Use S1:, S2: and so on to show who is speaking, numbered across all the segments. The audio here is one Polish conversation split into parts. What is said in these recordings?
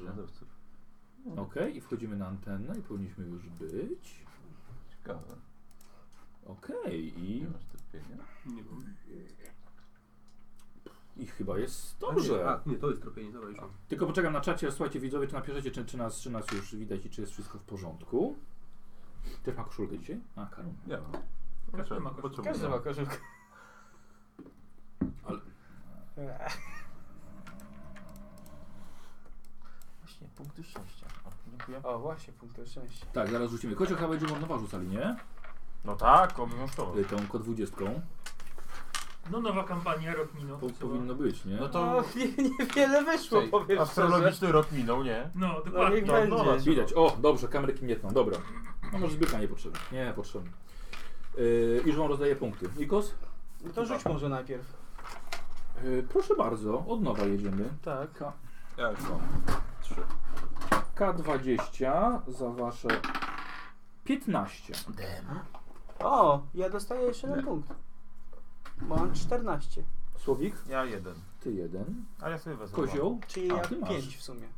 S1: gwiazdowców.
S2: Okej, i wchodzimy na antenę i powinniśmy już być.
S1: Ciekawe.
S2: Okej, i,
S1: Gdzie masz te pieniądze?
S3: Nie wiem.
S2: i chyba jest
S3: A
S2: dobrze.
S3: Nie, a, nie, to jest tropienie, dobra już. mam.
S2: Tylko poczekam na czacie, słuchajcie widzowie, czy napiszecie, czy, czy, nas, czy nas już widać i czy jest wszystko w porządku. Też ma koszulkę dzisiaj? A, Karol.
S1: Ja mam.
S4: No,
S3: Każdy ma koszulkę.
S1: Potrzebuję.
S5: Każdy ma koszulkę.
S2: Ale-
S5: Właśnie, punkty szczęścia. O, dziękuję. O, właśnie, punkty szczęścia.
S2: Tak, zaraz rzucimy. Kocioł chyba będzie mordował rzucali, nie?
S5: No tak, obowiązkowo.
S2: Y, Tą K20.
S4: No nowa kampania, rok
S3: No,
S4: minął.
S2: Po, powinno być, nie?
S5: No
S4: No,
S5: to
S4: nie- niewiele wyszło,
S5: Czyli
S4: powiem szczerze.
S5: astrologiczny rok minął, nie?
S4: No,
S5: No niech
S4: dokładnie.
S5: będzie.
S2: Widać. O, dobrze, kamerki nie tną, dobra. No może zbyka nie potrzebny. Nie, potrzebny. Yy, I wam rozdaje punkty. Nikos?
S5: No
S4: to
S5: rzuć
S4: może
S5: najpierw.
S2: Yy, proszę bardzo, od nowa jedziemy.
S5: Tak.
S2: K
S1: Ja już mam. Trzy.
S2: K20 za wasze 15.
S6: O, ja dostaję jeszcze jeden
S1: Nie.
S6: punkt. Bo mam 14.
S2: Słowik,
S5: Ja jeden.
S2: ty jeden.
S5: A ja sobie wezmę.
S2: Kozioł,
S6: Czyli
S2: A,
S6: ja
S2: ty masz.
S6: 5 w sumie.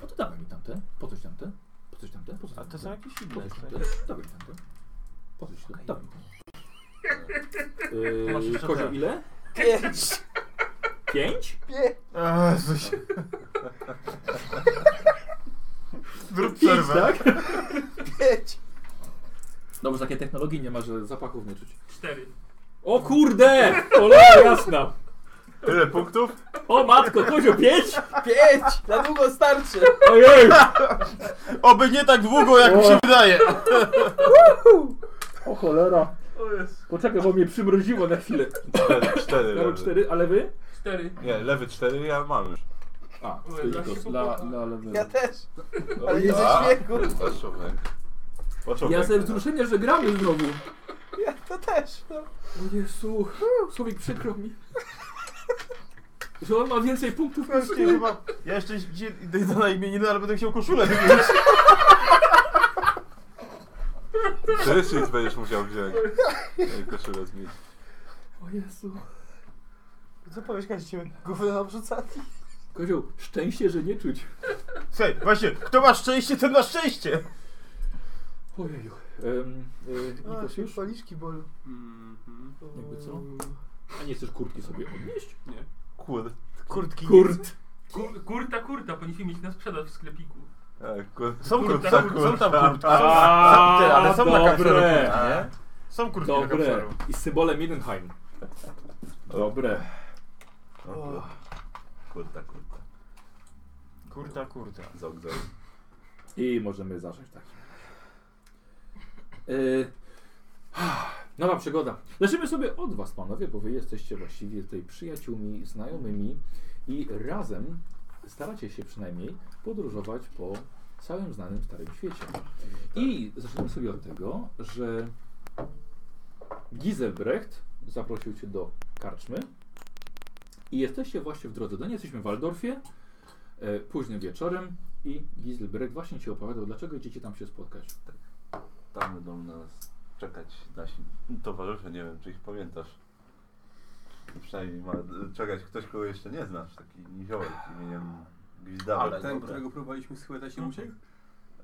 S2: no to dawaj mi tamte. Po coś tamte. Po coś tamte. Po coś
S5: A
S2: tamte.
S5: to są jakieś
S2: Po
S5: inne.
S2: coś tamte. Dawaj mi tamte. Po coś tamte. Dawaj mi tamte.
S5: Masz
S2: Yy,
S5: jeszcze
S2: Kozioł
S5: te.
S2: ile?
S6: 5!
S2: 5?
S5: Jezus. Zrób przerwę.
S2: tak?
S6: 5!
S2: Dobrze, takie technologii nie ma, że zapachów nie czuć.
S4: Cztery.
S2: O kurde! Cholera jasna!
S5: Tyle punktów?
S2: O matko, Kozio, pięć?
S6: 5! Za długo starczy!
S2: Ojej!
S5: Oby nie tak długo, jak mi się wydaje.
S2: O cholera.
S4: O jest.
S2: Poczekaj, bo mnie przymroziło na chwilę.
S1: Cztery. Cztery.
S2: Karol
S1: lewy.
S2: cztery, ale wy?
S4: Cztery.
S1: Nie, lewy cztery, ja mam już.
S2: A,
S4: Ojej, dla
S2: to Nikos,
S4: się
S2: Tak, dla,
S4: pokocha.
S2: dla lewego.
S6: Ja też!
S1: O,
S6: Ale nie ze
S1: a,
S6: śmiechu!
S1: Paszówek. Paszówek.
S2: Ja ze wzruszenia, że gramy znowu.
S6: Ja to też! No.
S2: O Jezu, o, Słowik, przykro mi. Że on ma więcej punktów niż ty.
S5: Właśnie chyba. Ja jeszcze dzisiaj idę na imieniny, ale będę chciał koszulę wymienić.
S1: Prysznic będziesz musiał wziąć. Ej, Koszulę zmienić.
S2: O Jezu.
S6: Co powiesz, Kaździu? Gówno obrzucali?
S2: Kozioł, szczęście, że nie czuć.
S5: Słuchaj, właśnie, kto ma szczęście, ten ma szczęście.
S2: Ojeju. Um, y, Nikos już?
S6: policzki bolu.
S3: Mhm.
S2: Jakby co? A nie chcesz kurtki sobie odnieść?
S3: Nie.
S1: Kurde.
S6: Kurtki.
S2: Kurt.
S4: Kur, kurta, kurta, powinniśmy mieć na sprzedaż w sklepiku.
S1: Tak, kurde.
S5: Są
S4: Kurta,
S5: kurtki,
S1: kurta.
S5: są tam kurtki. Są,
S2: A,
S5: są, ty, ale są na
S2: dobre.
S5: kapselu kurtki, nie? Są kurtki na
S2: Dobre.
S5: kapselu.
S2: I z symbolem Mindenheim. Dobre.
S1: O, Kurta, kurta.
S5: Kurta, kurta.
S1: Zog, zog.
S2: I możemy zacząć tak. Yy, nowa przygoda. Leżymy sobie od Was, panowie, bo Wy jesteście właściwie tutaj przyjaciółmi, znajomymi i razem staracie się przynajmniej podróżować po całym znanym starym świecie. I zacznijmy sobie od tego, że Giselbrecht zaprosił Cię do karczmy i jesteście właśnie w drodze do niej. Jesteśmy w Waldorfie, e, późnym wieczorem. I Giselbrecht właśnie ci opowiadał, dlaczego idziecie tam się spotkać.
S1: Tam będą nas czekać nasi towarzysze, nie wiem czy ich pamiętasz. Przynajmniej ma czekać ktoś, kogo jeszcze nie znasz, taki niziołek imieniem Gwizdawek.
S3: Ale ten,
S1: Dobra.
S3: Tak, którego próbowaliśmy schwytać,
S4: Mhm.
S3: nie uciekł?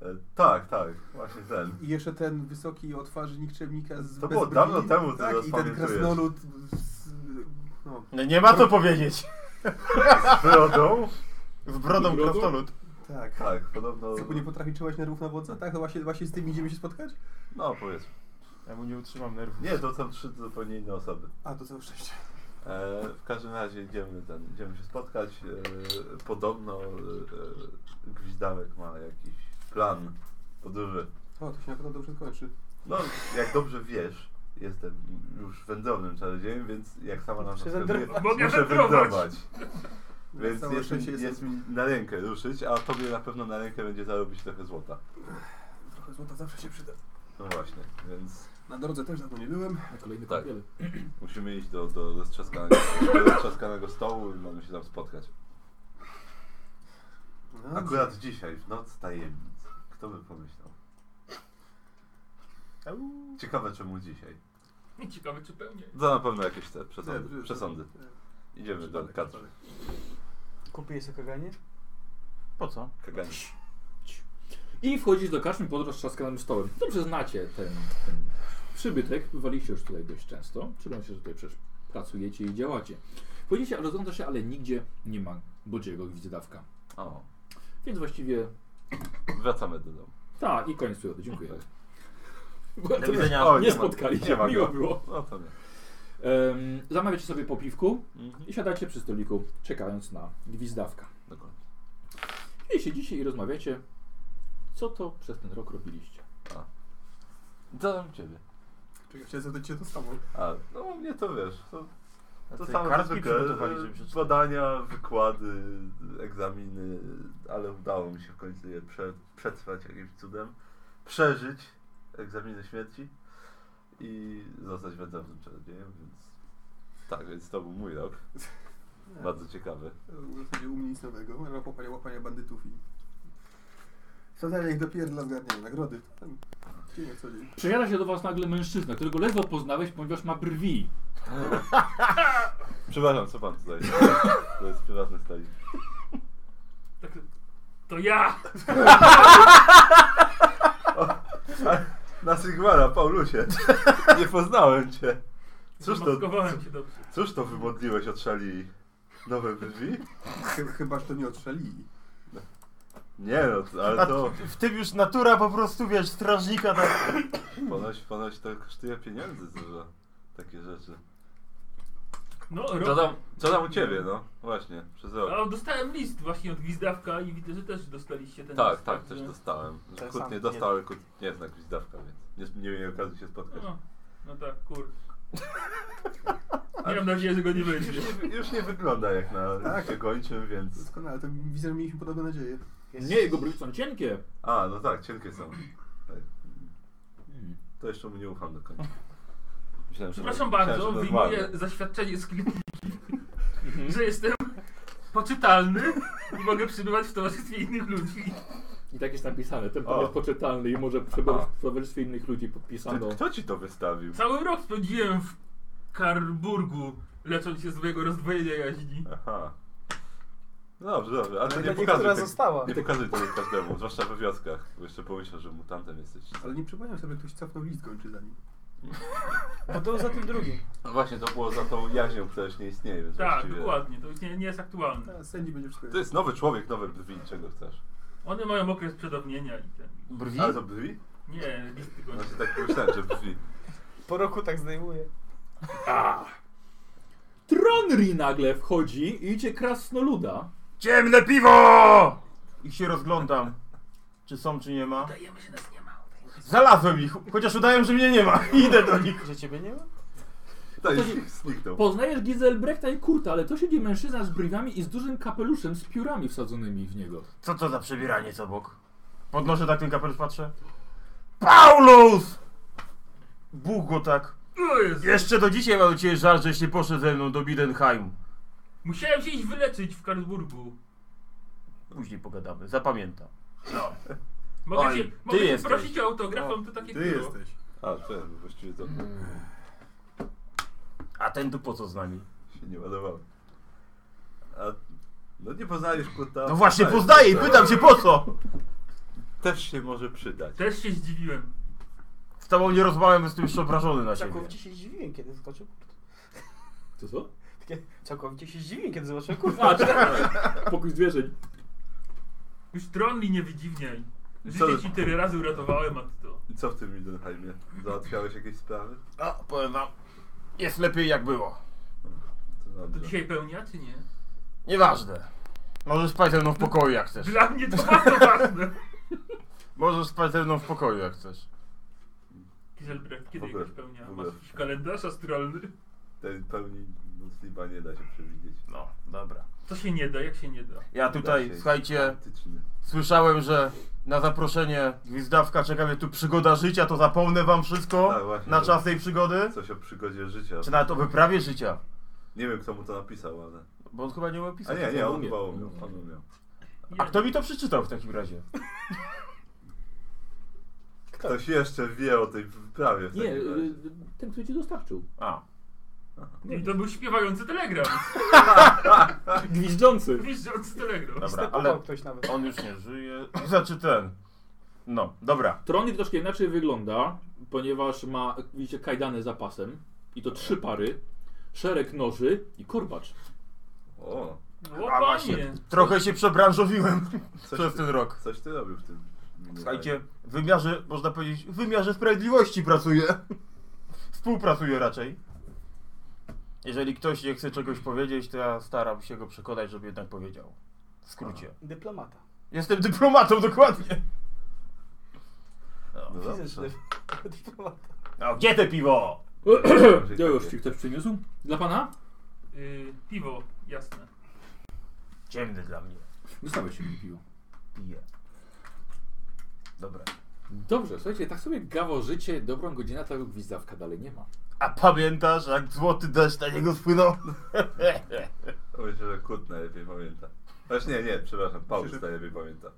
S1: E, Tak, tak, właśnie ten.
S3: I jeszcze ten wysoki o twarzy nikczemnika z
S1: To było
S3: bez
S1: dawno
S3: brwi,
S1: temu, ty
S3: tak?
S1: nas
S3: I ten
S1: pamiętujesz.
S3: krasnolud z... No,
S5: No, nie ma co powiedzieć.
S1: Z brodą?
S5: Z brodą
S2: Z brodą?
S5: krasnolud.
S3: tak.
S1: Tak, podobno.
S3: Co, bo nie potrafi trzymać nerwów na wodze? Tak, to właśnie, właśnie z tym idziemy się spotkać?
S1: No powiedzmy.
S5: Ja mu nie utrzymam nerwów.
S1: Nie, to są trzy zupełnie inne osoby.
S3: A, to całe szczęście.
S1: E, w każdym razie idziemy, ten, idziemy się spotkać. E, podobno e, e, Gwizdawek ma jakiś plan podróży.
S3: O, to się na pewno dobrze skończy.
S1: No, jak dobrze wiesz, jestem już wędrownym czarodziejem, więc jak sama nazwa
S6: Muszę
S1: wskazuje,
S6: wędrować.
S4: Mogę
S1: muszę
S4: wędrować.
S1: wędrować. Więc
S3: Całe
S1: jest,
S3: szczęście
S1: mi- jest
S3: jestem-
S1: mi na rękę ruszyć, a tobie na pewno na rękę będzie zarobić trochę złota.
S3: Trochę złota zawsze się przyda.
S1: No właśnie, więc
S3: Na drodze też dawno nie byłem.
S2: Na kolejny
S1: Tak.
S2: kąpiel.
S1: musimy iść do, do roztrzaskanego, do roztrzaskanego stołu i mamy się tam spotkać.
S3: No,
S1: Akurat dzisiaj, w noc tajemnic. Kto by pomyślał?
S5: Au.
S1: Ciekawe czemu dzisiaj.
S4: I ciekawe, czy pełnie.
S1: To na pewno jakieś te
S3: Nie,
S1: przesądy.
S3: nie,
S1: przesądy.
S3: nie.
S1: Idziemy do
S3: Przypadek,
S1: kadry.
S3: przypadek.
S6: Kupiłeś sobie kaganie?
S5: Po co?
S1: Kaganie.
S2: I wchodzisz do karczmy podróż trzaskanym stołem. Dobrze znacie ten, ten przybytek. Bywaliście już tutaj dość często. Przyglądam się, że tutaj przecież pracujecie i działacie. Wchodzicie, ale rozgląda się, ale nigdzie nie ma Bodziego Gwizdawka.
S1: O,
S2: Więc właściwie...
S1: wracamy do domu.
S2: Tak, i koniec przygody. Dziękuję. Bardzo
S5: Do widzenia.
S1: O,
S2: Nie
S1: ma-
S2: spotkali się,
S1: nie ma go.
S2: miło było.
S1: No to nie.
S2: Em, zamawiacie sobie po piwku
S1: Mhm.
S2: i siadacie przy stoliku, czekając na Gwizdawka.
S1: Dokładnie.
S2: I siedzicie i rozmawiacie, co to przez ten rok robiliście.
S1: Zadam ciebie.
S3: Czekaj, chciałem zadać cię to samo.
S1: A, no mnie to wiesz, to, to
S5: Te
S1: same
S5: kartki
S1: zwykle,
S5: przygotowali, żeby przeczytać.
S1: badania, wykłady, egzaminy, ale udało mi się w końcu je prze, przetrwać jakimś cudem, przeżyć egzaminy śmierci i zostać wędrownym czarodziejem, więc tak, więc to był mój rok, bardzo ciekawy.
S3: W zasadzie u mnie nic nowego. Łapanie, łapanie bandytów i... Co dalej, jak dopierdla zgarnianie nagrody. Tam, dzień jak co dzień.
S2: Przejada się do was nagle mężczyzna, którego ledwo poznałeś, ponieważ ma brwi.
S1: Przepraszam, co pan tutaj? To jest prywatny stolik.
S4: Tak, to ja!
S1: Na Sigmara, Paulusie, nie poznałem cię. Cóż to,
S4: Zamaskowałem się dobrze.
S1: cóż to wymodliłeś od szali nowe brwi?
S3: Chy- Chyba, że to nie odstrzeli.
S1: Nie no,
S5: A
S1: ale to
S5: w tym już natura po prostu, wiesz, strażnika tak...
S1: ponoć, ponoć to kosztuje pieniędzy dużo, takie rzeczy.
S4: No, rok.
S1: Co tam, co tam u ciebie, no? Właśnie, przez rok.
S4: A, dostałem list właśnie od Gwizdawka i widzę, że też dostaliście ten
S1: Tak,
S4: list.
S1: tak,
S4: także-
S1: też dostałem.
S5: Ten
S1: Kut
S5: sam,
S1: nie
S5: nie.
S1: dostał, ale kut nie znak gwizdawka, więc nie, nie mieli okazji się spotkać.
S4: No, no tak, kur. Nie mam nadzieję, że go nie będzie.
S1: Już nie, już nie wygląda jak na
S3: Tak.
S1: się kończy, więc...
S3: Doskonale, to widzę, że mieliśmy podobne nadzieje.
S2: Nie, jego brwi są cienkie.
S1: A, no tak, cienkie są. Tak. To jeszcze mu nie ufam do końca. Myślałem, że-
S4: Przepraszam
S1: myślałem,
S4: bardzo,
S1: że normalnie.
S4: wyjmuję zaświadczenie z kliniki,
S1: Mhm.
S4: że jestem poczytalny i mogę przebywać w towarzystwie innych ludzi.
S2: I tak jest napisane. Ten
S1: O.
S2: pan jest poczytalny i może przebywać
S1: Aha.
S2: w towarzystwie innych ludzi.
S1: Ty,
S2: Podpisano.
S1: kto ci to wystawił?
S4: Cały rok spędziłem w Karburgu, lecząc się z mojego rozdwojenia jaźni.
S1: Aha. Dobrze, dobrze, ale
S6: Ale
S1: nie
S6: ta
S1: pokazuj,
S6: niektóra
S1: tego-
S6: została.
S1: nie pokazuj tego każdemu, zwłaszcza we wioskach, bo jeszcze pomyślą, że mutantem jesteś.
S3: Ale nie przypominam sobie, ktoś cofnął list gończy za nim.
S6: Bo to za tym drugim.
S1: No właśnie, to było za tą jaźnią, która już nie istnieje, więc
S4: Tak,
S1: właściwie...
S4: dokładnie, to już nie, nie jest aktualne.
S3: Teraz sędzi będzie wszystko
S1: To jest nowy człowiek, nowe brwi, czego chcesz?
S4: One mają okres przedawnienia i ten.
S5: Brwi?
S1: Ale to brwi?
S4: Nie, listy go nie.
S1: Znaczy tak pomyślałem, że brwi.
S6: Po roku tak zdejmuje.
S2: Tronri nagle wchodzi i idzie krasnoluda.
S5: Ciemne piwo! Ich się rozglądam. Czy są, czy nie ma.
S4: Dajemy się, nas nie ma.
S5: Znalazłem ich, chociaż udają, że mnie nie ma. Idę do nich.
S6: Że ciebie nie ma?
S1: To
S2: to
S1: już zniknął.
S2: Poznajesz Gizelbrechta i Kurta, ale to siedzi mężczyzna z brwiami i z dużym kapeluszem z piórami wsadzonymi w niego.
S5: Co to za przebieranie co bok? Podnoszę tak ten kapelusz, patrzę. Paulus! Bóg go tak.
S4: O Jezu.
S5: Jeszcze do dzisiaj mam do ciebie żal, żeś nie poszedł ze mną do Bidenheimu.
S4: Musiałem się iść wyleczyć w Karlsburgu.
S5: Później pogadamy, zapamiętam.
S4: Mogę
S5: Oj,
S4: cię,
S5: ty
S4: mogę cię
S5: jesteś.
S4: prosić o autograf, mam tu takie
S3: Ty
S4: pióro.
S3: jesteś.
S1: A, to jest właściwie to
S5: A ten tu po co z nami?
S1: się nie ładowało. A... No nie poznajesz kota.
S5: No właśnie, poznaję i pytam cię po co?
S1: Też się może przydać.
S4: Też się zdziwiłem.
S5: Z tobą nie rozmawiam, jestem już obrażony na ciebie.
S6: Całkowicie się zdziwiłem, kiedy zobaczył kurt.
S2: Co co?
S6: Takie, Całkowicie się zdziwiłem, kiedy zobaczył kurt.
S2: A, pokój zwierzeń.
S4: Już Tronli nie wydziwniaj.
S1: Co-
S4: Życie ci tyle razy uratowałem, a ty to.
S1: I co w tym Mindenheimie? Załatwiałeś jakieś sprawy?
S5: A, powiem wam, jest lepiej jak było.
S1: To
S4: To
S1: dobrze.
S4: dzisiaj pełnia, czy nie?
S5: Nieważne. Możesz spać ze mną w pokoju jak chcesz.
S4: Dla mnie to bardzo ważne.
S5: Możesz spać ze mną w pokoju jak chcesz.
S4: Giselbrecht,
S1: W
S4: kiedy
S1: ogóle-
S4: jakaś pełnia?
S1: w
S4: Masz
S1: ogóle.
S4: jakiś kalendarz astralny?
S1: Tej pełni nocliba nie da się przewidzieć.
S5: No, dobra.
S4: To się nie da, jak się nie da?
S5: Ja tutaj,
S1: Da się-
S5: słuchajcie,
S1: Faktyczny.
S5: słyszałem, że na zaproszenie Gwizdawka czeka mnie tu przygoda życia, to zapomnę wam wszystko
S1: Tak, właśnie.
S5: na czas tej przygody.
S1: Coś o przygodzie życia.
S5: Czy nawet o wyprawie życia.
S1: Nie wiem kto mu to napisał, ale...
S5: Bo on chyba nie umiał
S1: A
S5: pisać.
S1: nie, nie, on
S2: umie.
S1: chyba umiał. On umiał.
S4: Nie.
S5: A kto mi to przeczytał w takim razie?
S1: Ktoś jeszcze wie o tej wyprawie w
S2: Nie,
S1: takim razie.
S2: y, ten, który ci dostarczył.
S5: A,
S4: I to był śpiewający telegram.
S2: Tak, Gwizdzący.
S4: Gwizdziący telegram.
S5: Dobra,
S6: Stepował
S5: ale
S6: ktoś nawet.
S5: on już nie żyje. Znaczy ten. No, dobra.
S2: Tronik troszkę inaczej wygląda, ponieważ ma, widzicie, kajdany za pasem. I to trzy pary. Szereg noży i korbacz.
S1: O,
S4: O
S5: A
S4: No, panie.
S5: właśnie, trochę się przebranżowiłem
S1: coś
S5: przez
S1: ty,
S5: ten rok.
S1: coś ty robił w tym. minulym
S5: Słuchajcie, w wymiarze, można powiedzieć, w wymiarze sprawiedliwości pracuję. Współpracuję raczej. Jeżeli ktoś nie chce czegoś powiedzieć, to ja staram się go przekonać, żeby jednak powiedział. W skrócie.
S6: Dyplomata.
S5: Jestem dyplomatą, dokładnie.
S1: No dobrze.
S6: Fizyczny. Dyplomata.
S5: A No, gdzie te piwo?
S2: Ja już ci ktoś przyniósł? Dla pana?
S4: Y, piwo, jasne.
S5: Ciemny dla mnie.
S2: Dostałeś się mi piwo.
S5: Piję. Dobra.
S2: Dobrze, słuchajcie, tak sobie gaworzycie dobrą godzinę, ta gwizdawka dalej nie ma.
S5: A pamiętasz, jak złoty deszcz na niego spłynął?
S1: Myślę, że Kurt najlepiej pamięta. Znaczy nie, nie, przepraszam, Paulus
S3: Myślę, że-
S1: najlepiej pamięta.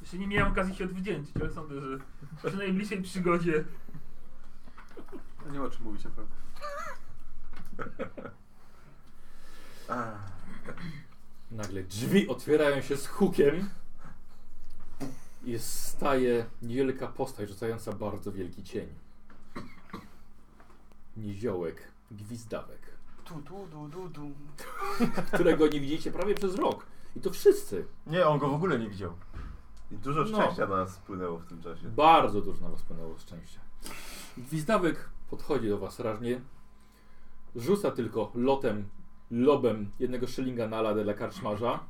S4: Jeszcze nie miałem okazji się odwdzięczyć, ale sądzę, że przy najbliższej przygodzie
S3: No Nie ma o czym mówić naprawdę.
S2: Nagle drzwi otwierają się z hukiem i staje wielka postać rzucająca bardzo wielki cień. Niziołek, gwizdawek,
S6: Tu, tu, du, du, du.
S2: którego nie widzieliście prawie przez rok. I to wszyscy.
S5: Nie, on go w ogóle nie widział.
S1: I dużo
S2: No.
S1: szczęścia na nas spłynęło w tym czasie.
S2: Bardzo dużo na was płynęło szczęścia. Gwizdawek podchodzi do was rażnie. Rzuca tylko lotem, lobem jednego szylinga na ladę dla karczmarza.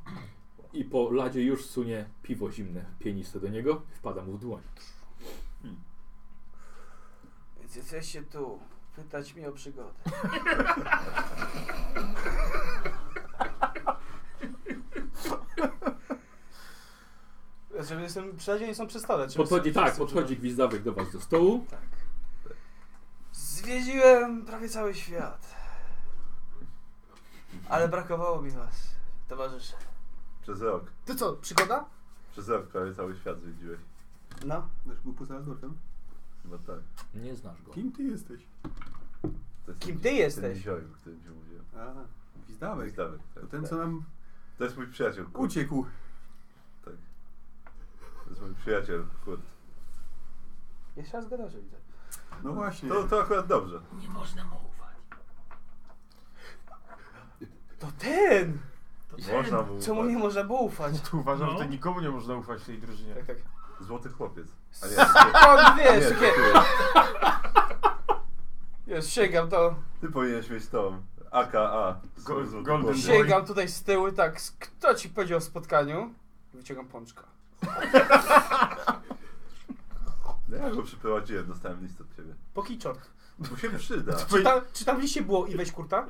S2: I po ladzie już sunie piwo zimne, pieniste do niego. Wpada mu w dłoń.
S6: Więc jesteście tu. Pytać mnie o przygodę. Żeby jestem przyjaźni są przy stole. czy
S2: Podchodzi,
S6: jestem-
S2: tak,
S6: jestem-
S2: podchodzi gwizdawek do was do stołu.
S6: Tak. Zwiedziłem prawie cały świat. Ale brakowało mi was, towarzysze.
S1: Przez rok.
S6: Ty co, przygoda?
S1: Przez rok prawie cały świat zwiedziłeś.
S6: No.
S3: Znasz był poza Azortem?
S1: Chyba tak.
S2: Nie znasz go.
S3: Kim ty jesteś?
S1: To jest
S6: Kim
S1: ten-
S6: ty jesteś?
S1: Ten niziołek, o którym ci mówiłem.
S3: A, Gwizdawek.
S1: Gwizdawek,
S3: To
S1: tak,
S3: ten,
S1: tak.
S3: co nam
S1: To jest mój przyjaciel, Kurt.
S3: uciekł.
S1: Tak. To jest mój przyjaciel, Kurt.
S6: Jeszcze raz gadał, że widzę.
S3: No właśnie.
S1: To, to akurat dobrze.
S4: nie można mu ufać.
S6: To ten!
S4: To
S1: Można mu
S6: Czemu
S1: ufać.
S6: nie można było ufać?
S5: Tu uważam,
S4: No.
S5: że to nikomu nie można ufać w tej drużynie.
S6: Tak, tak.
S1: Złoty chłopiec. A nie,
S6: On
S1: nie,
S6: wiesz,
S1: dziękuję.
S6: nie. Już sięgam to.
S1: Ty powinieneś mieć tą AKA.
S5: Go-
S1: Złoty
S5: Golden
S1: chłopiec.
S5: Boy.
S6: Sięgam tutaj z tyłu, tak. z- Kto ci powiedział o spotkaniu? I Wyciągam pączka.
S1: No ja go przyprowadziłem, dostałem list od ciebie.
S6: Po kiczor.
S1: Bo się przyda.
S6: Czy, tam- czy tam w liście było i weź kurta?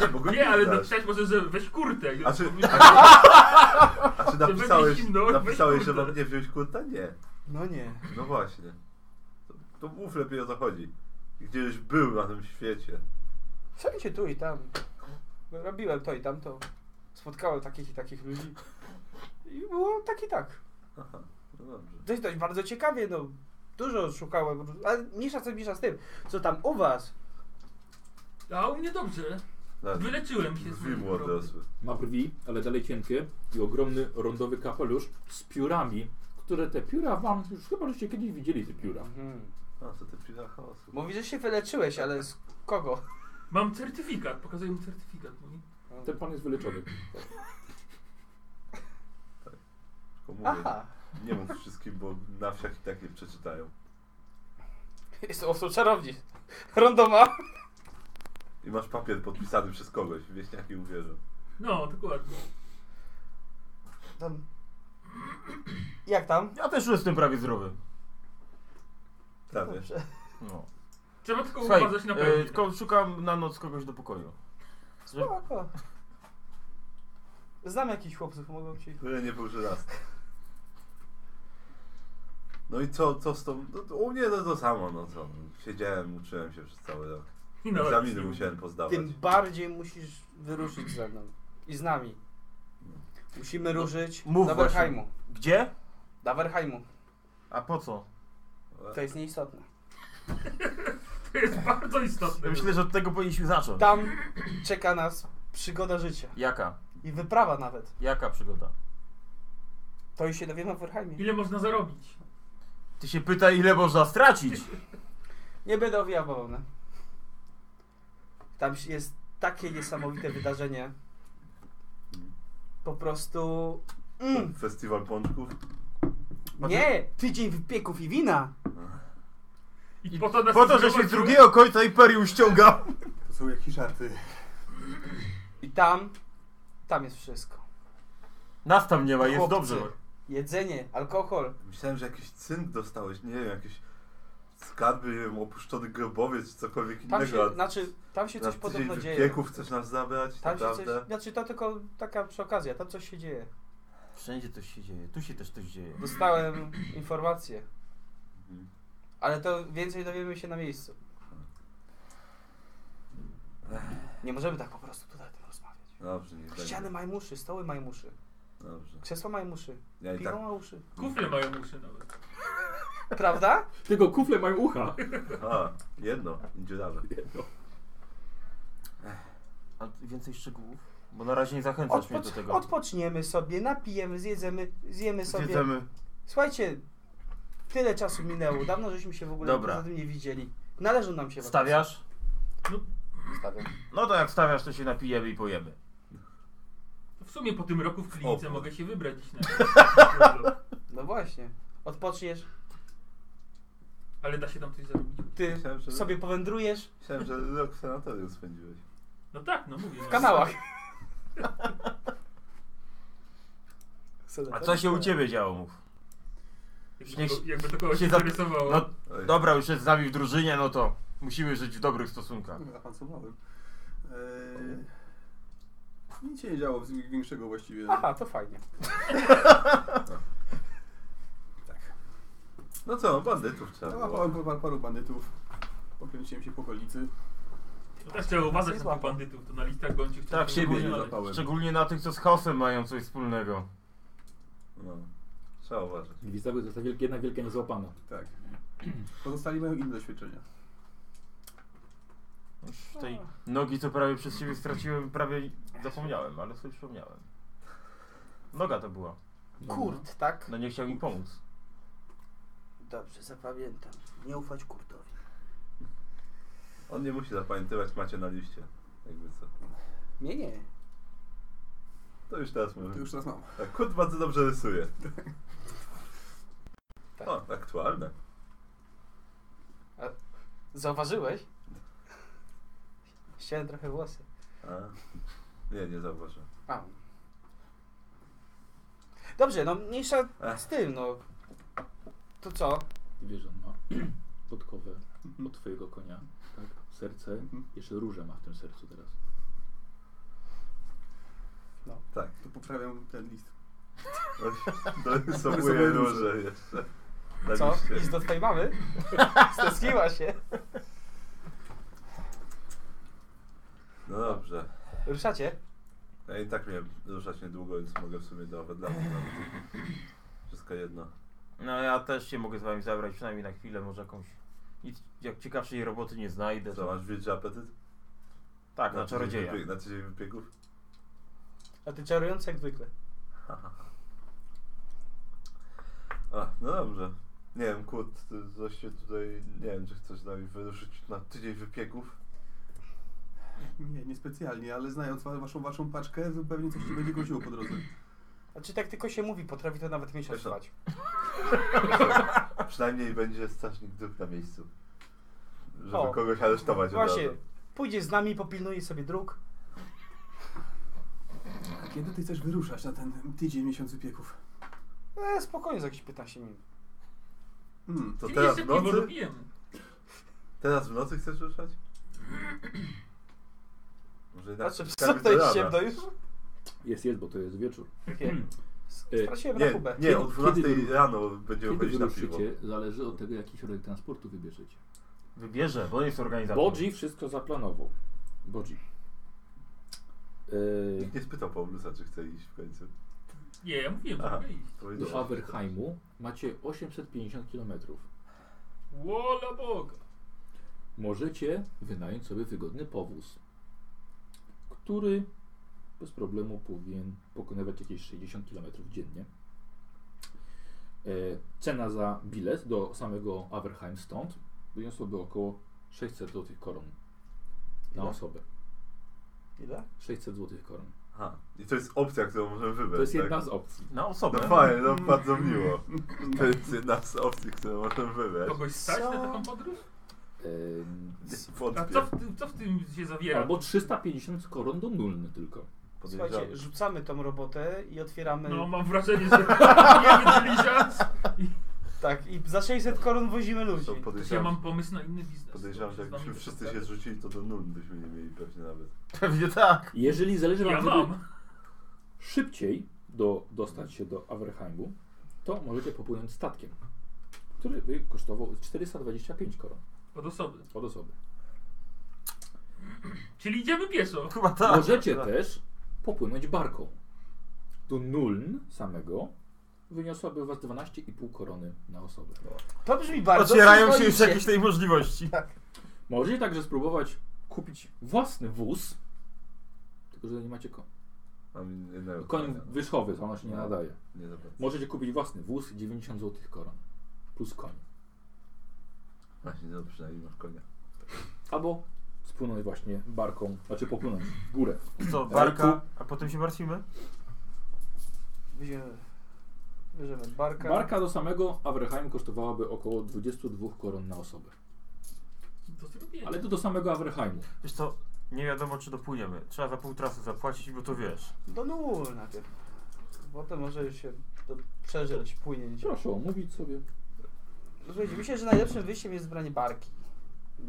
S1: Nie, bo
S5: No
S1: go nie,
S4: Nie, ale no tak,
S1: znasz.
S4: napisać może, że weź kurtę.
S1: A czy,
S4: Powinien-
S1: a, czy, a czy napisałeś,
S4: będzie zimno,
S1: napisałeś,
S4: weź
S1: że mam
S4: kurde.
S1: nie wziąć kurta? Nie.
S6: No nie.
S1: No właśnie. To, to mów lepiej o co chodzi. Gdzieś był na tym świecie.
S6: Wszędzie tu i tam. Robiłem to i tamto. Spotkałem takich i takich ludzi. I było tak i tak.
S1: Aha, no dobrze.
S6: Dość, dość bardzo ciekawie, no. Dużo szukałem, ale mniejsza co mniejsza z tym. Co tam u was?
S4: A u mnie dobrze.
S1: Nawet
S4: Wyleczyłem się z
S1: Drzwi
S4: mojego
S1: mu
S4: choroby.
S1: odrosły.
S2: Ma brwi, ale dalej cienkie i ogromny rondowy kapelusz z piórami, które te pióra wam, już chyba żeście kiedyś widzieli te pióra.
S6: Mhm.
S1: A to ty pila chaosu.
S6: Mówi, że się wyleczyłeś, ale z kogo?
S4: Mam certyfikat, pokazuję mu certyfikat. Mówi,
S2: Ten pan jest wyleczony.
S1: Tylko mówię,
S6: Aha.
S1: Nie mów wszystkim, bo na wsiach i tak nie przeczytają.
S6: Jest to są czarowni. Rondoma.
S1: I masz papier podpisany przez kogoś. Wieśniaki uwierzą.
S4: No, dokładnie.
S6: Tam. Jak tam?
S5: Ja też jestem prawie zdrowy.
S1: Prawie.
S6: Dobrze.
S5: No.
S4: Trzeba tylko
S5: Słuchaj,
S4: uważać na
S5: e,
S4: pewno.
S5: tylko szukam na noc kogoś do pokoju. Że-
S6: Spoko. No, Znam jakichś chłopców, mogą ci.
S1: Tyle nie był raz. No i co, co z tą... No, to u mnie to to samo, no co. Siedziałem, uczyłem się przez cały rok.
S4: I nawet
S1: Egzaminy
S4: nie-
S1: musiałem pozdawać.
S6: Tym bardziej musisz wyruszyć ze mną. I z nami. Musimy ruszyć
S5: mów
S6: do
S5: właśnie.
S6: Werheimu.
S5: Gdzie?
S6: Do Werheimu.
S5: A po co?
S6: To jest nieistotne.
S4: To jest bardzo istotne.
S5: Ja myślę, że od tego powinniśmy zacząć.
S6: Tam czeka nas przygoda życia.
S5: Jaka?
S6: I wyprawa nawet.
S5: Jaka przygoda?
S6: To już się dowiemy w Warhamie.
S4: Ile można zarobić?
S5: Ty się pytaj, ile można stracić.
S6: Nie będę owijał bawełnę. Tam jest takie niesamowite wydarzenie. Po prostu... Mm.
S1: Festiwal pączków.
S6: Nie! Tydzień wypieków i wina!
S4: I po to, nas
S5: Po to, że się z drugiego końca imperium ściąga.
S3: To są jakieś żarty.
S6: I tam... Tam jest wszystko.
S5: Nas tam nie ma, jest
S6: Chłopcy.
S5: dobrze.
S6: Jedzenie, alkohol.
S1: Myślałem, że jakiś cynk dostałeś, nie wiem, jakieś skarby, nie wiem, opuszczony grobowiec czy cokolwiek
S6: Tam
S1: innego.
S6: się,
S1: a
S6: znaczy, tam się
S1: na
S6: coś podobno
S1: tydzień
S6: dzieje.
S1: wieków chcesz nas zabrać,
S6: Tam się coś,
S1: naprawdę?
S6: znaczy to tylko taka przy okazji, a tam coś się dzieje.
S5: Wszędzie coś się dzieje, tu się też coś dzieje.
S6: Dostałem informację,
S1: Mhm.
S6: ale to więcej dowiemy się na miejscu. Nie możemy tak po prostu tutaj o tym rozmawiać.
S1: Dobrze, nie będzie.
S6: Ściany majmuszy, stoły majmuszy,
S1: Dobrze.
S6: krzesła majmuszy,
S1: Ja i
S6: piwo
S1: tak
S6: małuszy.
S4: Kufle mają uszy nawet.
S6: Prawda?
S2: Tylko kufle mają ucha.
S1: A, jedno, dziurawe.
S5: A więcej szczegółów? Bo na razie nie zachęcasz mnie do
S6: Odpocz,
S5: tego.
S6: odpoczniemy sobie, napijemy, zjedzemy, zjemy sobie.
S5: Zjedzemy.
S6: Słuchajcie, tyle czasu minęło, dawno żeśmy się w ogóle
S5: Dobra.
S6: poza tym nie widzieli. Należą nam się wakacje.
S5: Stawiasz?
S6: Stawiam.
S5: No to jak stawiasz, to się napijemy i pojemy.
S4: W sumie po tym roku w klinice
S1: O.
S4: mogę się wybrać gdzieś na
S6: No właśnie. Odpoczniesz,
S4: Ale da się tam coś zarobić?
S6: ty
S1: Myślałem, że-
S6: sobie powędrujesz
S1: Myślałem, że rok w sanatorium spędziłeś.
S4: No tak, no mówię.
S6: w
S4: no.
S6: kanałach.
S5: A co się u ciebie działo, mów?
S4: Jakby,
S5: Śnieg-
S4: to, jakby to kogoś
S5: się zap-
S4: interesowało.
S5: No
S1: Oj.
S5: dobra, już jest z nami w drużynie, no to musimy żyć w dobrych stosunkach.
S3: Awansowałem. Eee, nic się nie działo z- większego właściwie.
S6: Aha, to fajnie.
S1: No co, bandytów trzeba było.
S3: Załapałem pa- pa- paru bandytów. Pokręciłem się po okolicy.
S4: To też trzeba uważać
S6: Jest
S4: na tych
S6: łapa.
S4: bandytów, to na listach gończych
S5: Tak,
S4: często
S5: siebie
S4: nie
S5: nie
S4: ma.
S1: zapałem.
S5: Szczególnie na tych, co z chaosem mają coś wspólnego.
S1: No. Trzeba uważać.
S2: Gwizdawy został wielki, jedna wielka niezłapana.
S3: Tak. Pozostali mają inne doświadczenia.
S5: Już tej nogi, co prawie przez ciebie straciłem, prawie zapomniałem, ale sobie przypomniałem. Noga to była.
S6: Kurt, tak?
S5: No nie chciał mi pomóc.
S6: Dobrze, zapamiętam. Nie ufać Kurtowi.
S1: On nie musi zapamiętywać, macie na liście. Jakby co.
S6: Nie, nie.
S1: To już teraz
S3: To
S1: może.
S3: już teraz mam.
S1: Tak, kurt bardzo dobrze rysuje.
S6: Tak.
S1: O, aktualne.
S6: Zauważyłeś? Ściąłem trochę włosy.
S1: A. Nie, nie zauważyłem.
S6: A. Dobrze, no mniejsza
S1: Ech.
S6: z tym, no. To co?
S2: Wiesz, on ma podkowę od twojego konia, tak? Serce,
S1: Mhm.
S2: jeszcze róże ma w tym sercu teraz.
S1: Tak.
S3: To poprawiam ten list.
S1: Dorysowuję
S3: Rysuję
S1: róże jeszcze. Na
S6: Co?
S1: liście.
S6: Idź do twojej mamy? Stęskniła się.
S1: No dobrze.
S6: Ruszacie?
S1: Ja i tak miałem ruszać niedługo, więc mogę w sumie do dla mnie nawet. Wszystko jedno.
S5: No ja też się mogę z wami zabrać, przynajmniej na chwilę, może jakąś... Nic, jak ciekawszej roboty nie znajdę.
S1: Co,
S5: To...
S1: masz wielki apetyt?
S5: Tak, na
S1: tydzień
S5: czarodzieja.
S1: wypie- Na tydzień wypieków?
S6: A ty czarujący jak zwykle.
S1: A, no dobrze. Nie wiem, Kurt, ty coś się tutaj... Nie wiem, czy chcesz z nami wyruszyć na tydzień wypieków?
S3: Nie, niespecjalnie, ale znając wa- waszą, waszą paczkę, to pewnie coś ci będzie groziło po drodze.
S6: Znaczy tak tylko się mówi, potrafi to nawet miesiąc
S1: Wiesz co?
S6: trwać.
S1: Przynajmniej będzie strażnik dróg na miejscu. Żeby
S6: O.
S1: kogoś aresztować
S6: No Właśnie,
S1: od razu.
S6: pójdzie z nami, popilnuje sobie dróg.
S3: A kiedy ty chcesz wyruszać na ten tydzień miesiąc wypieków?
S6: E, spokojnie, za jakieś 15 minut.
S3: Hmm.
S1: To
S4: Czyli
S1: teraz
S4: jeszcze
S1: w
S4: piwo
S1: nocy?
S4: lubijemy.
S1: Teraz w nocy chcesz ruszać? Może jednak
S6: Znaczy, co
S1: spotkamy
S6: to
S1: Tak, do
S6: jest
S1: rana.
S6: ciemno już?
S2: Jest, jest, bo to jest wieczór.
S6: Wiem.
S2: E,
S6: Straciłem na
S1: Nie,
S6: kubę.
S1: nie, o
S2: Kiedy-
S1: 12
S2: kiedy-
S1: rano będziemy
S2: Kiedy
S1: chodzić na piwo.
S2: wyruszycie, zależy od tego, jaki środek transportu wybierzecie.
S5: Wybierze, bo jest organizator.
S2: Bodzi wszystko zaplanował. Bodzi. Yy,
S1: Nikt nie spytał Paulusa, czy chce iść w końcu.
S4: Nie, ja mówiłem, że
S1: Aha.
S4: mogę iść.
S2: E,
S1: Powiedział.
S2: do Averheimu macie 850 km.
S4: Wola Boga.
S2: możecie wynająć sobie wygodny powóz, który bez problemu powinien pokonywać jakieś 60 km dziennie. E, Cena za bilet do samego Averheim stąd wyniosłoby około 600 zł koron na
S5: Ile?
S2: osobę.
S5: Ile?
S2: 600 zł koron.
S1: Aha. I to jest opcja, którą możemy wybrać.
S2: To jest
S1: tak?
S2: jedna z opcji.
S5: Na
S1: No
S5: osobę.
S1: fajnie, no bardzo miło. To jest jedna z opcji, którą możemy wybrać.
S4: Kogoś stać na
S5: Co?
S4: taką podróż?
S2: Em,
S4: A
S1: Wątpię.
S4: co w tym, co w tym się zawiera?
S2: Albo 350 koron do nulny tylko.
S6: Słuchajcie, rzucamy tą robotę i otwieramy.
S4: No mam wrażenie, że nie wydzieliśmy.
S6: Tak, i za 600 koron wozimy ludzi.
S1: To
S4: Też ja
S1: podejrzewam,
S4: mam pomysł na inny biznes.
S1: podejrzewam, że
S4: To
S1: jakbyśmy
S4: z nami
S1: wszyscy
S4: to
S1: się zrzucili, to do nul byśmy nie mieli pewnie nawet.
S5: Pewnie tak.
S2: Jeżeli zależy wam,
S4: Ja
S2: żeby
S4: mam.
S2: szybciej do, dostać się do Averheimu, to możecie popłynąć statkiem, który by kosztował 425 koron
S4: Od osoby.
S2: od osoby.
S4: Czyli idziemy pieszo.
S5: Chyba tak.
S2: możecie
S5: tak.
S2: też popłynąć barką. Do Nuln samego wyniosłaby was 12,5 korony na osobę.
S5: No.
S6: To brzmi bardzo.
S5: Otwierają się już
S6: przyzwoicie.
S5: jakieś tej możliwości.
S2: Możecie także spróbować kupić własny wóz, tylko że nie macie koń.
S1: Mam jednego
S2: No Koń
S5: Tak.
S1: konia.
S2: wierzchowy, to ono się nie
S1: No.
S2: nadaje.
S1: Nie zapłacę.
S2: Możecie kupić własny wóz 90 zł koron plus koń.
S1: Właśnie, no przynajmniej masz konia.
S2: Albo spłynąć właśnie barką, znaczy popłynąć w górę.
S5: Co, barka, a potem się martwimy?
S6: Bierzemy- Bierzemy barka.
S2: Barka do samego Averheim kosztowałaby około 22 koron na osobę.
S4: Do tego biegnie.
S2: Ale to do samego Averheimu.
S5: Wiesz co, nie wiadomo czy dopłyniemy. Trzeba za pół trasy zapłacić, bo to wiesz.
S6: Do nul najpierw. Potem może już się do, przeżreć, płynieć.
S2: Proszę omówić sobie.
S6: Słuchajcie, myślę, że najlepszym wyjściem jest branie barki.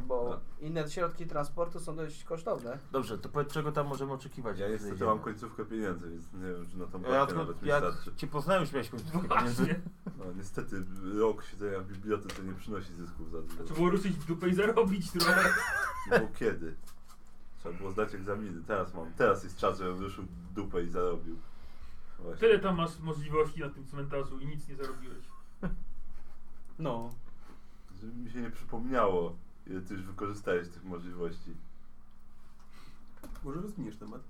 S6: Bo
S1: Tak.
S6: inne środki transportu są dość kosztowne.
S5: Dobrze, to powiedz czego tam możemy oczekiwać.
S1: Ja
S5: jak
S1: niestety
S5: wyjdziemy.
S1: mam końcówkę pieniędzy, więc nie wiem, czy na tą
S5: Ja
S1: barkę
S5: tylko,
S1: nawet mi
S5: jak
S1: starczy.
S5: cię poznałem już miałeś końcówkę pieniędzy.
S4: Właśnie.
S1: No niestety rok siedzenia w bibliotece nie przynosi zysków za
S4: Trzeba
S1: dużo.
S4: było ruszyć w dupę i zarobić trochę.
S1: No Bo kiedy? Trzeba było zdać egzaminy. Teraz mam. Teraz jest czas, żebym ruszył dupę i zarobił. Właśnie.
S4: Tyle tam masz możliwości na tym cmentarzu i nic nie zarobiłeś.
S6: No.
S1: Żeby mi się nie przypomniało, ile ty już wykorzystałeś tych możliwości.
S3: Może rozwiniesz temat?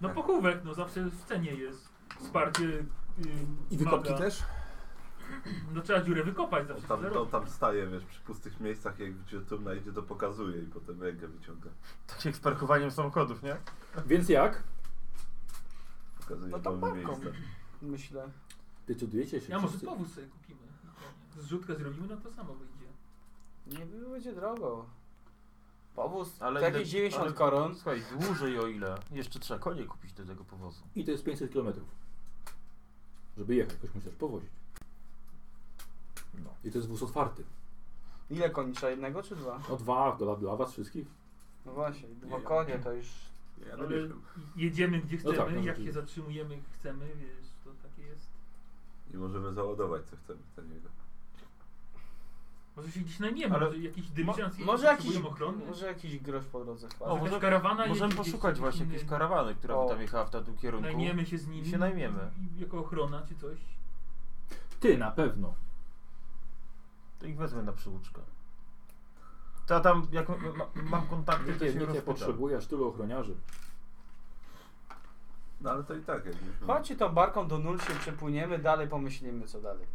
S4: No pochówek, no zawsze w cenie jest wsparcie. Yy,
S3: I wykopki
S4: maga.
S3: też?
S4: No trzeba dziurę wykopać
S1: On
S4: zawsze.
S1: No tam,
S4: tyle
S1: on
S4: robi.
S1: tam staje, wiesz, przy pustych miejscach, jak gdzie turna idzie, to pokazuje i potem rękę wyciąga.
S5: Tak jak z parkowaniem samochodów, nie?
S2: Więc jak?
S1: Pokazuje
S6: No to
S1: wolne
S6: parką.
S1: miejsce.
S6: Myślę.
S2: Decydujecie się
S4: Ja może
S2: wszyscy.
S4: powóz sobie kupimy. na koniec. Zrzutkę zrobimy, no to samo wyjdzie.
S6: Nie będzie drogo. Powóz
S5: Ale
S6: to
S5: ile-
S6: jakieś 90
S5: ale-
S6: koron.
S5: Słuchaj, dłużej o ile. Jeszcze trzeba konie kupić do tego powozu.
S2: I to jest 500 km. Żeby jechać, ktoś musisz powozić.
S5: No.
S2: I to jest wóz otwarty.
S6: Ile koni trzeba? Jednego czy dwa?
S2: No dwa dla, dla was wszystkich.
S6: No właśnie, dwa
S3: Nie.
S6: konie to już...
S3: Ja
S4: Ale
S3: dowieszam.
S4: jedziemy gdzie
S2: No
S4: chcemy,
S2: tak, no
S4: jak
S2: rzeczywiście.
S4: się zatrzymujemy, chcemy, wiesz, to takie jest.
S1: I możemy załadować, co chcemy do niego.
S4: Może się gdzieś najmiemy,
S5: Ale
S4: może jakiś
S6: Mo,
S4: dyligenc jedzie,
S6: może, jakiś,
S4: potrzebujemy ochrony.
S6: może jakiś grosz po drodze
S4: O,
S6: chwała.
S4: jakaś
S5: może-
S4: karawana
S5: No, Możemy
S4: jedzie gdzieś,
S5: poszukać
S4: jakiś
S5: właśnie
S4: inny.
S5: jakiejś karawany, która by
S6: O.
S5: tam jechała w tamtym kierunku.
S4: Najmiemy się z nimi.
S5: I się najmiemy.
S4: i- Jako ochrona czy coś.
S2: Ty na pewno.
S5: To ich wezmę na przyłóżkę. To ja tam, jak ma, ma, mam kontakty, to
S2: Ty
S5: się
S2: nie
S5: rozpytam.
S2: potrzebujesz tylu ochroniarzy.
S1: No ale to i tak, jakbyśmy...
S6: Chodźcie tą barką do nul się przepłyniemy, dalej pomyślimy co dalej.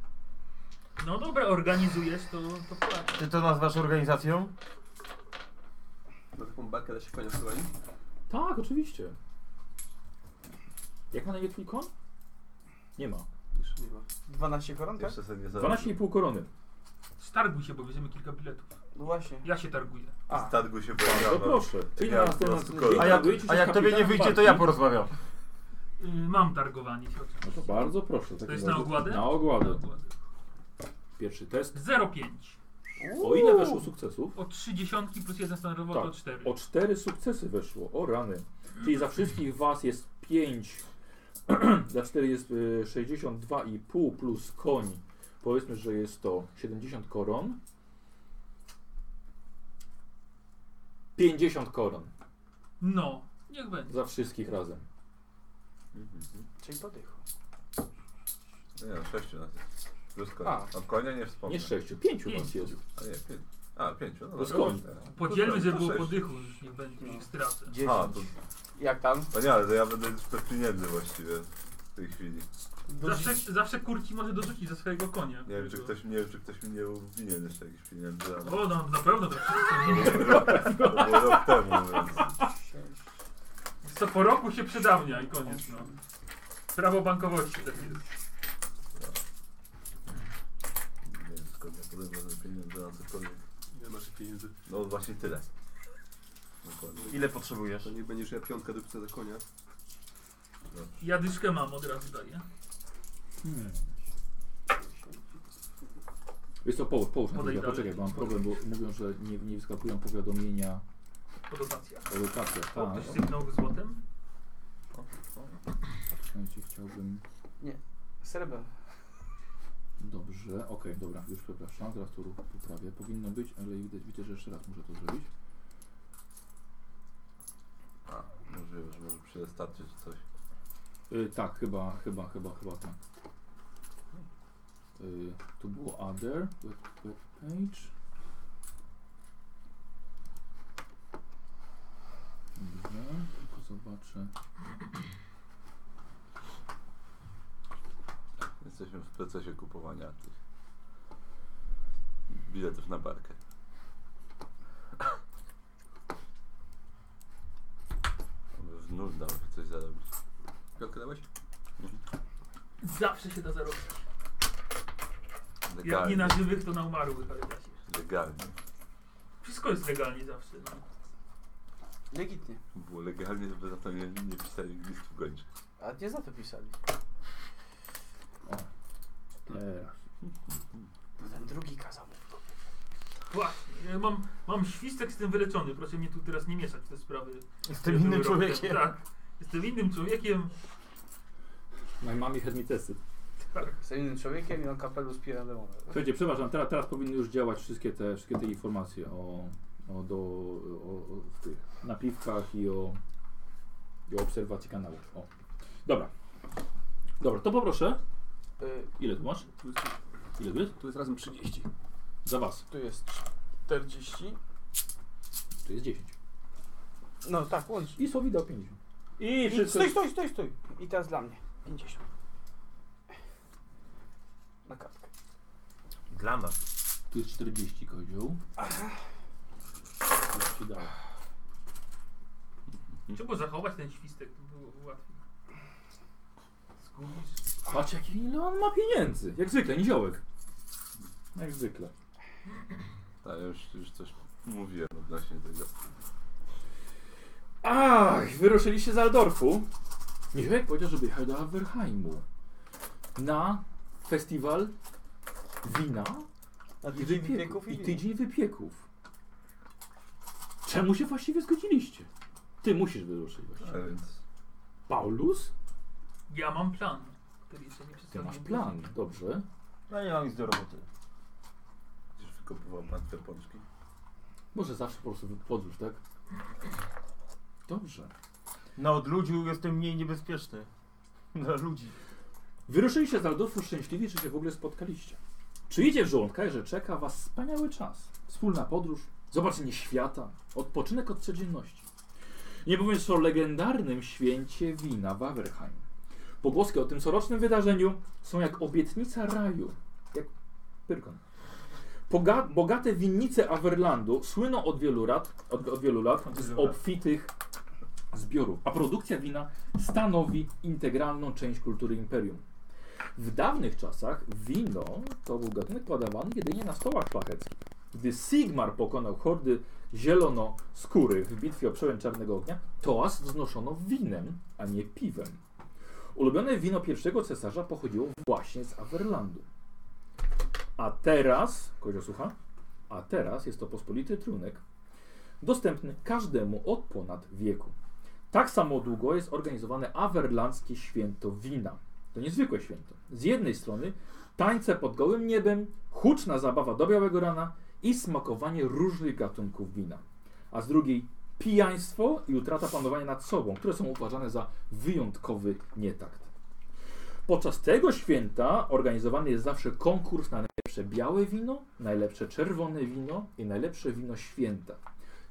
S4: No dobra, organizujesz, to, to płacz.
S5: Ty to nazwasz organizacją?
S3: Na taką barkę da się konia prowadzić?
S2: Tak, oczywiście. Jak ma na imię twój koń? Nie ma.
S3: Jeszcze nie ma.
S6: 12 koron, tak?
S1: Jeszcze sobie nie zarobił.
S2: 12,5 korony.
S4: Starguj się, bo bierzemy kilka biletów.
S6: No właśnie.
S4: Ja się targuję.
S1: A.
S6: A,
S1: Statku się
S2: No
S1: pojawia.
S2: proszę. Czyli
S1: Ja
S2: na
S1: po
S2: następny
S1: prostu
S2: dzień
S1: kolor.
S5: A jak,
S2: dogadujecie się
S5: a
S2: z
S5: jak tobie nie
S2: kapitanem
S5: wyjdzie, to ja
S2: barki.
S5: porozmawiam.
S4: Y, mam targowanie się oczywiście.
S2: No to bardzo proszę. w
S4: To
S2: takim
S4: jest na
S2: razie.
S4: ogładę?
S2: Na
S4: Na
S2: ogładę.
S4: ogładę.
S2: Pierwszy test.
S4: 0,5.
S2: O ile weszło sukcesów?
S4: O 30 plus 1 standardowo
S2: Tak.
S4: to 4.
S2: O cztery sukcesy weszło. O rany. Czyli za wszystkich was jest 5. za 4 jest y, 62,5 plus koń. Powiedzmy, że jest to 70 koron. 50 koron
S4: No, niech będzie.
S2: za wszystkich razem.
S1: Mhm.
S6: czyli po dychu.
S1: Nie, no, sześciu nas jest. Plus konia.
S6: A.
S1: O konia nie wspomnę.
S2: Nie sześciu, pięciu
S4: Pięciu.
S2: was jest.
S1: A nie, pięć. A, pięciu. No
S2: Plus
S1: dobra.
S2: koń.
S1: Tak.
S4: Podzielmy,
S1: Plus
S4: żeby
S1: koń,
S4: było
S1: to sześć.
S4: podychu, już nie będzie
S1: No.
S4: już stracę.
S1: A, to,
S5: 10.
S6: Jak tam?
S1: to nie, ale to ja będę już bez pieniędzy właściwie w tej chwili.
S4: Zawsze, zawsze kurki może dorzucić ze swojego konia.
S1: no Nie wiem, czy ktoś, nie wiem, czy ktoś mi nie winien jeszcze jakichś pieniędzy, ale
S4: O, no, na pewno tak.
S1: to było rok temu, więc...
S4: Co po roku się przedawnia i koniec, no. Prawo bankowości tak jest.
S1: Nie wiem, skąd ja podejmę te pieniądze na cokolwiek.
S3: Ile masz pieniędzy?
S1: No właśnie tyle. Dokładnie.
S5: Ile potrzebujesz?
S3: To nie będziesz ja piątka dupce za konia.
S4: Ja dyszkę mam od razu daję.
S2: Hmm. Wiesz co, połóż, połóż na
S4: Podaj
S2: chwilę,
S4: dalej.
S2: poczekaj, bo mam problem, bo mówią, że nie, nie wyskakują powiadomienia
S4: Po dotacjach.
S2: o lokacjach.
S4: O,
S2: Tak,
S4: Ktoś sygnął złotem?
S2: słuchajcie, chciałbym...
S6: Srebrne.
S2: Dobrze, okej, dobra, już przepraszam, teraz to ruch poprawię. Powinno być, ale widać, widzę, że jeszcze raz muszę to zrobić.
S1: A, możliwe, że może przystarczy czy coś.
S2: Y, tak, chyba, chyba, chyba, chyba tak. Y, tu było other, web, web page. Dobrze, tylko zobaczę.
S1: Jesteśmy w procesie kupowania tych biletów na barkę. Aby Znów dało się coś zarobić.
S3: Piątkę dałeś?
S4: Zawsze się da zarobić. Jak nie
S1: Legalnie.
S4: na żywych, to na umarłych, ale da się.
S1: Legalnie.
S4: Wszystko jest legalnie zawsze. No.
S6: Legitnie.
S1: Było legalnie, żeby za to nie, nie pisali listów gończych.
S6: A nie za to pisali.
S2: O. Teraz.
S6: Ten drugi kazał mu.
S4: Właśnie, ja mam, mam świstek, jestem wyleczony. Proszę mnie tu teraz nie mieszać w te sprawy.
S5: Z
S4: które
S5: tym
S4: były
S5: innym
S4: rok temu.
S5: człowiekiem.
S4: Tak. Jestem innym człowiekiem.
S2: My mommy had me tested.
S4: Tak.
S6: Z innym człowiekiem i on kapelusz pije demona.
S2: Słuchajcie, przepraszam, teraz, teraz powinny już działać wszystkie te, wszystkie te informacje o, o, do, o, o w tych napiwkach i o, i o obserwacji kanału. O. Dobra. Dobra, to poproszę.
S6: Y,
S2: Ile tu masz?
S3: Tu jest,
S2: Ile tu jest?
S3: tu jest razem 30.
S2: Za was.
S6: tu jest 40.
S2: Tu jest 10.
S6: No tak, łącznie.
S2: I Sowi dał 50.
S6: I Stój, stój, stój, stój. I teraz dla mnie. 50. Na kartkę.
S5: Dla nas.
S2: Tu jest 40 kozioł. Już ci dałem.
S4: Trzeba zachować ten świstek, to było łatwiej. Skubisz.
S2: Patrz jak ile on ma pieniędzy. Jak zwykle, niziołek. Jak zwykle.
S1: Tak, ja już, już coś mówiłem odnośnie tego.
S2: Ach, wyruszyliście z Aldorfu. Niziołek powiedział, żeby jechać do Averheimu. Na festiwal wina
S6: Na
S2: i
S6: tydzień
S2: wypieków.
S6: wieków
S2: I
S6: i
S2: tydzień wypieków. Czemu się właściwie zgodziliście? Ty musisz wyruszyć
S1: A
S2: właściwie.
S1: więc
S2: Paulus?
S4: Ja mam plan. Który jeszcze nie
S2: Ty
S4: przedstawiłem.
S2: masz plan, dobrze.
S5: No nie mam nic do roboty.
S1: gdzieś wykopywał pan te pączki.
S2: Może zawsze po prostu podróż, tak? Dobrze.
S5: Na odludziu jestem mniej niebezpieczny. Dla ludzi.
S2: Wyruszyliście z Aldorfu szczęśliwi, że się w ogóle spotkaliście. Czujecie w żołądkach, że czeka was wspaniały czas. Wspólna podróż, zobaczenie świata, odpoczynek od codzienności. Nie mówiąc o legendarnym święcie wina w Averheim. Pogłoski o tym corocznym wydarzeniu są jak obietnica raju. Jak pyrkon. Poga- bogate winnice Averlandu słyną od wielu lat, od, od wielu lat z obfitych zbiorów, a produkcja wina stanowi integralną część kultury imperium. W dawnych czasach wino to był gatunek podawany jedynie na stołach szlacheckich. Gdy Sigmar pokonał hordy zielonoskórych w bitwie o przełęcz Czarnego Ognia, toast wznoszono winem, a nie piwem. Ulubione wino pierwszego cesarza pochodziło właśnie z Averlandu. A teraz, kozio słucha, a teraz jest to pospolity trunek, dostępny każdemu od ponad wieku. Tak samo długo jest organizowane Averlandzkie Święto Wina. To niezwykłe święto. Z jednej strony tańce pod gołym niebem, huczna zabawa do białego rana i smakowanie różnych gatunków wina. A z drugiej pijaństwo i utrata panowania nad sobą, które są uważane za wyjątkowy nietakt. Podczas tego święta organizowany jest zawsze konkurs na najlepsze białe wino, najlepsze czerwone wino i najlepsze wino święta.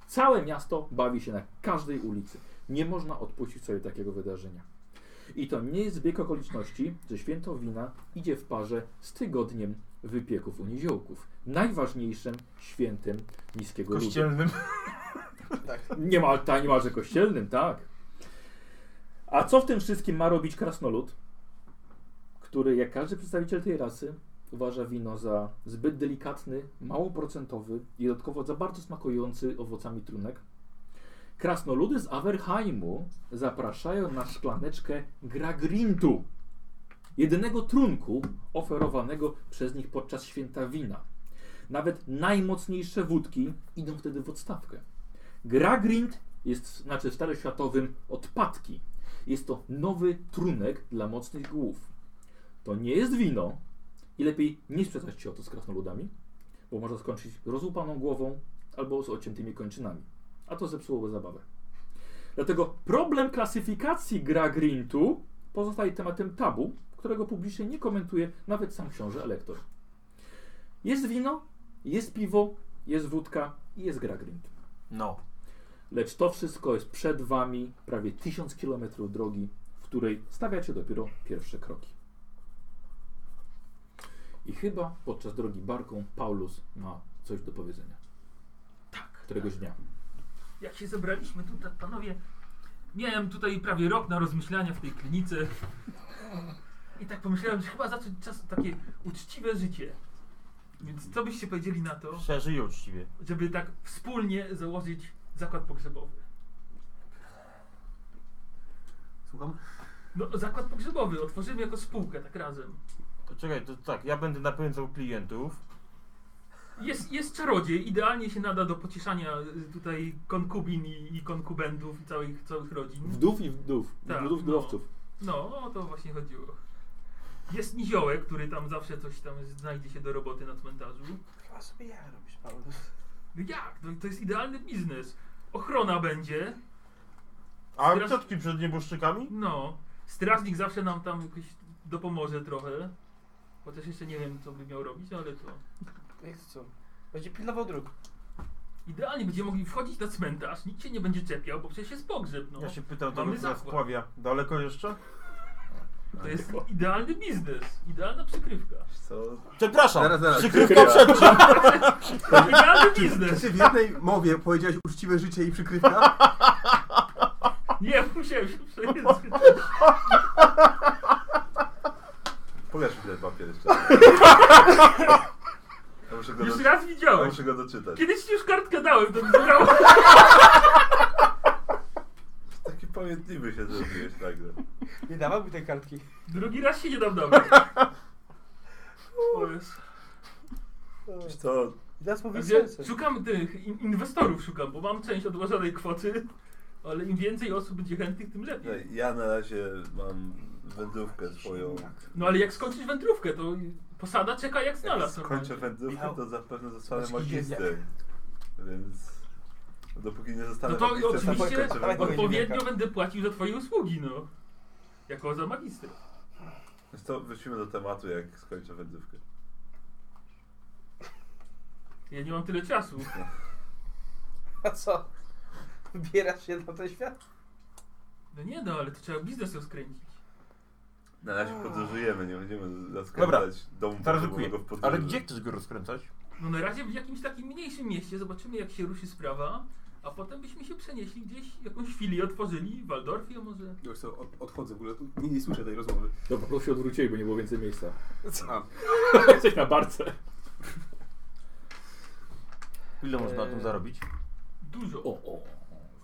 S2: Całe miasto bawi się na każdej ulicy. Nie można odpuścić sobie takiego wydarzenia. I to nie jest zbieg okoliczności, że święto wina idzie w parze z tygodniem wypieków u niziołków. Najważniejszym świętem niskiego ludu.
S5: Kościelnym.
S2: Niemal, ta, niemalże kościelnym, tak. A co w tym wszystkim ma robić krasnolud, który, jak każdy przedstawiciel tej rasy, uważa wino za zbyt delikatny, mało procentowy i dodatkowo za bardzo smakujący owocami trunek? Krasnoludy z Averheimu zapraszają na szklaneczkę Gragrintu, jedynego trunku oferowanego przez nich podczas święta wina. Nawet najmocniejsze wódki idą wtedy w odstawkę. Gragrind jest, znaczy w staroświatowym, odpadki. Jest to nowy trunek dla mocnych głów. To nie jest wino i lepiej nie sprzeczać się o to z krasnoludami, bo można skończyć rozłupaną głową albo z ociętymi kończynami, a to zepsułoby zabawę. Dlatego problem klasyfikacji Gragrintu pozostaje tematem tabu, którego publicznie nie komentuje nawet sam książę elektor. Jest wino, jest piwo, jest wódka i jest Gragrint.
S5: No.
S2: Lecz to wszystko jest przed wami prawie 1000 km drogi, w której stawiacie dopiero pierwsze kroki. I chyba podczas drogi barką Paulus ma coś do powiedzenia
S4: Tak.
S2: któregoś dnia.
S4: Jak się zebraliśmy tutaj, panowie, miałem tutaj prawie rok na rozmyślania w tej klinice. I tak pomyślałem, że chyba zacząć czas takie uczciwe życie. Więc co byście powiedzieli na to,
S5: Szerzy i uczciwie.
S4: żeby tak wspólnie założyć zakład pogrzebowy?
S3: Słucham?
S4: No, zakład pogrzebowy otworzymy jako spółkę, tak razem.
S5: To czekaj, to tak, ja będę napędzał klientów.
S4: Jest, jest czarodziej, idealnie się nada do pocieszania y, tutaj konkubin i, i konkubentów i całych, całych rodzin.
S2: Wdów i wdów.
S4: Tak,
S2: wdów
S4: no.
S2: wdowców.
S4: No, o to właśnie chodziło. Jest niziołek, który tam zawsze coś tam znajdzie się do roboty na cmentarzu.
S6: Chyba sobie ja robisz, Paweł.
S4: No jak? No, to jest idealny biznes. Ochrona będzie.
S5: A
S4: Teraz-
S5: ciotki przed nieboszczykami?
S4: No. Strażnik zawsze nam tam jakoś dopomoże trochę. Chociaż jeszcze nie wiem, co by miał robić, ale to...
S6: Jak co? Będzie pilnował dróg.
S4: Idealnie będziemy mogli wchodzić na cmentarz, nikt się nie będzie czepiał, bo przecież jest pogrzeb, no.
S5: Ja się pytam,
S4: Mamy
S5: tam z
S4: zakład.
S5: Pławia. Daleko jeszcze?
S4: To jest idealny biznes, idealna przykrywka.
S1: Wiesz Co?
S5: Przepraszam!
S3: Zaraz, zaraz.
S5: Przykrywka przed
S4: Idealny biznes!
S3: Czy w jednej mowie powiedziałeś uczciwe życie i przykrywka?
S4: Nie, musiałem się przejęzyczyć.
S1: Pokaż mi ten papier jeszcze. Ja muszę go,
S4: Już
S1: do...
S4: raz
S1: ja
S4: widziałem.
S1: muszę go doczytać.
S4: Kiedyś ci już kartkę dałem, to mi zabrało.
S1: Taki pamiętliwy się zrobiłeś nagle.
S6: Nie dawał mi tej kartki.
S4: Drugi raz się nie dam dawno. O Jezu.
S1: Wiesz co?
S6: I teraz
S4: A
S6: mówię
S4: Gdzie,
S6: serce.
S4: szukam tych in- inwestorów, szukam, bo mam część odłożonej kwoty, ale im więcej osób będzie chętnych, tym
S1: No,
S4: lepiej.
S1: ja na razie mam wędrówkę swoją.
S4: No ale jak skończysz wędrówkę, to posada czeka jak znalazł.
S1: Skończę wędrówkę, to zapewne zostanę
S6: Masz
S1: magistrem. Więc dopóki nie zostanę
S4: No to
S1: magistrem, to
S4: oczywiście
S1: skończę wędrówkę.
S4: odpowiednio będę płacił za twoje usługi, no. Jako za magister.
S1: Wiesz co, wrócimy do tematu, jak skończę wędrówkę.
S4: Ja nie mam tyle czasu.
S6: A co? Wybierasz się na ten świat?
S4: No nie no, ale to trzeba biznes rozkręcić.
S1: Na razie podróżujemy, nie będziemy
S5: Dobra,
S1: rozkręcać domu
S5: Zaryzykuję.
S1: pogrzebowego w podróży.
S5: Ale gdzie chcesz go rozkręcać?
S4: No na razie w jakimś takim mniejszym mieście zobaczymy jak się ruszy sprawa, a potem byśmy się przenieśli gdzieś, jakąś filię otworzyli, w Waldorfie może.
S3: Już co, od, odchodzę w ogóle, tu nie, nie słyszę tej rozmowy.
S2: Dobra, No po prostu się odwrócili, bo nie było więcej miejsca.
S3: A,
S2: Jesteś na barce.
S5: Ile można na tym
S6: Eee.
S5: zarobić?
S4: Dużo.
S2: O, o, o.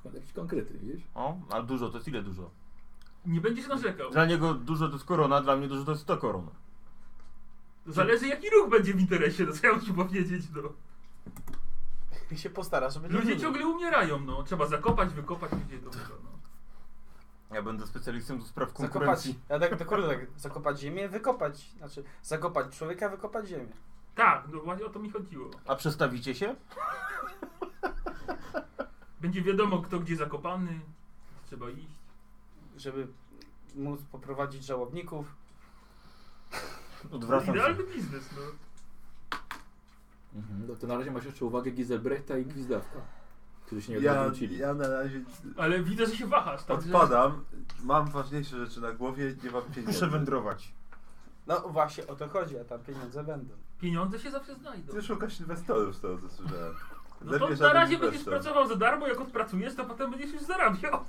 S2: Skąd jakieś konkrety, wiesz?
S5: O, a dużo to jest ile dużo?
S4: Nie będziesz narzekał.
S5: Dla niego dużo to jest korona, dla mnie dużo to jest 100 koron.
S4: To Zależy jaki ruch będzie w interesie, to co ja muszę powiedzieć, no.
S6: I się postara, żeby... nie
S4: Ludzie
S6: było.
S4: ciągle umierają, no. Trzeba zakopać, wykopać ludzie do tego, no.
S5: Ja będę specjalistą do spraw
S6: Zakopać,
S5: konkurencji.
S6: ja tak dokładnie tak, zakopać ziemię, wykopać, znaczy zakopać człowieka, wykopać ziemię.
S4: Tak, no właśnie o to mi chodziło.
S5: A przestawicie się?
S4: Będzie wiadomo kto gdzie zakopany, trzeba iść.
S6: żeby móc poprowadzić żałobników,
S5: Odwracam się.
S4: Idealny biznes, no.
S2: Mhm. No to na razie masz jeszcze uwagę Gizelbrechta i Gwizdawka, którzy się nie
S1: Ja,
S2: odwrócili.
S1: ja na razie
S4: Ale widzę, że się wahasz, tak?
S1: odpadam, mam ważniejsze rzeczy na głowie, nie mam pieniędzy.
S5: Muszę wędrować.
S6: No właśnie o to chodzi, a tam pieniądze będą.
S4: Że pieniądze się zawsze znajdą.
S1: Ty szukasz inwestorów z tego, co słyszałem.
S4: No
S1: Lepiej
S4: to na
S1: żaden
S4: razie
S1: inwestor.
S4: będziesz pracował za darmo, jak odpracujesz, to potem będziesz już zarabiał.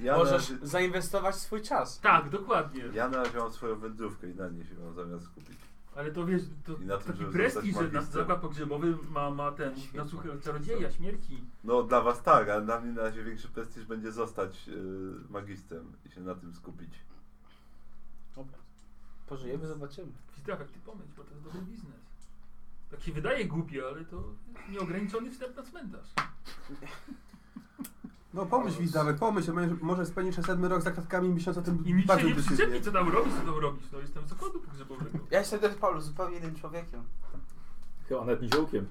S1: Ja na
S6: Możesz
S1: razie-
S6: zainwestować swój czas.
S4: Tak, dokładnie.
S1: Ja na razie mam swoją wędrówkę i na niej się mam zamiar skupić.
S4: Ale to wiesz, to
S1: I na tym,
S4: taki
S1: żeby
S4: prestiż,
S1: zostać
S4: że nasz
S1: magistrem.
S4: zakład pogrzebowy ma, ma ten
S6: Świetnie.
S4: na słuchaj czarodzieja, śmierci.
S1: No dla was tak, ale dla mnie na razie większy prestiż będzie zostać yy, magistrem i się na tym skupić.
S6: Dobra. Pożyjemy, zobaczymy.
S4: Wizdawek, ty pomyśl, bo to jest dobry biznes. Tak się wydaje głupie, ale to nieograniczony wstęp na cmentarz.
S3: No pomyśl Wizdawek, pomyśl, może- może spędzisz sedmy rok za kratkami miesiąc o tym
S4: I nikt się
S3: bardziej
S4: nie przyczepi,
S3: decyzję.
S4: co tam robisz, co tam robisz. No jestem z zakładu pogrzebowego.
S6: Ja jestem też Paulu zupełnie innym człowiekiem.
S2: Chyba nawet niziołkiem.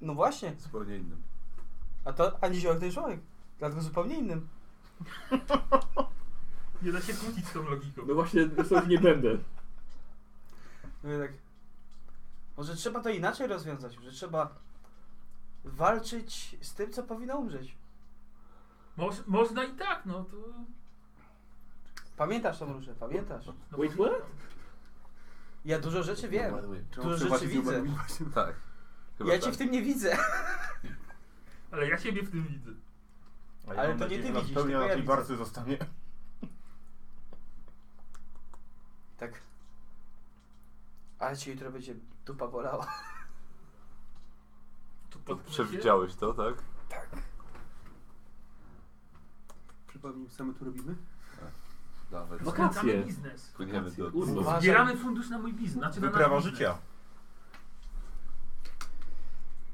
S6: No właśnie,
S1: Zupełnie innym.
S6: a to ani ziołek, to jest człowiek. Dlatego zupełnie innym.
S4: Nie da się kłócić z tą logiką.
S2: No właśnie, sobie nie będę.
S6: Mówię tak. Może trzeba to inaczej rozwiązać, że trzeba walczyć z tym, co powinno umrzeć.
S4: Moż, można i tak, no to...
S6: Pamiętasz tą różę, pamiętasz.
S4: No,
S2: Wait,
S4: bo-
S2: what?
S6: Ja dużo rzeczy wiem.
S1: Czemu
S6: Dużo
S1: przechodzić
S6: rzeczy
S1: nie
S6: widzę.
S1: umarł? Tak. Chyba
S6: Ja cię
S1: tak.
S6: w tym nie widzę.
S4: Ale ja siebie w tym widzę.
S5: A
S6: Ale
S5: mam
S6: to nie
S5: nadzieję,
S6: ty
S5: że na
S6: widzisz,
S5: Pełnia
S6: tylko
S5: na
S6: ja
S5: tej
S6: widzę.
S5: barce zostanie.
S6: Tak. Ale cię jutro będzie dupa bolała.
S4: To potknę się.
S1: Przewidziałeś to, tak?
S3: Przypomnij, same tu robimy?
S1: Nawet.
S2: No,
S4: Skręcamy
S2: Wakacje.
S4: biznes.
S1: Płyniemy do...
S2: Urlop.
S6: Uważaj.
S4: Zbieramy fundusz na mój biznes. Znaczy na nasz
S5: Wyprawa
S4: biznes.
S5: życia.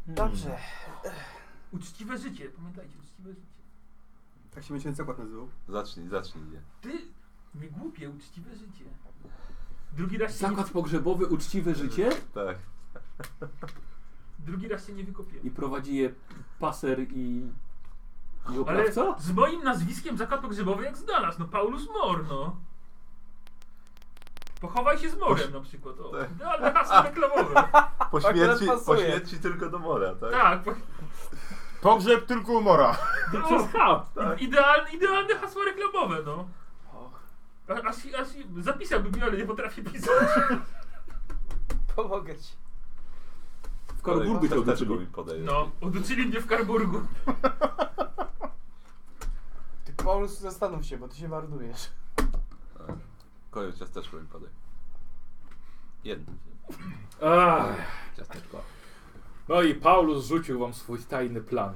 S6: Hmm. Dobrze.
S4: Uczciwe życie, pamiętajcie, uczciwe życie.
S3: Tak się będzie ten zakład nazywał.
S1: Zacznij, zacznij je.
S4: Ty, nie głupie, uczciwe życie. Drugi raz się, nie,
S2: Zakład pogrzebowy, uczciwe życie
S1: Tak.
S4: drugi raz się nie wykopię.
S2: i prowadzi je paser i... i
S4: Ale
S2: oprawca?
S4: z moim nazwiskiem zakład pogrzebowy jak znalazł, no Paulus Mor, no. Pochowaj się z morem na przykład, o.
S1: Tak.
S4: Idealne hasło reklamowe.
S1: Po
S6: Akurat
S1: śmierci, po
S6: pasuje.
S1: śmierci tylko do mora, tak?
S4: Tak, po,
S5: Pogrzeb tylko umora.
S4: no,
S2: Przez H.
S1: Tak.
S4: idealne, idealne hasło reklamowe, no.
S6: Och,
S4: A- Aż, aż zapisałbym, ale nie potrafię pisać.
S6: pomogę ci.
S2: W Karburgu cię
S1: Kolejną chusteczką mi
S2: oduczyli.
S1: podaje.
S4: No, oduczyli mnie w Karburgu.
S6: Ty Paulus zastanów się, bo ty się marnujesz.
S1: Tak. Kolejną ciasteczką mi podaj. Jedno.
S2: Ach.
S1: Ciasteczko.
S2: No i Paulus rzucił wam swój tajny plan.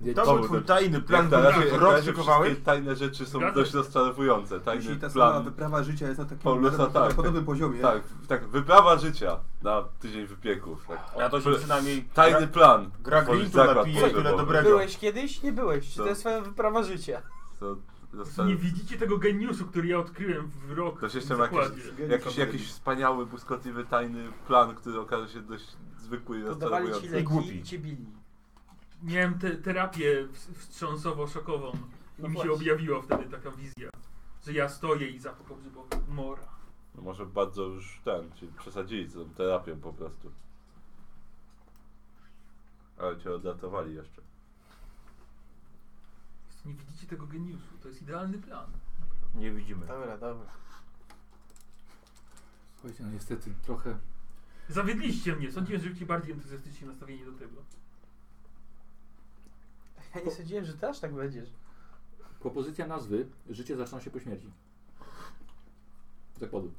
S2: Wiecie,
S4: Tak,
S5: To
S1: To
S5: był
S1: był
S5: twój
S1: ten-
S5: tajny plan, który
S1: na razie,
S5: się
S1: jak na razie
S5: rozszykowałeś.
S1: wszystkie tajne rzeczy są
S4: Zgadza
S1: dość
S4: się.
S1: rozczarowujące. Tajny
S3: Jeśli ta sama
S1: plan.
S3: wyprawa życia jest na takim
S1: Paulusa,
S3: na,
S1: tak.
S3: podobnym poziomie.
S1: Tak, tak, wyprawa życia na tydzień wypieków. Tak.
S5: Ja to się
S1: Pl-
S5: przynajmniej...
S1: Tajny plan.
S5: Gra
S1: Tworzyć
S5: Grintu
S1: zakład
S5: napije, tyle
S1: pogrzebowy.
S5: dobrego.
S6: Byłeś kiedyś? Nie byłeś.
S1: Co?
S6: To jest twoja wyprawa życia.
S1: To,
S4: Nie
S1: zostałem,
S4: widzicie tego geniuszu, który ja odkryłem w rok.
S1: Ktoś jeszcze
S4: w
S1: ma jakieś-
S4: zakładzie.
S1: jakiś, jakiś wspaniały, błyskotliwy, tajny plan, który okaże się dość zwykły i
S6: Podawali ci
S1: rozczarowujący.
S6: leki
S5: głupi.
S6: i cię bili.
S4: Miałem te, terapię w- wstrząsowo-szokową i
S6: No
S4: mi się
S6: właśnie.
S4: objawiła wtedy taka wizja, że ja stoję i zapach pogrzebowy mora.
S1: No może bardzo już ten, czyli przesadzili z tą terapią po prostu. Ale cię oddatowali jeszcze.
S4: Nie widzicie tego geniuszu, to jest idealny plan.
S5: tak Nie widzimy.
S6: Dobra, dobra.
S2: Słuchajcie, no niestety, trochę...
S4: Zawiedliście mnie, sądziłem, że bycie bardziej entuzjastycznie nastawieni do tego.
S6: Ja nie sądziłem, że ty aż tak będziesz.
S2: Propozycja nazwy Życie zaczyna się po śmierci. Tak Zakładu.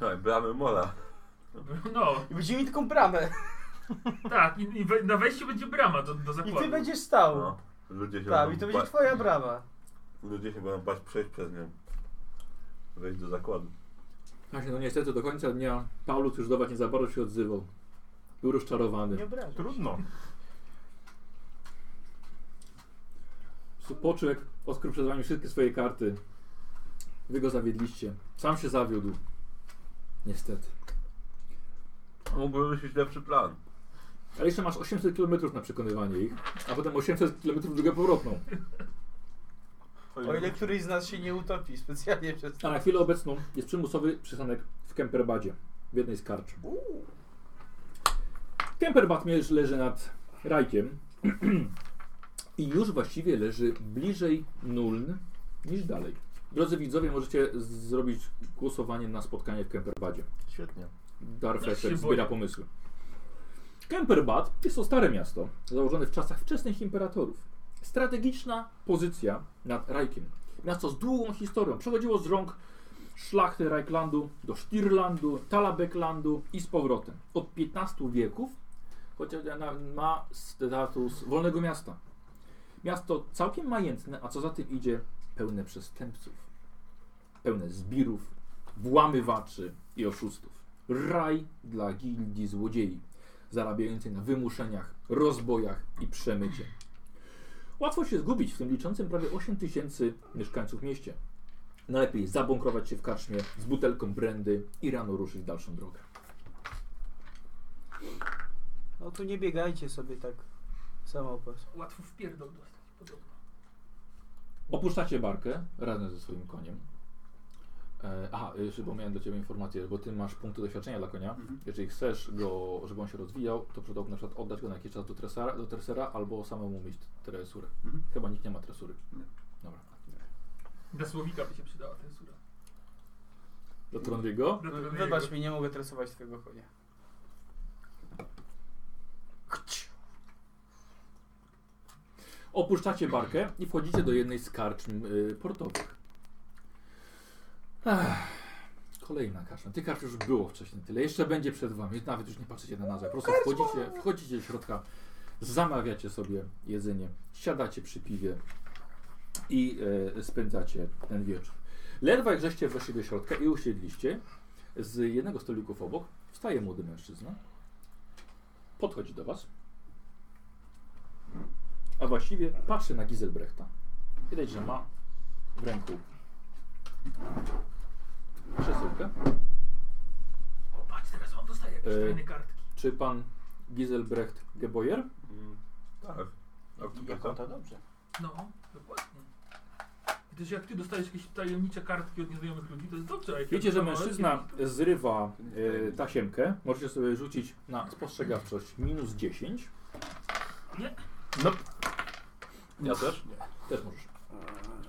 S1: No i bramy mola.
S4: No,
S6: I będziemy mieli taką bramę.
S4: tak, i, i we, na wejściu będzie brama do, do
S6: I
S4: zakładu.
S6: ty będziesz stał.
S1: No. Ludzie się
S6: Tak,
S1: będą
S6: i to
S1: ba-
S6: będzie twoja brama.
S1: Ludzie się będą bać przejść przez nią. Wejść do zakładu.
S2: Właśnie, no niestety do końca dnia Paulus już dawać nie za bardzo się odzywał. Był rozczarowany.
S6: Nie obrażasz.
S5: Trudno.
S2: Supoczek odkrył przed wami wszystkie swoje karty. Wy go zawiedliście. Sam się zawiódł. Niestety.
S1: Mógłby wymyślić lepszy plan.
S2: Ale jeszcze masz 800 km na przekonywanie ich, a potem 800 km drugą powrotną.
S6: O ile któryś z nas się nie utopi specjalnie przez
S2: A
S6: to.
S2: na chwilę obecną jest przymusowy przystanek w Kemperbadzie, w jednej z karcz. Kemperbad mie- leży nad rajkiem i już właściwie leży bliżej Nuln niż dalej. Drodzy widzowie, możecie z- zrobić głosowanie na spotkanie w Kemperbadzie.
S5: Świetnie.
S4: Ja się
S2: Darfesek
S4: boję.
S2: zbiera pomysły. Kemperbad jest to stare miasto, założone w czasach wczesnych imperatorów. Strategiczna pozycja nad Rajkiem. Miasto z długą historią. Przechodziło z rąk szlachty Rajklandu do Sztirlandu, Talabeklandu i z powrotem. Od 15 wieków, chociaż ona ma status wolnego miasta. Miasto całkiem majętne, a co za tym idzie, pełne przestępców. Pełne zbirów, włamywaczy i oszustów. Raj dla gildii złodziei, zarabiającej na wymuszeniach, rozbojach i przemycie. Łatwo się zgubić w tym liczącym prawie 8 tysięcy mieszkańców mieście. Najlepiej zabunkrować się w karczmie z butelką brandy i rano ruszyć w dalszą drogę.
S6: No tu nie biegajcie sobie tak samopas.
S4: Łatwo w pierdol dostać, podobno.
S2: Opuszczacie barkę razem ze swoim koniem. E, aha, jeszcze bo miałem do Ciebie informację, bo Ty masz punkty doświadczenia dla konia.
S3: Mhm.
S2: Jeżeli chcesz go, żeby on się rozwijał, to przydałoby na przykład oddać go na jakiś czas do tresera, do tresera albo samemu mieć tresurę.
S3: Mhm.
S2: Chyba nikt nie ma tresury.
S3: Nie.
S2: Dobra.
S4: Dla słowika by się przydała cenzura.
S2: Do Trondiego?
S4: Dla tego
S6: Wybacz
S4: jego.
S6: mi, nie mogę tresować twojego konia. Chć.
S2: Opuszczacie barkę i wchodzicie do jednej z karczm y, portowych. Ech, kolejna karczma. Tych karcz już było wcześniej tyle. Jeszcze będzie przed wami. Nawet już nie patrzycie na nazwę. Po prostu wchodzicie, wchodzicie do środka, zamawiacie sobie jedzenie, siadacie przy piwie i e, spędzacie ten wieczór. Ledwo jak żeście weszli do środka i usiedliście, z jednego z stolików obok wstaje młody mężczyzna, podchodzi do was, a właściwie patrzy na Giselbrechta. Widać, że ma w ręku przesyłkę.
S4: O, patrz, teraz on dostaje jakieś
S2: E,
S4: fajne kartki.
S2: Czy pan Giselbrecht Geboyer?
S1: Mm, tak. A kto
S5: Jak
S1: pyta?
S5: to dobrze.
S4: No, dokładnie. Gdyż jak ty dostajesz jakieś tajemnicze kartki od nieznajomych ludzi, to jest dobrze. a jak ja
S2: Wiecie, że
S4: dostałem
S2: mężczyzna
S4: jakieś-
S2: zrywa e, tasiemkę. Możecie sobie rzucić na spostrzegawczość minus 10.
S4: Nie.
S2: No,
S1: Ja też?
S2: też możesz.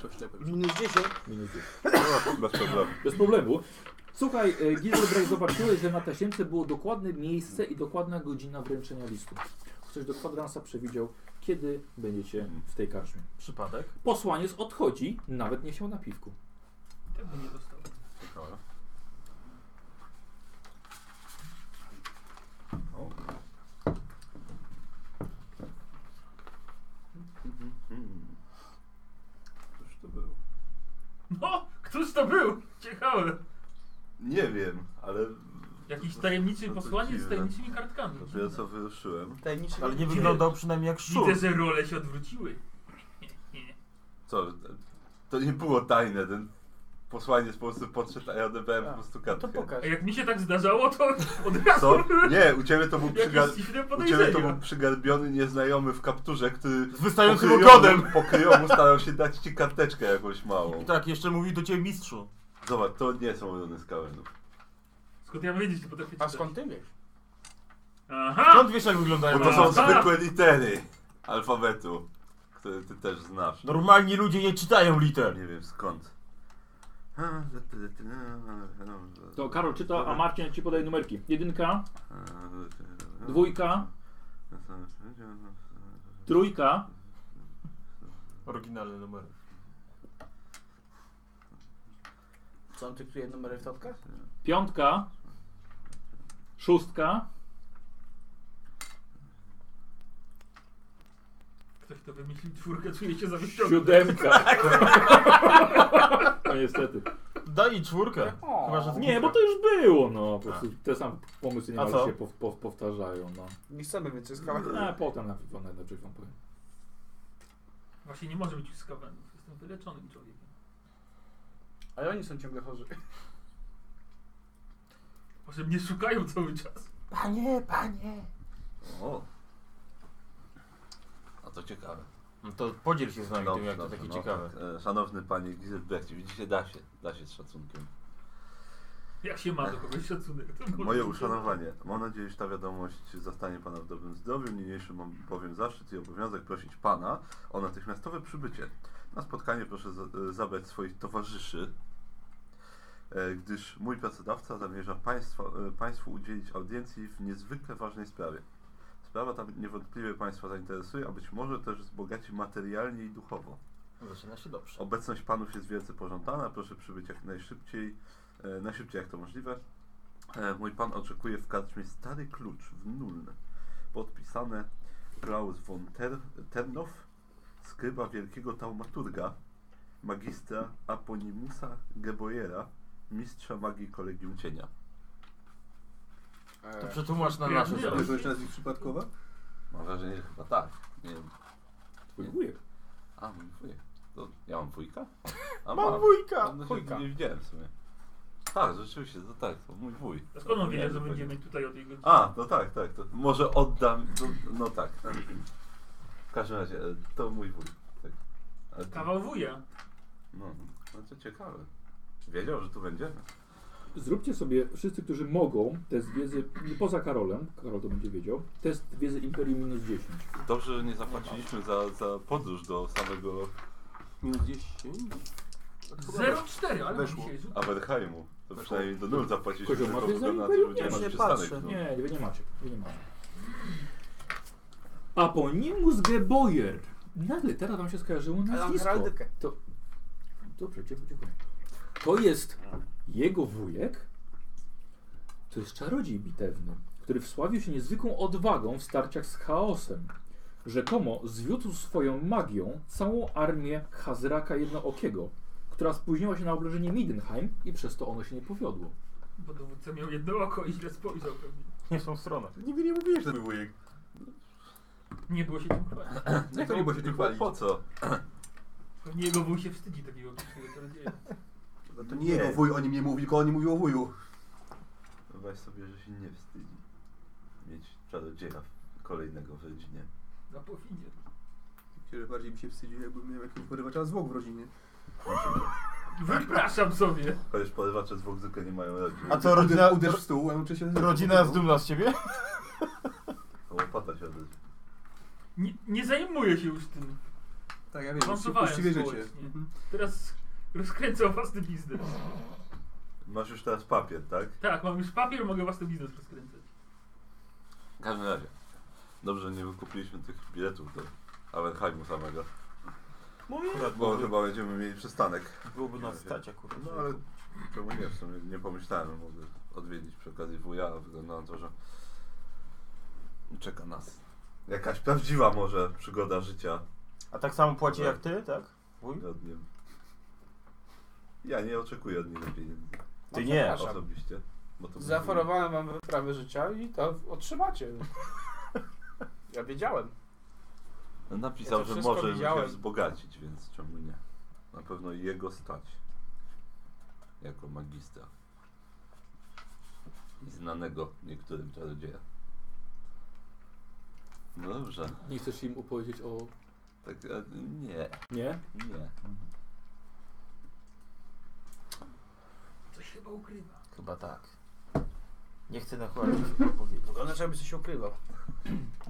S3: Coś ślepy.
S6: Minus 10.
S2: Minus 10.
S1: No, bez problemu.
S2: Bez problemu. Słuchaj, e, Giselbrecht zobaczyłeś, że na tasiemce było dokładne miejsce i dokładna godzina wręczenia listu. Ktoś do kwadransa przewidział, kiedy będziecie w tej karczmie.
S5: Przypadek?
S2: Posłaniec odchodzi, nawet nie chciał na piwku.
S4: Tak by nie dostał.
S1: Ciekawe. Hmm. Cóż to było?
S4: No, któż to był? Ciekawe.
S1: Nie wiem, ale
S4: Jakiś tajemniczy
S1: To to
S4: posłaniec z
S1: dziwne.
S4: tajemniczymi kartkami.
S1: dopiero co wyruszyłem.
S6: Tajemniczy.
S5: Ale nie wyglądał przynajmniej jak szczur.
S4: Widzę, że role się odwróciły.
S1: Co, te- to nie było tajne, ten posłaniec po prostu podszedł, a ja odebrałem po prostu
S6: No to
S1: kartkę.
S6: pokaż.
S4: A jak mi się tak zdarzało, to od razu
S1: Co?
S4: były
S1: Nie, u ciebie to był
S4: jakieś
S1: przygar...
S4: dziwne
S1: U ciebie to był
S4: podejrzenia.
S1: przygarbiony nieznajomy w kapturze, który
S5: Z wystającym
S1: pokryjomu,
S5: ogonem!
S1: pokryjomu starał się dać ci karteczkę jakąś małą.
S5: I tak, jeszcze mówi do ciebie mistrzu.
S1: Zobacz, to nie są rodem z kawędów.
S4: Skąd ja mam wiedzieć, że potrafię
S6: A
S4: czytać?
S6: skąd ty wiesz?
S4: Aha!
S5: Skąd wiesz jak wyglądają?
S1: Bo to są
S4: Aha.
S1: zwykłe litery alfabetu, które ty też znasz.
S5: Normalni ludzie nie czytają liter.
S1: Nie wiem skąd.
S2: To Karol czyta, a Marcin ci podaje numerki. Jedynka, dwójka, trójka.
S5: Oryginalny numer.
S6: Co on typuje numery w totkach?
S2: Piątka. Szóstka.
S4: Ktoś to wymyślił, czwórkę czuje się za wyciągnięty.
S2: Siódemka. No niestety.
S5: Daj czwórkę.
S6: O.
S5: Chyba, że z
S2: Nie,
S5: dwójką.
S2: bo to już było, no. Po prostu te same pomysły
S5: A
S2: niemal
S5: co?
S2: się pow, pow, powtarzają, no.
S6: Nie chcemy więcej skałek.
S2: A potem na pewno najlepiej wam powiem.
S4: Właśnie nie może być z kawenów. Jestem wyleczonym człowiekiem.
S6: Ale oni są ciągle chorzy.
S4: Może mnie szukają cały czas.
S1: A to ciekawe.
S5: No to podziel się z nami tym, jak to takie
S1: no,
S5: ciekawe.
S1: tak. E, Szanowny panie Gizelbrecht, widzicie, da się, da się z szacunkiem.
S4: Jak się ma do kogoś szacunek? To może-
S1: Moje uszanowanie. Mam nadzieję, że ta wiadomość zastanie pana w dobrym zdrowiu. Niniejszy mam bowiem zaszczyt i obowiązek prosić pana o natychmiastowe przybycie. Na spotkanie proszę za- e, zabrać swoich towarzyszy, e, gdyż mój pracodawca zamierza państwa, e, państwu udzielić audiencji w niezwykle ważnej sprawie. Sprawa ta niewątpliwie państwa zainteresuje, a być może też wzbogaci materialnie i duchowo.
S5: Zaczyna się dobrze.
S1: Obecność panów jest wielce pożądana. Proszę przybyć jak najszybciej, e, najszybciej jak to możliwe. E, mój pan oczekuje w karczmie stary klucz w nulne. Podpisane Klaus von Ter Ternow, skryba wielkiego taumaturga, magistra Aponimusa Gebojera, mistrza magii Kolegium Cienia.
S6: E,
S5: To przetłumacz na
S4: Ja
S5: nasze
S4: nie
S3: To
S5: sobie.
S3: jest jeszcze nazwisk przypadkowa?
S1: Mam wrażenie, że chyba tak. Nie wiem.
S2: Twój wujek.
S1: A, mój wujek. To ja mam wujka? A
S5: Mam
S6: No,
S5: wujka!
S1: Dawno się
S5: Wujka.
S1: Nie widziałem w sumie. Tak, rzeczywiście, to tak, to mój wuj.
S4: A Skąd on wie,
S1: Nie,
S4: że
S1: zupełnie.
S4: będziemy tutaj o tej godzinie?
S1: A, no tak, tak. To może oddam. No, no tak. W każdym razie, e, to mój wuj. Tak. Ale to-
S4: Kawał wuja.
S1: No, no to ciekawe. Wiedział, że tu będziemy.
S2: Zróbcie sobie, wszyscy, którzy mogą, test wiedzy, poza Karolem, Karol to będzie wiedział, test wiedzy Imperium minus 10.
S1: Dobrze, że nie zapłaciliśmy za, za podróż do samego
S3: Minus 10.
S4: 0,4, ale
S3: Weszło.
S4: Weszło. dzisiaj rzut.
S1: Aberheimu. To przynajmniej do nul zapłaciliśmy.
S2: Kozioł,
S1: tylko
S2: ma ty za
S1: na to,
S2: Imperium?
S1: że będziemy
S6: Nie,
S1: na
S6: nie
S1: przystanek,
S6: patrzę.
S1: no.
S2: Nie, wy nie macie, wy nie macie. Aponimus Geboyer. Nagle teraz wam się skojarzyło
S6: Ale mam
S2: nazwisko.
S6: heraldykę.
S2: To... Dobrze, dziękuję, dziękuję. To jest jego wujek, to jest czarodziej bitewny, który wsławił się niezwykłą odwagą w starciach z chaosem. Rzekomo zwiódł swoją magią całą armię Hazraka Jednookiego, która spóźniła się na oblężenie Midenheim i przez to ono się nie powiodło.
S4: Bo dowódca miał jedno oko i źle spojrzał pewnie.
S5: Nie są w stronach.
S3: Nigdy nie mówiłeś, że to był wujek.
S4: Nie było się tym chwalić.
S3: Jak No to nie było się tym chwalić?
S1: Po co?
S4: Pewnie jego wuj się wstydzi takiego pięknego czarodzieja.
S3: No to nie jego wuj o nim nie mówił, tylko on nie mówił o wuju.
S1: Wyobraź sobie, że się nie wstydzi mieć czarodzieja kolejnego w rodzinie.
S4: Na pofidzie.
S3: Myślę, że bardziej by się wstydził, jakbym miał jakiegoś porywacza zwłok w rodzinie.
S4: Wypraszam sobie.
S1: Chociaż porywacze z Wokzuka nie mają rodzin.
S5: A co rodzina,
S3: Uderz w stół, a uczy się...
S5: rodzina jest dumna z ciebie?
S1: Łopata się odezwie.
S4: Nie, nie zajmuję się już tym.
S3: Tak, ja wiem, uczci-
S4: Awansowałem
S3: uczciwie życie.
S4: społecznie.
S3: Mhm.
S4: Teraz rozkręcam własny biznes.
S1: Masz już teraz papier, tak?
S4: Tak, mam już papier, mogę własny biznes rozkręcać.
S1: W każdym razie. Dobrze, że nie wykupiliśmy tych biletów do Avenheimu samego.
S6: Mówię.
S5: Akurat
S1: Bo
S5: byłoby,
S1: chyba będziemy mieli przystanek.
S5: byłoby nas stać akurat.
S1: No ale czemu nie? W sumie nie pomyślałem, mogę odwiedzić przy okazji wuja, a wygląda na to, że czeka nas jakaś prawdziwa może przygoda życia
S5: A tak samo płaci jak ty, tak? Wuj?
S1: nad nim. Ja nie oczekuję od niego pieniędzy
S5: Ty nie.
S6: Przepraszam.
S1: osobiście. Bo to
S6: Zaoferowałem wam wyprawę życia i to otrzymacie. Ja wiedziałem.
S1: No, Napisał,
S6: Ja to
S1: że
S6: wszystko
S1: może się
S6: widziałem.
S1: wzbogacić, więc czemu nie? Na pewno jego stać. Jako magistra. I znanego niektórym czarodzieja. No dobrze.
S2: Nie chcesz im opowiedzieć o... Tak.
S1: Tak, e, nie,
S2: Nie?
S1: nie.
S4: Coś chyba ukrywa.
S5: Chyba tak. Nie chcę nakładać powiedzieć.
S6: Wygląda, jakby znaczy, coś się ukrywał.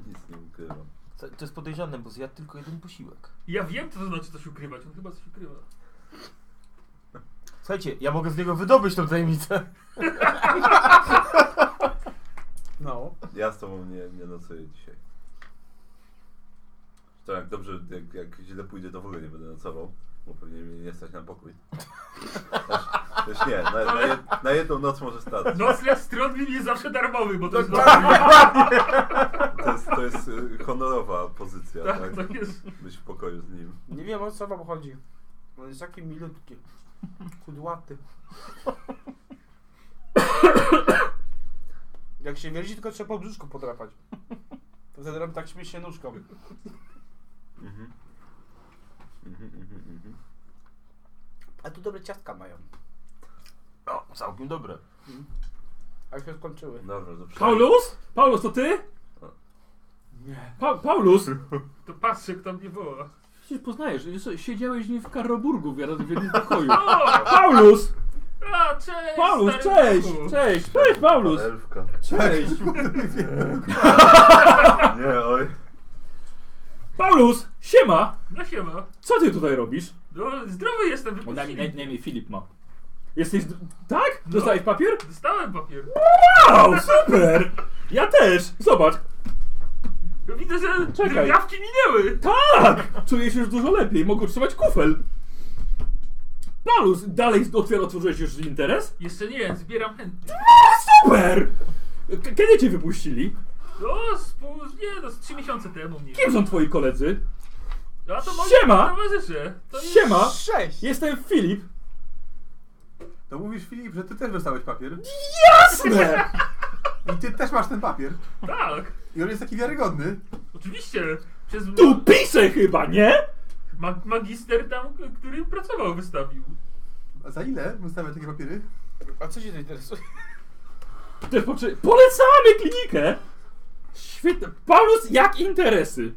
S1: Nic nie ukrywam.
S5: To, to jest podejrzane, bo zjadł tylko jeden posiłek.
S4: Ja wiem, co to znaczy coś ukrywać. On chyba coś ukrywa.
S5: Słuchajcie, ja mogę z niego wydobyć tą tajemnicę.
S6: No.
S1: Ja z tobą nie, nie nocuję dzisiaj. To jak dobrze, jak, jak źle pójdzie, to w ogóle nie będę nocował, bo pewnie mnie nie stać na pokój. Też, też nie, na, na, jed, na jedną noc może starczyć.
S4: Nocleg stronny jest zawsze darmowy, bo to jest
S2: Tak,
S1: To jest, to jest y, honorowa pozycja, tak?
S4: Tak, to jest.
S1: Być w pokoju z nim.
S6: Nie wiem o co wam chodzi. On jest taki milutki. Kudłaty. Jak się mierzi, tylko trzeba po brzuszku podrapać. To wtedy robi tak śmiesznie nóżką.
S1: Mhm. Mhm, mhm, mhm.
S6: A tu dobre ciastka mają.
S5: No, całkiem dobre.
S6: A już się skończyły.
S1: Dobra, to przynajmniej-
S2: Paulus? Paulus, to ty?
S6: Nie.
S2: Pa Paulus?
S4: To patrzę, kto mnie woła.
S2: Przecież poznajesz, jest- siedziałeś z nim w Karroburgu w jednym w jednym pokoju. Paulus!
S4: A, cześć!
S2: Paulus,
S4: stary
S2: cześć!
S4: Paulu.
S2: Cześć! Cześć, Paulus!
S1: Elfka.
S2: Cześć!
S1: Nie, oj.
S2: Paulus! Siema!
S4: No siema.
S2: Co ty tutaj robisz?
S4: No, zdrowy jestem,
S2: Bo na, na,
S4: wypuścili.
S2: na imię Filip ma. Jesteś... d- Tak? Dostałeś papier?
S4: Dostałem papier.
S2: Wow, super! Ja też! Zobacz!
S4: No, widzę, że
S2: Czekaj.
S4: drgawki minęły.
S2: Tak! Czuję się już dużo lepiej, mogę utrzymać kufel. Paulus, dalej otwier- otworzyłeś już interes?
S4: Jeszcze nie, zbieram chętnie.
S2: Super! K- kiedy cię wypuścili?
S4: No, z pół, nie, no, z trzy miesiące temu mniej.
S2: Kim są twoi koledzy?
S4: A to moi
S2: Siema!
S4: towarzysze. To jest...
S2: Siema!
S6: No. Sześć!
S2: Jestem Filip.
S3: To mówisz Filip, że ty też dostałeś papier.
S2: Jasne!
S3: I ty też masz ten papier.
S4: Tak,
S3: I on jest taki wiarygodny.
S4: oczywiście. Przez ma-
S2: Tu piszę chyba, nie?
S4: ma- magister tam, k- który pracował, wystawił.
S3: A za ile wystawiasz takie papiery?
S6: A co się to interesuje?
S2: Też poprze- Polecamy klinikę! Świetne. Paulus, jak interesy?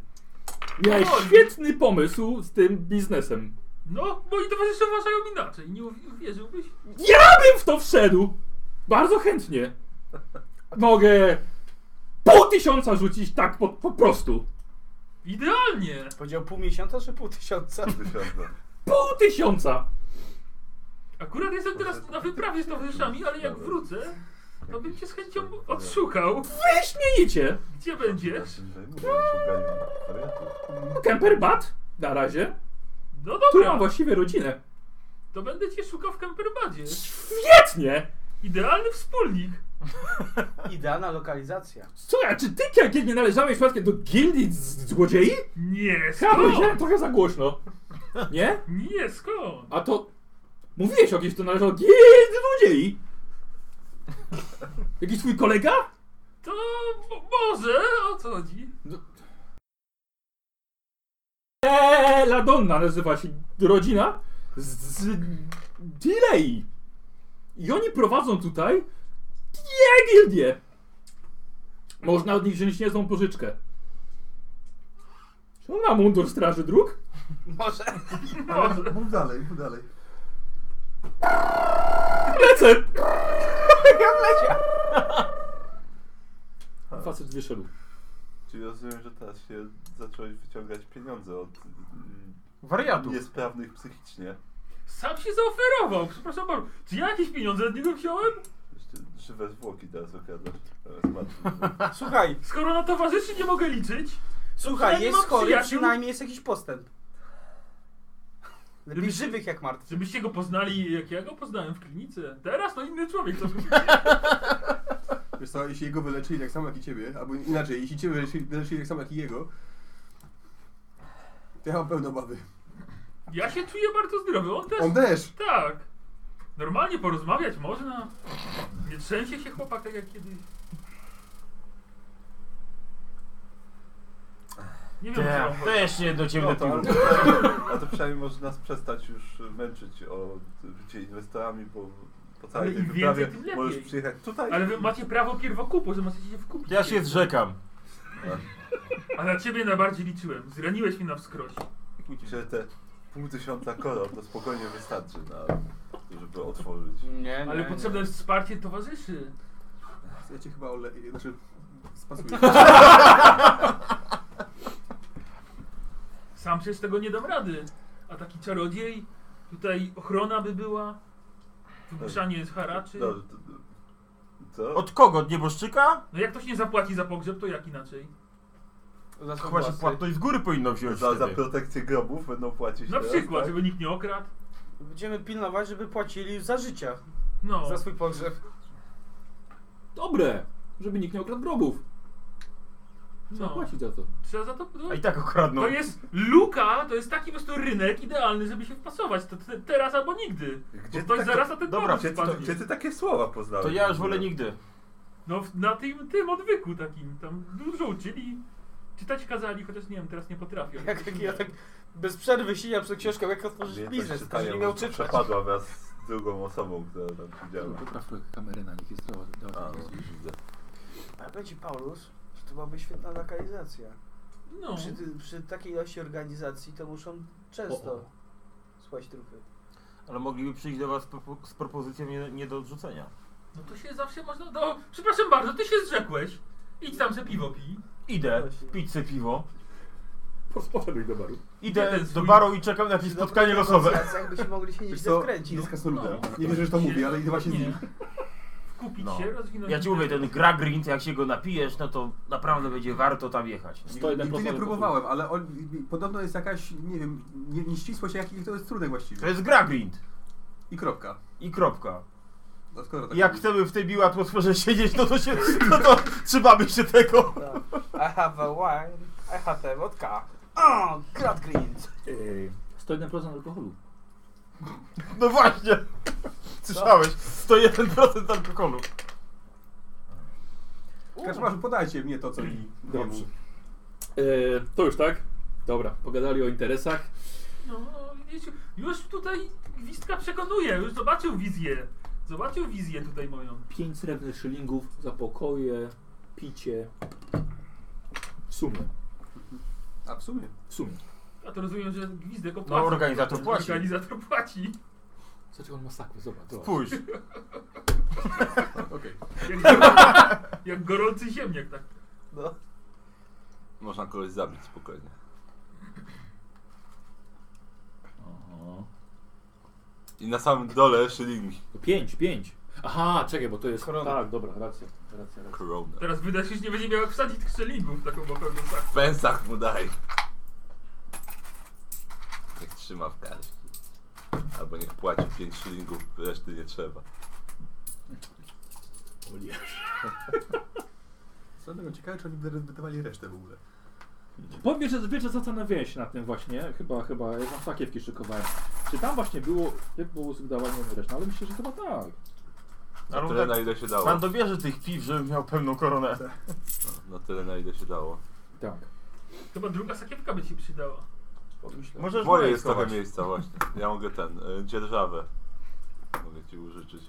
S2: Miałeś
S4: Oj.
S2: świetny pomysł z tym biznesem.
S4: No, moi towarzysze uważają inaczej. Nie uwi- uwierzyłbyś?
S2: Ja bym w to wszedł! Bardzo chętnie. Mogę pół tysiąca rzucić tak po, po prostu.
S4: Idealnie.
S6: Powiedział pół miesiąca czy pół tysiąca?
S1: Tysiąca.
S2: Pół tysiąca!
S4: Akurat jestem teraz na wyprawie z towarzyszami, ale jak wrócę, to bym cię z chęcią odszukał.
S2: Wyśmienicie!
S4: Gdzie będziesz?
S2: Kemper Bat na razie.
S4: No
S2: Tu mam
S4: dobra,
S2: właściwie rodzinę.
S4: to będę cię szukał w Kemperbadzie.
S2: Świetnie!
S4: Idealny wspólnik.
S6: Idealna lokalizacja.
S2: Słuchaj, czy ty kiedyś nie należałeś przypadkiem do gildii z- złodziei?
S4: Nie,
S2: Ja
S4: skąd?
S2: powiedziałem trochę za głośno. Nie?
S4: Nie, skąd?
S2: A to... Mówiłeś o kimś, kto należał do gildii złodziei. Jakiś twój kolega?
S4: To mo- może, o co chodzi?
S2: Eee, La Donna nazywa się rodzina z, z Delay. I oni prowadzą tutaj dwie gildie. Można od nich wziąć niezłą pożyczkę. Czy on ma mundur straży dróg?
S6: Może.
S2: No.
S4: Może.
S3: Mów dalej, mów dalej.
S2: Lecę! Facet wyszedł.
S1: Czyli rozumiem, że teraz się zacząłeś wyciągać pieniądze od mm,
S5: Wariatów.
S1: niesprawnych psychicznie.
S4: Sam się zaoferował, przepraszam bardzo. Czy ja jakieś pieniądze od niego wziąłem?
S1: Jeszcze żywe zwłoki teraz okradasz. Teraz patrz.
S6: Słuchaj,
S4: Skoro na towarzyszy nie mogę liczyć,
S6: słuchaj,
S4: przynajmniej
S6: jest
S4: mam
S6: chory,
S4: przyjaciół.
S6: przynajmniej jest jakiś postęp. Lepiej żywych jak martwych.
S4: żebyście go poznali, jak ja go poznałem w klinice. Teraz to inny człowiek. To...
S3: Wiesz co, jeśli jego wyleczyli tak samo jak i ciebie, albo inaczej, jeśli ciebie wyleczyli, wyleczyli tak samo jak i jego, to ja mam pełno obawy.
S4: Ja się czuję bardzo zdrowy, on też.
S3: On też!
S4: Tak. Normalnie porozmawiać można. Nie trzęsie się chłopak tak jak kiedyś. Nie wiem, co
S5: Damn,
S4: mam powiedzieć.
S5: Tak, Też nie do ciemne
S1: No to, ale
S5: piwo.
S1: to przynajmniej- a to przynajmniej może nas przestać już męczyć o bycie inwestorami, bo po całej
S4: Ale
S1: tej
S4: im
S1: wyprawie
S4: więcej, tym
S1: możesz
S4: lepiej.
S1: przyjechać tutaj.
S4: Ale wy macie prawo pierwokupu, że możecie się wkupić.
S5: Ja się zrzekam.
S4: A na ciebie najbardziej liczyłem. Zraniłeś mnie na wskroś.
S1: Że te pół tysiąca koron to spokojnie wystarczy, na, żeby otworzyć.
S6: Nie,
S4: Ale potrzebne jest wsparcie towarzyszy.
S3: Ja cię chyba oleję, znaczy spasuję.
S4: Sam przecież tego nie dam rady. A taki czarodziej, tutaj ochrona by była, wymuszanie z haraczy.
S1: No, to, to,
S5: Od kogo? Od nieboszczyka?
S4: No jak ktoś nie zapłaci za pogrzeb, to jak inaczej?
S6: Za swą
S5: Chyba się
S6: własność.
S5: płatność z góry powinno
S1: to
S5: wziąć
S1: za, za
S5: wtedy.
S1: protekcję grobów będą płacić
S4: Na
S1: teraz,
S4: przykład,
S1: tak?
S4: żeby nikt nie okradł.
S6: Będziemy pilnować, żeby płacili za życia.
S4: No,
S6: Za swój pogrzeb.
S2: Dobre, żeby nikt nie okradł grobów. Trzeba
S4: No.
S2: płacić za to.
S4: trzeba za to... No,
S5: A i tak okradną.
S4: to jest luka, to jest taki po prostu rynek idealny, żeby się wpasować. To te, teraz albo nigdy.
S1: Gdzie
S4: Bo
S1: ty
S4: ktoś
S1: tak-
S4: zaraz na ten
S5: Dobra,
S4: pomysł
S1: Gdzie ty,
S4: wpadnie.
S1: gdzie ty takie słowa poznałeś?
S5: To ja już wolę nigdy.
S4: No w- na tym, tym odwyku takim, tam dużo uczyli. Czytać kazali, chociaż nie wiem, teraz nie potrafią.
S6: Jak, jak ja tak bez przerwy siedział przed książką, jak otworzyć
S1: Mnie
S6: biznes.
S1: tak
S6: Ktoś
S1: czytają,
S6: nie miał
S1: że
S6: czytać.
S1: Przepadła wraz z drugą osobą, która tam siedziała.
S2: Potrafię kamerę na nich jest
S1: A, no, widzę.
S6: A będzie Paulus, że to byłaby świetna lokalizacja.
S4: No.
S6: Przy, ty- przy takiej ilości organizacji to muszą często słuchać trupy.
S5: Ale mogliby przyjść do was z propo- z propozycją nie, nie do odrzucenia.
S4: No to się zawsze można. No, przepraszam bardzo, ty się zrzekłeś. Idź tam se piwo pij.
S5: Idę
S6: Właśnie.
S5: pić sobie piwo,
S2: Poszedłeś do baru.
S5: idę
S4: Jeden swój-
S5: do baru i czekam na jakieś spotkanie losowe.
S6: Jakbyśmy mogli się
S3: Wiesz
S6: nieźle
S3: co,
S6: wkręcić.
S3: nie skasnoluda.
S4: No.
S3: Nie wierzę, że to mówi, ale idę właśnie z
S4: Nie.
S3: nim.
S4: Kupić
S5: No.
S4: się, rozwinąć.
S5: Ja ci mówię, ten Gragrint, jak się go napijesz, no to naprawdę będzie warto tam jechać.
S2: Sto jeden
S3: Nigdy nie
S2: procent
S3: próbowałem, ale on, podobno jest jakaś, nie wiem, nie- nieścisłość, jaki to jest trunek
S5: To
S3: właściwie.
S5: jest Gragrint
S3: I kropka.
S5: i kropka.
S3: No skoro tak
S5: Jak
S3: mówi.
S5: chcemy w tej miłej atmosferze siedzieć, no to się, no to trzymamy się tego.
S6: Tak. I have a wine, I have a vodka. O, Grad Green.
S2: Ej, 101% alkoholu.
S5: No właśnie. Słyszałeś? 101% alkoholu.
S3: Kaczmarzu, podajcie mnie to, co mi.
S2: Dobrze. Eee, to już tak? Dobra, pogadali o interesach.
S4: No, widzicie, już tutaj gwizdka przekonuje, już zobaczył wizję. Zobaczył wizję tutaj moją.
S2: 5 srebrnych szylingów za pokoje, picie. W sumie.
S3: A w sumie.
S2: W sumie.
S4: A to rozumiem, że gwizdek opłaca.
S5: No organizator płaci.
S4: Organizator płaci.
S2: Zaczął on masakrę, zobacz. zobacz.
S5: Spójrz.
S3: Okej.
S4: Jak, gorący- jak gorący ziemniak, tak.
S6: No.
S1: Można kogoś zabić spokojnie.
S2: Aha.
S1: I na samym dole szylingi.
S2: To 5, 5. Aha, czekaj, bo to jest...
S6: Korona.
S2: Tak, dobra, racja, racja, racja.
S1: Corona.
S4: Teraz wydać już nie będzie miał jak wsadzić strzelingów taką okrągłą tak.
S1: W pensach mu daj. Niech trzyma w karcie. Albo niech płaci 5 szylingów, reszty nie trzeba.
S2: O nie.
S3: Co tego ciekawe, czy oni by wydawali resztę w ogóle.
S2: Powiem, że wiesz, że zastanawiałem się nad tym właśnie, chyba, chyba, ja tam sakiewki szykowałem. Czy tam właśnie było, jak było z wydawaniem reszty, ale myślę, że chyba tak.
S1: Na
S5: Ale
S1: tyle
S5: tak-
S1: na ile się dało.
S5: Pan dobierze tych piw, żebym miał pełną koronę.
S1: Na tyle na ile się dało.
S2: Tak.
S4: Chyba druga sakiewka by ci przydała.
S2: Pomyślę.
S5: Możesz
S1: Moje jest trochę
S5: schować.
S1: miejsca właśnie. Ja mogę ten, y, dzierżawę. Mogę ci użyczyć.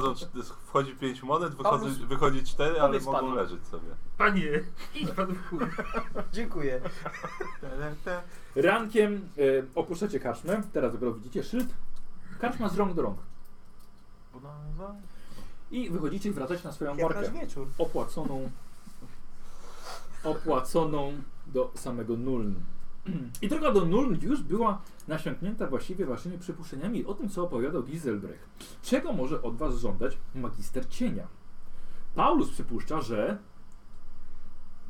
S1: Wchodzą cz- Wchodzi 5 monet, wychodzi,
S6: Paulus-
S1: wychodzi 4, ale
S6: powiedz
S1: mogą
S6: panu.
S1: leżeć sobie.
S4: Panie, idź pan w chuj.
S6: Dziękuję.
S2: Rankiem y, opuszczacie karczmę, teraz dopiero widzicie szyld. Karczma z rąk do rąk. I wychodzicie wracać na swoją
S6: Jak nasz
S2: barkę.
S6: wieczór.
S2: Opłaconą. Opłaconą do samego Nuln. I droga do Nuln już była nasiąknięta właściwie waszymi przypuszczeniami o tym, co opowiadał Giselbrecht. Czego może od was żądać magister cienia? Paulus przypuszcza, że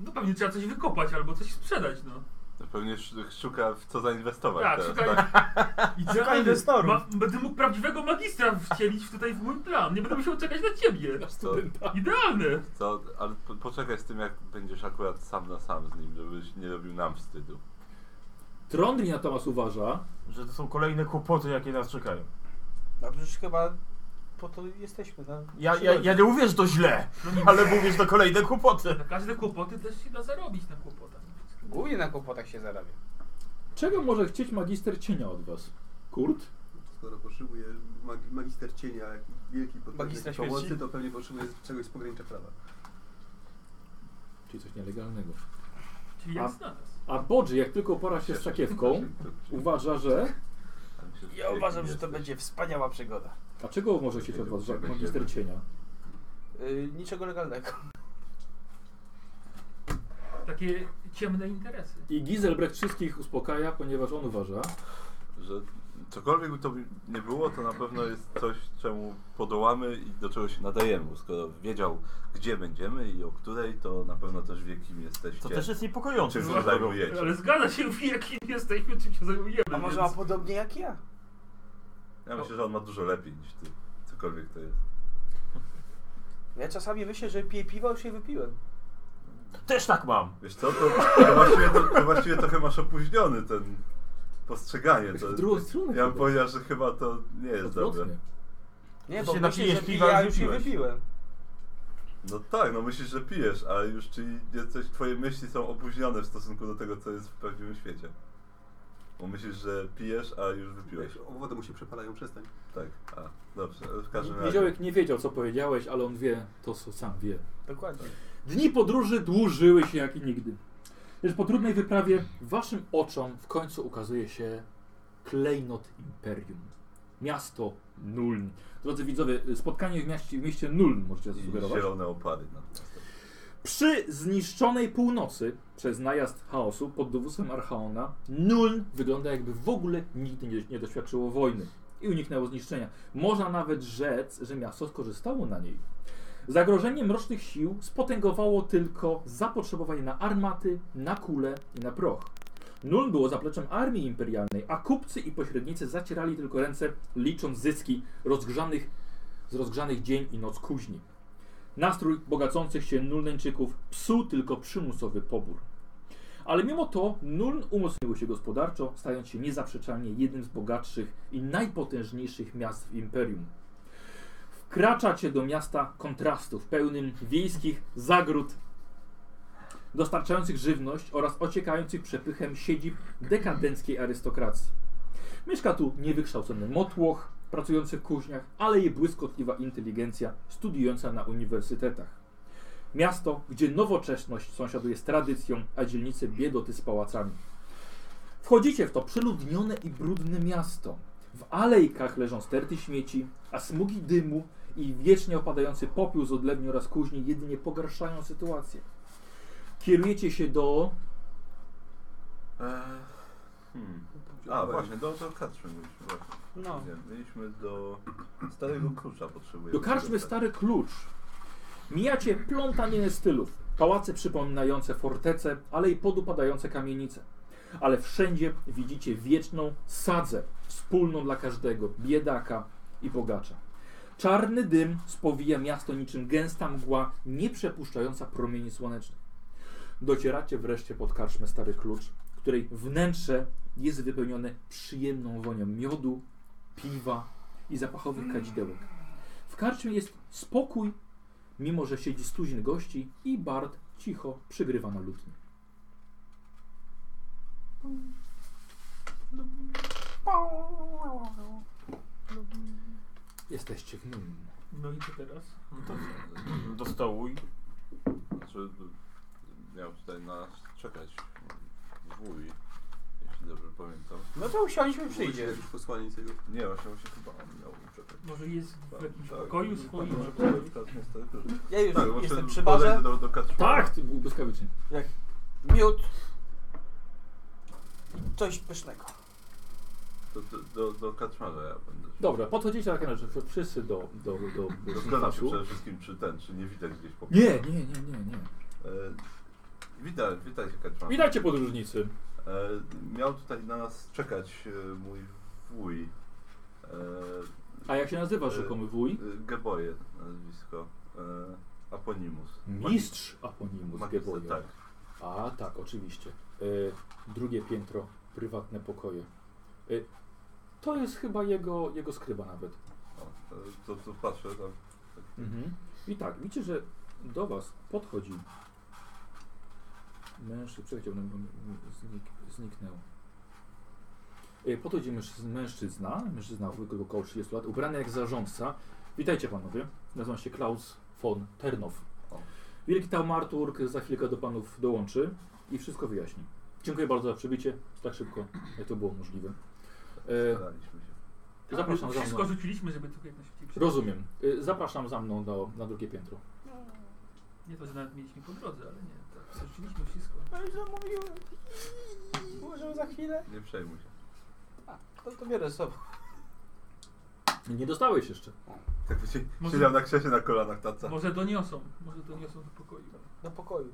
S4: No pewnie trzeba coś wykopać albo coś sprzedać, no.
S1: To Pewnie sz- szuka w co zainwestować
S4: Tak,
S1: teraz,
S4: szukaj.
S1: tak?
S4: Idealnie.
S6: inwestorów.
S4: Ma, będę mógł prawdziwego magistra wcielić tutaj w mój plan. Nie będę musiał czekać na ciebie.
S2: studenta.
S4: Idealne.
S1: Co, ale po, poczekaj z tym, jak będziesz akurat sam na sam z nim, żebyś nie robił nam wstydu.
S2: Trondri natomiast uważa,
S5: Że to są kolejne kłopoty, jakie nas czekają.
S6: No przecież chyba po to jesteśmy. No.
S5: Ja, ja, ja nie mówię, że to źle,
S4: No nie,
S5: ale mówię, że to kolejne kłopoty.
S4: Na każde kłopoty też się da zarobić na kłopotach.
S6: Głównie na kłopotach się zarabia.
S2: czego może chcieć magister cienia od was? Kurt?
S3: Skoro potrzebuje mag- magister cienia, jak wielki
S6: Magistra
S3: potrzebny
S6: śmierci?
S3: pomocy, to pewnie potrzebuje czegoś z pogranicza prawa.
S2: Czyli coś nielegalnego.
S4: Czyli
S2: A-
S4: jak znalazł.
S2: A Bodży, jak tylko pora się z sakiewką, uważa, że...
S1: Tam się
S6: Ja uważam, że to
S1: jesteś.
S6: będzie wspaniała przygoda.
S2: A czego może chcieć od was ża- magister cienia?
S6: Yy, niczego legalnego.
S4: Takie ciemne interesy.
S2: I Giselbrecht wszystkich uspokaja, ponieważ on uważa,
S1: Że cokolwiek by to by nie było, to na pewno jest coś, czemu podołamy i do czego się nadajemy. Skoro wiedział, gdzie będziemy i o której, to na pewno też wie, kim jesteście.
S5: To też jest niepokojące.
S1: Czym się zajmujecie?
S4: Ale zgadza się, jakim jesteśmy, czym się zajmujemy.
S6: A może ma
S4: więc...
S6: podobnie jak ja?
S1: Ja myślę, że on ma dużo lepiej niż ty. Cokolwiek to jest.
S6: Ja czasami myślę, że piję piwa, już je wypiłem.
S5: Też tak mam.
S1: Wiesz co, to, to, właściwie, to, to właściwie trochę masz opóźniony ten postrzeganie.
S2: W
S1: To,
S2: drugą stronę
S1: ja bym
S2: chyba.
S1: powiedział, że chyba to nie jest dobre.
S2: odwrotnie.
S6: Nie,
S5: Że
S6: bo
S5: się
S6: myślę, że
S5: napijesz
S6: piję,
S5: piwa,
S6: a
S5: już
S6: już je
S5: piłeś.
S6: wypiłem.
S1: No tak, no myślisz, że pijesz, ale już czyli coś, twoje myśli są opóźnione w stosunku do tego, co jest w prawdziwym świecie. Bo myślisz, że pijesz, a już wypiłeś.
S3: Owody mu się przepalają, przestań.
S1: Tak, a dobrze, w każdym razie.
S2: Niziołek nie wiedział, co powiedziałeś, ale on wie to, co sam wie.
S6: Dokładnie.
S2: Dni podróży dłużyły się jak i nigdy. Lecz po trudnej wyprawie waszym oczom w końcu ukazuje się klejnot imperium. Miasto Nuln. Drodzy widzowie, spotkanie w mieście, w mieście Nuln możecie
S1: I
S2: zasugerować.
S1: zielone opady. na tym.
S2: Przy zniszczonej północy przez najazd chaosu pod dowództwem Archaona Nuln wygląda jakby w ogóle nigdy nie, nie doświadczyło wojny i uniknęło zniszczenia. Można nawet rzec, że miasto skorzystało na niej. Zagrożenie mrocznych sił spotęgowało tylko zapotrzebowanie na armaty, na kule i na proch. Nuln było zapleczem armii imperialnej, a kupcy i pośrednicy zacierali tylko ręce, licząc zyski rozgrzanych, z rozgrzanych dzień i noc kuźni. Nastrój bogacących się Nulneńczyków psuł tylko przymusowy pobór. Ale mimo to Nuln umocniły się gospodarczo, stając się niezaprzeczalnie jednym z bogatszych i najpotężniejszych miast w imperium. Wkraczacie do miasta kontrastów, pełnym wiejskich zagród, dostarczających żywność oraz ociekających przepychem siedzib dekadenckiej arystokracji. Mieszka tu niewykształcony motłoch, pracujący w kuźniach, ale i błyskotliwa inteligencja studiująca na uniwersytetach. Miasto, gdzie nowoczesność sąsiaduje z tradycją, a dzielnice biedoty z pałacami. Wchodzicie w to przeludnione i brudne miasto. W alejkach leżą sterty śmieci, a smugi dymu i wiecznie opadający popiół z odlewni oraz kuźni jedynie pogarszają sytuację. Kierujecie się do
S1: Eee, hmm. A, właśnie, do, do Katrzyn byliśmy. Właśnie.
S6: No.
S1: Nie, byliśmy do Starego Tak, Klucza potrzebujemy.
S2: Do karczmy
S1: dostać.
S2: Stary Klucz. Mijacie plątaninę stylów, pałace przypominające fortece, ale i podupadające kamienice. Ale wszędzie widzicie wieczną sadzę, wspólną dla każdego, biedaka i bogacza. Czarny dym spowija miasto niczym gęsta mgła, nie przepuszczająca promieni słonecznych. Docieracie wreszcie pod karczmę Stary Klucz, której wnętrze jest wypełnione przyjemną wonią miodu, piwa i zapachowych kadzidełek. W karczmie jest spokój, mimo że siedzi stuzin gości i Bart cicho przygrywa na lutni. Jesteście w nim.
S4: No i co teraz?
S5: Do stołu i
S1: Znaczy, miał tutaj nas czekać wuj, jeśli dobrze pamiętam.
S6: No to usiądźmy,
S3: Przyjdzie.
S6: przyjdzie.
S3: Jakiś posłaniec jego.
S1: Nie, właśnie, właśnie chyba on miał czekać.
S4: Może jest w jakimś
S1: Tak,
S4: pokoju
S1: tak,
S4: swoim?
S1: tak, tak, tak, jest to-
S6: Ja już
S1: Tak, bo
S6: jestem
S1: szedł-
S6: przy barze.
S1: podejdę Do, do Katrzmy.
S2: Tak, ty- błyskawicznie.
S6: Miód. I coś pysznego.
S1: Do, do, do, do Kaczmarza ja będę. się-
S2: Dobra, podchodzicie tak na rzecz. Wszyscy do, do, do, do
S1: Rozglądam się
S2: snifasu.
S1: przede wszystkim, czy ten, czy nie widać gdzieś po
S2: Nie, nie, nie, nie, nie.
S1: E, Witaj, witaj się Kaczmarz.
S2: Witajcie podróżnicy.
S1: E, miał tutaj na nas czekać e, mój wuj. E,
S2: A jak się nazywa rzekomy wuj?
S1: Y, Geboje nazwisko. E, Aponimus.
S2: Mistrz
S1: Magister,
S2: Aponimus Geboje.
S1: Magister, tak.
S2: A tak, oczywiście. Y, drugie piętro, prywatne pokoje. Y, to jest chyba jego, jego skryba nawet.
S1: O, e, to, to patrzę tam.
S2: I tak, widzicie, że do was podchodzi mężczyzna, przechciał nam, bo mi- mi znik, zniknął. Y, Podchodzi mężczyzna, mężczyzna, mężczyzna wieku około 30 lat, ubrany jak zarządca. Witajcie panowie, nazywam się Klaus von Ternow.
S1: O.
S2: Wielki taumarturg za chwilkę do panów dołączy i wszystko wyjaśni. Dziękuję bardzo za przybycie, tak szybko jak to było możliwe. Y,
S1: Staraliśmy się.
S2: Zapraszam za mną.
S4: Wszystko rzuciliśmy, żeby tylko jak najszybciej przyjść.
S2: Rozumiem. Y, Zapraszam za mną do, na drugie piętro.
S4: Nie to, że nawet mieliśmy po drodze, ale nie. Tak, rzuciliśmy wszystko.
S6: No już zamówiłem. Może za chwilę?
S1: Nie przejmuj się.
S6: To, to biorę sobie.
S2: Nie dostałeś jeszcze.
S1: Tak by się
S4: Może-
S1: siedział na krzesie na kolanach
S6: Tak.
S1: taca.
S4: Może doniosą, może doniosą do pokoju.
S6: Do pokoju.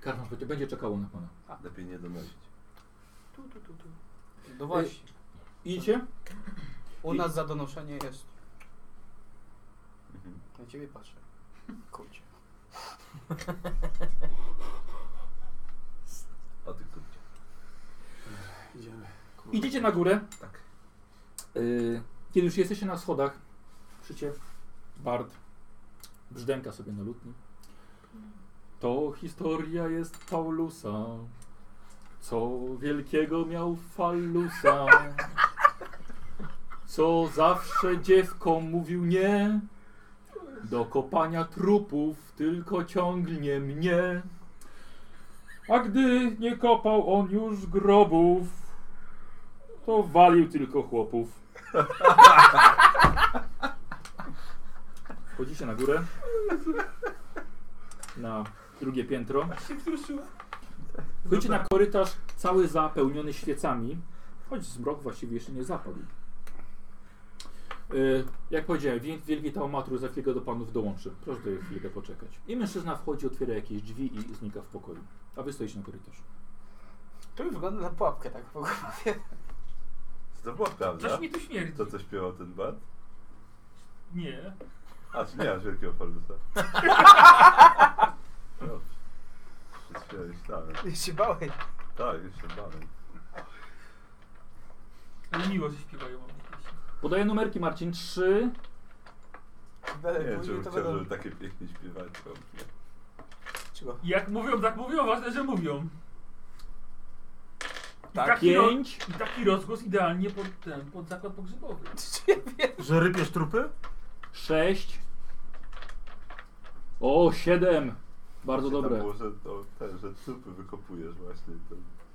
S2: Karmasz będzie, będzie czekało na pana.
S1: Lepiej nie donosić.
S6: Tu, tu, tu, tu. No właśnie.
S2: Idzie?
S6: U
S2: i-
S6: nas za donoszenie jest.
S1: Mhm.
S6: Na ciebie patrzę. Kurczę.
S1: A ty kto gdzie?
S3: Idziemy. Kurwa.
S2: Idziecie na górę.
S1: Tak.
S2: Y, kiedy już jesteście na schodach, szycie Bart brzdęka sobie na lutni. To historia jest Paulusa. Co wielkiego miał Fallusa. Co zawsze dziewkom mówił nie. Do kopania trupów tylko ciągnie mnie. A gdy nie kopał on już grobów, to walił tylko chłopów. Chodzicie na górę. Na drugie piętro. Chodzicie na korytarz cały zapełniony świecami, choć zmrok właściwie jeszcze nie zapadł. Y, Jak powiedziałem, wiel- wielki taumatur za chwilę do panów dołączy. Proszę tutaj chwilkę poczekać. I mężczyzna wchodzi, otwiera jakieś drzwi i znika w pokoju. A wy stoicie na korytarzu.
S6: To już wygląda na pułapkę tak po głowie.
S1: To była prawda.
S4: Coś mi tu śmierdzi.
S1: To co śpiewał ten bard?
S4: Nie.
S1: A, czy nie masz wielkiego falusa? Dobrze. Się śmiałeś dalej.
S6: Ja się bałem.
S1: Tak, już się bałem.
S4: Ale miło, że śpiewają o mnie pieśni.
S2: Podaję numerki Marcin 3.
S1: Nie
S6: Dalej
S1: wiem,
S6: później
S1: czy bym
S6: to
S1: chciał, żeby tak-
S6: będą...
S1: takie pięknie śpiewać. bo nie.
S6: Czego?
S4: Jak mówią, tak mówią, ważne, że mówią. I
S6: Tak,
S4: taki, ro-
S2: 5.
S4: I taki rozgłos idealnie pod ten, pod zakład pogrzebowy.
S5: Że rypiesz trupy?
S2: 6. O, 7. Bardzo
S1: Tam
S2: dobre.
S1: Było, że, to, ten, że trupy wykopujesz właśnie. To...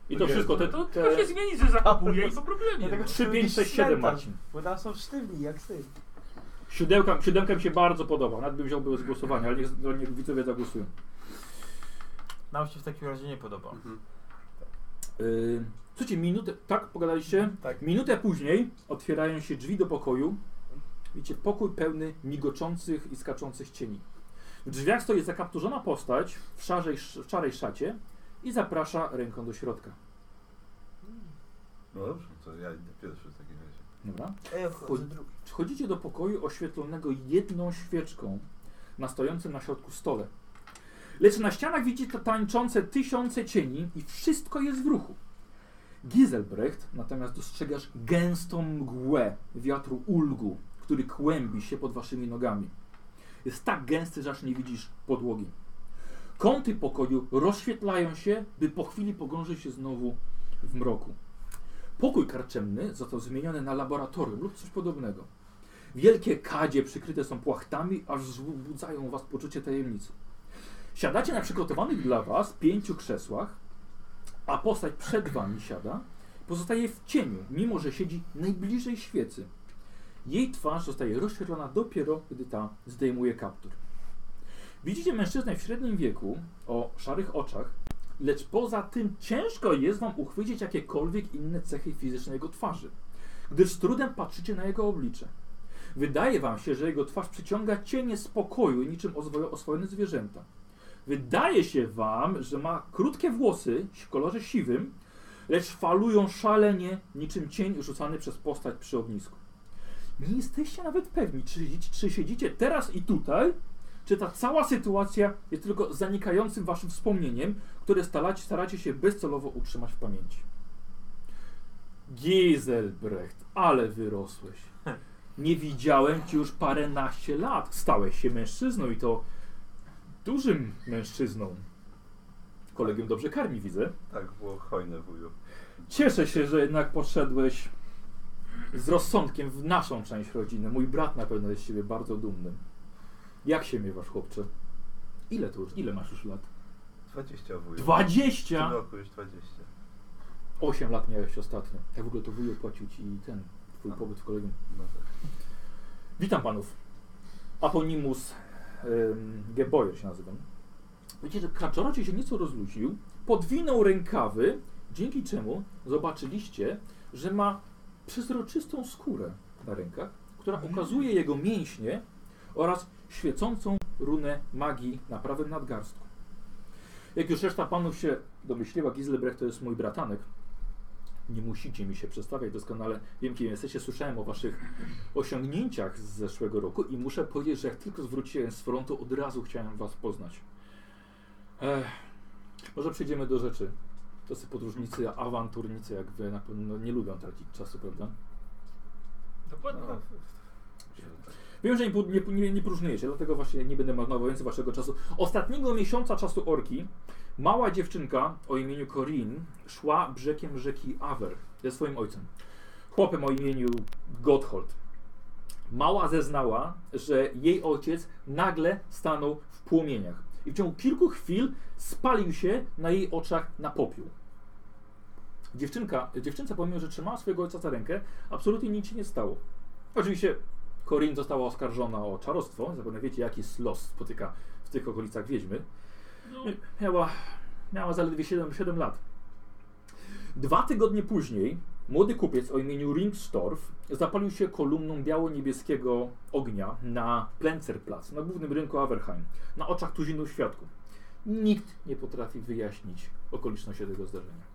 S2: I to
S1: Nie,
S2: wszystko te.
S4: To
S2: te
S4: tylko się zmieni, że zakupuje i po problemie.
S6: Dlatego
S2: Trzy,
S6: chcę
S2: pięć,
S6: mieć
S2: sześć, siedem,
S6: cmentarz,
S2: Marcin.
S6: Bo tam są sztywni, jak ty.
S2: siódemka, siódemka mi się bardzo podoba. Nawet bym wziął z głosowania, ale niech, no, niech widzowie zagłosują.
S5: Nam się w takim razie nie podoba.
S2: Yy, słuchajcie, minutę, tak pogadaliście?
S6: Tak.
S2: Minutę później otwierają się drzwi do pokoju. Widzicie, pokój pełny migoczących i skaczących cieni. W drzwiach stoi zakapturzona postać w szarej, w szarej szacie i zaprasza ręką do środka.
S1: No dobrze, to ja idę pierwszy w takim razie.
S2: Dobra.
S6: Ej, chodzę drugi.
S2: Wchodzicie do pokoju oświetlonego jedną świeczką na stojącym na środku stole. Lecz na ścianach widzicie tańczące tysiące cieni i wszystko jest w ruchu. Giselbrecht natomiast dostrzegasz gęstą mgłę wiatru ulgu, który kłębi się pod waszymi nogami. Jest tak gęsty, że aż nie widzisz podłogi. Kąty pokoju rozświetlają się, by po chwili pogrążyć się znowu w mroku. Pokój karczemny został zmieniony na laboratorium lub coś podobnego. Wielkie kadzie przykryte są płachtami, aż wzbudzają u was poczucie tajemnicy. Siadacie na przygotowanych dla was pięciu krzesłach, a postać przed wami siada, pozostaje w cieniu, mimo że siedzi najbliżej świecy. Jej twarz zostaje rozświetlona dopiero, gdy ta zdejmuje kaptur. Widzicie mężczyznę w średnim wieku, o szarych oczach, lecz poza tym ciężko jest wam uchwycić jakiekolwiek inne cechy fizyczne jego twarzy, gdyż z trudem patrzycie na jego oblicze. Wydaje wam się, że jego twarz przyciąga cienie spokoju, niczym ozwo- oswojone zwierzęta. Wydaje się wam, że ma krótkie włosy w kolorze siwym, lecz falują szalenie, niczym cień rzucany przez postać przy ognisku. Nie jesteście nawet pewni, czy, siedzi- czy siedzicie teraz i tutaj, czy ta cała sytuacja jest tylko zanikającym waszym wspomnieniem, które staracie, staracie się bezcelowo utrzymać w pamięci. Giselbrecht, ale wyrosłeś. Nie widziałem cię już paręnaście lat. Stałeś się mężczyzną i to dużym mężczyzną. Kolegium dobrze karmi, widzę.
S1: Tak, było hojne wuju.
S2: Cieszę się, że jednak poszedłeś z rozsądkiem w naszą część rodziny. Mój brat na pewno jest z ciebie bardzo dumny. Jak się miewasz, chłopcze? Ile to już? Ile masz już lat?
S1: 20 wuju. W tym
S2: 20!
S1: roku już 20.
S2: 8 lat miałeś ostatnio. Jak w ogóle to wuj opłacił ci ten twój pobyt w kolegium.
S1: No tak.
S2: Witam panów. Aponimus ym, Geboyer się nazywam. Widzicie, że kaczorocie się nieco rozluźnił, podwinął rękawy, dzięki czemu zobaczyliście, że ma przezroczystą skórę na rękach, która ukazuje jego mięśnie oraz świecącą runę magii na prawym nadgarstku. Jak już reszta panów się domyśliła, Gislebrecht to jest mój bratanek. Nie musicie mi się przedstawiać doskonale. Wiem, kim jesteście. Słyszałem o waszych osiągnięciach z zeszłego roku i muszę powiedzieć, że jak tylko zwróciłem z frontu, od razu chciałem was poznać. Ech, może przejdziemy do rzeczy. To są podróżnicy, awanturnicy, jak wy na pewno nie lubią tracić czasu, prawda?
S4: Dokładnie.
S1: No.
S2: Wiem, że nie, pu- nie, pu- nie, nie próżnujecie, dlatego właśnie nie będę marnował więcej waszego czasu. Ostatniego miesiąca czasu orki mała dziewczynka o imieniu Corinne szła brzegiem rzeki Awer ze swoim ojcem. Chłopem o imieniu Gotthold. Mała zeznała, że jej ojciec nagle stanął w płomieniach i w ciągu kilku chwil spalił się na jej oczach na popiół. Dziewczynka, dziewczynce pomimo, że trzymała swojego ojca za rękę, absolutnie nic się nie stało. Oczywiście Corinne została oskarżona o czarostwo, zapewne wiecie jaki jest los spotyka w tych okolicach wiedźmy.
S4: No,
S2: Miała, miała zaledwie 7, 7 lat. Dwa tygodnie później młody kupiec o imieniu Ringstorff zapalił się kolumną biało-niebieskiego ognia na Plencerplatz, na głównym rynku Averheim, na oczach tuzinu świadków. Nikt nie potrafi wyjaśnić okoliczności tego zdarzenia.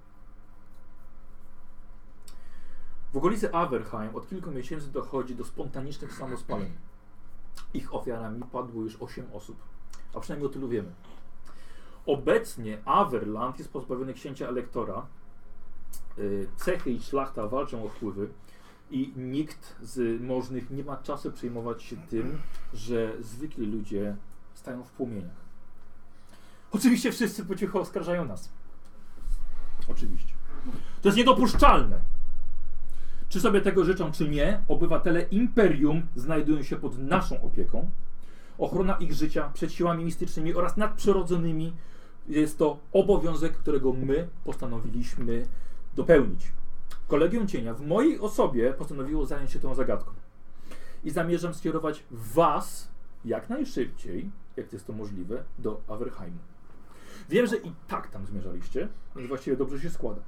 S2: W okolicy Averheim od kilku miesięcy dochodzi do spontanicznych samospaleń. Ich ofiarami padło już 8 osób, a przynajmniej o tylu wiemy. Obecnie Averland jest pozbawiony księcia elektora. Y, Cechy i szlachta walczą o wpływy i nikt z możnych nie ma czasu przejmować się tym, że zwykli ludzie stają w płomieniach. Oczywiście wszyscy po cichu oskarżają nas. Oczywiście. To jest niedopuszczalne. Czy sobie tego życzą, czy nie, obywatele imperium znajdują się pod naszą opieką. Ochrona ich życia przed siłami mistycznymi oraz nadprzyrodzonymi jest to obowiązek, którego my postanowiliśmy dopełnić. Kolegium Cienia w mojej osobie postanowiło zająć się tą zagadką. I zamierzam skierować Was jak najszybciej, jak jest to możliwe, do Averheimu. Wiem, że i tak tam zmierzaliście, więc właściwie dobrze się składa.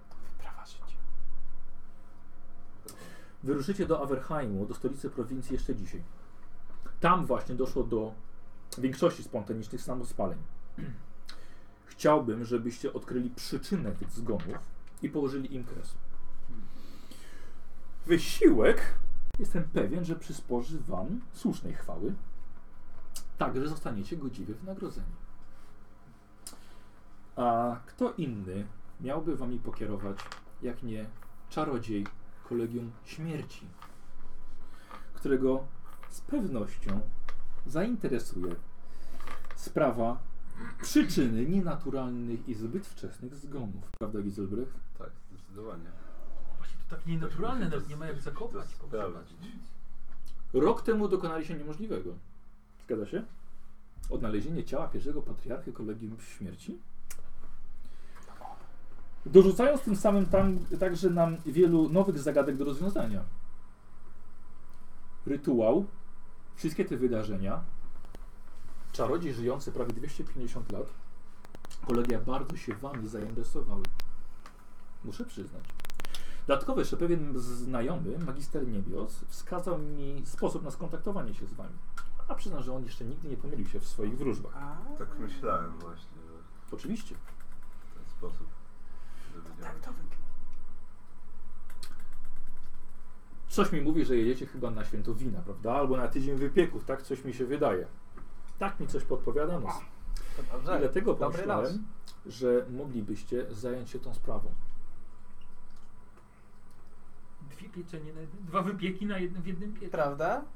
S2: Wyruszycie do Averheimu, do stolicy prowincji jeszcze dzisiaj. Tam właśnie doszło do większości spontanicznych samospaleń. Chciałbym, żebyście odkryli przyczynę tych zgonów i położyli im kres. Wysiłek jestem pewien, że przysporzy wam słusznej chwały, także zostaniecie godziwie wynagrodzeni. A kto inny miałby wami pokierować, jak nie czarodziej kolegium śmierci, którego z pewnością zainteresuje sprawa przyczyny nienaturalnych i zbyt wczesnych zgonów. Prawda, Gizelbrecht?
S1: Tak, zdecydowanie.
S4: właśnie to tak nienaturalne,
S1: Musimy
S4: nawet nie ma jak
S1: to
S4: zakopać.
S1: sprawdzić.
S2: Rok temu dokonali się niemożliwego. Zgadza się? Odnalezienie ciała pierwszego patriarchy kolegium śmierci? Dorzucając tym samym tam także nam wielu nowych zagadek do rozwiązania. Rytuał, wszystkie te wydarzenia, czarodziej żyjący prawie 250 lat, kolegia bardzo się wami zainteresowały. Muszę przyznać. Dodatkowo jeszcze pewien znajomy, magister niebios, wskazał mi sposób na skontaktowanie się z wami. A przyznam, że on jeszcze nigdy nie pomylił się w swoich wróżbach.
S6: A,
S1: Tak myślałem właśnie, że
S2: Oczywiście.
S1: w ten sposób. żeby
S6: tak
S1: działać.
S6: to wygląda.
S2: Coś mi mówi, że jedziecie chyba na święto wina, prawda? Albo na tydzień wypieków, tak? Coś mi się wydaje. Tak mi coś podpowiada nos.
S6: To dobrze.
S2: I dlatego
S6: tak. Dobry las.
S2: pomyślałem, że moglibyście zająć się tą sprawą.
S4: Dwie pieczenie, na jednym, dwa wypieki na jednym, w jednym pieczu.
S6: Prawda?
S1: Mm.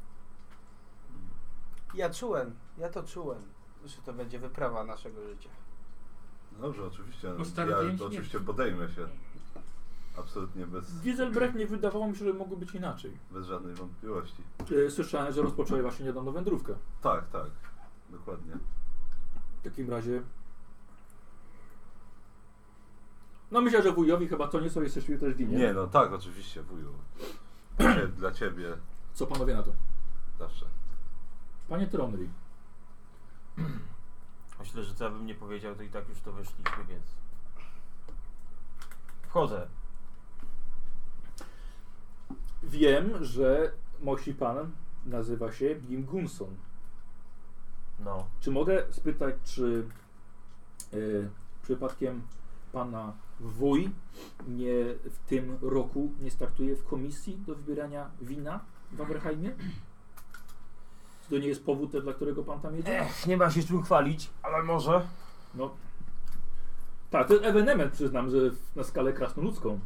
S6: Ja czułem, ja to czułem, że to będzie wyprawa naszego życia.
S1: No Dobrze, oczywiście.
S4: Bo stary
S1: Ja
S4: pięć
S1: to
S4: nie-
S1: oczywiście podejmę się. Absolutnie bez,
S2: Dieselbrecht nie wydawało mi się, że mogło być inaczej.
S1: bez żadnej wątpliwości.
S2: E, Słyszałem, że rozpoczęli właśnie niedawno wędrówkę.
S1: Tak, tak. Dokładnie.
S2: W takim razie. No myślę, że wujowi chyba to nie sobie jesteście też winie.
S1: Nie, no tak, oczywiście, wuju. Dla- Dla ciebie
S2: Co panowie na to?
S1: zawsze.
S2: Panie Tronry,
S5: Myślę, że co ja bym nie powiedział, to i tak już to weszliśmy, więc... Wchodzę.
S2: wiem, że mości pan nazywa się Jim Gunson.
S5: No.
S2: Czy mogę spytać, czy y, przypadkiem pana wuj nie w tym roku nie startuje w komisji do wybierania wina w Aberheimie? Czy to nie jest powód, dla którego pan tam jedzie?
S5: Ech, nie ma się czym chwalić, ale może.
S2: No. Tak, to jest ewenement, przyznam, że w- na skalę krasnoludzką.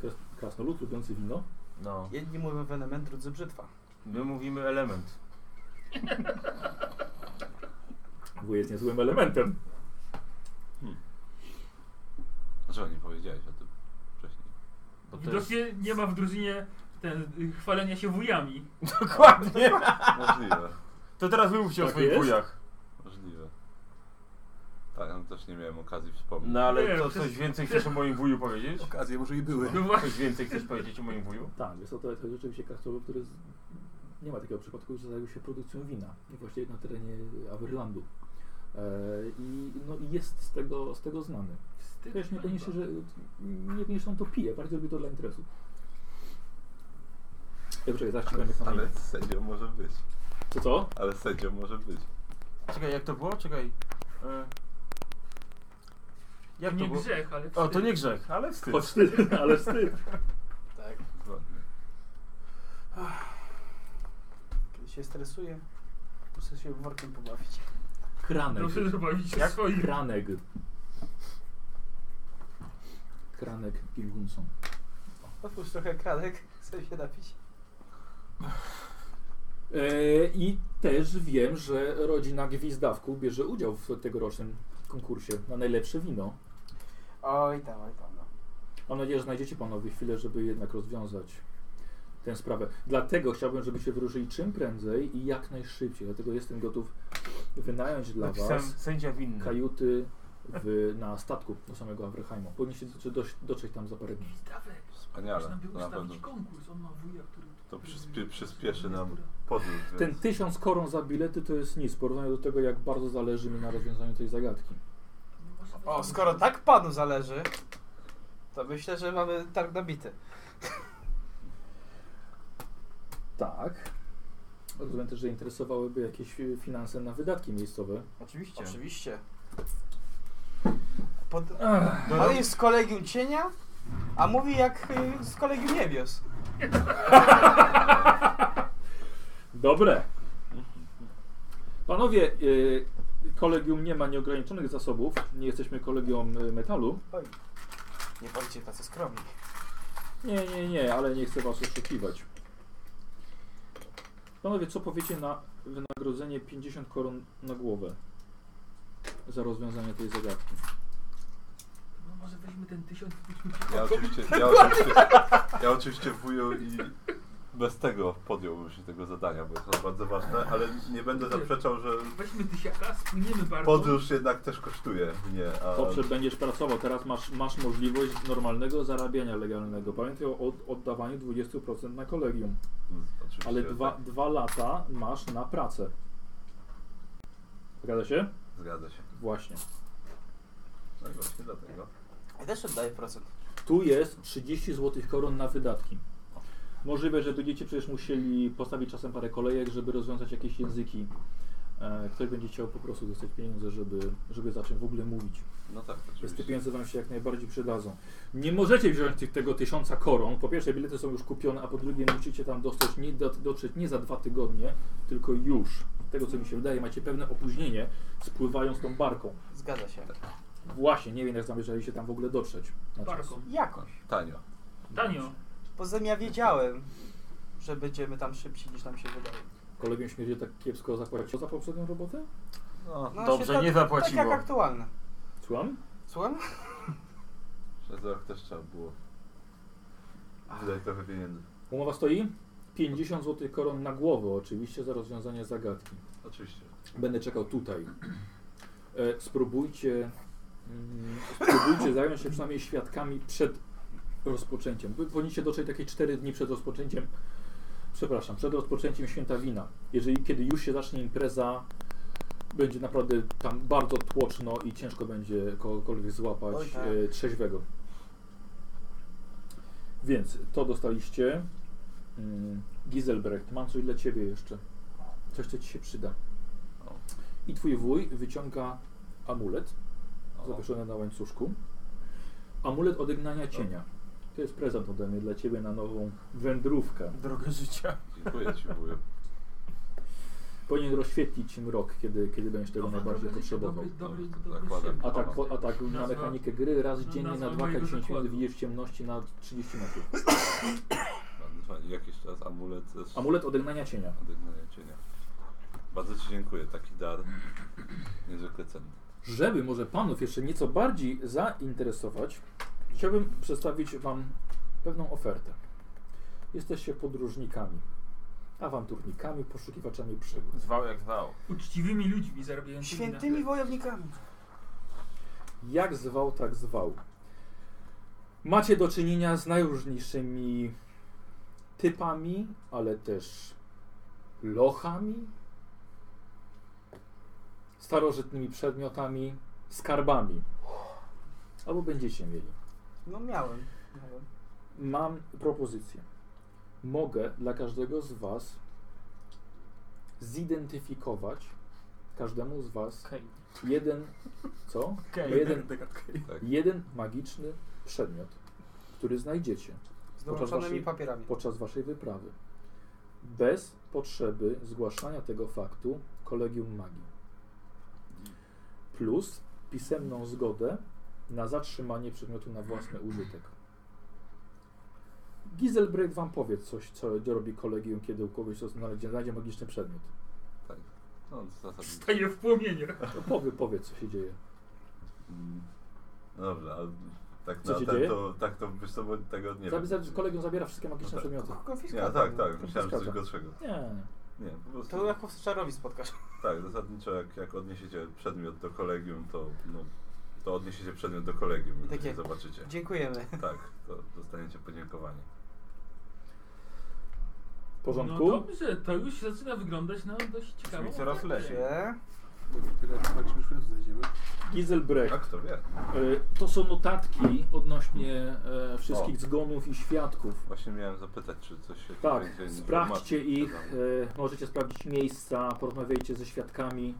S2: Kras, krasnolud lubiący wino.
S5: No.
S6: Jedni mówią wenement, drudzy brzytwa.
S5: My mówimy element.
S2: Bo jest niezłym elementem.
S1: Dlaczego Znaczy, nie powiedziałeś o tym wcześniej?
S5: Bo to jest...
S4: Widocznie nie ma w drużynie ten y, chwalenia się wujami.
S5: Dokładnie.
S1: Możliwe,
S5: To teraz wymówcie o
S2: Tak
S5: swoich
S2: jest?
S5: wujach.
S1: możliwe. Tak, no też nie miałem okazji wspomnieć.
S5: No ale
S4: Nie,
S5: to
S4: przecież-
S5: coś więcej chcesz o moim wuju powiedzieć?
S3: Okazje może i były.
S4: No właśnie.
S5: Coś więcej chcesz powiedzieć o moim wuju?
S2: Tak, jest to, to jest rzeczywiście klasztor, który z... nie ma takiego przypadku, że zajął się produkcją wina. I Właściwie na terenie Averlandu. E, I no, i jest z tego, z tego znany.
S4: Wstyd,
S2: Wiesz, niekoniecznie,
S4: hańba.
S2: że niekoniecznie on to pije, bardziej robi to dla interesu. Ja poczekaj, zaraz ci będę sam
S1: Ale sędzią może być.
S2: Co co?
S1: Ale sędzią może być.
S5: Czekaj, jak to było? Czekaj. E... Jak to
S4: nie
S5: było?
S4: grzech, ale
S5: O, to
S4: wstyd.
S5: nie grzech, ale wstyd.
S2: Choć ty, ale wstyd.
S6: Tak.
S1: Zgodnie.
S6: Kiedy się stresuję, muszę się workiem pobawić.
S2: Kranek.
S4: Dobrze, że bawić się
S5: Jak?
S4: swoim.
S2: Kranek. Kranek Gilgunson.
S6: Otwórz trochę kranek, sobie się napić.
S2: E, I też wiem, że rodzina Gwizdawków bierze udział w tegorocznym konkursie na najlepsze wino.
S6: Oj tam, oj tam. No.
S2: Mam nadzieję, że znajdziecie panowie chwilę, żeby jednak rozwiązać tę sprawę. Dlatego chciałbym, żebyście wyruszyli czym prędzej i jak najszybciej. Dlatego jestem gotów wynająć dla
S5: Napisałem
S2: was
S5: sędzia winny.
S2: kajuty w, na statku do samego Abraheimu. Powinniście do, do, dotrzeć tam za parę dni.
S4: Dawek.
S1: Wspaniale,
S4: Można by
S1: to na pewno.
S4: ustawić konkurs. On ma wuja, który...
S1: To przyspie- przyspieszy nam podróż,
S2: Ten
S1: więc
S2: tysiąc koron za bilety to jest nic w porównaniu do tego, jak bardzo zależy mi na rozwiązaniu tej zagadki.
S6: O, skoro tak panu zależy, to myślę, że mamy targ nabity.
S2: Tak. Rozumiem też, że interesowałyby jakieś y, finanse na wydatki miejscowe.
S5: Oczywiście.
S6: Oczywiście. Pod...
S5: Do-
S6: Pan jest z kolegium cienia, a mówi jak y, z kolegium niebios.
S2: Dobre. Panowie, y, kolegium nie ma nieograniczonych zasobów. Nie jesteśmy kolegium y, metalu.
S6: Oj. Nie bądźcie tacy skromni.
S2: Nie, nie, nie, ale nie chcę was oszukiwać. Panowie, co powiecie na wynagrodzenie 50 koron na głowę za rozwiązanie tej zagadki?
S4: No może weźmy ten tysiąc i pójdźmy
S1: ja oczywiście, ja oczywiście, ja oczywiście wuju i bez tego podjąłbym się tego zadania, bo jest ono bardzo ważne, ale nie będę zaprzeczał, że
S4: Weźmy tysiaka, spłyniemy bardzo.
S1: podróż jednak też kosztuje mnie, a
S2: Dobrze, będziesz pracował. Teraz masz, masz możliwość normalnego zarabiania legalnego. Pamiętaj o od, oddawaniu 20% na kolegium.
S1: Mm, oczywiście,
S2: Ale dwa,
S1: tak,
S2: dwa lata masz na pracę. Zgadza się?
S1: Zgadza się.
S2: Właśnie.
S1: No i właśnie dlatego.
S6: Ja też oddaję procent.
S2: Tu jest 30 zł koron na wydatki. Możliwe, że będziecie przecież musieli postawić czasem parę kolejek, żeby rozwiązać jakieś języki. E, Ktoś będzie chciał po prostu dostać pieniądze, żeby, żeby zacząć w ogóle mówić.
S1: No tak,
S2: Więc te
S1: oczywiście.
S2: pieniądze Wam się jak najbardziej przydadzą. Nie możecie wziąć tych, tego tysiąca koron. Po pierwsze, bilety są już kupione, a po drugie, musicie tam dostać, nie, do- dotrzeć nie za dwa tygodnie, tylko już. Z tego co mi się wydaje, macie pewne opóźnienie spływając tą barką.
S6: Zgadza się.
S2: Właśnie, nie wiem jak zamierzali się tam w ogóle dotrzeć. Znaczy, na czas.
S4: Parką.
S6: Jakoś.
S1: Tanio.
S4: Tanio.
S6: Poza tym ja wiedziałem, że będziemy tam szybsi niż nam się wydaje.
S2: Kolegium śmierci tak kiepsko zapłaciło za poprzednią robotę?
S1: No,
S6: No,
S5: Dobrze,
S6: się tak-
S5: nie zapłaciło.
S6: Tak jak aktualne.
S2: Słucham?
S6: Słucham?
S1: przez rok też trzeba było wydać trochę pieniędzy.
S2: Umowa stoi? 50 zł koron na głowę oczywiście za rozwiązanie zagadki.
S1: Oczywiście.
S2: Będę czekał tutaj. E, spróbujcie, mm, spróbujcie zająć się przynajmniej świadkami przed rozpoczęciem. Wy Powinniście dotrzeć takie 4 dni przed rozpoczęciem, przepraszam, przed rozpoczęciem święta wina. Jeżeli kiedy już się zacznie impreza, będzie naprawdę tam bardzo tłoczno i ciężko będzie kogokolwiek złapać
S6: Oj, tak.
S2: e, trzeźwego. Więc to dostaliście. Mm, Giselbrecht, mam coś dla ciebie jeszcze. Coś, co ci się przyda.
S1: O.
S2: I twój wuj wyciąga amulet
S1: O.
S2: zawieszony na łańcuszku. Amulet odegnania cienia. To jest prezent ode mnie dla ciebie na nową wędrówkę.
S5: Drogę życia.
S1: Dziękuję ci, wuju.
S2: Powinien rozświetlić ci mrok, kiedy, kiedy będziesz tego
S4: Dobra,
S2: najbardziej
S4: dobry,
S2: potrzebował.
S4: Dobry, dobry,
S1: Dobrze,
S4: dobry,
S1: zakładam.
S4: siebie.
S2: A tak, po- a tak na
S4: Nazwa-
S2: mechanikę gry raz dziennie na
S4: nazwa
S2: 2
S4: mojego
S2: 10 minut
S4: zakładu.
S2: widzisz w ciemności na 30 metrów.
S1: Bardzo fajnie. Jakiś czas amulet też.
S2: Amulet odegnania cienia.
S1: Odegnania cienia. Bardzo ci dziękuję. Taki dar niezwykle cenny.
S2: Żeby może panów jeszcze nieco bardziej zainteresować, chciałbym przedstawić wam pewną ofertę. Jesteście podróżnikami, awanturnikami, poszukiwaczami przygód.
S5: Zwał jak zwał.
S4: Uczciwymi ludźmi zarabiającymi
S6: Świętymi
S4: na
S6: wojownikami.
S2: Jak zwał, tak zwał. Macie do czynienia z najróżniejszymi typami, ale też lochami, starożytnymi przedmiotami, skarbami. Albo będziecie mieli.
S6: No miałem. miałem.
S2: Mam propozycję. Mogę dla każdego z Was zidentyfikować każdemu z Was
S4: Okej.
S2: jeden, co?
S5: Okej.
S2: Jeden,
S1: Tak.
S2: jeden magiczny przedmiot, który znajdziecie
S6: Z
S2: Podczas
S6: dołączonymi
S2: waszej-
S6: papierami.
S2: podczas Waszej wyprawy. Bez potrzeby zgłaszania tego faktu kolegium magii. Plus pisemną zgodę na zatrzymanie przedmiotu na własny użytek. Giselbrecht wam powie coś, co robi kolegium, kiedy u kogoś znajdzie znajdzie magiczny przedmiot.
S1: Tak. No, zasadniczo.
S4: Staje w płomieniach.
S2: To powie, powie, co się dzieje.
S1: Mm. No dobrze, ale tak,
S2: Co
S1: na,
S2: się
S1: tak,
S2: dzieje?
S1: to, tak to wiesz co, bo tego nie
S2: Zabi-
S1: wiem.
S2: zabi- kolegium zabiera wszystkie magiczne
S1: No tak.
S2: przedmioty.
S1: Nie,
S6: Konfiskata.
S1: tak, tak, myślałem, że coś
S2: Konfiskata.
S1: gorszego.
S2: Nie,
S1: Nie, po prostu.
S6: To jak powstrzarowi spotkasz.
S1: Tak, zasadniczo jak, jak odniesiecie przedmiot do kolegium, to, no, to odniesiecie przedmiot do
S2: Tak
S1: kolegium i
S6: Takie-
S1: się zobaczycie.
S6: Dziękujemy.
S1: Tak, to dostaniecie podziękowanie.
S2: w porządku?
S4: No dobrze, to już zaczyna wyglądać na dość ciekawą
S5: Brzmi coraz
S4: ofertę.
S5: lepiej.
S6: Gdzie?
S3: Tyle, patrzymy, już raz znajdziemy.
S2: Giselbrecht.
S1: A kto wie?
S2: E, To są notatki odnośnie e, wszystkich zgonów i świadków.
S1: Właśnie miałem zapytać, czy coś się
S2: Tak,
S1: tutaj dzieje,
S2: sprawdźcie
S1: informacji
S2: ich,
S1: przekazano.
S2: e, możecie sprawdzić miejsca, porozmawiajcie ze świadkami,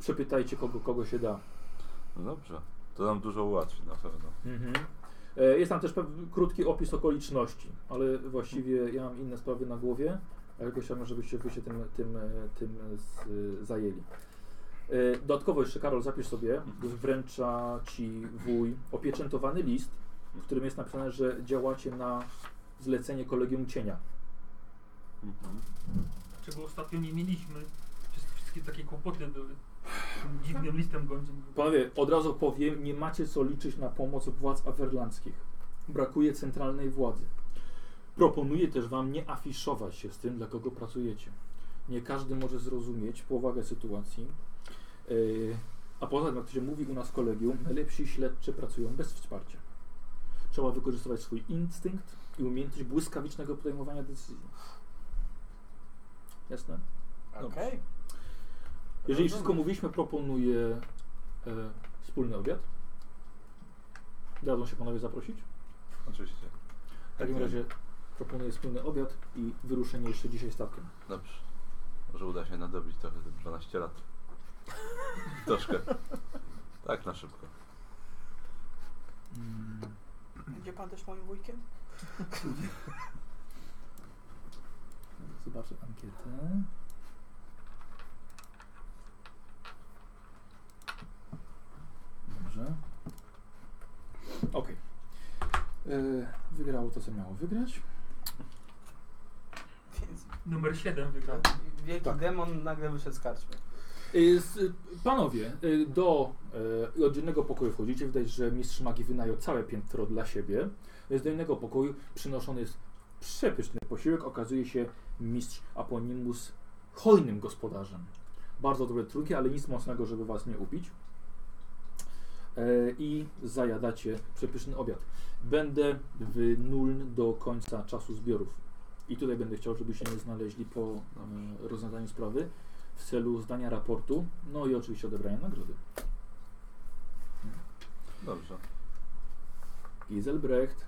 S2: przepytajcie kogo, kogo się da.
S1: No dobrze, to nam dużo ułatwi na pewno.
S2: E, Jest tam też pew- krótki opis okoliczności, ale właściwie ja mam inne sprawy na głowie, ale tylko chciałbym, żebyście wy się tym, tym, e, tym z, zajęli. E, Dodatkowo jeszcze, Karol, zapisz sobie, wręcza ci wuj opieczętowany list, w którym jest napisane, że działacie na zlecenie Kolegium Cienia.
S1: Mhm.
S4: Czego ostatnio nie mieliśmy. Przez te wszystkie takie kłopoty były. Tym dziwnym listem gończym.
S2: Panowie, od razu powiem, nie macie co liczyć na pomoc władz awerlandzkich. Brakuje centralnej władzy. Proponuję też wam nie afiszować się z tym, dla kogo pracujecie. Nie każdy może zrozumieć powagę sytuacji. Yy, a poza tym, jak to się mówi u nas w kolegium, najlepsi śledczy pracują bez wsparcia. Trzeba wykorzystywać swój instynkt i umiejętność błyskawicznego podejmowania decyzji. Jasne?
S6: Okej.
S1: Dobrze.
S2: Jeżeli wszystko mówiliśmy, proponuję e, wspólny obiad. Dadzą się panowie zaprosić.
S1: Oczywiście.
S2: W takim razie proponuję wspólny obiad i wyruszenie jeszcze dzisiaj statkiem.
S1: Dobrze. Może uda się nadobić trochę te 12 lat. Troszkę. Tak na szybko.
S2: Mm,
S6: Będzie pan też moim wujkiem?
S2: Zobaczę ankietę. Dobrze. Okej. E, Wygrało to, co miało wygrać.
S6: Więc
S4: Numer 7 wygrał.
S6: wielki
S2: Tak.
S6: demon nagle wyszedł z karczmy.
S2: Y, s- y, Panowie, y, do y, oddzielnego pokoju wchodzicie. Widać, że mistrz magii wynajął całe piętro dla siebie. Z do innego pokoju przynoszony jest przepyszny posiłek. Okazuje się mistrz Aponimus hojnym gospodarzem. Bardzo dobre trunki, ale nic mocnego, żeby was nie upić. Y, I zajadacie przepyszny obiad. Będę w nuln do końca czasu zbiorów. I tutaj będę chciał, żebyście mnie znaleźli po y, rozwiązaniu sprawy w celu zdania raportu, no i oczywiście odebrania nagrody.
S1: Dobrze.
S2: Giselbrecht,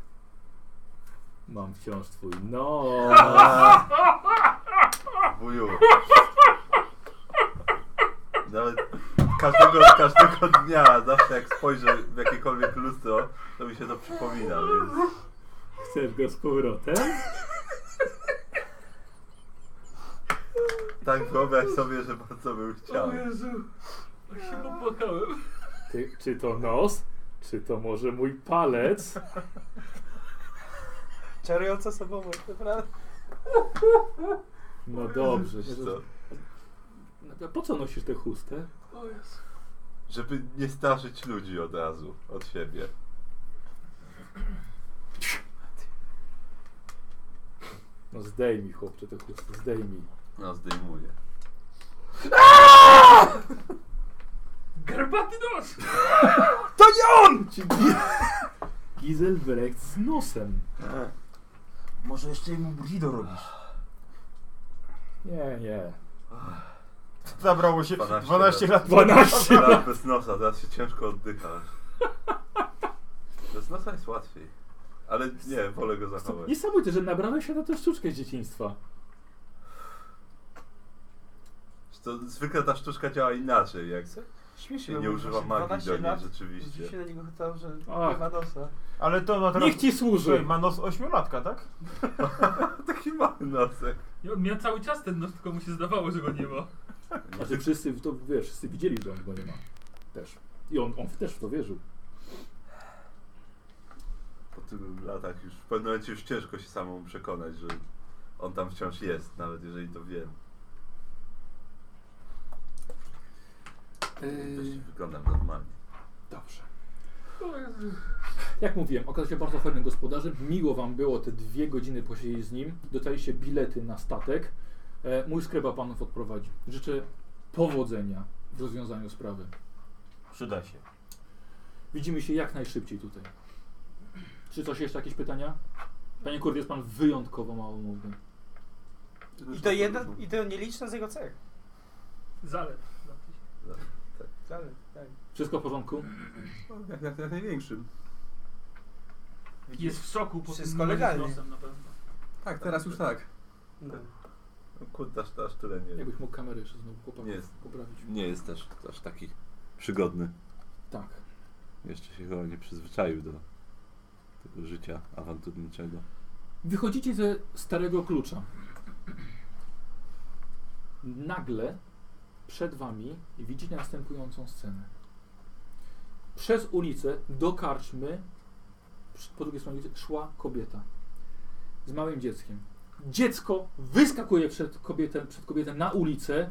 S2: mam wciąż twój no.
S1: Wuju. Nawet każdego, każdego dnia, zawsze jak spojrzę w jakiekolwiek lustro, to mi się to przypomina, więc
S2: Chcesz go z powrotem?
S1: tak wyobraź sobie, że bardzo bym chciał.
S4: O Jezu. Aż się popłakałem.
S2: Ty, czy to nos? Czy to może mój palec?
S6: Czarująca osobowość, naprawdę.
S2: No dobrze.
S1: Wiesz co,
S2: No, po co nosisz tę chustę?
S4: O Jezu.
S1: Żeby nie straszyć ludzi od razu, od siebie.
S2: No zdejmij chłopcze te chusty, zdejmij.
S1: No, zdejmuję.
S4: Garbaty nos!
S2: Ci gi- Giselbrecht z nosem.
S5: Może jeszcze mu burrito robisz.
S2: Nie, nie.
S5: Zabrało się 12,
S1: 12
S5: lat.
S2: 12
S1: Teraz bez nosa, teraz się ciężko oddychasz. Bez nosa jest łatwiej. Ale nie, wolę go zachować.
S2: Niesamowite, że nabrałeś się na tę sztuczkę z dzieciństwa.
S1: To zwykle ta sztuczka działa inaczej, jak
S6: Śmiesznie.
S1: się nie
S6: było,
S1: używa
S6: właśnie
S1: magii
S6: 12
S1: do niej
S6: lat
S1: rzeczywiście.
S6: Rzucił na niego chyba, że
S2: Ach.
S6: nie ma nosa.
S5: Ale to ma teraz...
S2: Niech ci
S5: Słuchaj,
S2: służy.
S5: ma nos ośmiolatka, tak?
S1: Taki mały nosek.
S4: I on miał cały czas ten nos, tylko mu się zdawało, że go nie ma.
S2: Znaczy wszyscy, w to, wiesz, wszyscy widzieli, że on go nie ma. Też. I on, on też w to wierzył.
S1: Po tylu latach już w pewnym momencie już ciężko się samemu przekonać, że on tam wciąż jest, nawet jeżeli to wiem.
S2: Yy.
S1: Też wyglądam normalnie.
S2: Dobrze. Jak mówiłem, okazał się bardzo fajnym gospodarzem. Miło Wam było te dwie godziny posiedzieć z nim. Dostaliście bilety na statek. E, mój skreba Panów odprowadzi. Życzę powodzenia w rozwiązaniu sprawy.
S5: Przyda się.
S2: Widzimy się jak najszybciej tutaj. Czy coś jeszcze jakieś pytania? Panie Kurde, jest Pan wyjątkowo małomówny.
S6: I to jeden, i to nieliczne z jego cech.
S4: Zalew.
S6: Dalej, tak.
S2: Wszystko w porządku?
S3: No, Jak, jak, jak największym.
S4: Jest w szoku po
S6: Wszystko
S4: tym numerze z
S6: legalnie.
S4: nosem na pewno.
S3: Tak, teraz już tak.
S6: No.
S1: No kurde, aż, aż tyle nie
S2: Jakbyś mógł kamerę jeszcze znowu chłopaków
S1: Jest.
S2: poprawić.
S1: Nie jest też aż taki przygodny.
S2: Tak.
S1: Jeszcze się chyba nie przyzwyczaił do tego życia awanturniczego.
S2: Wychodzicie ze starego klucza. Nagle przed wami widzicie następującą scenę. Przez ulicę do karczmy, przy- po drugiej stronie ulicy, szła kobieta z małym dzieckiem. Dziecko wyskakuje przed kobietę, przed kobietę na ulicę.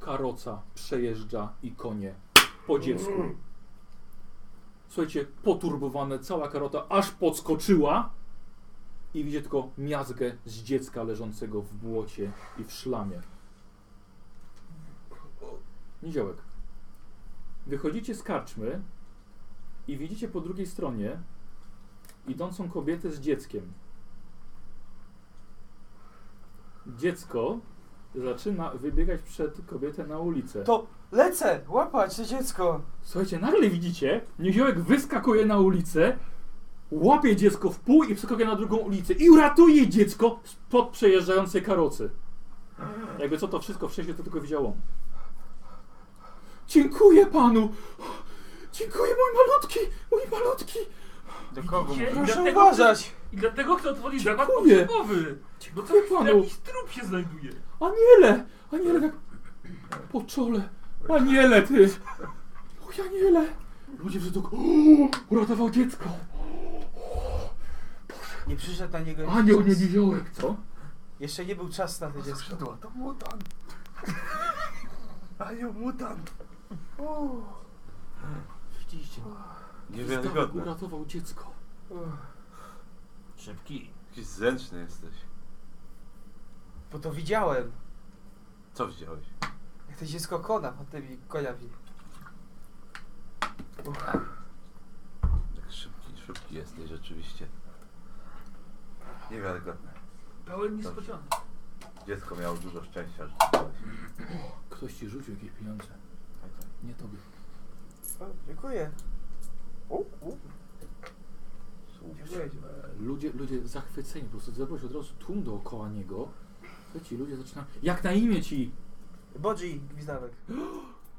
S2: Karoca przejeżdża i konie po dziecku. Słuchajcie, poturbowane, cała karota aż podskoczyła i widzicie tylko miazgę z dziecka leżącego w błocie i w szlamie. Niziołek. Wychodzicie z karczmy i widzicie po drugiej stronie idącą kobietę z dzieckiem. Dziecko zaczyna wybiegać przed kobietę na ulicę.
S6: To lecę! Łapać to dziecko!
S2: Słuchajcie, nagle widzicie, niziołek wyskakuje na ulicę, łapie dziecko w pół i przeskakuje na drugą ulicę i uratuje dziecko spod przejeżdżającej karocy. Jakby co to wszystko wcześniej to tylko widziało. Dziękuję panu! Dziękuję, mój malutki! Mój malutki!
S5: Do kogo
S4: Widzicie?
S5: mówisz?
S4: I
S6: Proszę
S4: dlatego-
S6: uważać!
S4: I dlatego chcę odwolić zakład
S2: Dziękuję.
S4: pogrzebowy. Bo to
S2: Dziękuję panu!
S4: jakiś trup się znajduje.
S2: Aniele! Aniele tak po czole! Aniele ty! Mój aniele! Ludzie wrzucą... Uratował dziecko!
S6: Nie przyszedł na niego.
S2: Anioł, nie niziołek, co?
S6: Jeszcze nie był czas na to dziecko.
S1: Skrzydła to mutant! A nie mutant!
S2: Widzicie? Stawek
S1: Niewiarygodne.
S2: uratował dziecko.
S5: Szybki.
S1: Jakiś zręczny jesteś.
S6: Bo to widziałem.
S1: Co wziąłeś?
S6: Jak to dziecko kona pod tymi koniami.
S1: Jak Tak szybki, szybki jesteś rzeczywiście. Niewiarygodne.
S4: Pełen niespodzianek.
S1: Dziecko miało dużo szczęścia, że ty byłeś.
S2: Ktoś ci rzucił jakieś pieniądze. Nie tobie.
S6: O, dziękuję. U, u.
S1: Słuchaj.
S2: E, Ludzie, ludzie zachwyceni, po prostu zebrał się od razu tłum dookoła niego. Słuchajcie, ci ludzie zaczynają, jak na imię ci!
S6: Bodzi gwizdawek.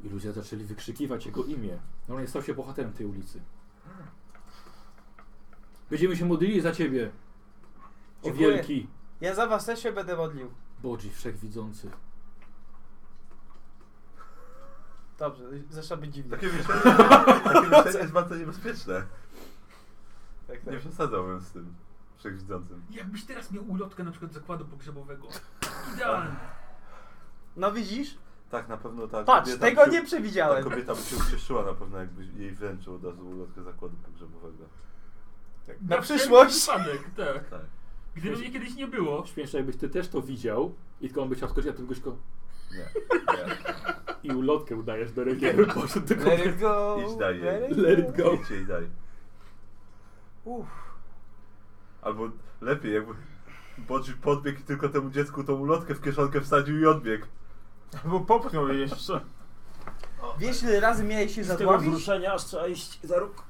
S2: I ludzie zaczęli wykrzykiwać jego imię. Normalnie stał się bohaterem tej ulicy. Będziemy się modlili za ciebie. O
S6: Dziękuję.
S2: wielki
S6: Ja za was też się będę modlił.
S2: Bodzi wszechwidzący.
S6: Dobrze, zaczyna być dziwnie.
S1: Takie myślenie, takie myślenie jest bardzo niebezpieczne.
S6: Tak, tak.
S1: Nie przesadzałbym z tym wszechwidzącym.
S4: Jakbyś teraz miał ulotkę na przykład zakładu pogrzebowego. Idealnie.
S6: No widzisz?
S1: Tak, na pewno ta
S6: Patrz,
S1: kobieta
S6: tego
S1: by
S6: nie
S1: się, Ta
S6: przewidziałem.
S1: kobieta by się ucieszyła na pewno, jakby jej wręczył od razu ulotkę zakładu pogrzebowego.
S6: Na
S4: wszelki
S6: przyszłość.
S4: Wypadek, tak.
S1: Tak.
S4: Gdyby mnie kiedyś nie było,
S2: Śmieszne, jakbyś ty też to widział i tylko on by chciał skoczyć, a ty byś go
S1: Nie.
S2: i ulotkę udajesz do regieru, poszedł tylko
S6: Let it go!
S1: Idź dalej.
S6: Let it
S2: Let it
S1: nie.
S2: go.
S1: Idźcie i daj.
S6: Uff.
S1: Albo lepiej, jakby Bodzi podbiegł i tylko temu dziecku tą ulotkę w kieszonkę wsadził i odbiegł.
S5: Bo popchnął je jeszcze.
S6: Wiesz ile razy miałeś się
S5: Z tego
S6: zadławić?
S5: wzruszenia aż trzeba iść za róg.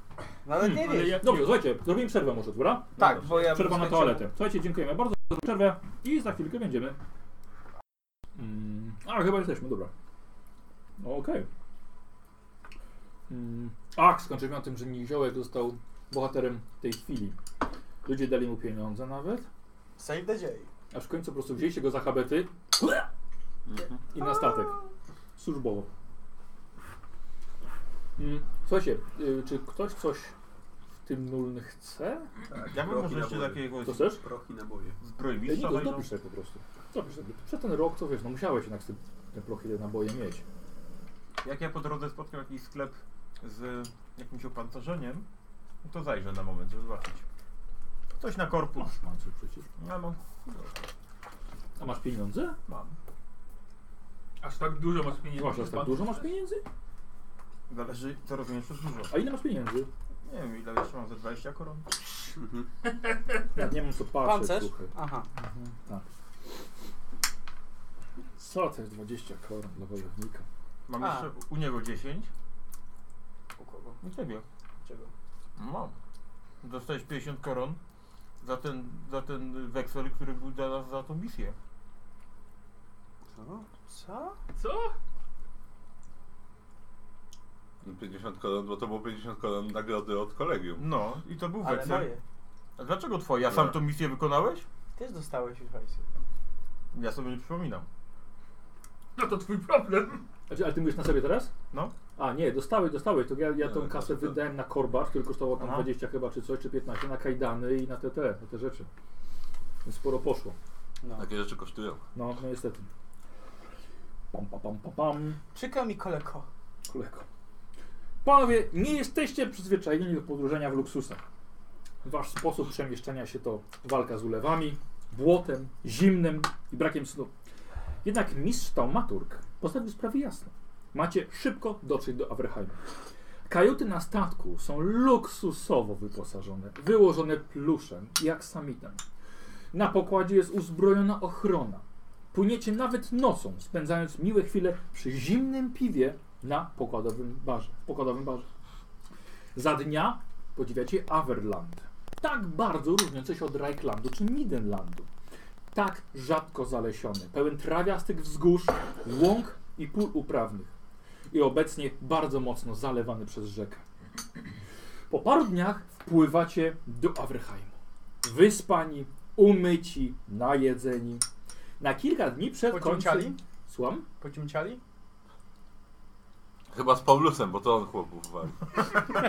S6: Nawet nie
S4: ale
S6: wiesz.
S4: ja
S2: Dobrze, słuchajcie, zrobimy przerwę może, dobra?
S6: Tak, bo ja...
S2: Przerwa na
S6: bym
S2: toaletę. Słuchajcie, dziękujemy bardzo za przerwę i za chwilkę będziemy. Mm, a, chyba jesteśmy, dobra. No, Okej. Mm, ach, skończyliśmy na tym, że Niziołek został bohaterem tej chwili. Ludzie dali mu pieniądze nawet,
S6: Save the day.
S2: aż w końcu po prostu wzięliście go za habety i na statek. Służbowo. Mm, słuchajcie, y, czy ktoś coś w tym nuln chce?
S3: Tak,
S5: Ja bym
S3: prochy
S5: może jeszcze
S3: naboje.
S5: jakiegoś
S2: To chcesz?
S3: Prochy naboje.
S2: Ja nie,
S5: zbrojmistrza
S2: to
S5: wejdą.
S2: dopisz sobie po prostu. Dopisz sobie. Przez ten rok, co wiesz, no musiałeś jednak z tym, ten proch ile naboje mieć.
S5: Jak ja po drodze spotkam jakiś sklep z jakimś opancerzeniem, no to zajrzę na moment, żeby zobaczyć. Coś na korpus.
S2: Masz pancerz przecież.
S5: Ja mam.
S2: A masz pieniądze?
S5: mam.
S4: aż tak dużo masz pieniędzy.
S2: Nie masz aż tak dużo masz pieniędzy?
S5: Zależy, co rozumiesz przez dużo.
S2: A ile masz pieniędzy?
S5: Nie wiem, ile jeszcze mam, ze 20 koron?
S3: Mhm.
S2: Ja nie mam co patrzeć,
S6: Pancerz?
S2: słuchaj.
S6: Aha.
S2: Tak. Co to jest 20 koron dla wojownika?
S5: Mam
S6: A.
S5: jeszcze u niego 10.
S6: U kogo?
S5: U ciebie.
S6: Czego?
S5: Mam. Dostałeś 50 koron za ten, za ten weksel, który był dla nas za tą misję.
S3: Co?
S6: Co?
S4: Co?
S1: 50 koron, No, bo to było 50 koron nagrody od kolegium.
S5: No, i to był
S6: Ale
S5: weksel.
S6: moje.
S5: A dlaczego twoje? A sam
S1: Nie.
S5: tą misję wykonałeś?
S6: Też dostałeś już hajsy.
S5: Ja sobie nie przypominam.
S4: No to twój problem.
S2: Znaczy, ale ty mówisz na sobie teraz?
S5: No.
S2: A nie, dostałeś, dostałeś. To ja, ja
S1: No,
S2: tą
S1: to-
S2: kasę
S1: to-
S2: wydałem na korbacz, który kosztował tam
S5: Aha.
S2: 20 chyba, czy coś, czy 15, na kajdany i na te, te, na te rzeczy. Więc sporo poszło.
S6: No.
S1: Takie rzeczy kosztują.
S2: No, no niestety. Pam, pam, pam, pam, pam.
S6: Przykro mi koleko.
S2: Kolego. Panowie, nie jesteście przyzwyczajeni do podróżenia w luksusach. Wasz sposób przemieszczania się to walka z ulewami, błotem, zimnem i brakiem snu. Jednak mistrz taumaturg postawił sprawy jasno. Macie szybko dotrzeć do Averheimu. Kajuty na statku są luksusowo wyposażone, wyłożone pluszem i aksamitem. Na pokładzie jest uzbrojona ochrona. Płyniecie nawet nocą, spędzając miłe chwile przy zimnym piwie na pokładowym barze. W pokładowym barze. Za dnia podziwiacie Averland. Tak bardzo różniące się od Reichlandu czy Midenlandu. Tak rzadko zalesiony, pełen trawiastych wzgórz, łąk i pól uprawnych. I obecnie bardzo mocno zalewany przez rzekę. Po paru dniach wpływacie do Averheimu. Wyspani, umyci, najedzeni. Na kilka dni przed końcem...
S6: Pociąciali?
S2: Słucham?
S6: Pociąciali?
S1: Chyba z Paulusem, bo to on chłopów wali.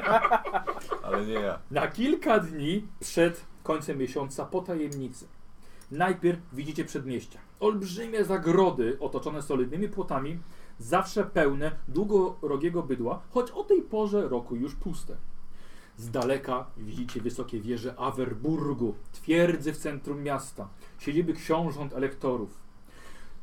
S1: Ale nie ja.
S2: Na kilka dni przed końcem miesiąca po tajemnicy. Najpierw widzicie przedmieścia. Olbrzymie zagrody otoczone solidnymi płotami, zawsze pełne długorogiego bydła, choć o tej porze roku już puste. Z daleka widzicie wysokie wieże Awerburgu, twierdzy w centrum miasta, siedziby książąt elektorów.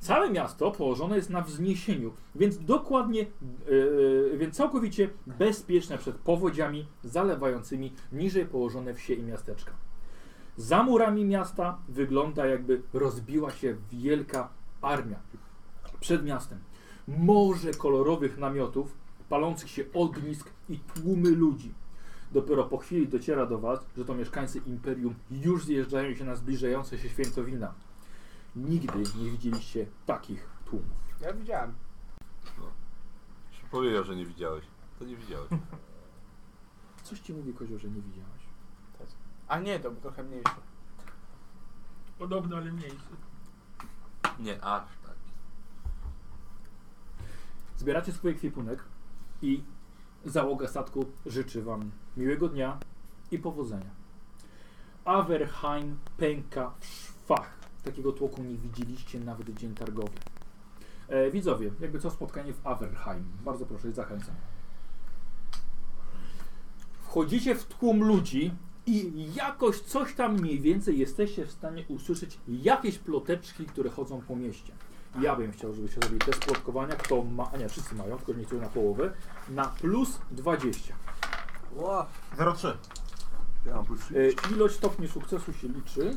S2: Całe miasto położone jest na wzniesieniu, więc dokładnie, yy, więc całkowicie bezpieczne przed powodziami zalewającymi niżej położone wsie i miasteczka. Za murami miasta wygląda jakby rozbiła się wielka armia. Przed miastem morze kolorowych namiotów, palących się ognisk i tłumy ludzi. Dopiero po chwili dociera do Was, że to mieszkańcy imperium już zjeżdżają się na zbliżające się świętowina. Nigdy nie widzieliście takich tłumów.
S6: Ja widziałem.
S1: Się Powiedział, że nie widziałeś. To nie widziałeś.
S2: Coś ci mówi kozioł, że nie widziałeś.
S6: A nie, to był trochę mniejszy.
S4: Podobno, ale mniejszy.
S1: Nie, aż tak.
S2: Zbieracie swój ekwipunek i załoga statku życzy Wam miłego dnia i powodzenia. Averheim pęka w szwach. Takiego tłoku nie widzieliście nawet w dzień targowy. E, widzowie, jakby co spotkanie w Averheim. Bardzo proszę, zachęcam. Wchodzicie w tłum ludzi, I jakoś coś tam mniej więcej jesteście w stanie usłyszeć jakieś ploteczki, które chodzą po mieście. Ja bym chciał, żebyście robili test plotkowania, kto ma, a nie, wszyscy mają, tylko nie na połowę, na plus 20.
S6: Ła,
S5: 03.
S3: Ja mam plus trzy.
S2: E, ilość stopni sukcesu się liczy,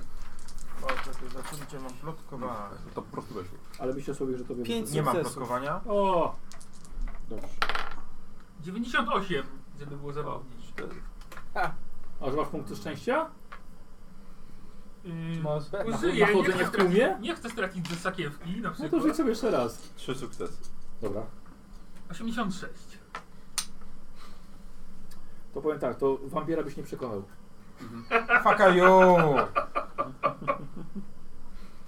S5: O, czekaj, zaczęliście mam plotkowanie.
S1: To po prostu weszło.
S2: ale myślę sobie, że to wiem.
S6: Pięć.
S5: Nie mam
S6: Sukcesów.
S5: plotkowania.
S2: O! Dobrze.
S4: 98, żeby było zabawniej.
S2: A że masz punkty szczęścia? No
S4: Yy,
S6: może.
S4: użyję,
S2: Na
S4: nie
S2: chodzenie
S4: chcę,
S2: w tłumie?
S4: stracić, nie chcę stracić ze sakiewki na
S2: No
S4: przykład.
S2: to rzuć sobie jeszcze raz.
S1: Trzy sukcesy.
S2: Dobra.
S4: 86.
S2: To powiem tak, to wampira byś nie przekonał.
S5: Fuck you!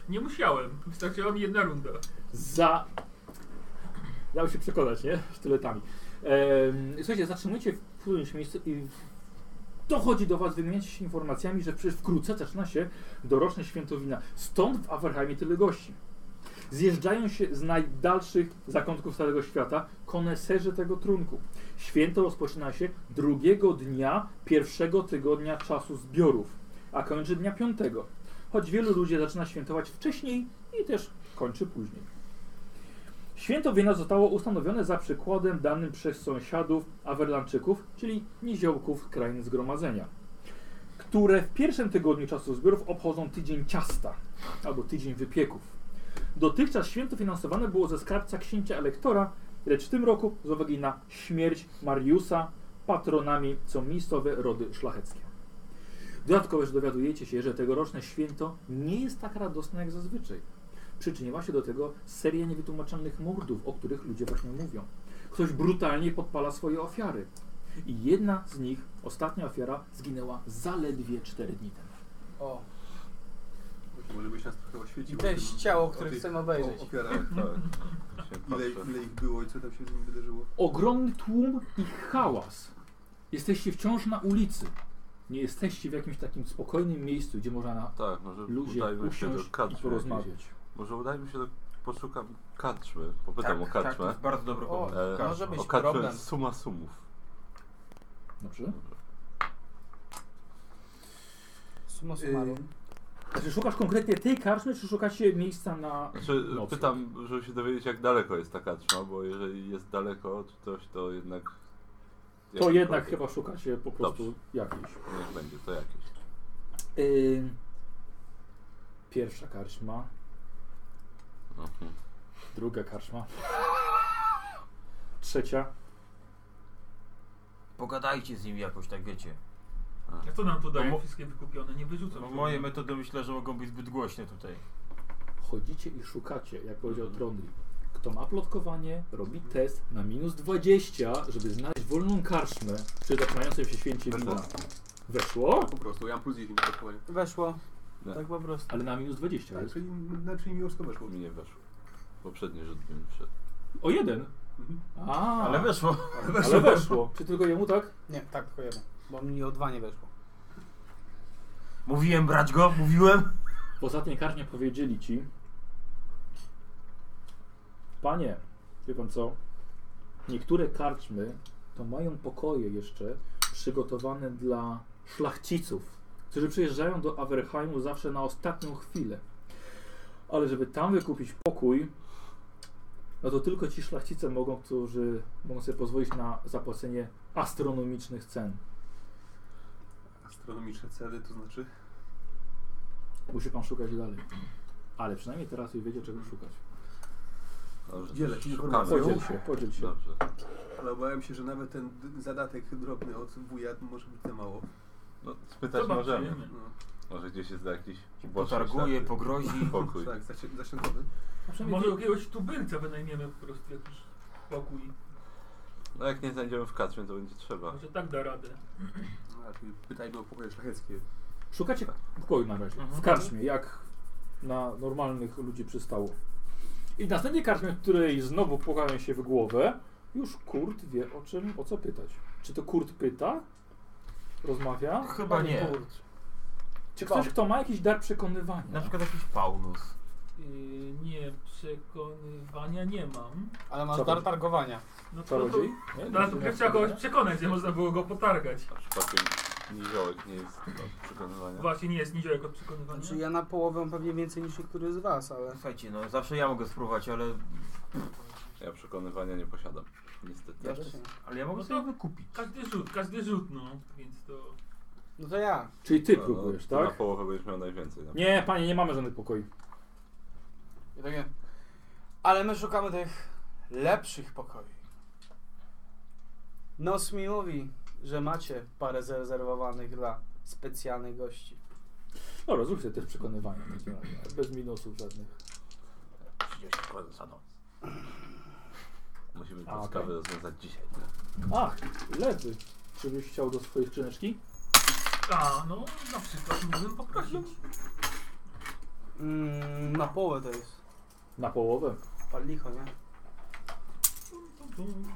S4: Nie musiałem, wystarczyła mi jedna runda.
S2: Za... Dało się przekonać, nie? Sztyletami. Ehm, słuchajcie, zatrzymujecie w którymś miejscu i dochodzi do was, wymieniacie się informacjami, że przecież wkrótce zaczyna się doroczne święto wina. Stąd w Averheimie tyle gości. Zjeżdżają się z najdalszych zakątków całego świata koneserzy tego trunku. Święto rozpoczyna się drugiego dnia pierwszego tygodnia czasu zbiorów, a kończy dnia piątego. Choć wielu ludzi zaczyna świętować wcześniej i też kończy później. Święto wina zostało ustanowione za przykładem danym przez sąsiadów Awerlanczyków, czyli niziołków krain zgromadzenia, które w pierwszym tygodniu czasu zbiorów obchodzą tydzień ciasta albo tydzień wypieków. Dotychczas święto finansowane było ze skarbca księcia elektora, lecz w tym roku z uwagi na śmierć Mariusa patronami są miejscowe rody szlacheckie. Dodatkowo już dowiadujecie się, że tegoroczne święto nie jest tak radosne jak zazwyczaj. Przyczyniła się do tego seria niewytłumaczalnych mordów, o których ludzie właśnie mówią. Ktoś brutalnie podpala swoje ofiary. I jedna z nich, ostatnia ofiara, zginęła zaledwie 4 dni temu.
S6: O,
S3: Może byś nas trochę oświecił.
S6: I to jest
S3: o tym-
S6: ciało,
S3: o
S6: które
S3: tych-
S6: chcemy obejrzeć.
S3: o Ofiarach.
S1: Tak. Się
S3: Ile,
S1: patrzę.
S3: ile ich było i co tam się z nimi wydarzyło.
S2: Ogromny tłum i hałas. Jesteście wciąż na ulicy. Nie jesteście w jakimś takim spokojnym miejscu, gdzie można na
S1: Tak, może
S2: luzie
S1: udajmy się do
S2: usiąść i
S1: kadrzu. jakiejś.
S2: porozmawiać.
S1: Może udajmy się do... Poszukam kadrzu. Popytam o
S5: Tak, to
S1: kadrze.
S5: jest bardzo dobry
S6: O,
S5: pomysł.
S1: E,
S6: może być
S1: o kadrze
S6: problem.
S1: z suma sumów.
S2: Dobrze?
S6: summa summarum.
S2: Czy szukasz konkretnie tej karczmy, czy szukacie miejsca na...
S1: Znaczy,
S2: Nocleg.
S1: pytam, żeby się dowiedzieć, jak daleko jest ta kaczma, bo jeżeli jest daleko, czy coś, to jednak...
S2: To
S1: jakikolwiek.
S2: jednak chyba szukacie po prostu
S1: Dobrze.
S2: jakiejś.
S1: Niech będzie, to jakieś.
S2: Yy, pierwsza karczma,
S1: Mhm.
S2: druga karczma, trzecia.
S5: Pogadajcie z nim jakoś, tak wiecie.
S4: A co nam to daje?
S5: No mo-
S4: Wszystkie wykupione, nie wyrzucam.
S5: Bo No, moje metody myślę, że mogą być zbyt głośne tutaj.
S2: Chodzicie i szukacie, jak powiedział Trondri. Kto ma plotkowanie, robi test na minus 20, żeby znaleźć wolną karczmę przy zaczynającym się święcie wina. Weszło,
S3: Po prostu, ja mam plus 10 plotkowania.
S6: Weszło.
S1: Nie.
S6: Tak po prostu.
S2: ale na minus 20
S3: Tak,
S2: jest.
S3: czyli, na- czyli miłosko weszło.
S1: Mi nie weszło. Poprzedni rzut mi wszedł.
S2: O jeden!
S3: Mhm.
S2: A,
S5: Ale weszło.
S2: ale weszło. Czy tylko jemu tak?
S6: Nie, tak tylko jeden. Bo mi o dwa nie weszło.
S5: Mówiłem brać go, mówiłem.
S2: W ostatniej karnie powiedzieli ci Panie, wie pan co? Niektóre karczmy to mają pokoje jeszcze przygotowane dla szlachciców, którzy przyjeżdżają do Averheimu zawsze na ostatnią chwilę. Ale żeby tam wykupić pokój, no to tylko ci szlachcice mogą, którzy mogą sobie pozwolić na zapłacenie astronomicznych cen.
S3: Astronomiczne ceny, to znaczy...
S2: Musi pan szukać dalej. Ale przynajmniej teraz już wiecie, czego szukać.
S1: Dobrze,
S3: Dzielę
S1: to
S3: się
S1: szukamy.
S3: informacją.
S2: Podziel się, podziel się.
S1: Dobrze.
S3: Ale obawiam się, że nawet ten d- zadatek drobny od wuja może być za mało.
S1: No, spytać możemy.
S3: No,
S1: Może gdzieś jest jakiś uboższy
S5: Potarguje,
S1: ślad.
S5: pogrozi.
S1: pokój.
S3: tak, zaci- zasięgowy.
S2: A przynajmniej
S4: Może jakiegoś tubylca wynajmiemy po prostu jakiś pokój.
S1: No jak nie znajdziemy w kaczmie, to będzie trzeba.
S4: Może tak da radę.
S3: No, raczej Pytajmy o pokoje szlacheckie.
S2: Szukacie pokoju na razie.
S5: Mhm.
S2: W karczmie, jak na normalnych ludzi przystało. I w następnej karczmie, w której znowu płakają się w głowę, już Kurt wie o czym, o co pytać. Czy to Kurt pyta? Rozmawia?
S5: No, Chyba nie.
S2: Czy ktoś, kto ma jakiś dar przekonywania?
S5: Na przykład jakiś Paulus.
S4: Yy, nie, przekonywania nie mam.
S6: Ale masz
S2: Co
S6: dar
S2: chodzi?
S6: targowania.
S4: No to, to,
S2: Czarodziej? Nie?
S4: no, ale to trzeba kogoś przekonać, że można było go potargać.
S1: Przypadkiem Niziołek nie jest od przekonywania.
S4: Właśnie nie jest niziołek od przekonywania.
S6: Znaczy ja na połowę pewnie więcej niż niektóry z was, ale...
S5: Słuchajcie, no zawsze ja mogę spróbować, ale...
S1: Ja przekonywania nie posiadam, niestety.
S6: Ja też nie.
S5: Ale ja mogę
S4: No to-
S5: sobie wykupić.
S4: Każdy rzut, każdy rzut, no. Więc to...
S6: No to ja.
S2: Czyli ty
S1: No, no,
S2: próbujesz,
S1: ty Na
S2: tak?
S1: połowę będziesz miał najwięcej. no. Na
S2: Nie, panie, nie mamy żadnych pokoi.
S6: Ja tak wiem. Ale my szukamy tych lepszych pokoi. Nos mi mówi, że macie parę zarezerwowanych dla specjalnych gości.
S2: Dobra, zrób sobie też przekonywanie w takim razie. Bez minusów żadnych.
S5: 30 koron za noc.
S1: Musimy
S2: A,
S1: tę sprawę
S2: okej.
S1: rozwiązać dzisiaj.
S2: Ach, lewy. Czy byś chciał do swojej skrzyneczki?
S4: A, no na przykład mógłbym poprosić.
S6: Mm, na połowę to jest.
S2: Na połowę.
S6: Pal licho, nie?
S4: Tum, tum, tum.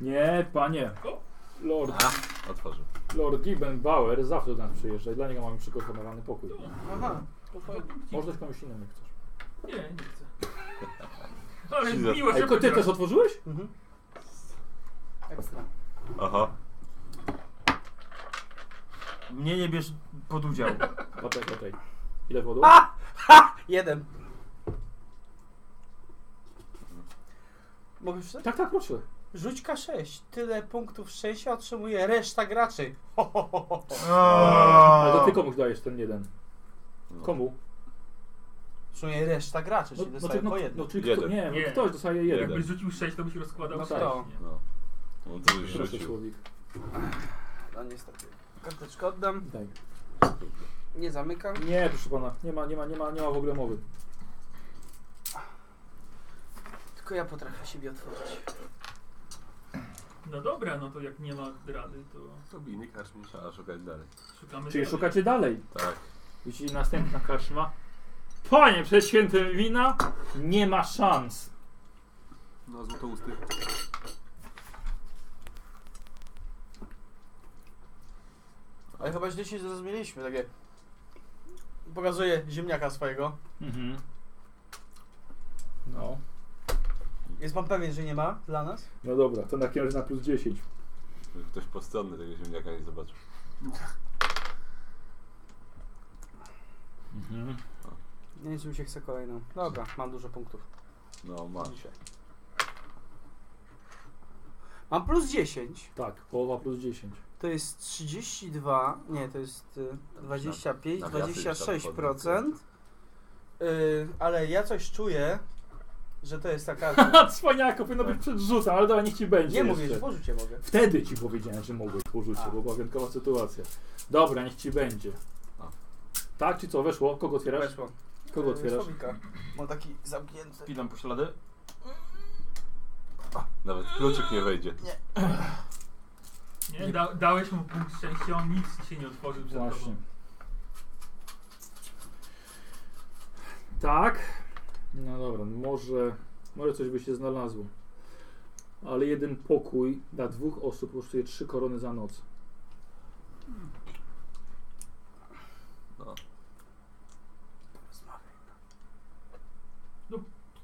S2: Nie, panie.
S4: O.
S2: Lord,
S1: Otworzył.
S2: Lord Bauer zawsze do nas przyjeżdża i dla niego mamy przygotowany pokój.
S6: Aha. To
S4: To
S6: fajnie.
S4: punkcik.
S2: Może też komuś innemu chcesz.
S4: Nie, nie chcę. Ale
S1: Siedzę.
S4: miło
S2: Ej,
S4: się
S2: ko- ty też otworzyłeś?
S6: Mhm. Ekstra.
S1: Aha.
S5: Mnie nie bierz pod udział.
S2: Poczekaj, poczekaj. Ile wodą?
S6: Jeden. Mogę przeczytać?
S2: Tak, tak, proszę.
S6: Rzuć K6. Tyle punktów szczęścia otrzymuje reszta graczy. Ho, ho, ho, ho.
S2: Ale to ty
S5: Aaaa!
S2: komuś dajesz ten jeden.
S1: No.
S2: Komu?
S6: Otrzymuje reszta graczy, czyli dostaje
S2: czy- no,
S6: Znaczy, po jednym.
S2: no, czyli kto,
S1: Jeden.
S2: nie,
S4: Nie.
S2: no, ktoś dostaje jeden. tak.
S4: Jakbyś rzucił 6, to byś rozkładał
S6: No
S4: sześć,
S6: to.
S4: nie?
S1: No. No to już
S2: Proszę
S1: rzucił.
S2: człowiek.
S6: No niestety. Karteczkę oddam,
S2: Daj.
S6: nie zamykam.
S2: Nie, proszę pana, nie ma, nie ma, nie ma, nie ma w ogóle mowy.
S6: Tylko ja potrafię siebie otworzyć.
S4: No dobra, no to jak nie ma rady, to
S1: To mi nie karcz mi trzeba szukać dalej.
S4: szukamy
S2: Czyli
S4: dalej.
S2: szukacie dalej.
S1: Tak.
S2: Widzicie, następna karczma. Panie, przed świętym wina nie ma szans.
S3: No, złotousty.
S6: Ale chyba źle się zrozumieliśmy, takie... Pokazuję ziemniaka swojego.
S2: Mhm. No.
S6: Jest pan pewien, że nie ma dla nas?
S2: No dobra, to na razie na plus 10.
S1: Żeby Ktoś postronny tego ziemniaka nie zobaczył.
S2: Mhm.
S6: Nie wiem, czy mi się chce kolejną. Dobra, mam dużo punktów.
S1: No ma.
S6: Mam plus 10,
S2: Tak, połowa plus 10.
S6: to jest 32, nie, to jest y, 25,
S1: Nawiasy już tam
S6: 26%. Yy, ale ja coś czuję, że to jest taka...
S2: Ha, cwaniako, powinno być przed rzucem, ale dobra, niech ci będzie
S6: Nie
S2: jeszcze.
S6: mówię, że pożycie mogę.
S2: Wtedy ci powiedziałem, że mogłeś pożyczyć,
S6: A.
S2: bo była wyjątkowa sytuacja. Dobra, niech ci będzie.
S1: A.
S2: Tak, czy co, weszło? Kogo otwierasz?
S6: Weszło.
S2: Kogo
S6: Yy,
S2: otwierasz?
S6: Słowika. Mam taki zamknięty.
S5: Spinam po ślady.
S1: Nawet kluczyk nie wejdzie.
S4: Nie, da, dałeś mu punkt szczęścia, on nic ci się nie otworzył przed
S2: Właśnie.
S4: tobą.
S2: Tak. No dobra, może, może coś by się znalazło. Ale jeden pokój dla dwóch osób kosztuje trzy korony za noc.
S1: No.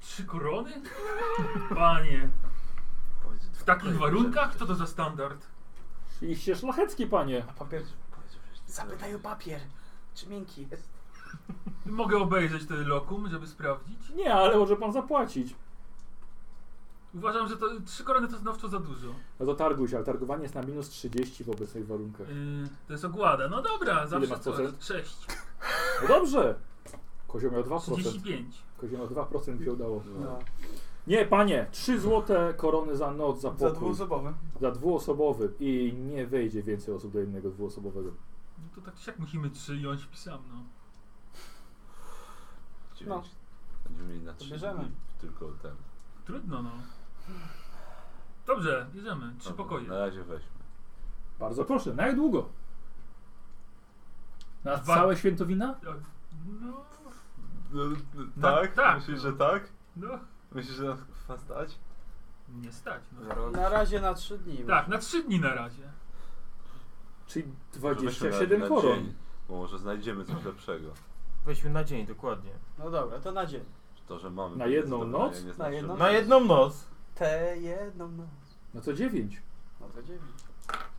S4: Trzy korony? Panie, w takich warunkach? Co to za standard?
S2: Iście szlachecki, panie.
S6: Papier. Zapytaj o papier. Czy miękki jest?
S4: Mogę obejrzeć ten lokum, żeby sprawdzić?
S2: Nie, ale może pan zapłacić.
S4: Uważam, że to trzy korony to znowczo za dużo.
S2: No to targuj się, ale targowanie jest na minus 30 w obecnych warunkach.
S4: Yy, to jest ogłada. No dobra, zawsze
S2: masz
S4: to
S2: procent?
S4: 6.
S2: No dobrze. Kozioł miał 2%.
S4: 35.
S2: Kozioł miał 2% mi się udało.
S1: No.
S2: Nie, panie, 3 złote korony za noc, za
S6: Za
S2: pokój.
S6: dwuosobowy.
S2: Za dwuosobowy i nie wejdzie więcej osób do jednego dwuosobowego.
S4: No to tak czy siak musimy przyjąć pisam, no.
S6: No.
S1: Dziewięć. Będziemy mieli na
S6: To
S1: trzy
S6: bierzemy.
S1: dni Tylko ten.
S4: Trudno, no. Dobrze, bierzemy. Trzy
S1: Dobra,
S4: pokoje.
S1: Na razie weźmy.
S2: Bardzo proszę, na jak długo? Na
S4: Dwa-
S2: całe święto wina?
S4: No, No,
S1: tak?
S4: tak.
S1: Myślisz, że tak?
S4: no.
S1: Myślisz, że nas kwa stać?
S4: Nie stać, no.
S5: Zaraz.
S6: Na razie na trzy dni.
S4: Tak, na trzy dni na razie.
S2: Czyli
S1: Weźmy na-
S2: 27
S1: na
S2: koron.
S1: dzień, Bo może znajdziemy coś lepszego.
S5: Weźmy na dzień, dokładnie.
S6: No dobra, to na dzień.
S1: To, że mamy...
S2: Na jedną
S1: zadania,
S2: noc?
S1: nie
S6: Na
S1: znaczy, że
S6: jedną-
S5: Na jedną noc.
S6: Te jedną noc.
S2: No to 9.
S6: No to dziewięć.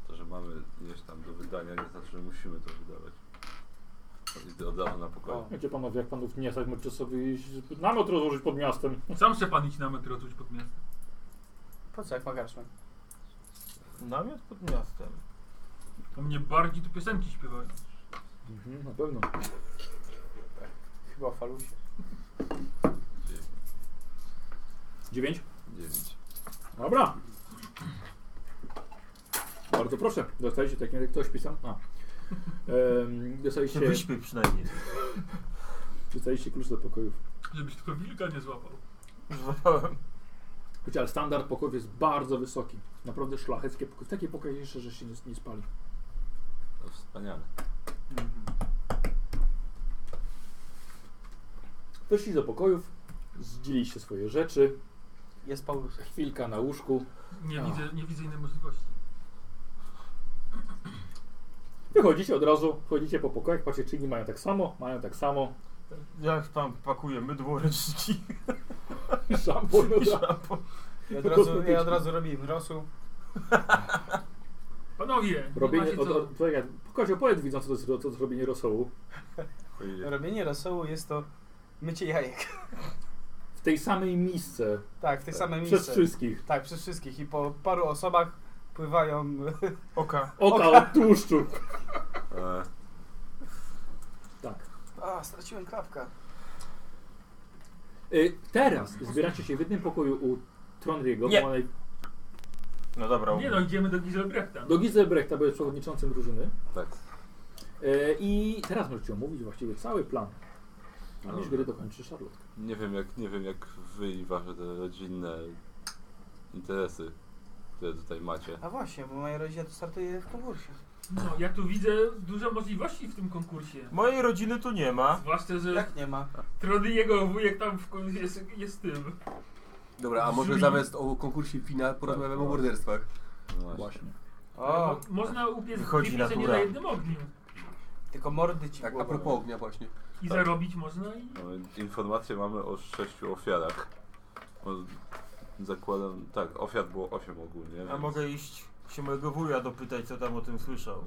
S1: To, że mamy gdzieś tam do wydania, nie znaczy, że musimy to wydawać. I to oddano na pokoju.
S7: Wiecie panowie, jak panów nie stać, możecie sobie iść, namiot rozłożyć pod miastem.
S4: Sam chce pan iść na metro tuć pod miastem.
S6: Po co, jak ma garszman?
S5: Namiot pod miastem.
S4: To mnie bardziej tu piosenki śpiewają.
S2: Mhm, na pewno.
S6: Chyba o falusie.
S2: Dziewięć.
S1: Dziewięć.
S2: Dobra. Bardzo proszę, dostajecie tak jak ktoś pisał. A. Em,
S5: Się
S2: dostajecie,
S5: wyśpię przynajmniej.
S2: dostajecie klucz do pokojów.
S4: Żebyś tylko wilka nie złapał.
S5: Już złapałem.
S2: Wiecie, ale standard pokojów jest bardzo wysoki. Naprawdę szlacheckie pokoje. Takie pokoje jeszcze, że się nie, nie spali.
S1: To No, wspaniale.
S2: Weszli do pokojów, zdzieliście swoje rzeczy,
S6: Jest Paulus.
S2: chwilka na łóżku,
S4: Nie,
S2: A.
S4: widzę, nie widzę innej możliwości.
S2: wychodzicie od razu, chodzicie po pokojach, patrzcie czy inni mają tak samo, mają tak samo,
S5: Jak tam pakuje mydło, ręczniki
S2: szampon,
S5: i szampon.
S6: Ja od razu, ja od razu robię im rosół.
S4: Panowie, nie
S2: robienie,
S4: macie
S2: od,
S4: co.
S2: od, poczekaj, Kozio, opowiedz widzą co to jest, co to jest robienie rosołu.
S1: Chuj,
S6: Robienie rosołu jest to mycie jajek.
S2: W tej samej misce,
S6: Tak, w tej samej
S2: przez
S6: miejsce.
S2: wszystkich,
S6: Tak, przez wszystkich. I po paru osobach pływają...
S5: Oka.
S2: oka od tłuszczu.
S1: e,
S2: Tak.
S6: A, straciłem klapka.
S2: Y, teraz zbieracie się w jednym pokoju u Tronriego,
S5: Nie.
S2: bo ona-
S5: No dobra,
S4: Nie no, idziemy do Gizelbrechta.
S2: do Gizelbrechta, bo jest przewodniczącym drużyny.
S1: tak.
S2: Y, I teraz możecie omówić właściwie cały plan. A
S1: No.
S2: już gry dokończy Charlotte.
S1: Nie wiem jak, nie wiem jak wy i wasze te rodzinne interesy, które tutaj macie.
S6: A właśnie, bo moja rodzina tu startuje w konkursie.
S4: No, ja tu widzę dużo możliwości w tym konkursie.
S5: Mojej rodziny tu nie ma.
S4: Zwłaszcza, że
S6: Jak nie ma?
S4: Trony jego wujek tam w końcu jest, jest tym.
S3: Dobra, a może
S4: Jury.
S3: zamiast o konkursie FINA porozmawiamy o morderstwach.
S1: No właśnie.
S6: O,
S4: Mo- Można upiec
S5: Wychodzi
S4: dwie pieczenie
S5: natura.
S4: na jednym ogniu.
S6: tylko mordy ci
S3: Tak,
S6: było.
S3: a propos ognia właśnie.
S4: I zarobić można i...
S1: No, informacje mamy o sześciu ofiarach. O, zakładam, tak, ofiar było osiem ogólnie.
S5: A
S1: więc-
S5: mogę iść się mojego wuja dopytać, co tam o tym słyszał.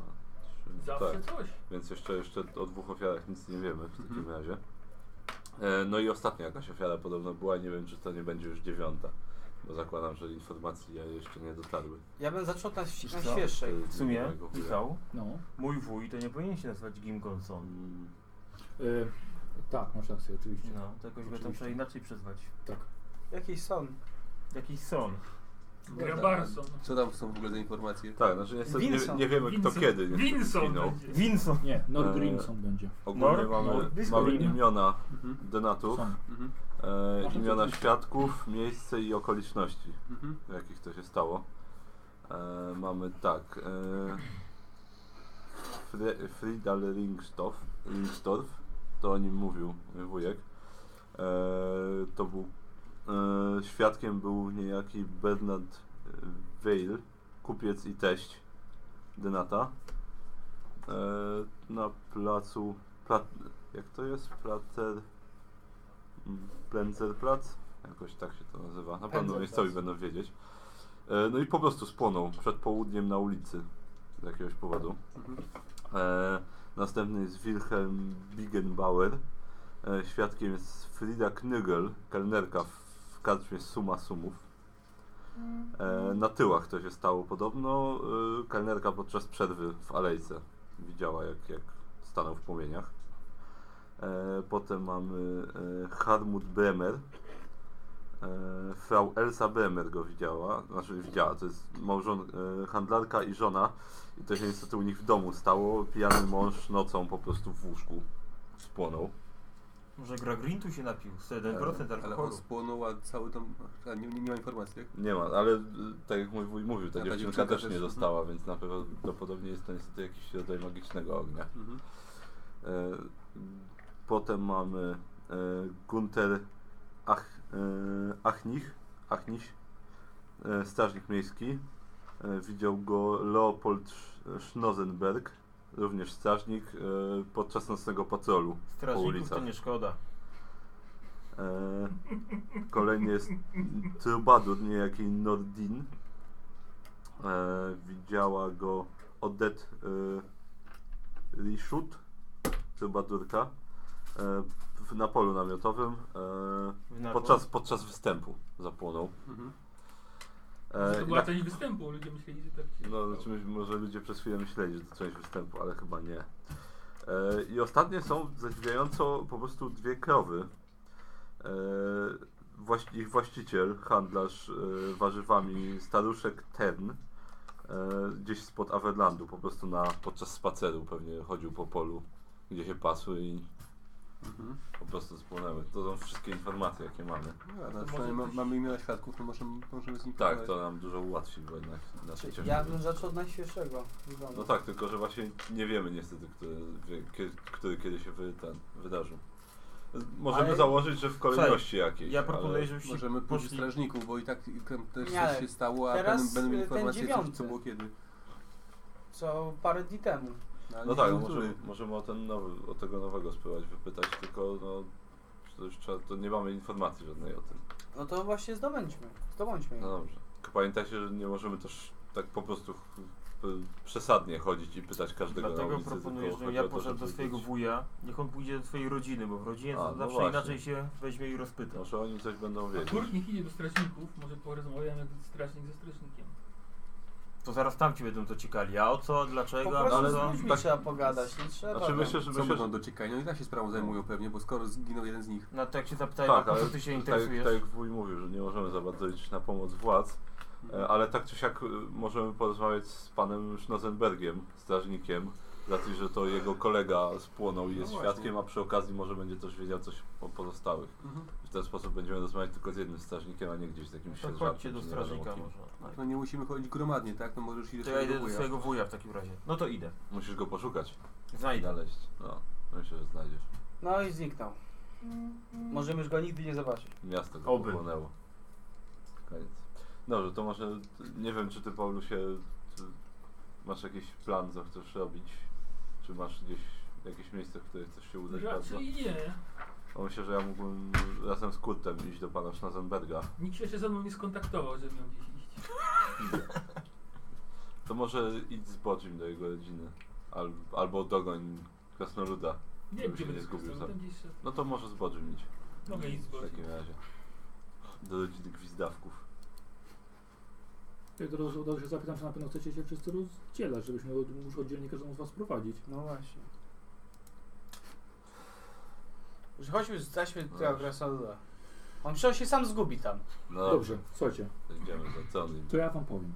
S4: Zawsze
S1: Tak,
S4: coś.
S1: więc jeszcze, jeszcze o dwóch ofiarach nic nie wiemy w takim razie. E, no i ostatnia jakaś ofiara podobno była, nie wiem czy to nie będzie już dziewiąta. Bo zakładam, że informacje jeszcze nie dotarły. E,
S6: Ja bym zaczął od nas na
S5: co?
S6: świeższej.
S1: Czyli
S5: W sumie,
S1: mojego wuja.
S5: Michał,
S2: No.
S5: mój wuj to nie powinien się nazywać Gimgonson.
S1: Mm,
S2: Y, tak, masz rację, oczywiście.
S5: No, to jakoś go tam
S2: Oczywiście.
S5: trzeba inaczej przezwać.
S2: Tak.
S6: Jakiś son.
S5: Jakiś son.
S4: Grabarson.
S3: Co tam są w ogóle za informacje?
S1: Tak, znaczy niestety nie,
S6: Vincent.
S1: nie wiemy kto
S4: Vincent-
S1: kiedy
S4: Vincent
S1: zginął.
S4: będzie.
S5: Winson.
S2: Nie,
S1: E,
S2: Nord Grimson będzie.
S1: Ogólnie
S5: Nor-
S1: mamy,
S5: Nor- Disco
S1: mamy
S2: Ring.
S1: imiona
S3: Mhm.
S1: donatów,
S2: Są.
S3: Mhm.
S1: e,
S2: Może to
S1: imiona
S2: coś-
S1: świadków, miejsce i okoliczności,
S3: Mhm.
S1: w jakich to się stało. E, mamy tak. E, Fre- Friedal Ringstorff, Ringstorff, to o nim mówił wujek. E, to był. E, świadkiem był niejaki Bernard Weil, kupiec i teść Denata. E, na placu. Pla, jak to jest? Plater. Plenzerplatz? Jakoś tak się to nazywa. Na pewno
S6: Penzerplatz.
S1: miejscowi będą wiedzieć. E, no i po prostu spłonął przed południem na ulicy z jakiegoś powodu. E, następny jest Wilhelm Bigenbauer. E, świadkiem jest Frida Knygel, kelnerka w, w karczmie Suma Sumów. E, na tyłach to się stało podobno. E, kelnerka podczas przerwy w alejce widziała, jak, jak stanął w płomieniach. E, potem mamy e, Harmut Bremer. E, Frau Elsa Bremer go widziała, znaczy widziała, to jest małżon, e, handlarka i żona i to się niestety u nich w domu stało. Pijany mąż nocą po prostu w łóżku spłonął.
S5: Może gra Green tu się napił.
S3: Tak,
S5: 1%
S3: Ale on
S5: alkoholu.
S3: spłonął, a cały tam... A nie, nie, nie ma informacji, tak?
S1: Nie ma, ale y, tak jak mój wuj mówił, ta
S3: A
S1: dziewczynka
S3: ta dziewczynka
S1: też
S3: też,
S1: nie
S3: mhm.
S1: została, więc na pewno prawdopodobnie jest to niestety jakiś rodzaj magicznego ognia.
S3: Mhm.
S1: E, Potem mamy e, Gunter Ach, e, Achnich, Achnich e, strażnik miejski. E, Widział go Leopold Sz- Schnozenberg, również strażnik, e, podczas nocnego patrolu. po
S5: Strażników
S1: ulicach.
S5: to nie szkoda.
S1: E, Kolejny jest Trubadur, niejaki Nordin. E, Widziała go oddet y, Rishut, trubadurka, y, w- na polu namiotowym y,
S5: W Narwo.
S1: podczas, podczas występu zapłonął.
S3: Mhm.
S1: E,
S4: to
S1: i
S4: była
S1: tak-
S4: część występu, ludzie myśleli, że tak się
S1: no, znaczy, myś- może ludzie przez chwilę myśleli, że to część występu, ale chyba nie. E, I ostatnie są zadziwiająco po prostu dwie krowy. E, właś- ich właściciel, handlarz e, warzywami, staruszek Tern, e, gdzieś spod Averlandu, po prostu na, podczas spaceru pewnie chodził po polu, gdzie się pasły i
S3: Mhm.
S1: po prostu spłonęły. To są wszystkie informacje, jakie mamy.
S3: No, ale
S4: może
S3: przynajmniej ma,
S4: coś-
S3: mamy imiona świadków, to możemy, możemy z nich
S1: Tak,
S3: porozmawiać.
S1: to nam dużo ułatwi, bo jednak inaczej ciężko
S6: Ja
S1: by-
S6: bym zaczął od najświeższego.
S1: No tak, tylko że właśnie nie wiemy niestety, który, wie- kie- który kiedy się wy, ten, wydarzył. Możemy
S5: Ale-
S1: założyć, że w kolejności jakiejś.
S5: Ja proponuję,
S1: ale...
S5: żebyście
S3: Możemy pójść
S5: poszli...
S3: strażników, bo i tak tam też
S6: Nie,
S3: coś się stało, a
S6: teraz,
S3: będą, będą mieli
S6: y, ten
S3: informacje, co,
S6: dziewiąty.
S3: co było kiedy.
S6: Co parę dni temu.
S3: No, ale
S1: No
S3: nie
S1: tak,
S3: wiem,
S1: no możemy,
S3: który.
S1: możemy o ten nowy, o tego nowego spróbować wypytać, tylko no, to już trzeba, to nie mamy informacji żadnej o tym.
S6: No to właśnie zdobędźmy. Zdobądźmy je.
S1: No dobrze. Tylko pamiętajcie, że nie możemy też tak po prostu ch- p- przesadnie chodzić i pytać każdego na
S5: Dlatego
S1: ulicy,
S5: proponuję,
S1: tylko
S5: że
S1: chodzi
S5: ja
S1: o to,
S5: poszedł
S1: żeby
S5: do swojego
S1: być-
S5: wuja, niech on pójdzie do swojej rodziny, bo w rodzinie
S1: A,
S5: to
S1: no
S5: zawsze
S1: właśnie.
S5: inaczej się weźmie i rozpyta.
S1: Może oni coś będą
S4: A
S1: wiedzieć.
S4: Turk niech idzie do strażników, może porozmawiamy jak strażnik ze strażnikiem.
S5: To zaraz tam ci będą to ciekali. A o co,
S6: Po
S5: dlaczego, a
S6: prostu
S1: ale
S5: co
S6: z
S1: no,
S6: ludźmi
S1: tak-
S6: trzeba pogadać, nie trzeba.
S1: Znaczy
S6: tam.
S1: myślę, że
S3: Co
S1: myślę,
S3: będą
S1: że
S3: dociekali? No i tak się sprawą zajmują pewnie, bo skoro zginął jeden z nich.
S5: No to jak się zapytają,
S1: Tak,
S5: tak,
S1: ale
S5: co ty się
S1: tak,
S5: interesujesz?
S1: tak jak wuj mówił, że nie możemy za bardzo liczyć na pomoc władz,
S5: Mhm.
S1: e, ale tak czy siak e, możemy porozmawiać z panem Schnozenbergiem, strażnikiem, raczej, że to jego kolega spłonął i
S5: No
S1: jest
S3: właśnie.
S1: świadkiem, a przy okazji może będzie też wiedział coś o pozostałych.
S3: Mhm.
S1: W ten sposób będziemy rozmawiać tylko z jednym strażnikiem, a nie gdzieś z jakimś
S5: To
S1: sierżantem,
S5: chodźcie do
S1: czy nie wiadomo
S5: strażnika
S1: kim.
S5: może.
S3: No nie musimy chodzić gromadnie, tak? No możesz iść
S5: To
S3: do
S5: ja
S3: swojego
S5: idę do
S3: wuja.
S5: swojego wuja w takim razie. No to idę.
S1: Musisz go poszukać,
S5: Znajdę.
S1: znaleźć. No, myślę, że znajdziesz.
S6: No i zniknął. Możemy już go nigdy nie zobaczyć.
S1: Miasto go
S5: Oby.
S1: pochłonęło. Koniec. Dobrze, to może nie wiem, czy ty Paulu się czy masz jakiś plan, co chcesz robić? Czy masz gdzieś jakieś miejsce, w które chcesz się udać bardzo?
S4: Raczej nie.
S1: Bo myślę, że ja mógłbym razem z Kurtem iść do pana Schnazenberga.
S4: Nikt się jeszcze ze mną nie skontaktował, że miał gdzieś iść.
S1: To może idź z Bodzim do jego rodziny. Al, albo dogoń krasnoluda.
S4: Nie
S1: Żeby
S4: wiem,
S1: się
S4: gdzie
S1: nie
S4: będę
S1: zgubił
S4: skończył,
S1: sam.
S4: tam gdzieś szedł.
S1: No to może z Bodzim iść.
S4: Mogę iść No z
S1: W
S4: Bodzim.
S1: takim razie. Do rodziny gwizdawków.
S7: Ja teraz od razu się zapytam, czy na pewno chcecie się wszyscy rozdzielać, żebyśmy od- muszę oddzielnie każdą z was prowadzić.
S6: No właśnie. Już chodźmy, zostańmy
S1: No
S6: tego
S1: dobrze.
S6: Grasaluda. On przecież się sam zgubi tam.
S1: No
S7: Dobrze, słuchajcie,
S1: to Idziemy za co on
S7: to ja wam powiem.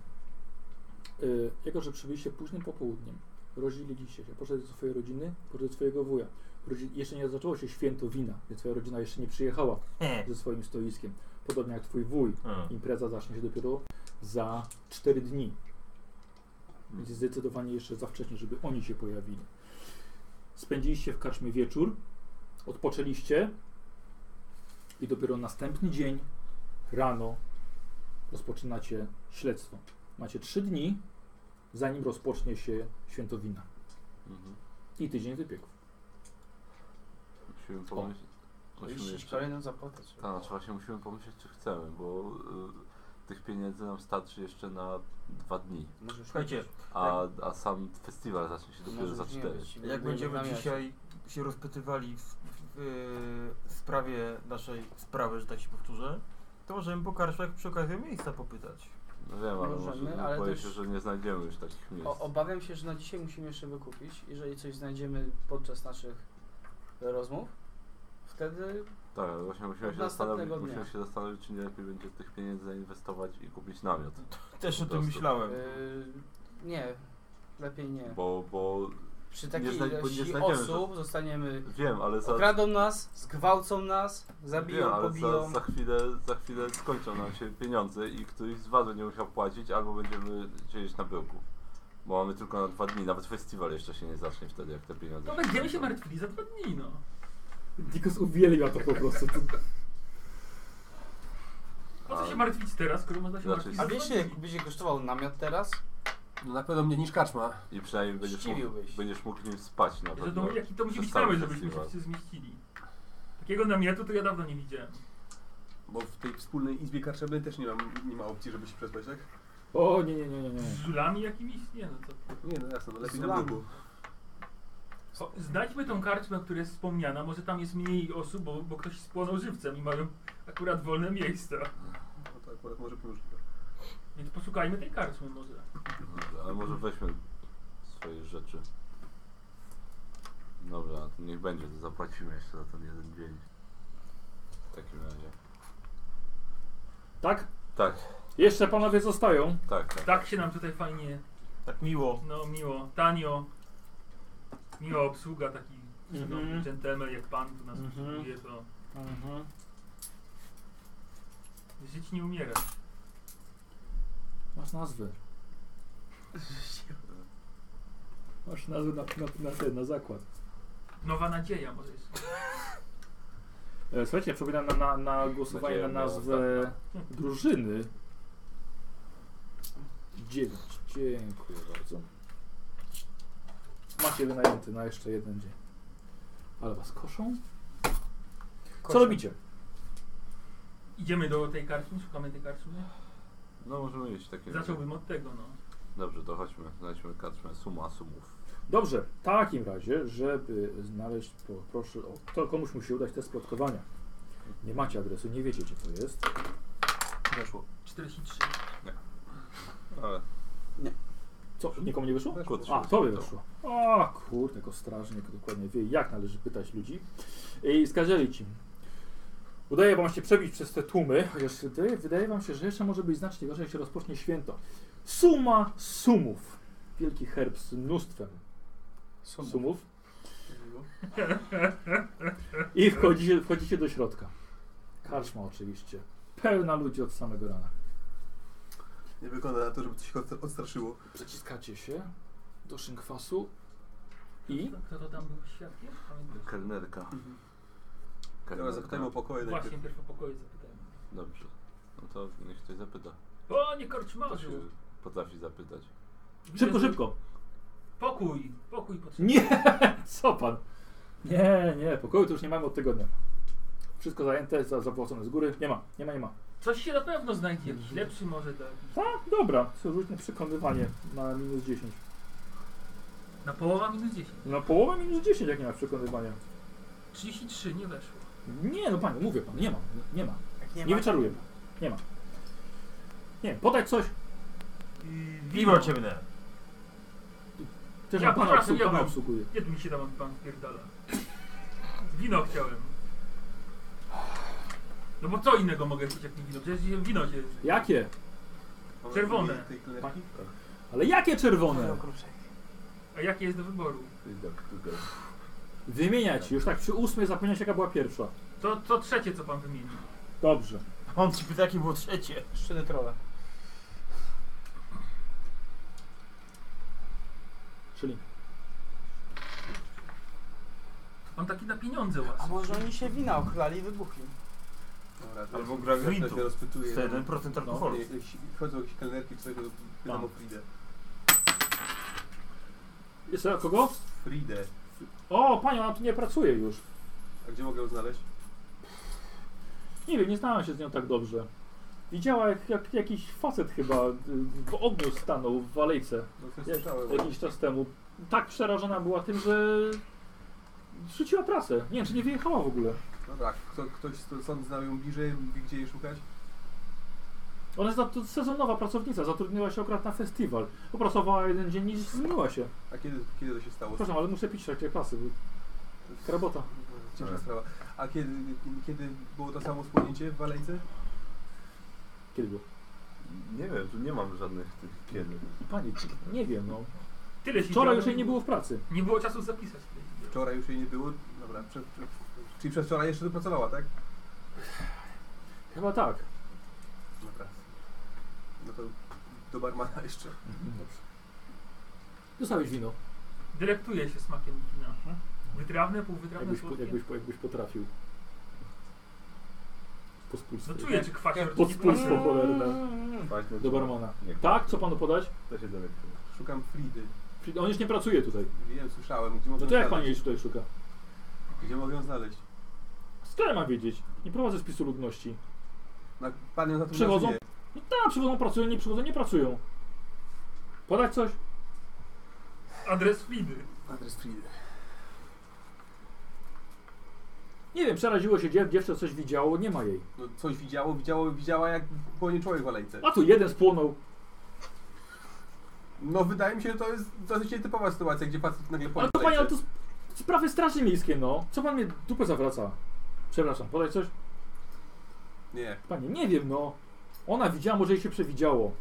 S7: Yy, jako, że przybyliście późnym popołudniem, rozdzieliliście się, poszedłeś do swojej rodziny, poszedłeś do swojego wuja. Rodzi- jeszcze nie zaczęło się święto wina, więc twoja rodzina jeszcze nie przyjechała
S5: He.
S7: ze swoim stoiskiem. Podobnie jak twój wuj.
S5: Hmm.
S7: Impreza zacznie się dopiero za 4 dni. Więc zdecydowanie jeszcze za wcześnie, żeby oni się pojawili. Spędziliście w karczmie wieczór, odpoczęliście i dopiero następny dzień rano rozpoczynacie śledztwo. Macie 3 dni, zanim rozpocznie się święto wina
S1: Mhm.
S7: i tydzień wypieków.
S1: Musimy pomyśleć. Musimy
S6: Iść
S1: jeszcze...
S6: kolejną zapłatę. trzeba.
S1: Tak, znaczy właśnie musimy pomyśleć, czy chcemy, bo y, tych pieniędzy nam starczy jeszcze na dwa dni,
S6: Może już
S5: Słuchajcie,
S1: a, a sam festiwal zacznie się
S6: Tak. Może
S1: dopiero za
S6: już nie
S1: cztery.
S6: być.
S5: jak
S6: Będziemy
S5: będziemy
S6: na miarę.
S5: dzisiaj się rozpytywali w, w, y, sprawie naszej sprawy, że tak się powtórzę, to możemy po karszach przy okazji miejsca popytać.
S1: No wiem, ale
S6: Możemy,
S1: może,
S6: ale
S1: boję
S6: też-
S1: się, że nie znajdziemy już takich miejsc.
S6: O, obawiam się, że na dzisiaj musimy jeszcze wykupić. Jeżeli coś znajdziemy podczas naszych rozmów, wtedy
S1: tak, ale właśnie musimy
S6: od
S1: się,
S6: następnego
S1: zastanowić,
S6: dnia.
S1: musimy się zastanowić, czy nie lepiej będzie tych pieniędzy zainwestować i kupić namiot.
S5: Też o tym
S1: Po prostu.
S5: myślałem.
S6: yy, nie, lepiej nie.
S1: Bo, bo
S6: Przy
S1: nie
S6: takiej
S1: zna- bo nie
S6: ilości
S1: znajdziemy, że-
S6: osób zostaniemy.
S1: wiem, ale za,
S6: Okradą nas, zgwałcą nas, zabiją,
S1: wiem, ale
S6: pobiją.
S1: za, za, chwilę, za chwilę skończą nam się pieniądze i któryś z was będzie musiał płacić, albo będziemy siedzieć na byłku. Bo mamy tylko na dwa dni, nawet festiwal jeszcze się nie zacznie wtedy, jak te pieniądze.
S4: No będziemy się martwili za dwa dni, no.
S7: Nikos uwielbia to po prostu. To,
S4: Po co
S1: Ale-
S4: się martwić teraz, skoro można się
S1: Znaczy-
S4: martwić
S6: A
S4: za
S6: wiecie,
S4: dwa
S6: jak
S4: dni?
S6: będzie kosztował namiot teraz?
S3: No na pewno mnie niż karczma.
S1: I przynajmniej będziesz mógł,
S6: Chciwiłbyś.
S1: będziesz mógł nim spać na
S4: Że
S1: pewno.
S4: to, jaki to musi
S1: przez
S4: być
S1: cały
S4: namiot, żebyśmy się
S1: festiwal.
S4: wszyscy zmieścili. Takiego namiotu to ja dawno nie widziałem.
S3: Bo w tej wspólnej izbie karczemnej też nie, mam, nie ma opcji, żeby się przespać, tak?
S2: O, nie, nie, nie, nie, nie.
S4: Z żulami jakimiś? Nie no co.
S3: Nie, no jasno, no lepiej
S6: Z
S3: na
S6: lamu.
S3: bruku.
S4: O, Znajdźmy tą karczmę, która jest wspomniana. Może tam jest mniej osób, bo, bo ktoś spłonął żywcem i mają akurat wolne miejsca.
S3: No to akurat może Tak. pomożliwe.
S4: Więc poszukajmy tej karczmy może.
S1: Dobrze, ale może weźmy swoje rzeczy. Dobra, no to niech będzie, to zapłacimy jeszcze za ten jeden dzień. W takim razie.
S2: Tak?
S1: Tak,
S2: Jeszcze panowie zostają.
S1: tak, tak.
S4: Tak się nam tutaj fajnie,
S5: Tak miło.
S4: no miło, tanio. Miła obsługa, taki cudowny
S2: Mhm.
S4: dżentelmen jak pan tu nas
S2: Mhm.
S4: obsługuje, to
S6: Mhm.
S4: żyć nie umiera.
S2: Masz nazwę. Masz nazwę na, na, na ten, na zakład.
S4: Nowa nadzieja może jest.
S2: E, Słuchajcie, przypominam na, na, na głosowanie na
S1: Nadzieja miała
S2: nazwę drużyny. Dziewięć. Dziękuję bardzo. Macie wynajęty na jeszcze jeden dzień. Ale was koszą? Co robicie?
S4: Idziemy do tej karczmy, szukamy tej karczmy.
S1: No możemy iść w takim razie.
S4: Zacząłbym od tego, no.
S1: Dobrze, to chodźmy, znajdźmy karczmę suma sumów.
S2: Dobrze, w takim razie, żeby znaleźć, po- proszę o. To komuś musi udać te plotkowania. Nie macie adresu, nie wiecie gdzie to jest.
S1: Weszło.
S4: 43.
S1: Ale
S2: Co, nikomu nie wyszło?
S1: weszło
S2: A, tobie wyszło. O kurde, jako strażnik dokładnie wie, jak należy pytać ludzi. I skażeli ci. Udaje wam się przebić przez te tłumy, chociaż wydaje- wydaje wam się, że jeszcze może być znacznie gorzej, jak się rozpocznie święto. Suma sumów. Wielki herb z mnóstwem sumów. I wchodzicie, wchodzicie do środka. Karczma oczywiście. Pełna ludzi od samego rana.
S3: Nie wygląda na to, żeby coś ich odstra- odstraszyło.
S2: Przeciskacie się do szynkwasu i
S4: Kto- Kto to tam był świadkiem? Pamiętasz?
S1: Kelnerka.
S2: Mhm.
S3: Teraz zapytajmy o pokoje
S4: Właśnie,
S3: najpierw.
S4: pierwszy pokoje zapytałem.
S1: Dobrze. No to niech ktoś zapyta.
S8: No
S4: O, nie
S1: Kto
S4: korczmarzu!
S1: się potrafi zapytać?
S2: szybko, szybko.
S4: Pokój, pokój potrzebny.
S2: Nie, co pan? Nie, nie, pokoju to już nie mamy od tygodnia. Wszystko zajęte, za- zapłacone z góry. Nie ma, nie ma, nie ma.
S4: Coś się na pewno znajdzie, jakiś lepszy może tak.
S2: Tak, dobra, to rzuć na przekonywanie na minus 10.
S4: Na połowa minus 10.
S2: No połowa minus 10, jak nie ma przekonywania.
S4: 33 nie weszło.
S2: Nie, no panie, mówię pan, nie ma, nie ma.
S6: Jak
S2: Nie,
S6: nie,
S2: nie
S6: ma,
S2: wyczaruję pana. Nie ma. Nie wiem, podać coś.
S4: e,
S5: Piwo ciemne.
S2: Też
S4: Ja
S2: ja pana,
S4: przepraszam,
S2: obsłu-
S4: ja
S2: pana
S4: byłem.
S2: obsługuje.
S4: Kiedy mi się tam pan pierdala? Wino chciałem. No bo co innego mogę chcieć jak nie wino? Przecież wino się...
S2: Jakie?
S3: Mamy
S4: Czerwone.
S3: tej- tej klenerki?
S2: Ale jakie czerwone?
S4: A jakie jest do wyboru?
S2: Wymieniać, już tak przy ósmej zapomniałeś jaka była pierwsza.
S4: To, to trzecie co pan wymienił.
S2: Dobrze.
S5: On ci pyta, jakie było trzecie.
S6: Szczyny trolle.
S2: Czyli
S4: Mam taki na pieniądze
S6: A
S4: łaskę.
S6: może oni się wina ochlali i wybuchli?
S3: Dobra, to
S5: Albo
S3: ja się-
S5: grawitu.
S3: ja się rozpytuję.
S5: 1% alkoholu.
S3: Nie,
S6: No,
S3: jak się- Wchodzą jakieś kelnerki, czy coś, to pytam
S5: Tam.
S3: o Fridę.
S2: jest kogo?
S3: Fridę.
S2: O, pani, ona tu nie pracuje już.
S3: A gdzie mogę ją znaleźć?
S2: Nie wiem, nie znałem się z nią tak dobrze. Widziała jak, jak jakiś facet chyba y, w ogniu stanął w alejce
S3: No coś
S2: jak,
S3: słyszałem.
S2: jakiś czas temu. Tak przerażona była tym, że rzuciła pracę. Nie wiem, czy nie wyjechała w ogóle.
S3: No tak, kto, ktoś z- stąd znał ją bliżej, wie gdzie jej szukać?
S2: Ona jest za- to sezonowa pracownica, zatrudniła się akurat na festiwal. Opracowała jeden dzień i zmyła się.
S3: A kiedy, kiedy to się stało?
S2: Przepraszam, ale muszę pić w trakcie klasy. bo- Krabota.
S3: Ciężka
S1: Ale-
S3: sprawa. A kiedy, kiedy było to samo spłynięcie w Walejce?
S2: Kiedy było?
S1: Nie wiem, tu nie mam żadnych tych kiedy.
S2: Pani, nie wiem, no.
S4: Tyle się działo.
S2: Wczoraj już jej nie było w pracy.
S4: Nie było czasu zapisać. tej-
S3: Wczoraj już jej nie było. Dobra, prze, prze, czyli przez wczoraj jeszcze tu pracowała, tak?
S2: Chyba tak.
S3: Dobra. No to do barmana jeszcze.
S2: Dobrze. Dostałeś wino,
S4: Dylektuje się smakiem wina. Wytrawne, półwytrawne,
S2: jakbyś, po-
S4: słodkie.
S2: jakbyś, po- jakbyś potrafił. Pospólstwo.
S4: No czuję, czy kwasior...
S6: Jak
S4: czy nie
S2: podspólstwo.
S4: kwasior.
S2: cholerne.
S1: Właśnie
S2: Do barmana.
S1: Nie,
S2: Tak, co panu podać?
S1: To się delektuje.
S3: Szukam Fridy.
S2: Pri- On już nie pracuje tutaj.
S3: Wiem, słyszałem. Gdzie mogę
S2: No
S3: ją
S2: to jak pan
S3: znaleźć?
S2: jej tutaj szuka?
S3: Gdzie mogę ją znaleźć?
S2: Skąd ja mam wiedzieć? Nie prowadzę spisu ludności.
S3: No, pan ją za to
S2: Przychodzą?
S3: nazwie.
S2: No tak, przychodzą, pracują, nie przychodzą, nie pracują. Podać coś?
S4: Adres Fridy.
S3: Adres Fridy.
S2: Nie wiem, przeraziło się dziew, dziewczę, coś widziało, nie ma jej.
S3: No coś widziało, widziało, widziała jak płonie człowiek w alejce.
S2: A tu jeden spłonął.
S3: No wydaje mi się, że to jest dosyć nietypowa sytuacja, gdzie facet nagle płonie
S2: Ale to
S3: w
S2: panie, ale to
S3: alejce.
S2: sp- sprawy straży miejskie, no. Co pan mnie dupę zawraca? Przepraszam, podać coś?
S3: Nie.
S2: Panie, nie wiem, no. Ona widziała, może jej się przewidziało.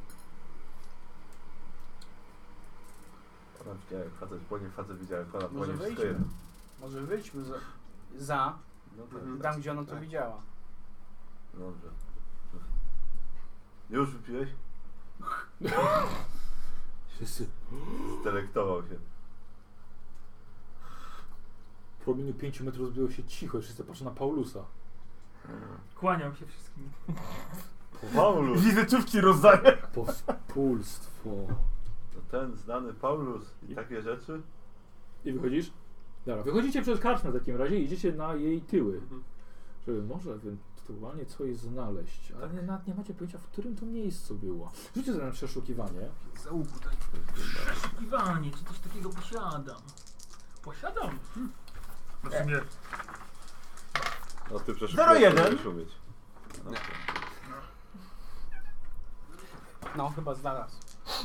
S8: Ona widziała jak facet płonie, facet widział jak ona
S6: Może
S8: płonie, wszystko
S6: wyjdźmy.
S8: jedno.
S6: Może wyjdźmy za, za
S8: No tak,
S3: Mhm.
S6: tam, gdzie ona to
S3: Tak.
S6: widziała.
S2: Mhm.
S8: dobrze. Już wypiłeś?
S9: Wszyscy
S8: Delektował się.
S9: w promieniu 5 metrów zbiło się cicho i wszyscy patrzą na Paulusa.
S4: Kłaniam się wszystkim.
S8: Paulus!
S5: Wizytówki rozdaję.
S9: Pospólstwo.
S8: To No ten znany Paulus i takie rzeczy?
S2: I wychodzisz? Dobra, wychodzicie przez karczmę w takim razie i idziecie na jej tyły.
S3: Mhm.
S2: Żeby może ewentualnie coś znaleźć. Ale
S5: Tak.
S2: nie, nawet nie macie pojęcia, w którym to miejscu było. Rzućcie sobie na przeszukiwanie.
S3: Załóg tutaj.
S4: Iwanie, czy coś takiego posiadam? Posiadam. Hm. No w sumie
S8: No ty przecież
S5: Zero jeden.
S8: będziesz umieć. No,
S6: No, chyba znalazł.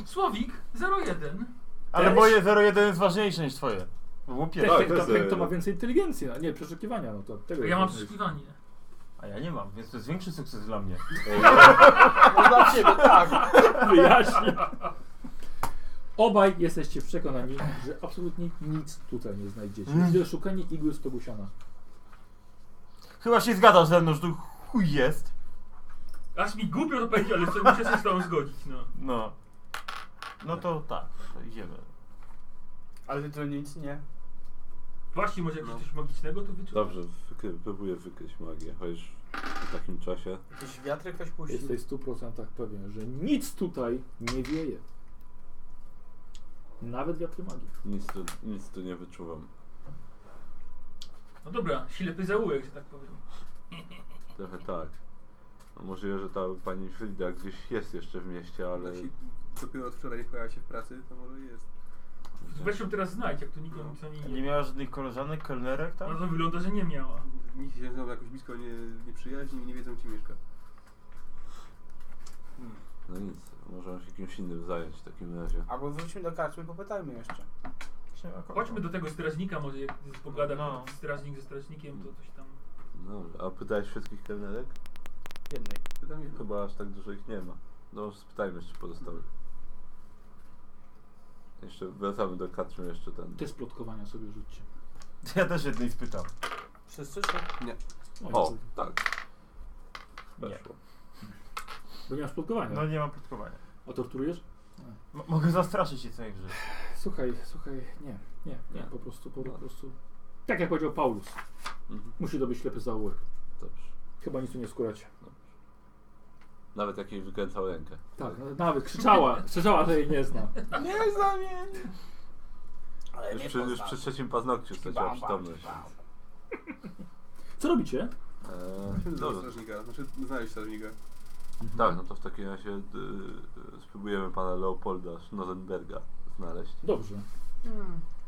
S4: Słowik 01.
S5: Ale moje 01 jest ważniejsze niż twoje. Bo było
S8: Tak,
S5: pierwsze.
S2: ten, kto,
S8: jest,
S2: ten, kto
S8: e,
S2: ma więcej inteligencji, a nie przeszukiwania, no to tego
S4: Ja mam
S2: nie-
S4: przeszukiwanie.
S5: A ja nie mam, więc to jest większy sukces dla mnie.
S6: No dla ciebie, tak.
S2: wyjaśnię. Obaj jesteście przekonani, że absolutnie nic tutaj nie znajdziecie.
S8: Mm.
S2: Jest to szukanie igły z togusiana.
S5: Chyba się zgadzasz ze mną, że tu chuj jest.
S4: Aż mi głupio to powiedzieć, ale sobie muszę się z tobą zgodzić, no.
S5: No. No to tak, to idziemy.
S6: Ale ty to nic nie.
S4: Właśnie może jakieś
S3: No.
S4: coś magicznego tu wyczuć.
S1: Dobrze, wykry- próbuję wykryć magię, chociaż w takim czasie.
S6: Jakiś wiatr ktoś puścił.
S2: Jesteś w 100% pewien, że nic tutaj nie wieje. Nawet wiatry magii.
S1: Nic tu, nic tu nie wyczuwam.
S4: No dobra, ślepy zaułek, że tak powiem.
S1: Trochę tak. No Możliwe, że ta pani Frida gdzieś jest jeszcze w mieście, ale.
S3: Jeśli dopiero od wczoraj nie pojawia się w pracy, to może jest.
S4: Weź ją teraz znajdź, jak tu nikt nic o niej
S5: No. Nie
S4: nie
S5: miała żadnych koleżanek, kelnerek tam?
S4: No to wygląda, że nie miała.
S3: Nikt się ze mną jakoś blisko nie, nie przyjaźni i nie wiedzą gdzie mieszka.
S1: No nic, możemy się kimś innym zająć w takim razie.
S6: Albo wróćmy do karczmy, popytajmy jeszcze.
S5: Właśnie akurat.
S4: Chodźmy do tego strażnika, może jak pogada
S5: No.
S4: strażnik ze strażnikiem, to coś tam...
S1: No, dobrze. a pytałeś wszystkich kelnerek?
S6: Jednej.
S3: Pytam jedno.
S1: Chyba aż tak dużo ich nie ma. No, spytajmy jeszcze pozostałych. Jeszcze wracamy do Katrym jeszcze ten.
S2: Te splotkowania sobie rzućcie.
S5: Ja też jednej spytam.
S6: Wszyscy czy?
S1: O, tak.
S5: Nie.
S1: Weszło.
S2: Bo nie masz plotkowania.
S5: No nie mam plotkowania.
S2: A torturujesz?
S5: M- mogę zastraszyć się co najwyżej.
S2: Słuchaj, słuchaj, nie, nie, nie,
S1: Nie.
S2: po prostu, po,
S1: No.
S2: prostu. Tak jak powiedział Paulus,
S1: Mhm.
S2: musi to być ślepy zaułek.
S1: Dobrze.
S2: Chyba nic tu nie skuracie.
S1: Nawet jak jej wykręcał rękę.
S2: Tak, no, nawet krzyczała, krzyczała, że jej nie zna.
S6: Nie znam jej! Ale
S1: Już
S6: nie
S1: przy, już przy trzecim paznokciu straciła
S6: Bam, bam,
S1: przytomność.
S6: bam.
S2: Co robicie?
S1: Eee,
S3: Chodźmy do
S1: dobra,
S3: strażnika, znaczy znaleźć strażnika.
S1: tak, no to w takim razie y, y, spróbujemy pana Leopolda Schnozenberga znaleźć.
S2: Dobrze.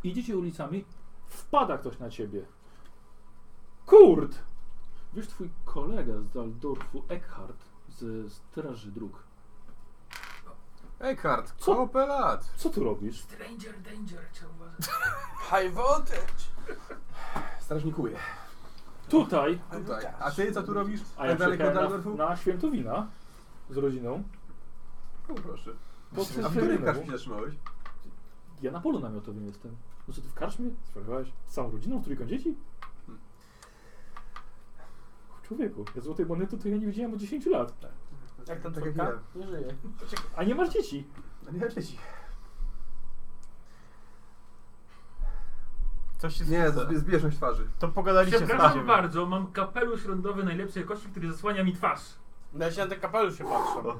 S2: Idziecie ulicami, wpada ktoś na ciebie. Kurt! Wiesz, twój kolega z Daldorfu, Eckhart, ze Straży Dróg.
S3: Eckhart,
S2: Co?
S3: kopę lat!
S2: Co tu robisz?
S4: Stranger danger, trzeba uważać.
S6: High voltage!
S3: Strażnikuje.
S2: Tutaj,
S3: Tutaj. A ty co tu robisz?
S2: a ja
S3: tak daleko od
S2: przyjechałem
S3: Dalworfu?
S2: na, na Świętowina z rodziną.
S3: No proszę.
S2: Poprzez
S3: A w którym
S2: Rynę.
S3: karczmie się zatrzymałeś?
S2: Ja na polu namiotowym jestem. No co, ty w karczmie? Sprawiałeś z całą rodziną, z trójką dzieci?
S3: Hmm.
S2: Człowieku, ja złotej monety to ja nie widziałem od 10 lat.
S6: Jak tam
S3: Tak
S6: twoja
S3: jak
S6: Nie żyje.
S2: A nie masz dzieci.
S3: No nie wiecie ci.
S5: Coś się
S3: Nie,
S5: to,
S3: zbi- zbieżność twarzy.
S5: to pogadaliście
S4: Przepraszam
S5: sobie.
S4: bardzo, mam kapelusz rondowy najlepszej jakości, który zasłania mi twarz.
S6: No ja się na ten kapelusz się patrzę.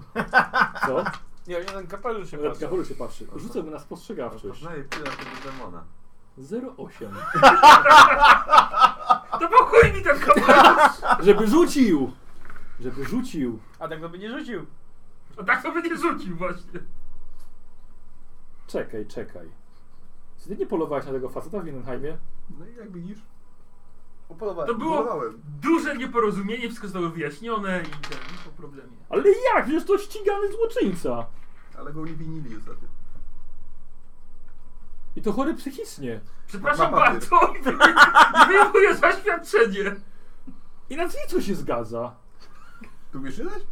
S2: Co?
S6: Nie, ja się na ten kapelusz się No,
S2: Radka
S6: patrzę.
S2: Holu się patrzy. Rzucę go na spostrzegawczość.
S8: Poznaję pila tego demona.
S6: no.
S2: 08.
S4: To pochuj mi ten kapelusz!
S2: Żeby rzucił! Żeby rzucił!
S6: A tak to by nie rzucił.
S4: No tak to by nie rzucił właśnie.
S2: Czekaj, czekaj. Czy ty nie polowałeś na tego faceta w Mindenheimie?
S3: No i jak widzisz,
S6: Upolowałem.
S4: To było
S3: próbowałem.
S4: duże nieporozumienie, wszystko zostało wyjaśnione i ten, i po problemie.
S2: Ale jak? Przecież to ścigany złoczyńca.
S3: Ale go uwinili ostatnio.
S2: I to chory psychicznie.
S4: Przepraszam
S3: Ma- ma papier.
S4: bardzo, nie, nie wyjmuję zaświadczenie.
S2: I nazwisko się zgadza.
S3: Tu umiesz czytać?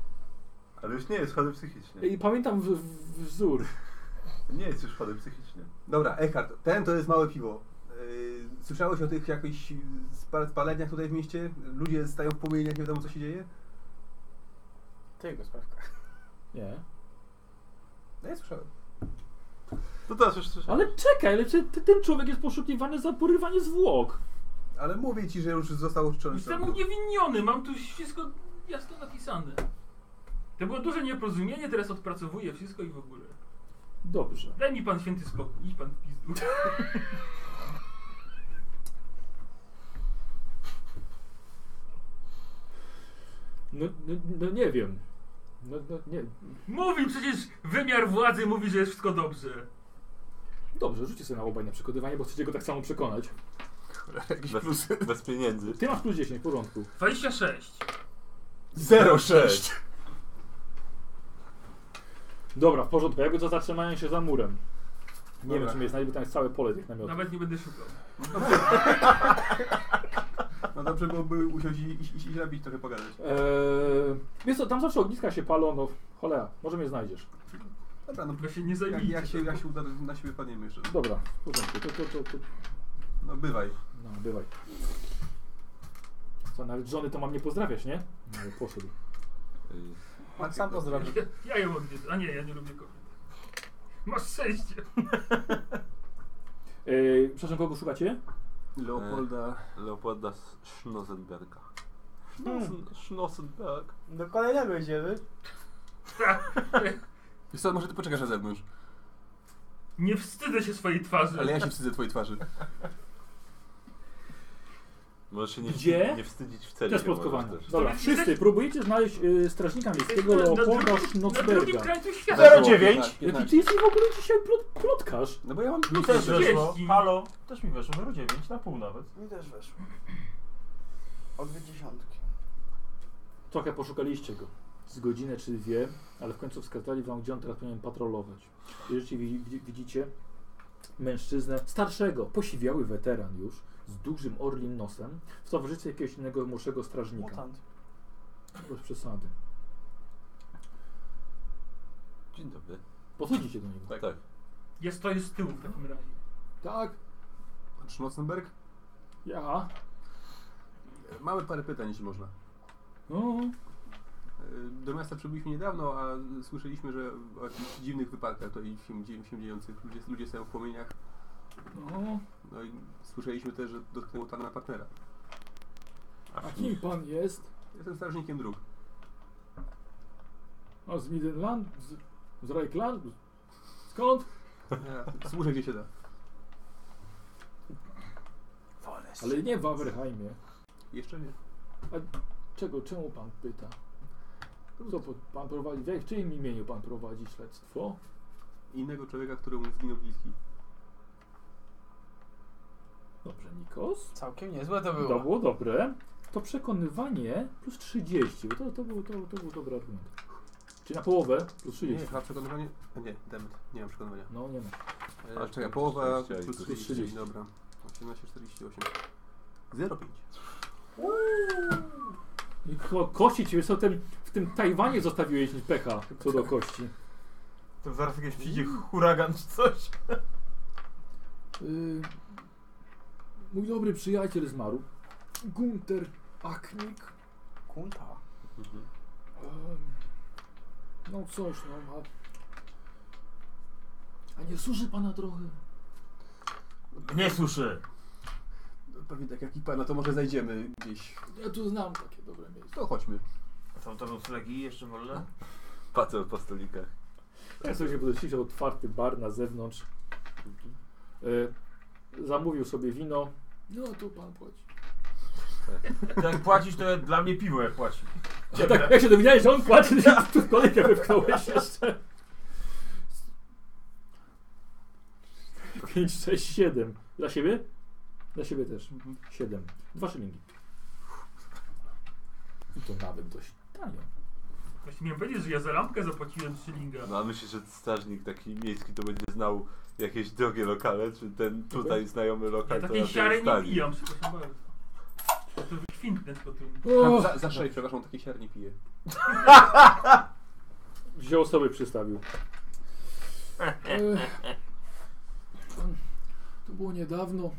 S1: Ale już nie jest chory psychicznie.
S2: I pamiętam w, w, wzór.
S1: Nie jest już chory psychicznie.
S3: Dobra, Eckhart, ten to jest małe piwo. Yy, Słyszałeś o tych jakichś spal- spaleniach tutaj w mieście? Ludzie stają w płomieniach, nie wiadomo co się dzieje?
S6: To jego sprawka.
S2: Nie.
S3: No ja słyszałem.
S1: To teraz już słyszałem.
S2: Ale czekaj, ale czy ty- ten człowiek jest poszukiwany za porywanie zwłok.
S3: Ale mówię ci, że już został uczczony.
S4: Jestem uniewinniony, mam tu wszystko jasno napisane. To było duże nieporozumienie, teraz odpracowuję wszystko i w ogóle.
S2: Dobrze.
S4: Daj mi pan święty spokój, idź pan w pizdu.
S2: No, no, no nie wiem. No, no nie.
S4: Mówi przecież wymiar władzy mówi, że jest wszystko dobrze.
S2: Dobrze, rzućcie sobie na obaj na przekonywanie, bo chcecie go tak samo przekonać.
S1: Jakieś bez, plusy. bez pieniędzy.
S2: Ty masz plus 10, w porządku.
S4: 26.
S1: 06!
S2: Dobra, w porządku. Ja go za zatrzymałem się za murem. Nie
S3: Dobra.
S2: wiem, czy mnie znajdzie, bo tam jest całe pole tych namiotów.
S4: Nawet nie będę szukał.
S3: No dobrze byłoby usiąść i, i, i, i napić trochę pogadać.
S2: Eee, wiesz co, tam zawsze ogniska się palą, no cholera, może mnie znajdziesz.
S3: Dobra, no
S4: Tylko się no. nie
S3: jak,
S4: zajmijcie.
S3: jak, się, jak się uda, to na siebie padniemy jeszcze.
S2: Dobra, w porządku, to, to, to, to
S3: No bywaj.
S2: no, bywaj. Co, nawet żony to mam nie pozdrawiać, nie? No, poszedł.
S1: E,
S6: Pan sam to zrobił.
S4: Ja, ja ją odwiedzę. A nie, ja nie lubię kobiet. Masz szczęście.
S2: Eee, przepraszam, kogo szukacie?
S1: Leopolda. Leopolda z Schnozenberga.
S3: No,
S4: Hmm.
S1: Schnozen, Schnozenberg.
S6: Do kolejnego idziemy.
S3: Wiesz co, może ty poczekasz na zewnątrz.
S4: Nie wstydzę się swojej twarzy.
S3: Ale ja się wstydzę twojej twarzy.
S1: Możesz się nie,
S2: Gdzie?
S1: wstydzić- nie wstydzić w celi.
S2: Też plotkowanie.
S1: możesz też.
S2: Dobra,
S4: Jesteś-
S2: wszyscy próbujecie znaleźć y, strażnika miejskiego
S4: Jesteśmy na
S2: Leopolda
S4: drugim- Na drugim
S2: Nocberga.
S4: krańcu świata.
S5: 09!
S10: Tak,
S2: Jaki ty jesteś w ogóle dzisiaj plot, plotkarz?
S3: No bo ja mam
S5: Mi też weszło.
S4: 40.
S5: Halo, też mi weszło, 09, na pół nawet.
S6: Mi też weszło. O dwie dziesiątki.
S2: Trochę poszukaliście go. Z godzinę czy dwie, ale w końcu wskazali wam, gdzie on teraz powinien patrolować. I rzeczywiście widzi- widzicie mężczyznę starszego, posiwiały weteran już, z dużym orlim nosem, w towarzystwie jakiegoś innego młodszego strażnika.
S6: Mutant.
S2: Bez przesady.
S1: Dzień dobry.
S2: Podchodzicie do niego.
S1: Tak. tak.
S4: Ja stoję z tyłu w takim razie.
S2: Tak,
S3: Schwarzenberg?
S2: ja.
S3: Mamy parę pytań, jeśli można.
S2: No,
S3: E, Do miasta przybyliśmy niedawno, a słyszeliśmy, że o jakichś dziwnych wypadkach to i się, dzieje- się dziejących ludzie, ludzie są w płomieniach.
S2: no.
S3: No i słyszeliśmy też, że dotknęło tam na partnera.
S2: A kim pan jest?
S3: Jestem strażnikiem dróg.
S2: A z Midland? Z, z Reichland? Skąd?
S3: Ja Służę gdzie się da.
S2: Ale nie w Aberheimie.
S3: Jeszcze nie.
S2: Czego, czemu pan pyta? Co po- pan prowadzi? W czyim imieniu pan prowadzi śledztwo?
S3: Innego człowieka, któremu zginął bliski.
S2: Dobrze, Nikos.
S6: Całkiem niezłe to było.
S2: To było dobre. To przekonywanie plus 30, bo to, to, był, to, to był dobry argument. Czyli na połowę plus
S3: Nie,
S2: 30.
S3: chyba przekonywanie... a Nie, demet. Nie mam przekonywania.
S2: No nie no.
S3: E,
S1: A,
S3: czekaj, połowa
S1: 40,
S3: plus
S1: plus
S3: 30,
S2: 30.
S3: dobra. 18, 48. 0,5.
S2: I ko- kości ci, wiesz co, ten, w tym Tajwanie zostawiłeś pecha co do kości.
S5: To zaraz jakiś przyjdzie
S6: Mm.
S5: huragan czy coś.
S2: Y, mój dobry przyjaciel zmarł. Gunter Aknik.
S6: Kunta.
S2: Em, No coś, no. A, a nie suszy pana trochę?
S5: Nie suszy.
S3: Pewnie tak jak i pana, to może znajdziemy gdzieś.
S2: Ja tu znam takie dobre miejsce.
S3: To chodźmy.
S5: Są to noclegi jeszcze wolne?
S1: Patrzę po stolikach.
S2: Ja sobie podeszliście otwarty bar na zewnątrz. E, zamówił sobie wino. No tu pan płaci.
S6: No.
S5: To Jak płacisz, to ja- dla mnie piwo jak płaci.
S7: A tak, jak się dowiedziałeś, że on płaci, to tu kolejkę wypchnąłeś jeszcze. 5, 6, 7. Dla siebie? Dla siebie też. 7. Dwa szylingi. I to nawet dość tanio.
S4: Właśnie miałem powiedzieć, że ja za lampkę zapłaciłem szylinga.
S10: No a myślisz, że strażnik taki miejski to będzie znał jakieś drogie lokale, czy ten tutaj znajomy
S4: Ja
S1: tak,
S10: lokal to
S4: takiej
S10: raczej
S4: siary nie
S10: stanie?
S4: pijam, przepraszam bardzo. To wykwintne potem.
S3: Tam za, za sześć, przepraszam, takiej siarni piję.
S7: Wziął sobie, przystawił.
S2: To było niedawno.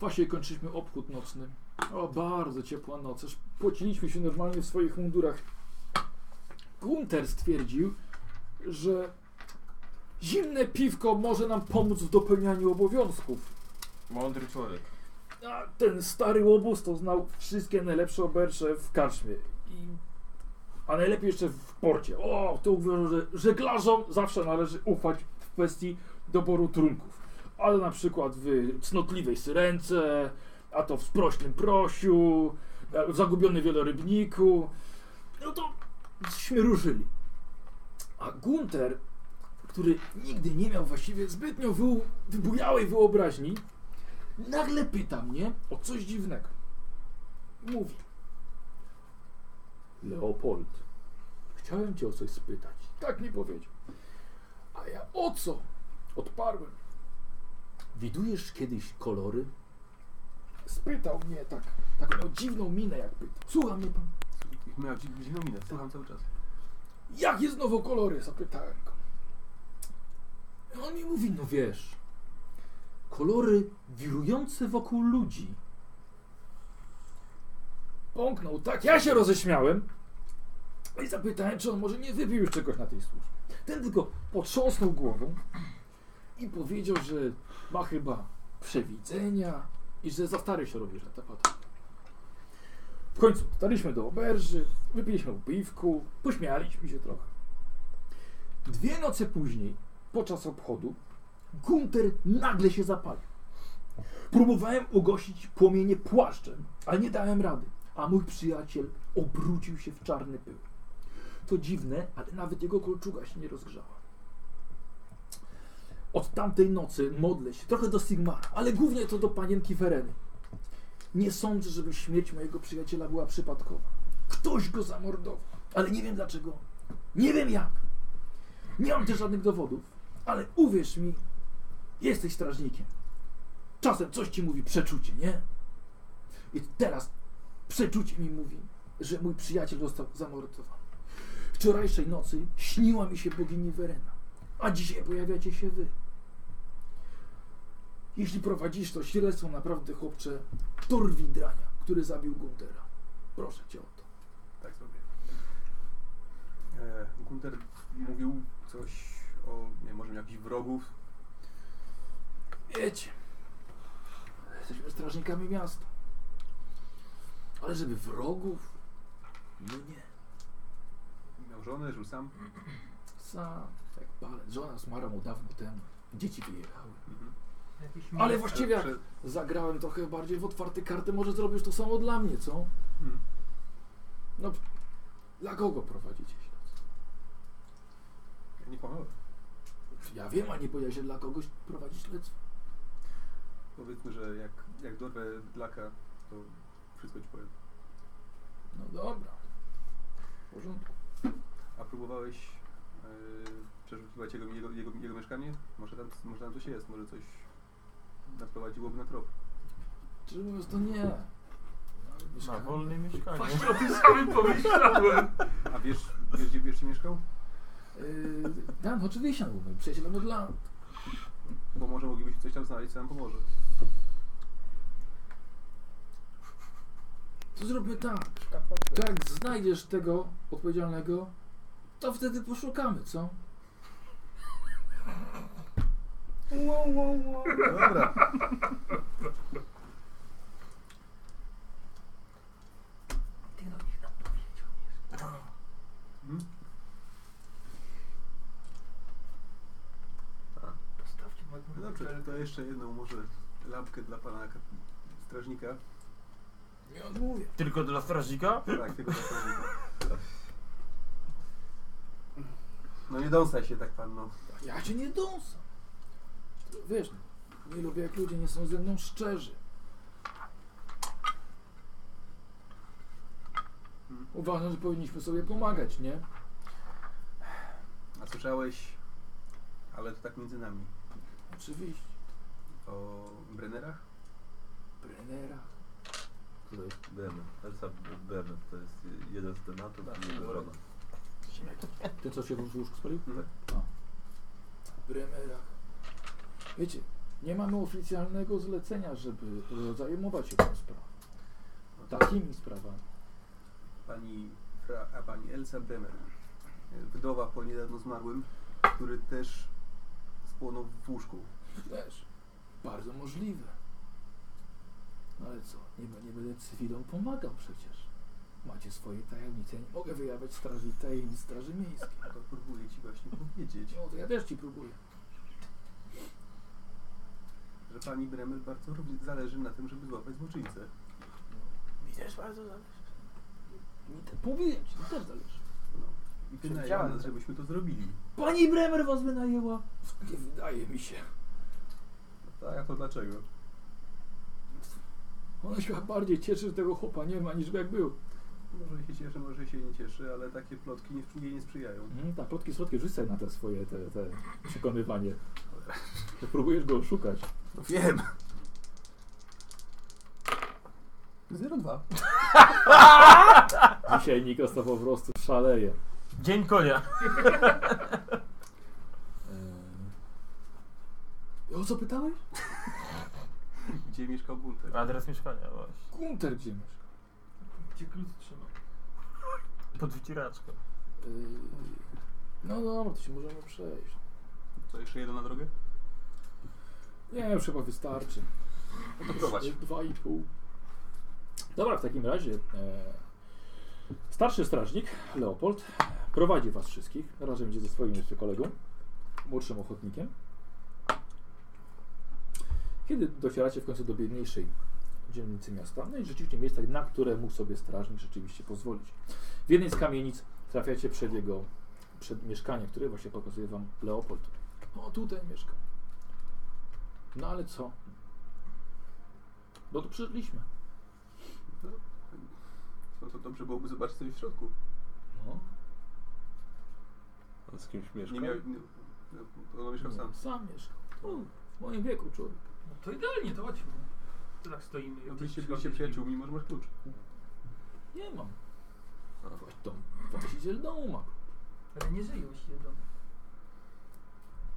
S2: Właśnie kończyliśmy obchód nocny. O, bardzo ciepła noc. Aż płaciliśmy się normalnie w swoich mundurach. Gunter stwierdził, że zimne piwko może nam pomóc w dopełnianiu obowiązków.
S5: Mądry człowiek.
S2: A ten stary łobuz to znał wszystkie najlepsze obersze w karczmie. I... A najlepiej jeszcze w porcie. O, to uważam, że żeglarzom zawsze należy ufać w kwestii doboru trunków. Ale na przykład w cnotliwej syrence, a to w sprośnym prosiu, e, w zagubionym wielorybniku. No to żeśmy ruszyli. A Gunter, który nigdy nie miał właściwie zbytnio wy- wybujałej wyobraźni, nagle pyta mnie o coś dziwnego. Mówi. Leopold, chciałem cię o coś spytać. Tak mi powiedział. A ja o co? Odparłem. Widujesz kiedyś kolory? Spytał mnie tak. Tak miał dziwną minę, jak pytał. Słucha mnie pan.
S3: Miał dzi- dziwną minę, słucham cały czas.
S2: Jakie znowu kolory? Zapytałem go. On mi mówi, no wiesz, kolory wirujące wokół ludzi. Pąknął, tak, ja się roześmiałem i zapytałem, czy on może nie wypił już czegoś na tej służbie. Ten tylko potrząsnął głową i powiedział, że ma chyba przewidzenia i że za stary się robi, że ta pata. W końcu dotarliśmy do oberży, wypiliśmy piwku, pośmialiśmy się trochę. Dwie noce później, podczas obchodu, Gunter nagle się zapalił. Próbowałem ugasić płomienie płaszczem, ale nie dałem rady, a mój przyjaciel obrócił się w czarny pył. To dziwne, ale nawet jego kolczuga się nie rozgrzała. Od tamtej nocy modlę się trochę do Sigmara, ale głównie to do panienki Wereny. Nie sądzę, żeby śmierć mojego przyjaciela była przypadkowa. Ktoś go zamordował, ale nie wiem dlaczego. Nie wiem jak. Nie mam też żadnych dowodów, ale uwierz mi, jesteś strażnikiem. Czasem coś ci mówi przeczucie, nie? I teraz przeczucie mi mówi, że mój przyjaciel został zamordowany. Wczorajszej nocy śniła mi się bogini Werena, a dzisiaj pojawiacie się wy. Jeśli prowadzisz to śledztwo naprawdę, chłopcze, Torwi Drania, który zabił Guntera. Proszę cię o to.
S3: Tak sobie. E, Gunter mówił coś o, nie wiem, może miał jakichś wrogów.
S2: Wiecie, jesteśmy strażnikami miasta. Ale żeby wrogów? No nie.
S3: Miał żonę, żył sam.
S2: Sam, jak palec. Żona zmarła mu dawno temu. Dzieci wyjechały.
S3: Mhm.
S4: Jakieś
S2: Ale
S4: mi-
S2: właściwie jak
S3: Prze-
S2: e, zagrałem trochę bardziej w otwarte karty, może zrobisz to samo dla mnie, co?
S3: Mhm.
S2: No, dla kogo prowadzicie śledztwo?
S3: Ja nie pomyłem.
S2: Ja wiem, a nie powiedział się dla kogoś prowadzić śledztwo.
S3: Powiedzmy, że jak, jak dorwę bydlaka, to wszystko ci powiem.
S2: No dobra. W porządku.
S3: A próbowałeś e, przeszukiwać jego, jego, jego, jego mieszkanie? Może tam, może tam coś jest, może coś naprowadziłoby na trop.
S2: Czy mówiąc to nie. Ale
S5: Na
S2: mieszkanie-
S5: wolnym mieszkaniu.
S4: Właśnie o tym samym pomyślałem.
S3: A wiesz, wiesz, gdzie- wiesz gdzie mieszkał?
S2: Yy, tak, oczywiście, był moim przyjacielem od lat.
S3: Bo może moglibyśmy coś tam znaleźć, co nam pomoże.
S2: To zróbmy tak. To jak znajdziesz tego odpowiedzialnego, to wtedy poszukamy, co?
S3: Dobra.
S4: Ty no niech nam powiedział.
S3: Mhm.
S4: Postawcie
S3: No
S4: mojego
S3: Dobrze, to jeszcze jedną może lampkę dla pana kap- strażnika.
S2: Nie odmówię.
S5: Tylko dla strażnika?
S3: Tak, tego dla strażnika. No nie dąsaj się tak pan, no.
S2: Ja cię nie dąsam. Wiesz, nie lubię jak ludzie nie są ze mną szczerzy. Uważam, że powinniśmy sobie pomagać, nie?
S3: A słyszałeś, ale to tak między nami,
S2: Oczywiście.
S3: o Brennerach?
S2: Brenera.
S1: To jest Bremen. Elsa Bremen to jest jeden z tematów
S10: Tak,
S1: i jego żona.
S7: Ten, co się w łóżku spalił?
S2: No. Bremera. Wiecie, nie mamy oficjalnego zlecenia, żeby e, zajmować się tą sprawą.
S7: No tak.
S2: Takimi sprawami.
S3: Pani, Fra, a pani Elsa Bremer, e, wdowa po niedawno zmarłym, który też spłonął w łóżku.
S2: Też. Bardzo możliwe. No ale co, nie, b- nie będę cywilom pomagał przecież. Macie swoje tajemnice, ja nie mogę wyjawiać straży, tajemnic Straży Miejskiej.
S3: No to próbuję ci właśnie powiedzieć,
S2: No to ja też ci próbuję.
S3: że pani Bremer bardzo robi- zależy na tym, żeby złapać złoczyńcę.
S6: Mi też bardzo zależy.
S2: Mi te, mówiłem ci, to też zależy.
S3: No. I wynajęła
S6: Przewidziałem
S3: nas,
S6: to.
S3: żebyśmy to zrobili.
S2: Pani Bremer was wynajęła? Nie wydaje mi się.
S3: No tak, a to dlaczego?
S2: Ona się bardziej cieszy, że tego chłopa nie ma, niż jak był.
S3: Może się cieszy, może się nie cieszy, ale takie plotki nie, jej nie sprzyjają.
S7: Mhm, tak, plotki słodkie, rzuć sobie na te swoje te, te przekonywanie. Że Próbujesz go oszukać.
S5: Wiem.
S3: 0-2.
S7: Dzisiaj Nikos to po prostu szaleje.
S5: Dzień konia.
S2: Eee, O co pytałeś?
S3: Gdzie mieszkał Gunter?
S5: Adres mieszkania, właśnie.
S2: Gunter gdzie mieszka?
S4: Gdzie klucz trzymam?
S5: Pod wycieraczką.
S2: Eee, No dobra, to się możemy przejść.
S3: Co, jeszcze jedno na drogę?
S2: Nie, już chyba wystarczy.
S3: No to prowadź.
S2: Dwa i pół.
S7: Dobra, w takim razie e, starszy strażnik Leopold prowadzi was wszystkich. Razem będzie ze swoim jeszcze kolegą, młodszym ochotnikiem. Kiedy docieracie w końcu do biedniejszej dzielnicy miasta, no i rzeczywiście miejsca, na które mógł sobie strażnik rzeczywiście pozwolić. W jednej z kamienic trafiacie przed jego przed mieszkanie, które właśnie pokazuje wam Leopold.
S2: O, tutaj mieszkam.
S7: No ale co? Bo tu przyszliśmy.
S3: No to dobrze byłoby zobaczyć coś w środku.
S7: No.
S10: On z kimś
S3: Nie
S10: mieszka?
S3: miał... Nie, no, on mieszkał sam.
S2: Sam mieszkam. Tu, w moim wieku człowiek.
S4: No to idealnie, to chodźmy. To tak stoimy.
S3: No
S4: jakieś
S3: byliście,
S4: środki
S3: byliście
S4: z nim.
S3: przyjaciółmi, może masz klucz.
S2: Nie mam. Właściciel, właściciel domu ma.
S4: Ale nie żyje właściwie dom.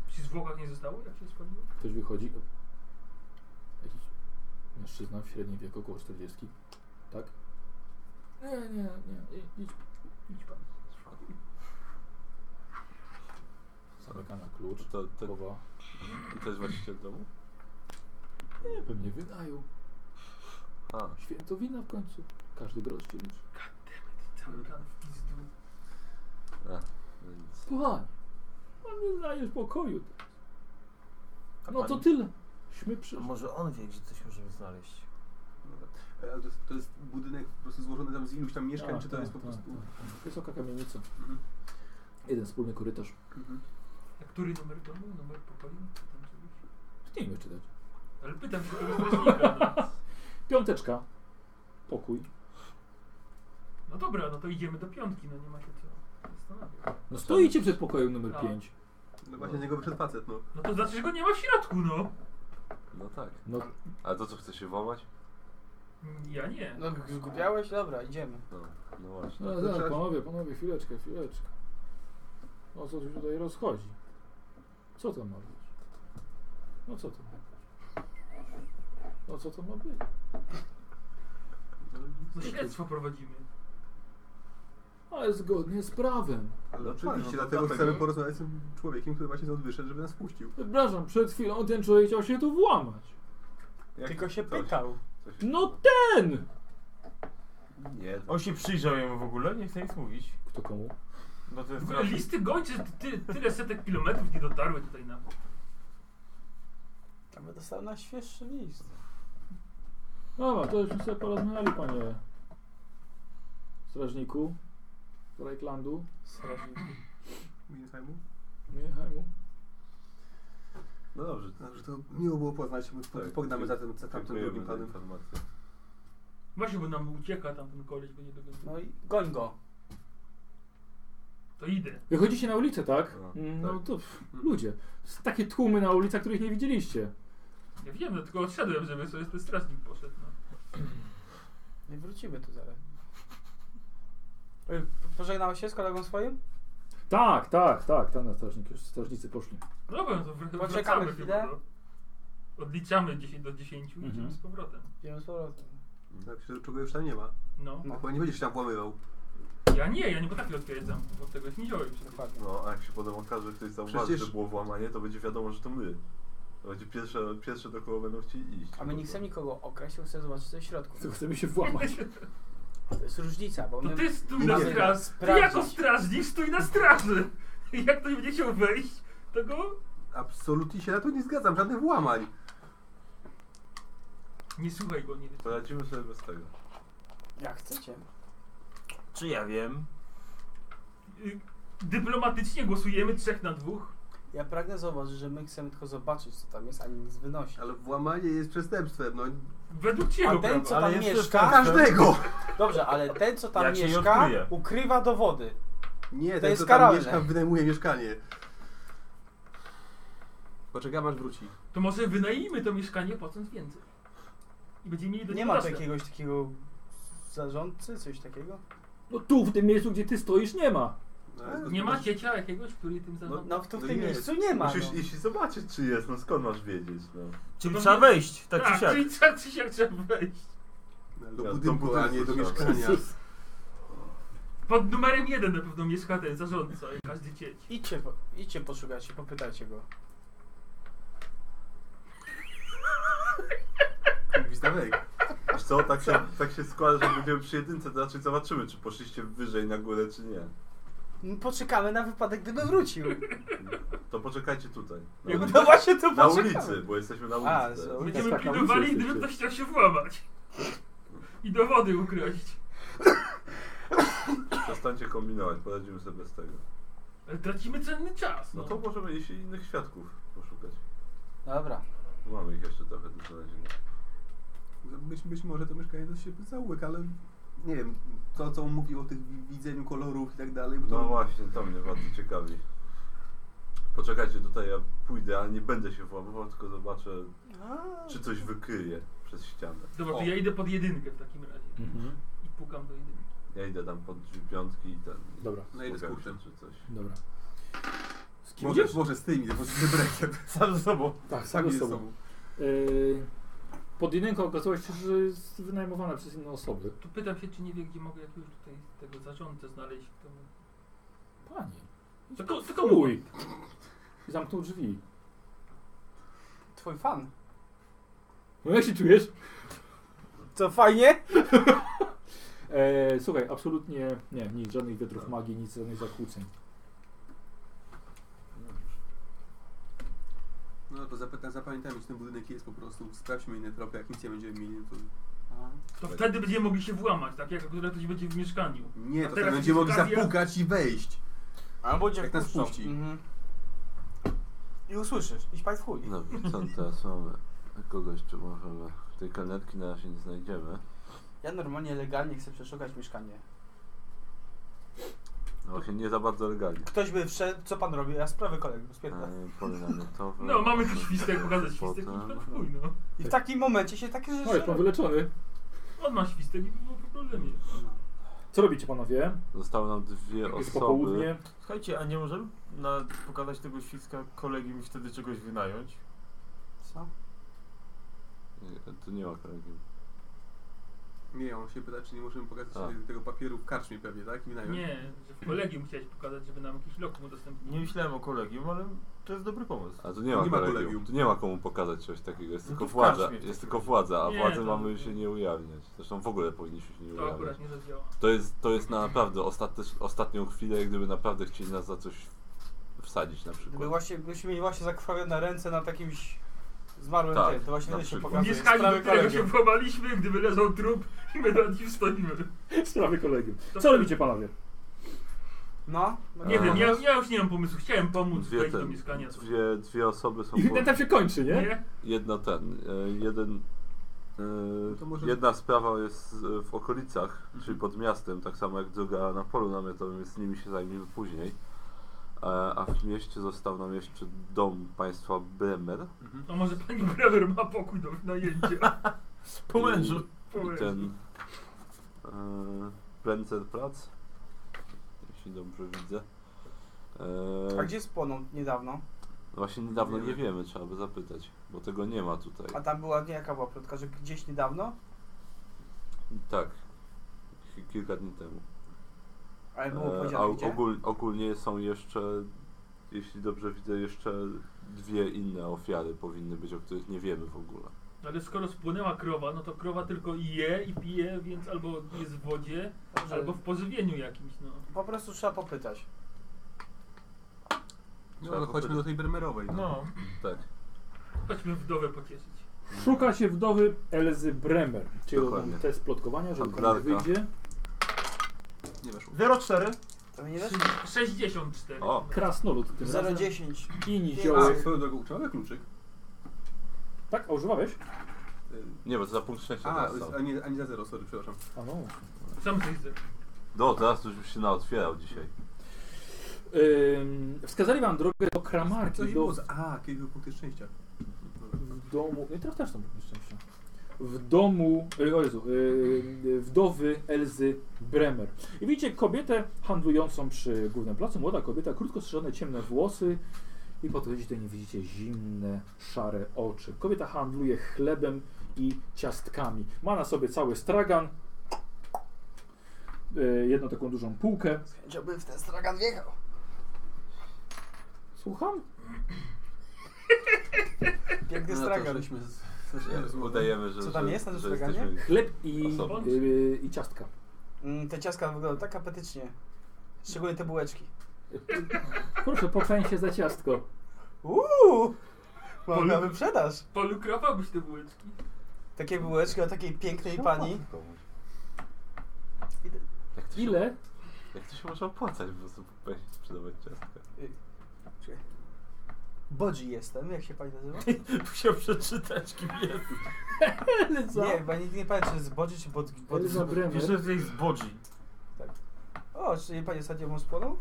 S4: Czy zwłokach nie zostało, jak się spaliło?
S7: Ktoś wychodzi. Jakiś mężczyzna w średnim wieku, około 40. Tak?
S2: Nie, nie, nie. I- Idź.
S4: Idź pan.
S7: Zamyka na klucz.
S10: To, to,
S7: Głowa.
S10: to jest właściciel domu?
S2: Nie, pewnie wynajął.
S10: A,
S2: Świętowina w końcu. Każdy grosz się liczy.
S4: Cały plan w pizdu.
S10: no nic.
S2: Kochanie, pan nie znajesz pokoju.
S5: A
S2: No to
S5: pani-
S2: tyle. Śmy
S5: A
S2: przyszli.
S5: może on wie, gdzie coś możemy znaleźć?
S3: E, ale To jest, to jest budynek po prostu złożony tam z iluś tam mieszkań,
S7: A,
S3: czy to
S7: tak,
S3: jest po
S7: tak,
S3: prostu...
S7: tak. Wysoka kamienica.
S3: Mhm.
S7: Jeden wspólny korytarz.
S3: Mhm.
S4: A który numer domu? Numer pokoju? Czy tam
S7: Nie
S4: czegoś?
S7: wiem czytać.
S4: Ale pytam się tego strażnika. no.
S7: Piąteczka. Pokój.
S4: No dobra, no to idziemy do piątki, no nie ma się co zastanawiać.
S7: No stoicie przed pokojem
S3: Tak.
S7: numer 5.
S3: No właśnie z niego wyszedł facet, no.
S4: No to znaczy, że go nie ma w środku, no.
S10: No tak.
S7: No,
S10: A to co, chce się włamać?
S4: Ja nie.
S6: No zgubiałeś? Dobra, idziemy.
S10: No, no właśnie.
S2: No,
S3: Tak, to
S2: zaraz,
S3: trzeba-
S2: panowie, panowie, chwileczkę, chwileczkę. O co tu się tutaj rozchodzi? Co to ma być? No co to ma być? No co to ma być?
S4: No śledztwo prowadzimy.
S2: Ale zgodnie z prawem.
S3: Ale
S1: Dlaczego?
S3: oczywiście,
S1: No to
S3: dlatego
S1: dlatego.
S3: chcemy porozmawiać z tym człowiekiem, który właśnie stąd wyszedł, żeby nas puścił.
S2: Przepraszam, przed chwilą ten człowiek chciał się tu włamać.
S1: Jak
S6: Tylko się
S1: coś-
S6: pytał.
S1: coś-
S2: No ten!
S1: Nie, to
S5: On się przyjrzał jemu w ogóle, nie chce nic mówić.
S7: Kto komu?
S5: No to
S4: W
S5: jest
S4: ogóle listy gończe, ty, tyle setek kilometrów nie dotarły tutaj na...
S6: Tam by dostał na świeższy list.
S7: Dobra, to już sobie porozmawiali, panie strażniku z Reichlandu.
S6: Strażnik.
S3: Winheimu.
S2: Nie, hajmu.
S1: No dobrze,
S3: Także to miło było poznać, my po-
S1: Tak,
S3: pognamy za, tym, za tamtym
S1: dziękujemy
S3: drugim
S1: za
S3: panem.
S1: informację.
S4: Właśnie, bo nam ucieka tam ten koleś, bo nie dogonił.
S6: No i goń go.
S4: To idę.
S2: Wychodzicie na ulicę, tak?
S1: No,
S2: Mm, No
S1: tak.
S2: to pff, ludzie. S- Takie tłumy na ulicach, których nie widzieliście.
S4: Ja wiem, dlatego odszedłem, żeby sobie ten strażnik poszedł. No.
S6: Nie wrócimy tu zaraz. Ej, Pożegnałeś się z kolegą swoim?
S2: Tak, tak, tak, tam na strażnik już strażnicy poszli.
S4: Dobra, no to wr-
S6: Poczekamy
S4: wracamy
S6: chwilę.
S4: chyba. no. Odliczamy 10 do 10 i
S2: Mhm.
S4: idziemy z powrotem.
S6: Idziemy z powrotem.
S3: Tak, się- czego już tam nie ma.
S4: No.
S6: No.
S3: Bo nie będziesz się tam włamywał.
S4: Ja nie, ja nie potrafię otwierać zamków, bo tego nie wziąłem. przecież.
S6: Dokładnie.
S1: No, a jak się potem okaże, ktoś zauważy,
S3: Przecież-
S1: że było włamanie, to będzie wiadomo, że to my. To będzie pierwsze, pierwsze do kogo będą chcieli iść.
S6: A my nie chcemy nikogo okraść, tylko chcemy zobaczyć co jest w środku.
S2: Tylko chcemy się włamać.
S6: To jest różnica, bo
S4: To
S6: my...
S4: ty stój
S3: Nie
S4: na
S3: wiem.
S4: straży. Ty
S6: Sprawdzić.
S4: jako strażnik stój na straży. Jak ktoś będzie chciał wejść, to go
S3: Absolutnie się na to nie zgadzam, żadnych włamań.
S4: nie słuchaj go, nie
S1: Poradzimy sobie bez tego.
S6: Jak chcecie.
S5: Czy ja wiem?
S4: Y, Dyplomatycznie głosujemy trzech na dwóch.
S6: Ja pragnę zauważyć, że my chcemy tylko zobaczyć co tam jest, a nie nic wynosić.
S3: Ale włamanie jest przestępstwem, no.
S4: Według ciebie,
S6: A ten
S4: prawa.
S6: co tam
S5: Ale jest
S6: mieszka...
S5: przestępstwo.
S3: Każdego!
S6: Dobrze, ale ten co tam
S5: Jak się nie
S6: mieszka
S5: odkryje.
S6: ukrywa dowody.
S3: Nie,
S6: To
S3: ten,
S6: jest
S3: co tam
S6: karalne.
S3: mieszka, wynajmuje mieszkanie. Poczekam aż wróci.
S4: To może wynajmijmy to mieszkanie płacąc więcej. I będziemy mieli do
S6: Nie
S4: niego
S6: ma tu
S4: dostęp.
S6: jakiegoś takiego zarządcy, coś takiego?
S2: No tu, w tym miejscu, gdzie ty stoisz, nie ma.
S3: No,
S4: Nie ma ciecia jakiegoś, który tym zarządza.
S6: No w tu w
S1: No
S6: tym
S1: nie.
S6: miejscu nie ma.
S1: Musisz
S6: No.
S1: iść i zobaczyć, czy jest, no skąd masz wiedzieć, no.
S5: Czyli
S4: To
S5: trzeba
S4: pewnie-
S5: wejść, tak czy siak.
S4: czyli trzeba, czy siak trzeba wejść.
S3: Do
S1: Ja, do
S3: budynku, a nie do
S1: budynku trzeba.
S3: mieszkania.
S4: Pod numerem jeden na pewno mieszka ten zarządca, jak każdy cieć.
S6: Idźcie, po- idźcie poszukać i popytajcie go.
S3: Gwizdawek.
S1: Wiesz co, tak się, tak się składa, że jak będziemy przy jedynce, to raczej zobaczymy, czy poszliście wyżej na górę, czy nie.
S6: No, Poczekamy na wypadek, gdyby wrócił.
S1: To poczekajcie tutaj. Na,
S4: Jakby
S6: No właśnie to
S1: na
S6: poczekamy.
S1: ulicy, bo jesteśmy na ulicy.
S6: A,
S1: teraz.
S6: z-
S4: Będziemy
S2: tak, na ulicy
S4: pilnowali,
S2: jesteście.
S4: gdyby ktoś chciał się włamać. I dowody ukraść.
S1: Przestańcie kombinować, poradzimy sobie bez tego.
S4: Ale tracimy cenny czas.
S1: No to możemy iść i innych świadków poszukać.
S6: Dobra.
S1: Mamy ich jeszcze trochę do znalezienia.
S3: Być, być może to mieszkanie to się załyk, ale nie wiem, to co on mówił o tych wi- widzeniu kolorów i tak dalej, bo to
S1: No właśnie, to mnie bardzo ciekawi. Poczekajcie tutaj, ja pójdę, ale nie będę się włamywał, tylko zobaczę, czy coś wykryje przez ścianę.
S4: Dobra, to
S6: O.
S4: ja idę pod jedynkę w takim razie.
S2: Mhm.
S4: I pukam do jedynki.
S1: Ja idę tam pod drzwi piątki i ten...
S2: Dobra,
S3: No i idę z
S1: spukam
S3: kurczem.
S1: się, czy coś.
S2: dobra. Z kim
S3: może,
S2: idziesz?
S3: może z tymi, bo z tym brekiem.
S5: Sam ze sobą.
S2: Tak, sam
S3: Sami
S2: z
S3: ze
S2: sobą.
S3: sobą.
S2: Yy, pod jedynką okazało się, że jest wynajmowana przez inne osoby.
S4: Tu pytam się, czy nie wie, gdzie mogę jakiegoś tutaj tego zarządcę znaleźć. Kto mu...
S2: Panie.
S4: Tylko, tylko mój.
S2: Kuj! I zamknął drzwi.
S6: Twój fan.
S2: No jak się czujesz?
S6: Co fajnie?
S2: E, słuchaj, absolutnie nie, nic, żadnych wiatrów magii, nic, żadnych zakłóceń.
S3: No to zapytam, zapamiętajmy, czy ten budynek jest po prostu, sprawdźmy inne tropy, jak nic nie będziemy mieli, to...
S4: To wtedy będziemy mogli się włamać, tak? Jak akurat ktoś będzie w mieszkaniu.
S3: Nie,
S4: A
S3: to
S4: teraz
S3: tak będziemy
S4: jest
S3: mogli
S4: okazja-
S3: zapukać i wejść,
S5: Albo
S3: jak nas puści.
S6: Mhm. I usłyszysz. Idź pan w chuj.
S5: No.
S10: Dobrze, No, co teraz mamy? Kogoś czy możemy... Tej kelnerki na razie nie znajdziemy.
S6: Ja normalnie legalnie chcę przeszukać mieszkanie.
S10: No właśnie nie za bardzo legalnie.
S6: Ktoś by wszedł, co pan robi? Ja sprawy kolegów
S10: E,
S6: spierdolę.
S10: Pole namiotowe...
S4: No, mamy tu świstek, pokazać świstek i
S10: potem-
S4: pan w chuj, no.
S6: I w takim momencie się takie
S2: No,
S6: rzeczy
S2: jest pan wyleczony.
S4: On ma świstek i było po problemie.
S2: Co robicie panowie?
S10: Zostały nam dwie
S2: Jest
S10: osoby.
S2: popołudnie.
S5: Słuchajcie, a nie możemy na, pokazać tego świska kolegium i wtedy czegoś wynająć?
S6: Co?
S10: Nie, To nie ma kolegi.
S3: Nie, on się pyta, czy nie możemy pokazać
S10: A.
S3: tego papieru w karczmie pewnie, tak? I wynająć.
S4: Nie, że w kolegium chciałeś pokazać, żeby nam jakiś lokum udostępnił.
S5: Nie myślałem o kolegium, ale to jest dobry pomysł.
S3: No,
S10: A tu nie ma,
S3: Nie ma
S10: kolegium.
S3: kolegium.
S10: Tu nie ma komu pokazać czegoś takiego. Jest
S5: No
S10: tylko
S5: to w
S10: władza.
S5: karczmie jest
S10: Jest
S5: takie.
S10: tylko władza, a
S4: Nie,
S10: władzy
S4: to-
S10: mamy się nie ujawniać. Zresztą w ogóle powinniśmy się nie
S4: To
S10: ujawniać.
S4: akurat nie zadziała.
S10: To jest, to jest na naprawdę ostatecz, ostatnią chwilę, gdyby naprawdę chcieli nas za coś wsadzić na przykład.
S6: Gdyby właśnie, byśmy mieli właśnie zakrwawione ręce na takimś zmarłym
S10: Tak,
S6: tym, to właśnie
S10: na
S6: wtedy się
S10: przykład.
S6: pokazuje.
S4: Mieszkanie, do
S6: Sprawy
S4: którego się
S6: kolegium.
S4: włamaliśmy, gdyby leżał trup i my nad nim stoimy.
S2: Sprawy kolegium.
S4: To-
S2: Co robicie panowie?
S6: No, no
S4: Nie
S1: A.
S4: wiem, ja, ja już nie mam pomysłu. Chciałem pomóc
S1: Dwie
S4: wejść
S1: ten-
S4: do mieszkania. Coś.
S1: Dwie, dwie osoby są.
S2: I
S1: po-
S2: ten tam się kończy, nie?
S4: Nie?
S1: Jedna ten, e, jeden. e,
S3: No to może-
S1: Jedna sprawa jest e, w okolicach, czyli pod miastem, tak samo jak druga na polu namiotowym, więc nimi się zajmiemy później. E, A w mieście został nam jeszcze dom państwa Bremer.
S4: A może pani Brewer ma pokój do wynajęcia?
S5: Po mężu.
S1: I ten. E, Brenzenplatz, jeśli dobrze widzę. E, no
S6: A gdzie spłonął niedawno?
S1: Właśnie niedawno nie wiemy, trzeba by zapytać, bo tego nie ma tutaj.
S6: A tam była, nie jaka była plotka, że gdzieś niedawno?
S1: Tak, ki- kilka dni temu.
S6: Ale Tak było
S1: E,
S6: powiedziane
S1: a
S6: gdzie?
S1: ogól, ogólnie są jeszcze, jeśli dobrze widzę, jeszcze dwie inne ofiary powinny być, o których nie wiemy w ogóle.
S4: Ale skoro spłynęła krowa, no to krowa tylko je i pije, więc albo jest w wodzie,
S6: Dobrze.
S4: albo w pożywieniu jakimś, no.
S6: Po prostu trzeba popytać.
S3: No, no chodźmy do tej Bremerowej. No.
S5: No.
S1: Tak,
S4: Chodźmy wdowę pocieszyć.
S2: Szuka się wdowy Elzy Bremer. Czyli
S1: Dokładnie.
S2: ten test plotkowania, że
S1: Akurat.
S2: wyjdzie.
S3: Nie weszło.
S5: 04.
S6: To mnie nie weszło.
S4: 64.
S1: O.
S2: Krasnolud tym razem.
S6: 0,10.
S2: Kini
S3: A,
S2: ziołek.
S3: swoją drogą, czy mamy kluczyk?
S2: Tak, a używałeś?
S3: Y,
S1: nie, bo to za punkt szczęścia
S3: A,
S1: teraz są.
S3: a nie, a nie za zero, sorry, przepraszam.
S2: A no.
S4: Sam coś ze-
S1: No, teraz już byś się naotwierał dzisiaj.
S2: Ym, wskazali wam drogę do kramarki,
S3: Coś
S2: do
S3: było za... A, kiedy był punkty szczęścia.
S2: w domu. Nie, teraz też są punkty szczęścia. W domu. e, O Jezu, e, e, wdowy Elzy Bremer. I widzicie kobietę handlującą przy głównym placu. Młoda kobieta, krótko strzyżone ciemne włosy. I po tej nie widzicie zimne, szare oczy. Kobieta handluje chlebem i ciastkami. Ma na sobie cały stragan. e, Jedną taką dużą półkę.
S6: Z chęcią bym w ten stragan wjechał.
S2: Słucham?
S6: Piękny
S3: No, to
S6: stragan.
S3: żeśmy z... zaczęli rozmowę.
S1: Udajemy, że...
S6: Co tam
S1: że,
S6: jest na tym
S1: że
S6: straganie?
S1: jesteśmy-
S2: Chleb i,
S1: Osobno.
S2: e, i ciastka.
S6: Mm, te ciastka wyglądają tak apetycznie. Szczególnie te bułeczki.
S2: Proszę, pochwań się za ciastko.
S6: Uuu! Mam
S4: Polu-
S6: na wyprzedaż.
S4: Polukrowałbyś te bułeczki.
S6: Takie bułeczki od takiej pięknej pani.
S1: Komuś.
S6: Ile?
S1: Jak to się-
S2: Ile?
S1: Jak to się może opłacać po prostu popaść i sprzedawać ciastka?
S6: Bodzi jestem, jak się pani nazywa?
S5: Musiał przeczytać, kim jest.
S6: Nie, bo ja nigdy nie pamiętam, czy jest Bodzi czy Bodzi. Bodzi.
S2: Elza Bremer.
S5: Jeszcze tej zbodzi.
S6: O, czy pani ostatnio mu spłonął?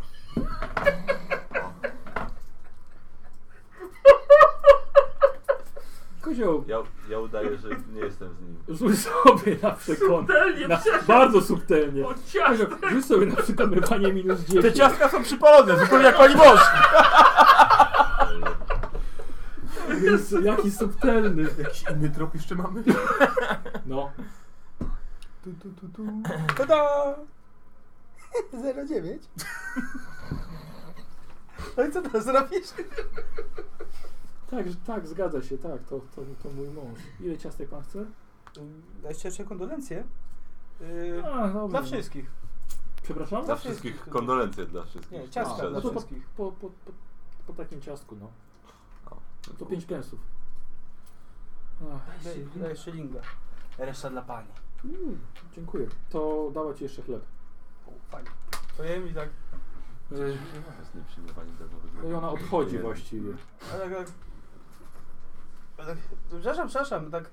S2: Kozioł,
S1: Ja, ja udaję, że nie jestem z nim. E,
S2: rzuć sobie na przekonanie.
S4: Subtelnie
S2: Na,
S4: przeszedł.
S2: bardzo subtelnie.
S4: O
S2: Kozioł,
S4: ciastek!
S2: rzuć sobie na przekonywanie minus 10.
S5: Te ciastka są przypalone, zupełnie jak pani mąż.
S2: Jezu, jaki subtelny.
S3: Jakiś inny trop jeszcze mamy?
S2: No.
S3: Tu, tu, tu, tu.
S6: Tada! 09. No i co teraz zrobisz?
S2: Tak, że- tak, zgadza się, tak, to, to, to mój mąż. Ile ciastek pan chce?
S6: Dajcie jeszcze kondolencje. Yy,
S2: A, dobra. no.
S6: dla wszystkich.
S2: Przepraszam?
S1: Dla
S6: Zawsze
S1: wszystkich
S6: jest-
S1: kondolencje dla wszystkich.
S6: Nie, ciastka
S2: No
S1: Szczerze.
S6: dla
S2: to po,
S6: wszystkich.
S2: po, po, po, po takim ciastku, no.
S1: O,
S2: To 5 pensów. Ach,
S4: Daj
S6: Daj,
S4: się,
S6: daj szylinga. Reszta dla pani.
S2: mm, dziękuję. To dała ci jeszcze chleb.
S6: O, Fajnie. To jem i tak.
S2: Ech,
S1: Jest nieprzyjmowanie
S2: No i ona odchodzi właściwie.
S6: A tak, tak. A tak. Przepraszam, przepraszam, tak.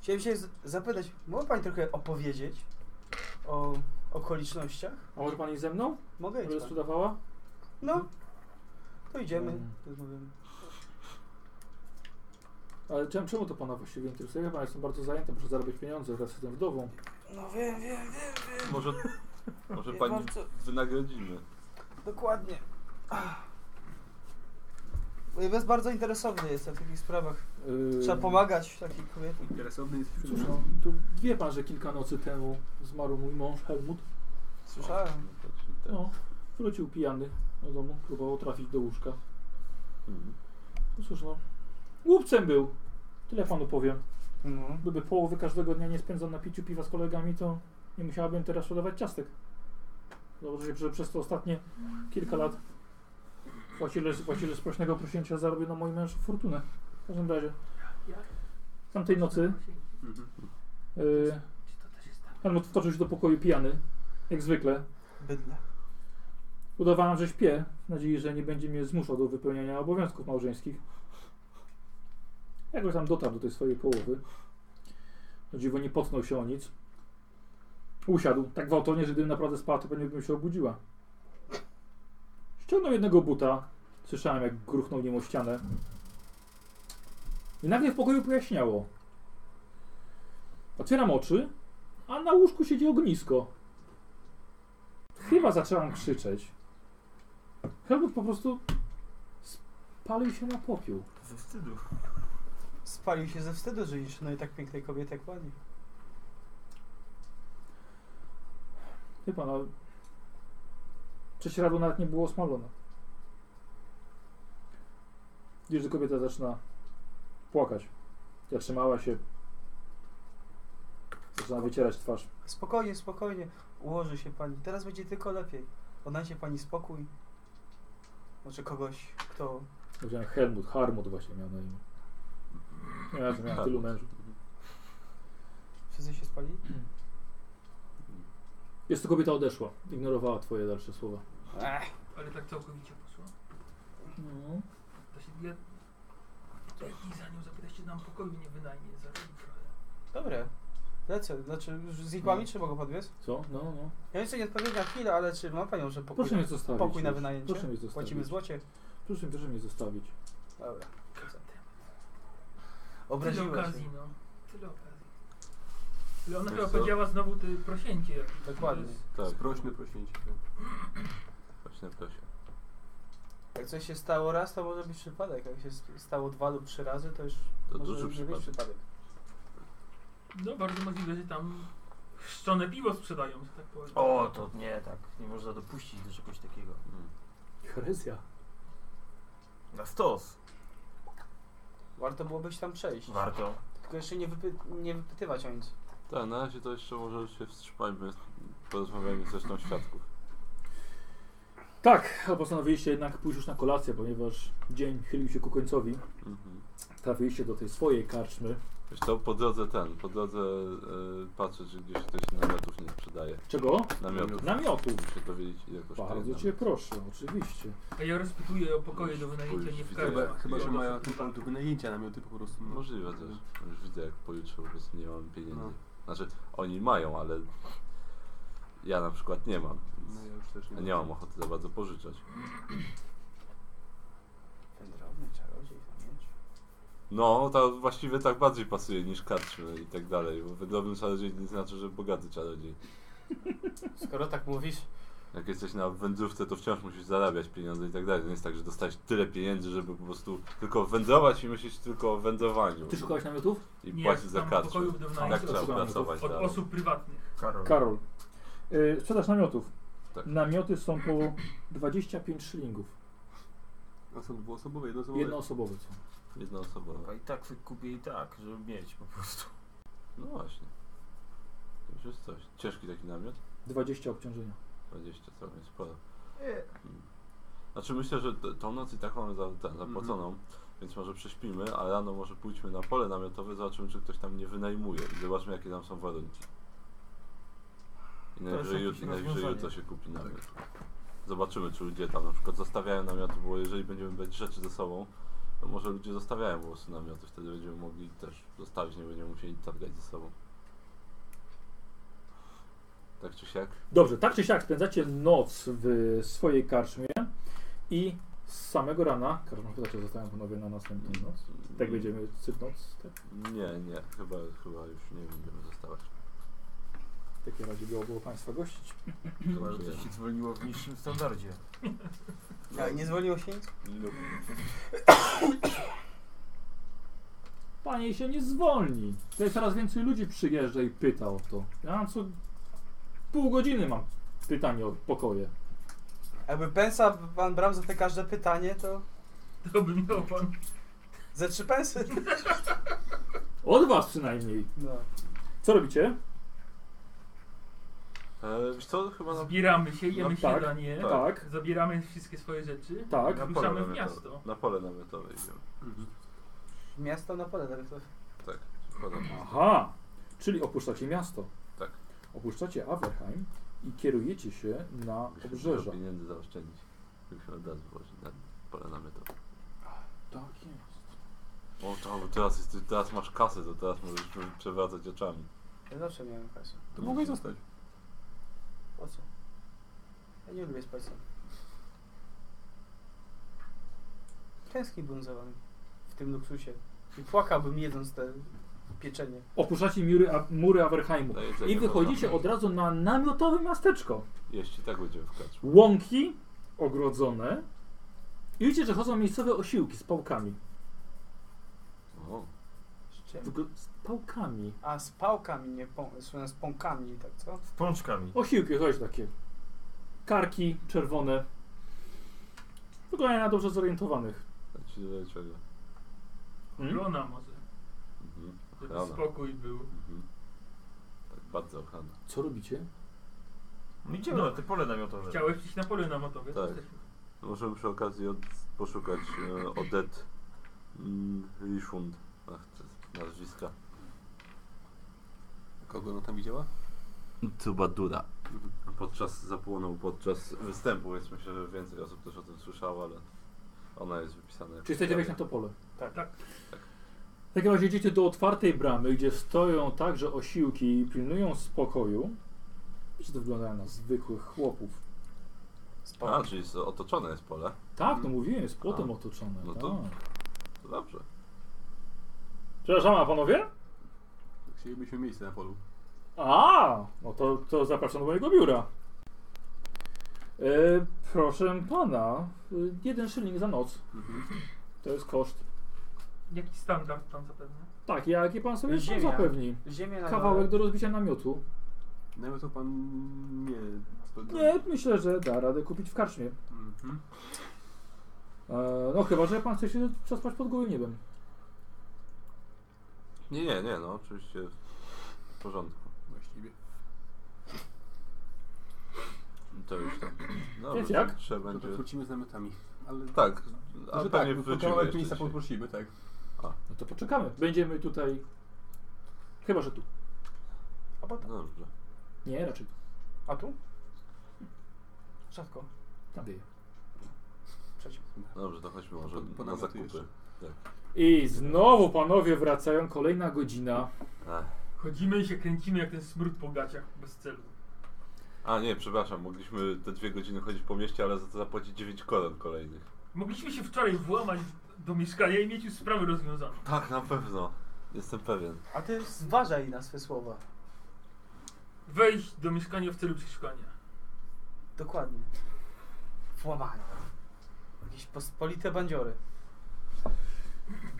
S6: Chciałem się z- zapytać, mogła pani trochę opowiedzieć o okolicznościach?
S2: A może pan iść ze mną?
S6: Mogę
S2: Może
S6: iść. Pan.
S2: sprzedawała?
S6: No. To idziemy,
S2: Mm.
S6: rozmawiamy.
S2: Ale czemu, czemu to pana właściwie interesuje? Ja jestem bardzo zajęty, muszę zarabiać pieniądze wraz z tą wdową.
S6: No wiem, wiem, wiem, wiem.
S1: Może, może
S6: Nie
S1: pani
S6: mam co-
S1: wynagrodzimy.
S6: Dokładnie. Ach. Bo jest bardzo interesowny jestem w takich sprawach.
S2: Yy,
S6: Trzeba pomagać takiej kobiety.
S3: Interesowny jest
S2: Cóż,
S3: przede
S2: no,
S3: wszystkim.
S2: to wie pan, że kilka nocy temu zmarł mój mąż Helmut.
S6: Słyszałem.
S1: No to czyli ten.
S2: No, wrócił pijany do domu, próbował trafić do łóżka.
S1: Mhm.
S2: No cóż no, głupcem był. Tyle panu powiem.
S6: No.
S2: Gdyby połowy każdego dnia nie spędzał na piciu piwa z kolegami, to nie musiałabym teraz sprzedawać ciastek. Założę się, że przez te ostatnie kilka lat płacile, płacile sprośnego prosięcia zarobił na moim mężu fortunę. W każdym razie, tamtej nocy e,
S3: Mhm.
S4: tak?
S2: Yy, Helmut wtoczył się do pokoju pijany, jak zwykle.
S6: Bydle.
S2: Udawałem, że śpię, w nadziei, że nie będzie mnie zmuszał do wypełniania obowiązków małżeńskich. Jakoś tam dotarł do tej swojej połowy. No dziwo nie potnął się o nic. Usiadł tak gwałtownie, że gdybym naprawdę spała, to pewnie bym się obudziła. Ściągnął jednego buta. Słyszałem, jak gruchnął nim o ścianę. I nagle w pokoju pojaśniało. Otwieram oczy, a na łóżku siedzi ognisko. Chyba zaczęłam krzyczeć. Helmut po prostu spalił się na popiół.
S4: Ze wstydu.
S6: Spalił się ze wstydu, że niszczy no i tak pięknej kobiety jak pani.
S2: Chyba no. Prześcieradło nawet nie było osmalone. Widzisz, że kobieta zaczyna płakać. Zatrzymała się. Zaczyna wycierać twarz.
S6: Spokojnie, spokojnie. Ułoży się pani. Teraz będzie tylko lepiej. Odnajdzie pani spokój. Może kogoś, kto...
S2: Powiedziałem Helmut, Harmut właśnie miał na imię. Nie wiem, miałem tylu mężów.
S6: Wszyscy się spali?
S2: Jest to kobieta odeszła. Ignorowała twoje dalsze słowa.
S6: Ech,
S4: Ale tak całkowicie poszło.
S2: No.
S4: To się ja... Biegnij za nią, zapytaj się nam pokoju nie wynajmie za chwilę trochę.
S6: dobre. Lecę. Znaczy, już z
S2: No.
S6: igłami czy mogę podwiec?
S2: Co? No, no.
S6: Ja jeszcze nie odpowiem na chwilę, ale czy ma panią, że pokój,
S2: Proszę mnie zostawić.
S6: pokój na
S2: już.
S6: wynajęcie?
S2: Proszę mnie zostawić.
S6: Płacimy w złocie?
S2: Proszę, proszę mnie zostawić.
S6: Dobra.
S4: Tyle
S6: Obraziła się.
S4: okazji, no. Tyle okazji. Ale ona chyba powiedziała znowu ty prosięcie jakieś. no,
S6: Dokładnie.
S4: To jest-
S1: Tak,
S3: Sprośny prosięcie.
S1: właśnie proszę.
S6: Jak coś się stało raz, to może być przypadek. Jak się s- stało dwa lub trzy razy, to już
S1: To
S6: może
S1: duży
S6: nie
S1: przypadek.
S6: być przypadek.
S4: No bardzo możliwe, że tam chrzczone piwo sprzedają, że tak powiem.
S5: O, to nie, tak. Nie można dopuścić do czegoś takiego.
S2: Herezja.
S5: Na stos.
S6: Warto byłoby się tam przejść.
S5: Warto.
S6: Tylko jeszcze nie, wypy- nie wypytywać o nic.
S1: Tak, na razie to jeszcze może się wstrzymajmy, porozmawiajmy z resztą świadków.
S2: Tak, a postanowiliście jednak pójść już na kolację, ponieważ dzień chylił się ku końcowi.
S1: Mhm.
S2: Trafiliście do tej swojej karczmy.
S1: Wiesz to po drodze ten, po drodze y, patrzę, czy gdzieś ktoś namiotów nie sprzedaje.
S2: Czego?
S1: Namiotów.
S2: Namiotu.
S1: Muszę dowiedzieć ile kosztuje.
S2: Bardzo
S1: namiot.
S2: cię proszę, oczywiście.
S4: A ja rozpytuję o pokoje do wynajęcia,
S1: Już
S4: nie w
S1: widzę.
S4: każdym.
S3: Chyba, chyba że
S4: Ja
S3: mają na
S4: dosyć
S3: tym polu do wynajęcia namioty po prostu. No.
S1: Możliwe też. Już widzę jak policzył, więc nie mam pieniędzy.
S3: No.
S1: Znaczy oni mają, ale ja na przykład nie mam. więc
S3: No ja już też
S1: Nie mam ochoty za bardzo pożyczać.
S6: Ten drobny czarodziej, ten miecz.
S1: No, to właściwie tak bardziej pasuje niż karczmy i tak dalej, bo wędrowny czarodziej nie znaczy, że bogaty czarodziej.
S6: Skoro tak mówisz,
S1: Jak jesteś na wędrówce, to wciąż musisz zarabiać pieniądze i tak dalej. To nie jest tak, że dostajesz tyle pieniędzy, żeby po prostu tylko wędrować i myśleć tylko o wędrowaniu.
S2: Ty szukałeś namiotów?
S1: I
S4: Nie,
S1: płacić za
S4: tam
S1: karczmę.
S4: pokoju do
S1: Tak trzeba
S2: Szukałem
S1: pracować
S4: Od
S1: dalej.
S4: osób prywatnych.
S5: Karol.
S2: Karol. Yy, sprzedaż namiotów.
S1: Tak.
S2: Namioty są po 25 szylingów.
S3: A są dwuosobowe,
S1: No
S3: jednoosobowe.
S2: Jednoosobowe są.
S1: Jednoosobowe.
S5: A I tak sobie kupię i tak, żeby mieć po prostu.
S1: No właśnie. To już jest coś. Ciężki taki namiot.
S2: 20 obciążenia.
S1: 20 całkiem sporo. Mm. Znaczy myślę, że t- tą noc i tak mamy za, ten, zapłaconą,
S5: Mhm.
S1: więc może prześpimy, a rano może pójdźmy na pole namiotowe, zobaczymy czy ktoś tam nie wynajmuje i zobaczmy jakie tam są warunki. I
S5: jest
S1: najwyżej,
S5: jakieś
S1: jut- i najwyżej
S5: rozwiązanie. Tak.
S1: jutro się kupi namiot. Zobaczymy czy ludzie tam na przykład zostawiają namioty, bo jeżeli będziemy brać rzeczy ze sobą, to może ludzie zostawiają po prostu namioty, wtedy będziemy mogli też zostawić, nie będziemy musieli targać ze sobą. Tak czy siak?
S2: Dobrze, tak czy siak spędzacie noc w swojej karczmie i z samego rana, karczma chyba cię zostawiam panowie na następną noc. Tak będziemy, noc, tak?
S1: Nie, nie, chyba, chyba już nie będziemy zostawać.
S2: W takim razie było, było Państwa gościć.
S1: Chyba,
S5: Chyba, że coś ci zwolniło w niższym standardzie.
S6: tak, nie zwolniło się nic?
S1: Lub
S2: Panie się nie zwolni. Tutaj coraz więcej ludzi przyjeżdża i pyta o to. Ja mam co pół godziny mam pytanie o pokoje.
S6: Jakby pensa pan brał za te każde pytanie, to
S4: To by miał pan.
S6: ze trzy pensy.
S2: Od Was przynajmniej.
S6: No.
S2: Co robicie?
S1: E, wiesz co, chyba na,
S4: Zbieramy się, jemy
S2: No tak,
S4: śniadanie,
S2: tak.
S4: zabieramy wszystkie swoje rzeczy.
S2: Tak.
S1: na pole
S4: Ruszamy w
S1: namiotowe.
S4: miasto.
S1: Na pole namiotowe idziemy.
S6: Miasto na pole nawet.
S1: Tak, przykładam.
S2: Aha, czyli opuszczacie miasto.
S1: Tak.
S2: Opuszczacie Averheim
S11: i kierujecie się na
S1: Musimy
S11: obrzeża.
S1: trochę pieniędzy zaoszczędzić. Musimy od razu włożyć na pole namiotowe.
S11: Tak jest.
S1: O, to, bo teraz, jest, teraz masz kasę, to teraz możesz przewracać oczami.
S6: Ja zawsze miałem kasę.
S3: To mogłeś zostać.
S6: Po co? Ja nie lubię spać sam. Tęskniłbym za wami w tym luksusie. I płakałbym jedząc te pieczenie.
S2: Opuszczacie mury, a, mury Averheimu.
S1: Za jedzenie
S2: I wychodzicie
S1: można.
S2: od razu na namiotowe miasteczko.
S1: Jeśli tak będziemy w kaczu.
S2: Łąki ogrodzone. I widzicie, że chodzą miejscowe osiłki z pałkami.
S1: O,
S6: Z czym?
S2: Wygl- Z pałkami.
S6: A z pałkami, nie pą- z- z pąkami, tak co?
S5: Z pączkami.
S2: Osiłki, chodź takie. Karki czerwone. Wyglądają na dobrze zorientowanych.
S1: znaczy do czego?
S2: Mm?
S4: Rona może.
S1: Mhm.
S4: Żeby
S1: Ochrana.
S4: spokój był.
S1: Mhm. Tak bardzo ochrana.
S11: Co robicie?
S5: No Idziemy
S4: No.
S5: na te pole namiotowe.
S4: Chciałeś iść na pole namiotowe. to
S1: Tak.
S4: jesteśmy.
S1: Możemy przy okazji od, poszukać e, Odet mm, Rishund. Ach, te nazwiska.
S3: Kogo ona tam widziała?
S1: Trubadura. Podczas zapłonął podczas występu, więc myślę, że więcej osób też o tym słyszało, ale ona jest wypisana. jako
S11: Czy chcecie wejść na
S1: prawie-
S11: to pole?
S2: W takim razie idziecie do otwartej bramy, gdzie stoją także osiłki i pilnują spokoju. Widzicie, to wygląda na zwykłych chłopów.
S6: Z
S1: A,
S6: pałkami.
S1: czyli jest, otoczone jest pole.
S2: Tak, no mówiłem, jest płotem
S1: A,
S2: otoczone.
S1: no to-
S2: tak.
S1: To dobrze.
S2: Przepraszam, a panowie?
S3: Chcielibyśmy miejsce na polu.
S2: A, no to, to zapraszam do mojego biura. E, proszę pana, e, jeden szyling za noc. To jest koszt.
S4: Jakiś standard tam zapewne.
S2: Tak, jaki pan sobie sam
S6: Ziemia.
S2: zapewni?
S6: Ziemia na
S2: Kawałek do rozbicia namiotu.
S3: Nawet No, to pan nie... to-
S2: Nie, myślę, że da radę kupić w karczmie.
S3: Mhm.
S2: E, no chyba, że pan chce się przespać pod gołym niebem.
S1: Nie, nie, nie, no oczywiście w porządku.
S3: Właściwie.
S1: To już tam. No,
S2: Wiecie
S1: to
S2: jak?
S1: Trzeba
S3: No to
S1: będzie.
S3: wrócimy z namiotami. Ale...
S1: Tak, a
S3: Może tak,
S1: pewnie
S3: to
S1: wrócimy
S3: kawałek
S1: jeszcze
S3: miejsca
S1: dzisiaj.
S3: poprosimy, tak.
S2: No to poczekamy. Będziemy tutaj... Chyba, że tu.
S1: No dobrze.
S2: Nie, raczej tu.
S6: A tu? Rzadko.
S2: Tam wieje.
S6: Przeciw.
S1: Dobrze, to chodźmy może
S3: Po- po
S1: na
S3: namioty
S1: zakupy.
S3: jeszcze.
S2: I znowu panowie wracają, kolejna godzina.
S1: Ech.
S4: Chodzimy i się kręcimy jak ten smród po gaciach bez celu.
S1: A nie, przepraszam, mogliśmy te dwie godziny chodzić po mieście, ale za to zapłacić 9 koron kolejnych.
S4: Mogliśmy się wczoraj włamać do mieszkania i mieć już sprawę rozwiązaną.
S1: Tak, na pewno. Jestem pewien.
S6: A ty zważaj na swe słowa.
S4: Wejść do mieszkania w celu przeszukania.
S6: Dokładnie. Włamanie. Jakieś pospolite bandziory.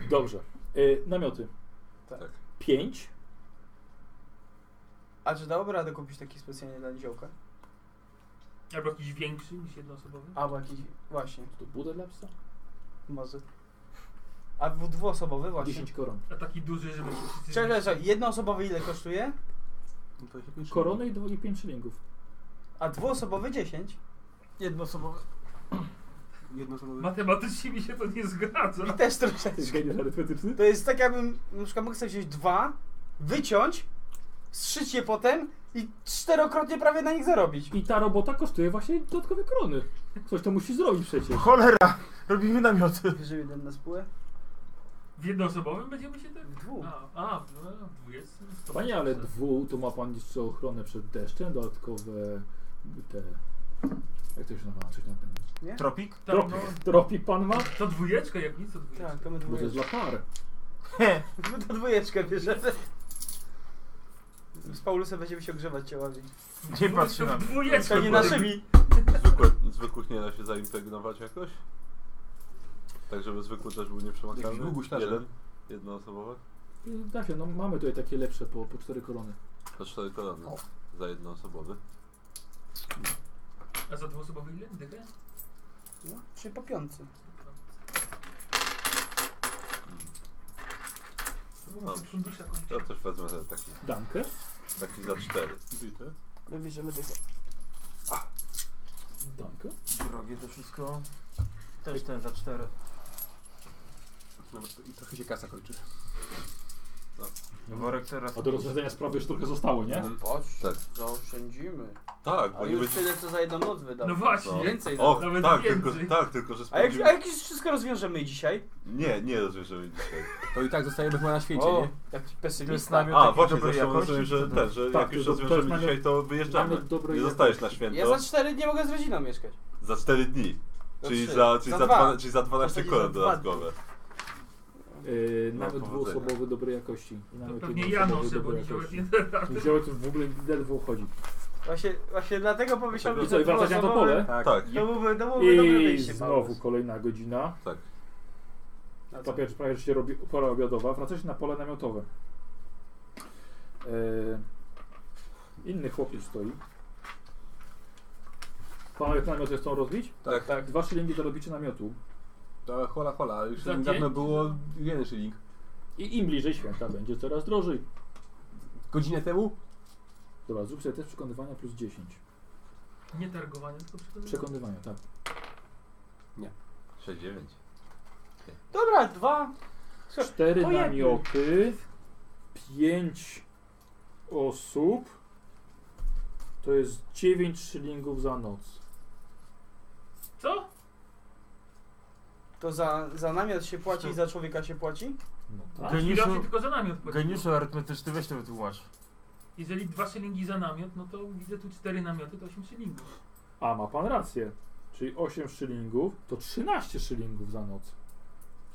S2: Dobrze. E, namioty.
S6: Tak.
S2: Pięć.
S6: A czy dałoby radę kupić taki specjalnie dla niziołka?
S4: Albo jakiś większy niż jednoosobowy.
S6: Albo jakiś... właśnie,
S2: To budę dla psa?
S6: może. A dwu- dwuosobowy właśnie.
S2: 10 koron.
S4: A taki duży, żeby się wszyscy...
S6: Czekaj, czekaj, jednoosobowy ile kosztuje?
S3: No to się kończymy.
S2: Korony i, dwu, i 5 szylingów.
S6: A dwuosobowy 10?
S5: Jednoosobowe.
S3: Jedno słowo.
S4: Matematycznie mi się to nie zgadza.
S6: I też troszeczkę.
S2: geniusz arytmetyczny?
S6: To jest tak jakbym na przykład mógł sobie wziąć dwa, wyciąć, zszyć je potem i czterokrotnie prawie na nich zarobić.
S2: I ta robota kosztuje właśnie dodatkowe korony. Ktoś to musi zrobić przecież.
S5: Cholera! Robimy namioty.
S6: Bierze jeden na spółę?
S4: W jednoosobowym będziemy się tak...
S6: W dwóch.
S4: A, a w no, w dwudziestym.
S2: Panie, ale dwu, to ma pan jeszcze ochronę przed deszczem, dodatkowe te... Jak to się nazywa? Coś na ten...
S5: Tropik?
S4: Tak,
S2: Tropi,
S4: no,
S2: tropi pan ma?
S4: to dwójeczka jak nic, to dwójeczka.
S6: Tak, to my
S2: Bo to jest
S6: dwójeczkę.
S2: dla par.
S6: My to dwójeczkę bierzemy. Z Paulusem będziemy się ogrzewać ciałami.
S5: Nie patrzy na mnie.
S4: Dwójeczka.
S6: To nie naszymi.
S1: Zwykłe, zwykłych nie da się zaimpregnować jakoś? Tak, żeby zwykły też był nieprzemakalny?
S3: Jakiś był guślarze.
S1: Jeden? Jednoosobowe?
S2: Da się, no mamy tutaj takie lepsze po, po 4 korony.
S1: To cztery korony za jednoosobowy.
S4: A za dwuosobowy ile? Dychę?
S6: No, czyli po piątce.
S1: No,
S4: Fundusza
S1: to też wezmę za taki,
S2: Dankę.
S1: taki za cztery.
S3: Bite.
S6: My bierzemy dychę.
S2: Dankę.
S5: Drogie to wszystko. Też ten za cztery.
S3: Nawet to- i trochę się kasa kończy.
S5: Worek teraz. No,
S2: A do rozwiązania sprawy już trochę zostało, nie?
S6: No Patrz,
S1: Tak.
S6: zaoszczędzimy.
S1: Tak, bo
S6: A
S1: nie
S6: już
S1: będzie...
S6: tyle, co za jedną noc wydał.
S4: No właśnie.
S1: No.
S6: Więcej
S1: O,
S6: nawet.
S4: nawet
S1: tak,
S4: więcej.
S1: tylko, tak, tylko że
S6: A jak,
S1: spędzimy...
S6: a jak już wszystko rozwiążemy dzisiaj?
S1: Nie, nie rozwiążemy dzisiaj.
S12: To i tak zostajemy chyba na świecie,
S6: o,
S12: nie?
S6: jak
S5: To jest
S6: pesymista.
S12: No
S5: namiot
S1: A,
S12: tak,
S5: takiej
S1: właśnie,
S5: dobrej
S1: zresztą
S5: jakości,
S1: rozumiem, że
S5: co to?
S1: ten, że
S13: Tak,
S1: jak już
S13: to- to jest
S1: rozwiążemy
S13: namiot-
S1: dzisiaj, to wyjeżdżamy.
S13: namiot dobrej
S1: Nie zostajesz na
S13: jakości.
S1: święto
S6: Ja za cztery dni mogę z rodziną mieszkać.
S1: za 4 dni.
S6: Za
S1: Czyli
S6: trzy.
S1: za, czyli
S6: Za
S1: za,
S6: dwa. Znaczy,
S1: dwa, czyli za 12
S6: Za
S1: koron
S6: dwa dni.
S1: dodatkowe.
S2: Yy,
S1: No,
S2: nawet
S1: powodzenia.
S2: dwuosobowy dobrej jakości. I
S4: To
S2: Nawet
S4: pewnie ja
S2: jednoosobowy
S4: noszę, bo
S2: dobrej
S4: niziołek
S2: jakości.
S4: nie Tak.
S2: Niziołek to w ogóle ledwo chodzi.
S6: Właśnie, właśnie dlatego pomyślałem,
S2: I co, i wracasz na to pole?
S1: Tak.
S6: To byłby, to byłby dobre
S2: I
S6: wyjście.
S2: znowu
S6: Paulus.
S2: kolejna godzina.
S1: Tak.
S6: Na No co?
S2: Prawie, prawie że się robi pora obiadowa. Wracacie na pole namiotowe. Yy, inny chłopiec stoi. Panowie, te namioty chcą rozbić?
S1: Tak.
S2: Dwa szylingi zarobicie namiotu.
S12: To hola hola, już
S4: Za
S12: niedawno
S4: dzień?
S12: było jeden szyling.
S2: I im bliżej święta będzie coraz drożej.
S12: Godzinę temu?
S2: Dobra, zrób sobie test przekonywania plus 10.
S4: Nie targowanie, tylko przekonywanie.
S2: Przekonywania, tak.
S1: 6-9.
S6: Dobra, dwa. Słuchaj,
S2: Cztery
S6: po jednym.
S2: namioty, pięć osób, to jest dziewięć szylingów za noc.
S4: Co?
S6: To za, za namiot się płaci i za człowieka się płaci?
S2: No
S4: A,
S2: tak.
S5: Geniuszu-
S4: Geniuszu, tylko za namiot płaci.
S5: Geniuszu arytmetyczny, weź to wytłumacz.
S4: Jeżeli dwa szylingi za namiot, no to widzę tu cztery namioty, to osiem szylingów.
S2: A ma pan rację. Czyli 8 szylingów to 13 szylingów za noc.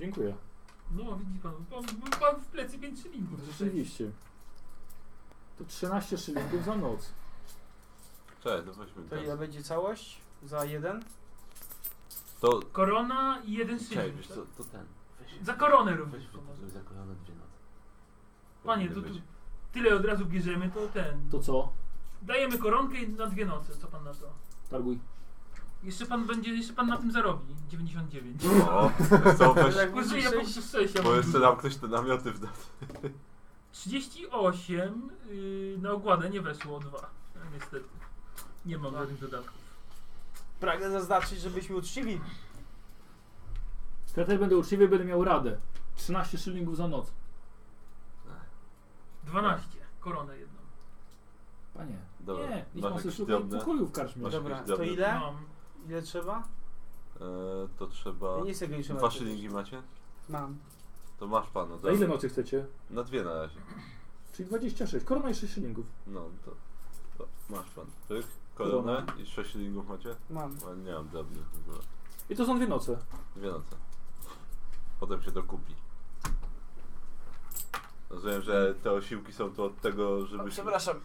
S2: Dziękuję.
S4: No, widzi pan, pan, pan w plecy pięć szylingów.
S2: Rzeczywiście. To 13 szylingów za noc.
S1: Cześć, no weźmy
S6: To ile
S1: ten.
S6: będzie całość? Za jeden?
S1: To...
S4: Korona i jeden
S1: Cześć,
S4: szyling.
S1: wiesz co, to ten.
S4: tak? Za koronę również.
S1: Weź żeby za kolano dwie noce.
S4: Panie, to
S1: Powinny
S4: tu
S1: być.
S4: tyle od razu bierzemy, to ten.
S2: To co?
S4: Dajemy koronkę i na dwie noce, co pan na to?
S2: Targuj.
S4: Jeszcze pan będzie, jeszcze pan na tym zarobi. 99.
S1: O, wiesz co, weź...
S6: Jak będzie
S4: Użyję
S6: sześć,
S4: punktu szczęścia.
S1: Bo jeszcze nam ktoś te namioty wda.
S4: 38 yy, na ogładę nie weszło 2. Niestety. Nie mam żadnych dodatków.
S6: pragnę zaznaczyć, żebyśmy uczciwi.
S2: Ja też będę uczciwy, będę miał radę. 13 szylingów za noc.
S4: 12. Koronę jedną.
S2: Panie,
S1: Dobra,
S2: nie, niech
S1: masz
S2: pan sobie
S1: jakieś
S2: szuka
S1: drobne?
S2: pokoju w karczmie.
S1: Masz
S6: Dobra,
S1: jakieś
S6: to
S1: drobne?
S6: ile?
S4: Mam.
S6: Ile trzeba?
S1: E, to
S6: Ja
S1: trzeba...
S6: nie jestem geniuszem.
S1: Dwa szylingi macie?
S6: Mam.
S1: To masz pan, no
S2: Za ile
S1: dobra.
S2: nocy chcecie?
S1: Na dwie na razie.
S2: Czyli 26. Korona i 6 szylingów.
S1: No, to... to masz pan. Pyk, koronę i sześć szylingów macie?
S6: Mam.
S1: No, nie mam drobnych w ogóle.
S2: I to są dwie noce.
S1: Dwie noce. Potem się dokupi. Rozumiem, że te osiłki są tu od tego,
S6: A,
S1: żebyśmy...
S6: No,
S1: No.
S6: przepraszam,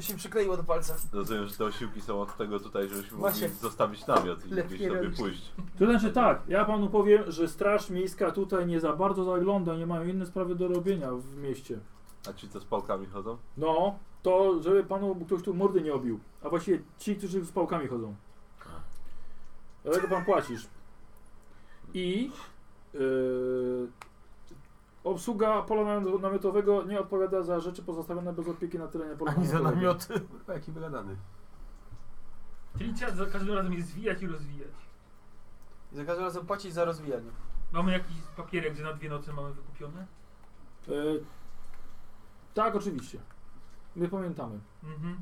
S6: się przykleiło do palca.
S1: Rozumiem, że te osiłki są od tego tutaj, żebyśmy
S6: Właśnie.
S1: mogli zostawić namiot i
S6: Lepiej
S1: gdzieś sobie
S6: robić.
S1: pójść.
S2: To znaczy tak, ja panu powiem, że Straż Miejska tutaj nie za bardzo zagląda, nie mają inne sprawy do robienia w mieście.
S1: A ci co z pałkami chodzą?
S2: No, to żeby panu ktoś tu mordy nie obił. A właściwie ci, którzy z pałkami chodzą. Dlatego pan płacisz. I yy, obsługa pola nam- namiotowego nie odpowiada za rzeczy pozostawione bez opieki na terenie pola
S5: Ani za
S2: namiotowego.
S5: namioty.
S12: Kurwa, jaki wygadany.
S4: Czyli trzeba za każdym razem je zwijać i rozwijać.
S6: Za każdym razem płacić za rozwijanie.
S4: Mamy jakiś papierek, że na dwie noce mamy wykupione?
S2: Yy, tak, oczywiście. My pamiętamy.
S4: Mhm.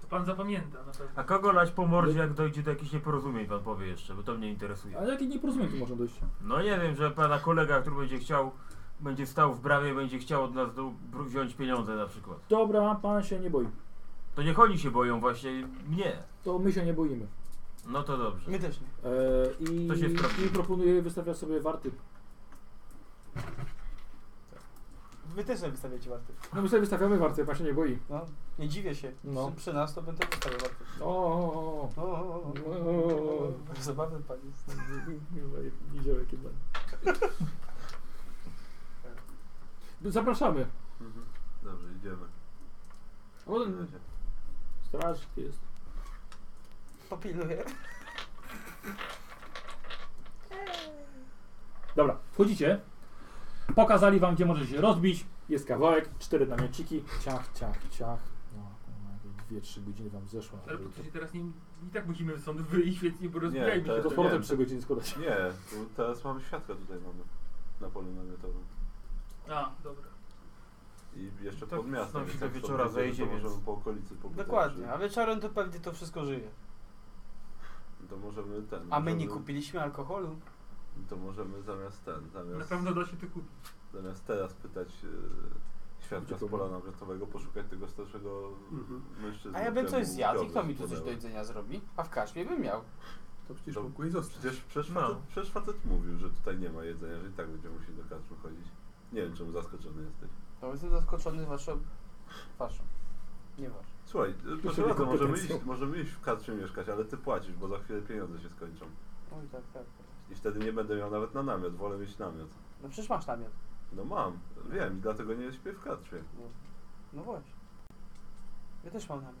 S4: To pan zapamięta na pewno.
S5: A kogo lać po mordzie, jak dojdzie do jakichś nieporozumień, pan powie jeszcze, bo to mnie interesuje.
S2: Ale jakie nieporozumienie tu może dojść?
S5: No nie wiem, że pana kolega, który będzie chciał, będzie stał w bramie, będzie chciał od nas do, br- wziąć pieniądze na przykład.
S2: Dobra, pan się nie boi.
S5: To niech oni się boją właśnie mnie.
S2: To my się nie boimy.
S5: No to dobrze.
S6: My też nie.
S2: E, i,
S5: To się sprawdzi.
S2: I proponuję wystawiać sobie warty.
S6: Wy też nie wystawiacie warty.
S2: No my sobie wystawiamy warty, pan się nie boi.
S6: No, nie dziwię się.
S2: No.
S6: No. Przy nas to będę wystawiał warty.
S2: O, o, o, o.
S6: O, o,
S2: O.
S6: o. Zabawny pan jest.
S2: Niziołek jednak. No, Zapraszamy.
S1: Dobrze, idziemy.
S2: O, Straż jest.
S6: Popiluję.
S2: Dobra, wchodzicie. Pokazali wam, gdzie możecie się rozbić. Jest kawałek, cztery namiociki. Ciach, ciach, ciach. No, jakieś dwie, trzy godziny wam zeszło.
S4: Ale po co się teraz nie... I tak musimy stąd wyjść, świetnie, bo
S1: Nie,
S4: rozbijajmy się.
S1: to-
S2: To z powrotem trzy godziny składać.
S1: Nie, tu teraz mamy świadka tutaj mamy. Na polu namiotowym.
S4: A, dobra.
S1: i jeszcze
S5: Tak,
S1: pod miastem.
S5: znowu się
S1: więc
S5: do
S1: jak
S5: wieczora
S1: sobie wyjdzie,
S5: zejdzie,
S1: to możemy
S5: więc-
S1: po okolicy popytać,
S6: Dokładnie,
S1: czy-
S6: a wieczorem to pewnie to wszystko żyje.
S1: To możemy ten.
S6: A my
S1: możemy-
S6: nie kupiliśmy alkoholu.
S1: To możemy zamiast ten,
S4: Na
S1: zamiast,
S4: pewno da się to kupić.
S1: zamiast teraz pytać e, świadka z pola namiotowego, poszukać tego starszego
S3: Mhm.
S1: mężczyzny.
S6: A ja bym
S1: któremu
S6: coś zjadł i
S1: wiodły
S6: kto mi tu coś
S1: spłynęły.
S6: do jedzenia zrobi? A w kaszmie bym miał.
S3: To przecież
S1: To-
S3: mógł i zostać.
S1: Przecież, przecież,
S5: No.
S1: facet, przecież facet mówił, że tutaj nie ma jedzenia, że i tak będziemy musieli do kaczmy chodzić. Nie wiem, czemu zaskoczony jesteś.
S6: To jestem zaskoczony waszą... waszą. Nie wasz.
S1: Słuchaj, e, proszę
S14: Czyli
S1: bardzo, możemy
S14: kompetencją.
S1: iść, możemy iść w kaczmie mieszkać, ale ty płacisz, bo za chwilę pieniądze się skończą.
S6: Oj, tak, tak.
S1: I wtedy nie będę miał nawet na namiot, wolę mieć namiot.
S6: No przecież masz namiot.
S1: No mam, wiem, i dlatego nie śpię w kaczmie.
S6: No właśnie. Ja też mam namiot.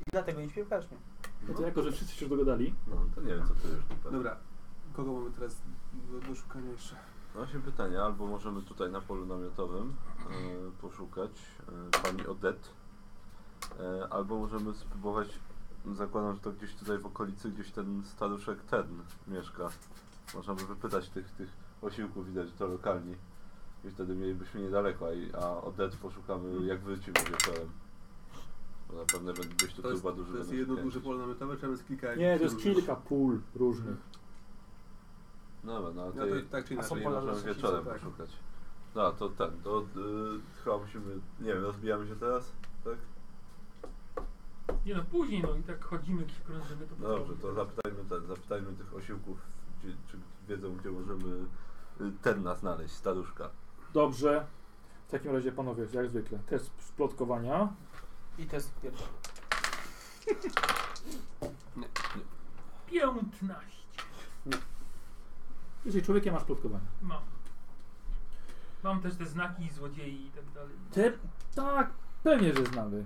S6: I dlatego nie śpię w kaszmie.
S2: No to jako, że wszyscy się już dogadali,
S1: No to nie wiem, co ty już tu
S3: Dobra, kogo mamy teraz do, do szukania jeszcze?
S1: No się pytanie, albo możemy tutaj na polu namiotowym e, poszukać e, pani Odette, e, albo możemy spróbować, no, zakładam, że to gdzieś tutaj w okolicy, gdzieś ten staruszek ten mieszka. Można by wypytać tych, tych osiłków, widać, że to lokalni. I wtedy mielibyśmy niedaleko, a, i- a Odette poszukamy jak wrócimy wieczorem. Bo zapewne będzie gdzieś tu
S3: To jest,
S1: tuba duży.
S3: to jest
S1: będą się
S3: jedno
S1: kręcić.
S3: duże pole namiotowe, czy tam jest kilka...
S2: nie, to jest
S3: kilku
S2: kilka pól różnych.
S1: No dobra, no ale
S3: No
S1: to
S3: to tak czy
S6: A są
S3: inaczej.
S1: Nie
S6: pola
S1: możemy
S6: losów,
S1: wieczorem
S3: tak.
S1: poszukać. No, to ten, to y, chyba musimy, nie wiem, rozbijamy się teraz, tak?
S4: Nie no, później no i tak chodzimy jakiś krążymy. To
S1: No dobrze, to zapytajmy ten, zapytajmy tych osiłków, gdzie, czy wiedzą, gdzie możemy y, ten nas znaleźć, staruszka.
S2: Dobrze. W takim razie panowie, jak zwykle, test plotkowania.
S6: I test pierwszy.
S4: 15
S2: Jesteś człowiekiem, masz plotkowanie.
S4: mam. Mam też te znaki złodziei i tak dalej.
S2: Te, tak, pewnie, że znamy.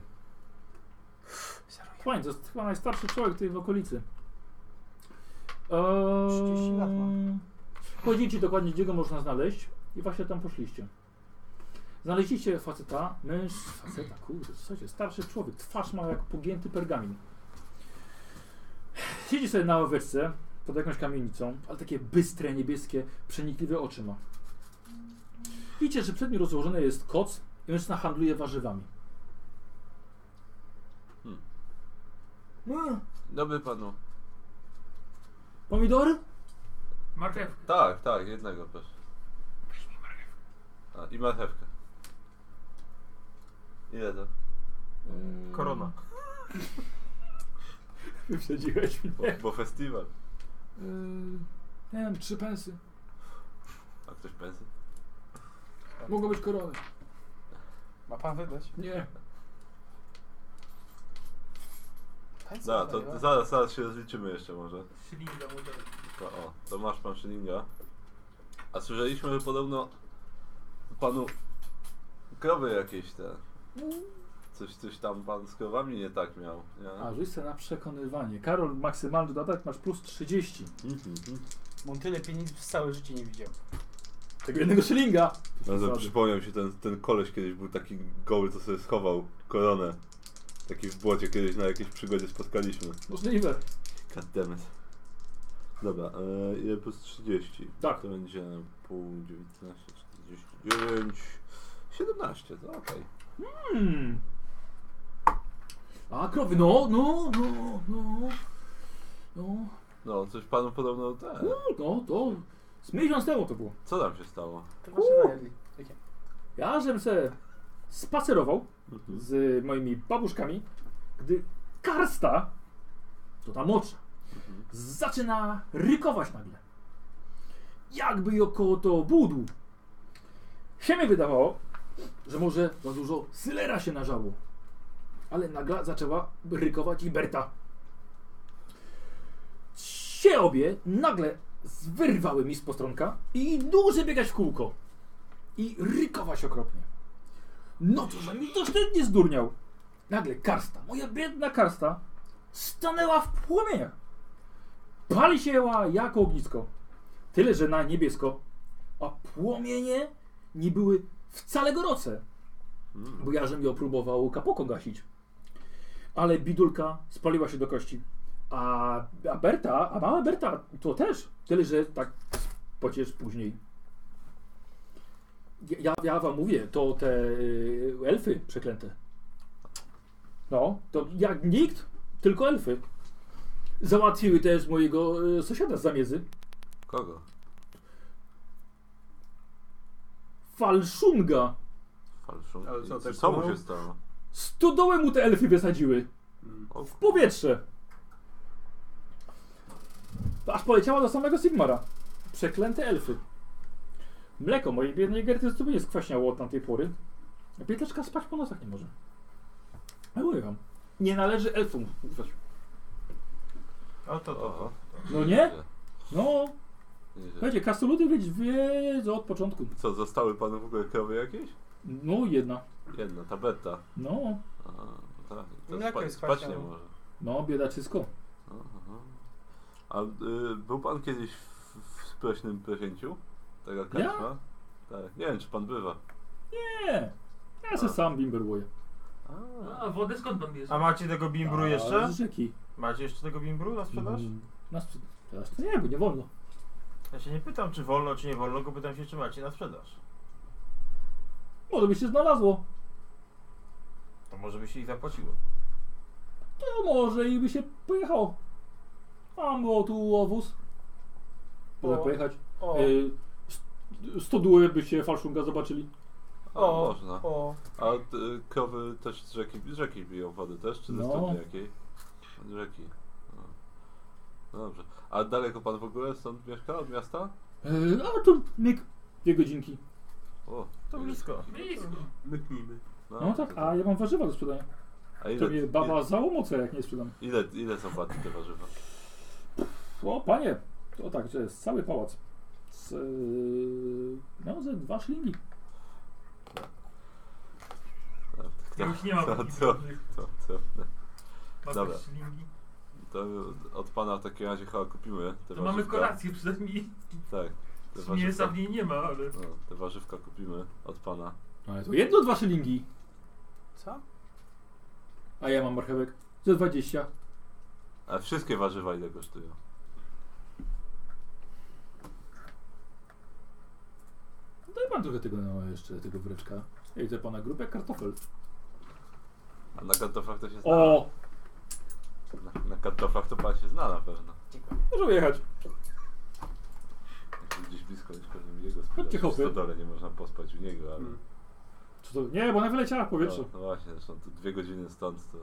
S2: Panie, to jest chyba najstarszy człowiek tutaj w okolicy. Eee,
S6: 30 lat ma.
S2: Chodzi Ehm, ci dokładnie, gdzie go można znaleźć i właśnie tam poszliście. Znaleźliście faceta, męż, faceta, kurde, słuchajcie, starszy człowiek, twarz ma jak pogięty pergamin. Siedzi sobie na ławeczce pod jakąś kamienicą, ale takie bystre, niebieskie, przenikliwe oczy ma. Widzicie, że przed nim rozłożony jest koc i mężczyzna handluje warzywami.
S15: Hmm.
S6: Hmm.
S2: No,
S15: Dobry panu.
S2: Pomidory?
S4: Marchewkę.
S15: Tak, tak, jednego proszę. A, i marchewkę.
S1: Ile to?
S5: Korona.
S2: Wyprzedziłeś mnie.
S1: Bo, bo festiwal.
S2: E, nie wiem, trzy pensy.
S1: A ktoś pensy?
S2: Mogą być korony.
S6: Ma pan wydać?
S2: Nie.
S6: Państwo
S1: No, to,
S6: zdanie,
S1: to
S6: tak?
S1: zaraz, zaraz się rozliczymy jeszcze może.
S4: Szylinga mu daj.
S1: To, o, to masz pan Szylinga. A słyszeliśmy, że podobno panu krowy jakieś te... Coś, coś tam pan z krowami nie tak miał, nie?
S2: A, rzuć se na przekonywanie. Karol, maksymalny dodatek masz plus 30.
S1: Mhm, mhm.
S6: Bo on tyle pieniędzy przez całe życie nie widział.
S2: Tego jednego szylinga.
S1: No to
S2: Zasady.
S1: przypomniał się ten, ten koleś kiedyś był taki goły, co sobie schował koronę. Taki w błocie kiedyś na jakiejś przygodzie spotkaliśmy.
S2: Możliwe.
S1: Goddammit. Dobra, e, ile plus 30?
S2: Tak.
S1: To będzie pół 19, 49, 17, to okej.
S2: Hmm. A, krowy, no, no, no, no. No,
S1: No, coś panu podobno ten.
S2: no, to z miesiąc temu to było.
S1: Co tam się stało?
S6: To wasze jedli. Jakie?
S2: Ja żem se spacerował
S1: Mhm.
S2: z moimi babuszkami, gdy karsta, to ta mocza, zaczyna rykować nagle. Jakby ją koło to budł. Się mi wydawało, że może za dużo sylera się nażało. Ale nagle zaczęła rykować i Berta. Się obie nagle wyrwały mi z postronka i dłużej biegać w kółko i rykować okropnie. No to, że mi to wstydnie zdurniał. Nagle karsta, moja biedna karsta, stanęła w płomieniach. Pali się jała jak ognisko. Tyle, że na niebiesko. A płomienie nie były wcale gorące. Bo ja żem ją próbował kapoko gasić. Ale bidulka spaliła się do kości. A, a Berta, a mała Berta to też. Tyle, że tak pociesz później. ja, ja wam mówię, to te y, elfy przeklęte. No, to jak nikt, tylko elfy. Załatwiły też mojego y, sąsiada z zamiedzy.
S1: Kogo?
S2: Falszunga.
S1: Falszum.
S3: Ale co,
S1: I-
S3: tak
S1: co mu
S3: było?
S1: się stało?
S2: Stodołę mu te elfy wysadziły.
S3: Mm.
S1: O,
S2: W powietrze. Aż poleciała do samego Sigmara. Przeklęte elfy. Mleko mojej biednej Gerty zupełnie nie skwaśniało od tamtej pory. A Pieteczka spać po nocach nie może. Ja mówię wam. Nie należy elfom ufać.
S5: O to, to, to.
S2: No nie?
S1: nieźle,
S2: No,
S1: nieźle.
S2: słuchajcie, krasnoludy wiedz- wiedzą od początku.
S1: Co, zostały panu w ogóle krowy jakieś?
S2: No, jedna.
S1: Jedna, tableta.
S2: No,
S1: A, tak. To
S6: Mleko
S1: spa-
S6: jest
S1: spać nie
S6: kwaśne.
S1: może.
S2: no, biedaczysko.
S1: Aha. A y, był pan kiedyś w, w sprośnym prezięciu? Taka
S2: Ja?
S1: kaczma? Tak. Nie wiem, czy pan bywa.
S2: Nie, ja se sam bimberłuję.
S4: A wodę skąd pan bierze?
S5: A macie tego bimbru jeszcze?
S2: A Z rzeki.
S5: Macie jeszcze tego bimbru na sprzedaż?
S2: Mm, Na sprzedaż to nie, bo nie wolno.
S5: Ja się nie pytam, czy wolno, czy nie wolno, tylko pytam się, czy macie na sprzedaż.
S2: Może by się znalazło.
S5: To może by się ich zapłaciło.
S2: To może i by się pojechało. Mam było tu owóz. Można
S6: O.
S2: pojechać.
S6: O,
S2: Y, st- Stodoły by się falszunga zobaczyli.
S1: A,
S6: O.
S1: no, można.
S6: o.
S1: A y, krowy też z rzeki, z rzeki biją wodę też, czy ze
S2: No.
S1: studni jakiej? Z rzeki. No. No dobrze. A daleko pan w ogóle stąd mieszka, od miasta?
S2: Y, A to myk, dwie godzinki.
S1: O,
S5: To
S1: już.
S5: blisko.
S4: Blisko.
S3: Myknijmy.
S2: No tak, a ja mam warzywa do sprzedania.
S1: A
S2: To
S1: ile,
S2: mnie baba załomoce jak nie sprzedam.
S1: ile, ile, ile są wady te warzywa?
S2: O panie, to tak, to jest cały pałac. Z, yy, no, ze dwa szlingi.
S4: Ja już nie mam
S1: To,
S4: takich
S1: to,
S4: różnych-
S1: to, to,
S4: mam
S1: dobra.
S4: też ślingi.
S1: to od pana w takim razie chyba kupimy te
S4: To
S1: warzywka.
S4: mamy kolację przynajmniej.
S1: Tak. Te
S4: Mięsa
S1: warzywka,
S4: w niej nie ma, ale...
S1: no, te warzywka kupimy od pana.
S2: Ale to jedno dwa szylingi,
S6: Co?
S2: a ja mam marchewek ze 20.
S1: A wszystkie warzywa ile kosztują?
S2: Daj pan trochę tego no, jeszcze, tego wreczka. Ja widzę pana grupę kartofel.
S1: A na kartoflach to się zna.
S2: O,
S1: Na, na kartoflach to pan się zna na pewno.
S2: możemy jechać.
S1: Jak jest Gdzieś blisko, gdzieś pewnie jego
S2: Chodźcie,
S1: sprzedać. W
S2: chłopy.
S1: stodole nie można pospać u niego, ale...
S3: Mm.
S2: Co to? Nie, bo ona wyleciała w powietrze.
S1: No, no właśnie, zresztą tu dwie godziny stąd to...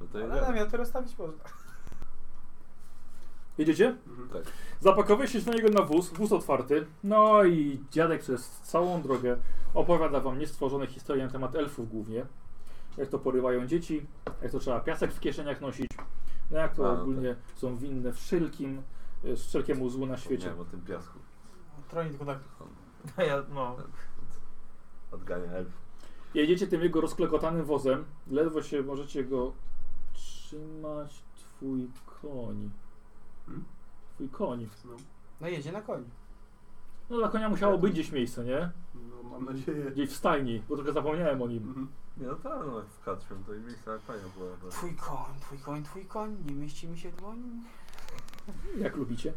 S1: No to
S6: Ale
S1: jedziemy.
S6: namioty rozstawić można.
S2: Jedziecie?
S3: Mhm.
S1: Tak.
S2: Zapakowaliście się na niego na wóz, wóz otwarty. No i dziadek przez całą drogę opowiada wam niestworzone historie na temat elfów głównie. Jak to porywają dzieci, jak to trzeba piasek w kieszeniach nosić, no jak to
S1: A, no
S2: ogólnie są winne wszelkim, y, wszelkiemu złu na świecie.
S1: Wiem o tym piasku.
S6: Troni tylko tak.
S5: Ja, no.
S1: Odgania elf.
S2: Jedziecie tym jego rozklekotanym wozem, ledwo się możecie go trzymać, twój koń.
S3: Hmm?
S2: Twój koń.
S3: No,
S6: No jedzie na koniu.
S2: No dla konia musiało być gdzieś miejsce, nie?
S3: no, mam nadzieję.
S2: Gdzieś w stajni, bo trochę zapomniałem o nim.
S3: Mhm.
S1: Nie no tak, no jak w Katrym to i miejsce na panią było. bo-
S6: Twój koń, twój koń, twój koń, nie mieści mi się w dłoni.
S2: Jak lubicie.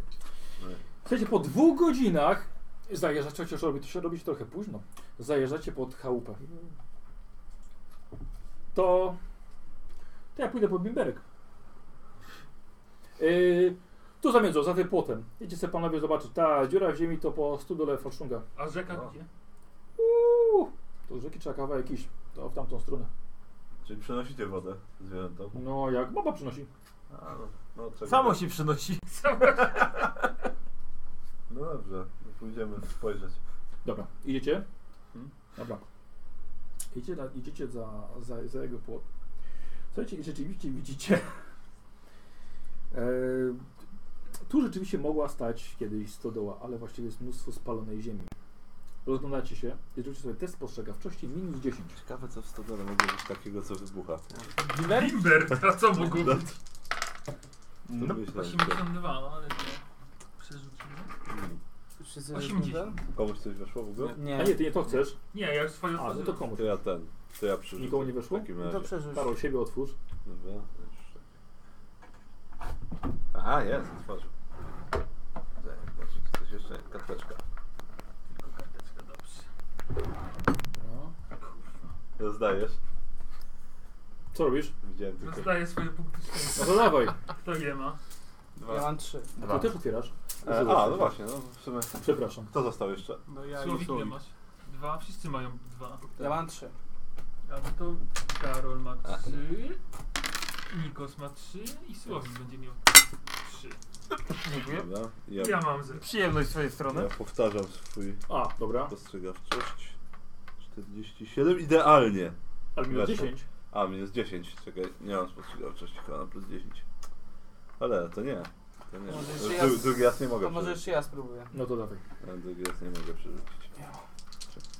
S1: No.
S2: Słuchajcie, po dwóch godzinach zajeżdżacie, chociaż robi, to się robi się trochę późno, zajeżdżacie pod chałupę. To... To ja pójdę po bimberek. Yy, tu zamiedzą, za tym płotem. Idziecie sobie panowie zobaczyć. Ta dziura w ziemi to po studole Falszunga.
S4: A rzeka
S1: No.
S4: gdzie?
S2: Uuu, to rzeki trzeba kawałek jakiś. To w tamtą stronę.
S1: Czyli przenosicie wodę zwierzętom?
S2: No jak baba przynosi.
S1: A, no, no czego
S5: Samo
S1: tak.
S5: się przynosi.
S1: No dobrze, no pójdziemy spojrzeć.
S2: Dobra, idziecie?
S1: Hmm?
S2: Dobra. Idziecie, na, idziecie za, za, za jego płot. Słuchajcie, i rzeczywiście widzicie. e, tu rzeczywiście mogła stać kiedyś stodoła, ale właściwie jest mnóstwo spalonej ziemi. Rozglądacie się i zróbcie sobie test spostrzegawczości minus 10.
S1: Ciekawe co w stodole mogło być takiego co wybucha.
S4: Bimber, a co mógł być?
S1: To
S5: No.
S1: myślę, że
S4: 82, no ale nie. Przerzucimy.
S1: Mm.
S6: Wszyscy
S4: 80.
S1: komuś coś weszło w ogóle?
S2: A
S6: Nie,
S2: nie, ty nie to chcesz.
S4: Nie, ja już swoje
S2: A, no to komuś.
S1: To ja ten, to ja przyrzucę.
S2: Nikomu nie weszło?
S1: W takim
S6: no to
S1: razie.
S6: przeżył.
S2: Karol, siebie otwórz.
S1: Dobra, już tak. Aha, jest, otworzył. Zobaczmy, czy coś jeszcze jest. Karteczka.
S4: Tylko karteczka, dobrze.
S1: Rozdajesz?
S2: Co robisz?
S1: Widziałem tylko.
S4: Rozdaję swoje punkty
S2: No
S4: szczęścia.
S2: to dawaj.
S4: Kto je ma?
S6: Ja mam trzy.
S2: A ty też otwierasz.
S1: E, a, no właśnie, no w sumie.
S2: Przepraszam.
S1: Kto został jeszcze?
S3: No ja i
S4: Słowik nie
S3: Słowik.
S4: masz. Dwa, wszyscy mają dwa.
S6: Ja mam trzy.
S4: A no to Karol ma trzy, Nikos ma trzy i Słowik będzie miał trzy.
S5: Dziękuję.
S1: Dobra. Ja,
S4: Ja mam zero.
S5: Przyjemność z swojej strony.
S1: ja powtarzam swój
S2: A, dobra.
S1: spostrzegawczość. 47 idealnie.
S2: Ale minus
S1: Weszło.
S2: 10.
S1: A, minus 10. Czekaj, nie mam spostrzegawczości, chyba na plus 10. Ale to nie. To nie.
S6: Może jeszcze
S1: Dru-
S6: ja z-
S1: drugi raz nie mogę
S6: To może
S1: przerzucić.
S6: jeszcze ja spróbuję.
S2: No to dawaj.
S1: E, Drugi raz nie mogę przerzucić.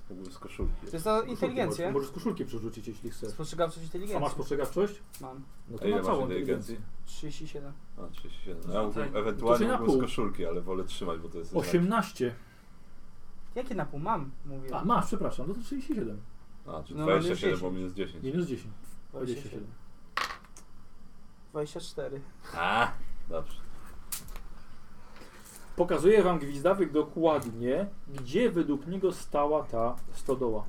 S1: W ogóle z koszulki.
S6: To jest na
S2: Koszulki
S6: inteligencję.
S2: No Możesz, możesz koszulki przerzucić, jeśli chcesz.
S6: Spostrzegawczość
S2: A masz
S6: inteligencji.
S2: spostrzegawczość?
S6: Mam
S2: No
S1: A
S2: to
S1: ile
S2: na
S1: masz
S2: całą
S1: inteligencji?
S2: inteligencję.
S6: 37.
S1: A, 37. no Ja
S4: Rzucaj.
S1: mógłbym
S2: To się
S1: ewentualnie
S2: na
S1: mógłbym z
S2: pół.
S1: koszulki, ale wolę trzymać, bo to jest...
S2: 18.
S6: Jakie na pół mam? Mówię.
S2: A, masz, przepraszam. No to 37.
S1: A, czy
S6: No,
S1: 27,
S6: minus
S1: bo minus 10.
S2: Minus 10. 27.
S6: 24.
S1: A, dobrze.
S2: Pokazuje wam Gwizdawyk dokładnie, gdzie według niego stała ta stodoła.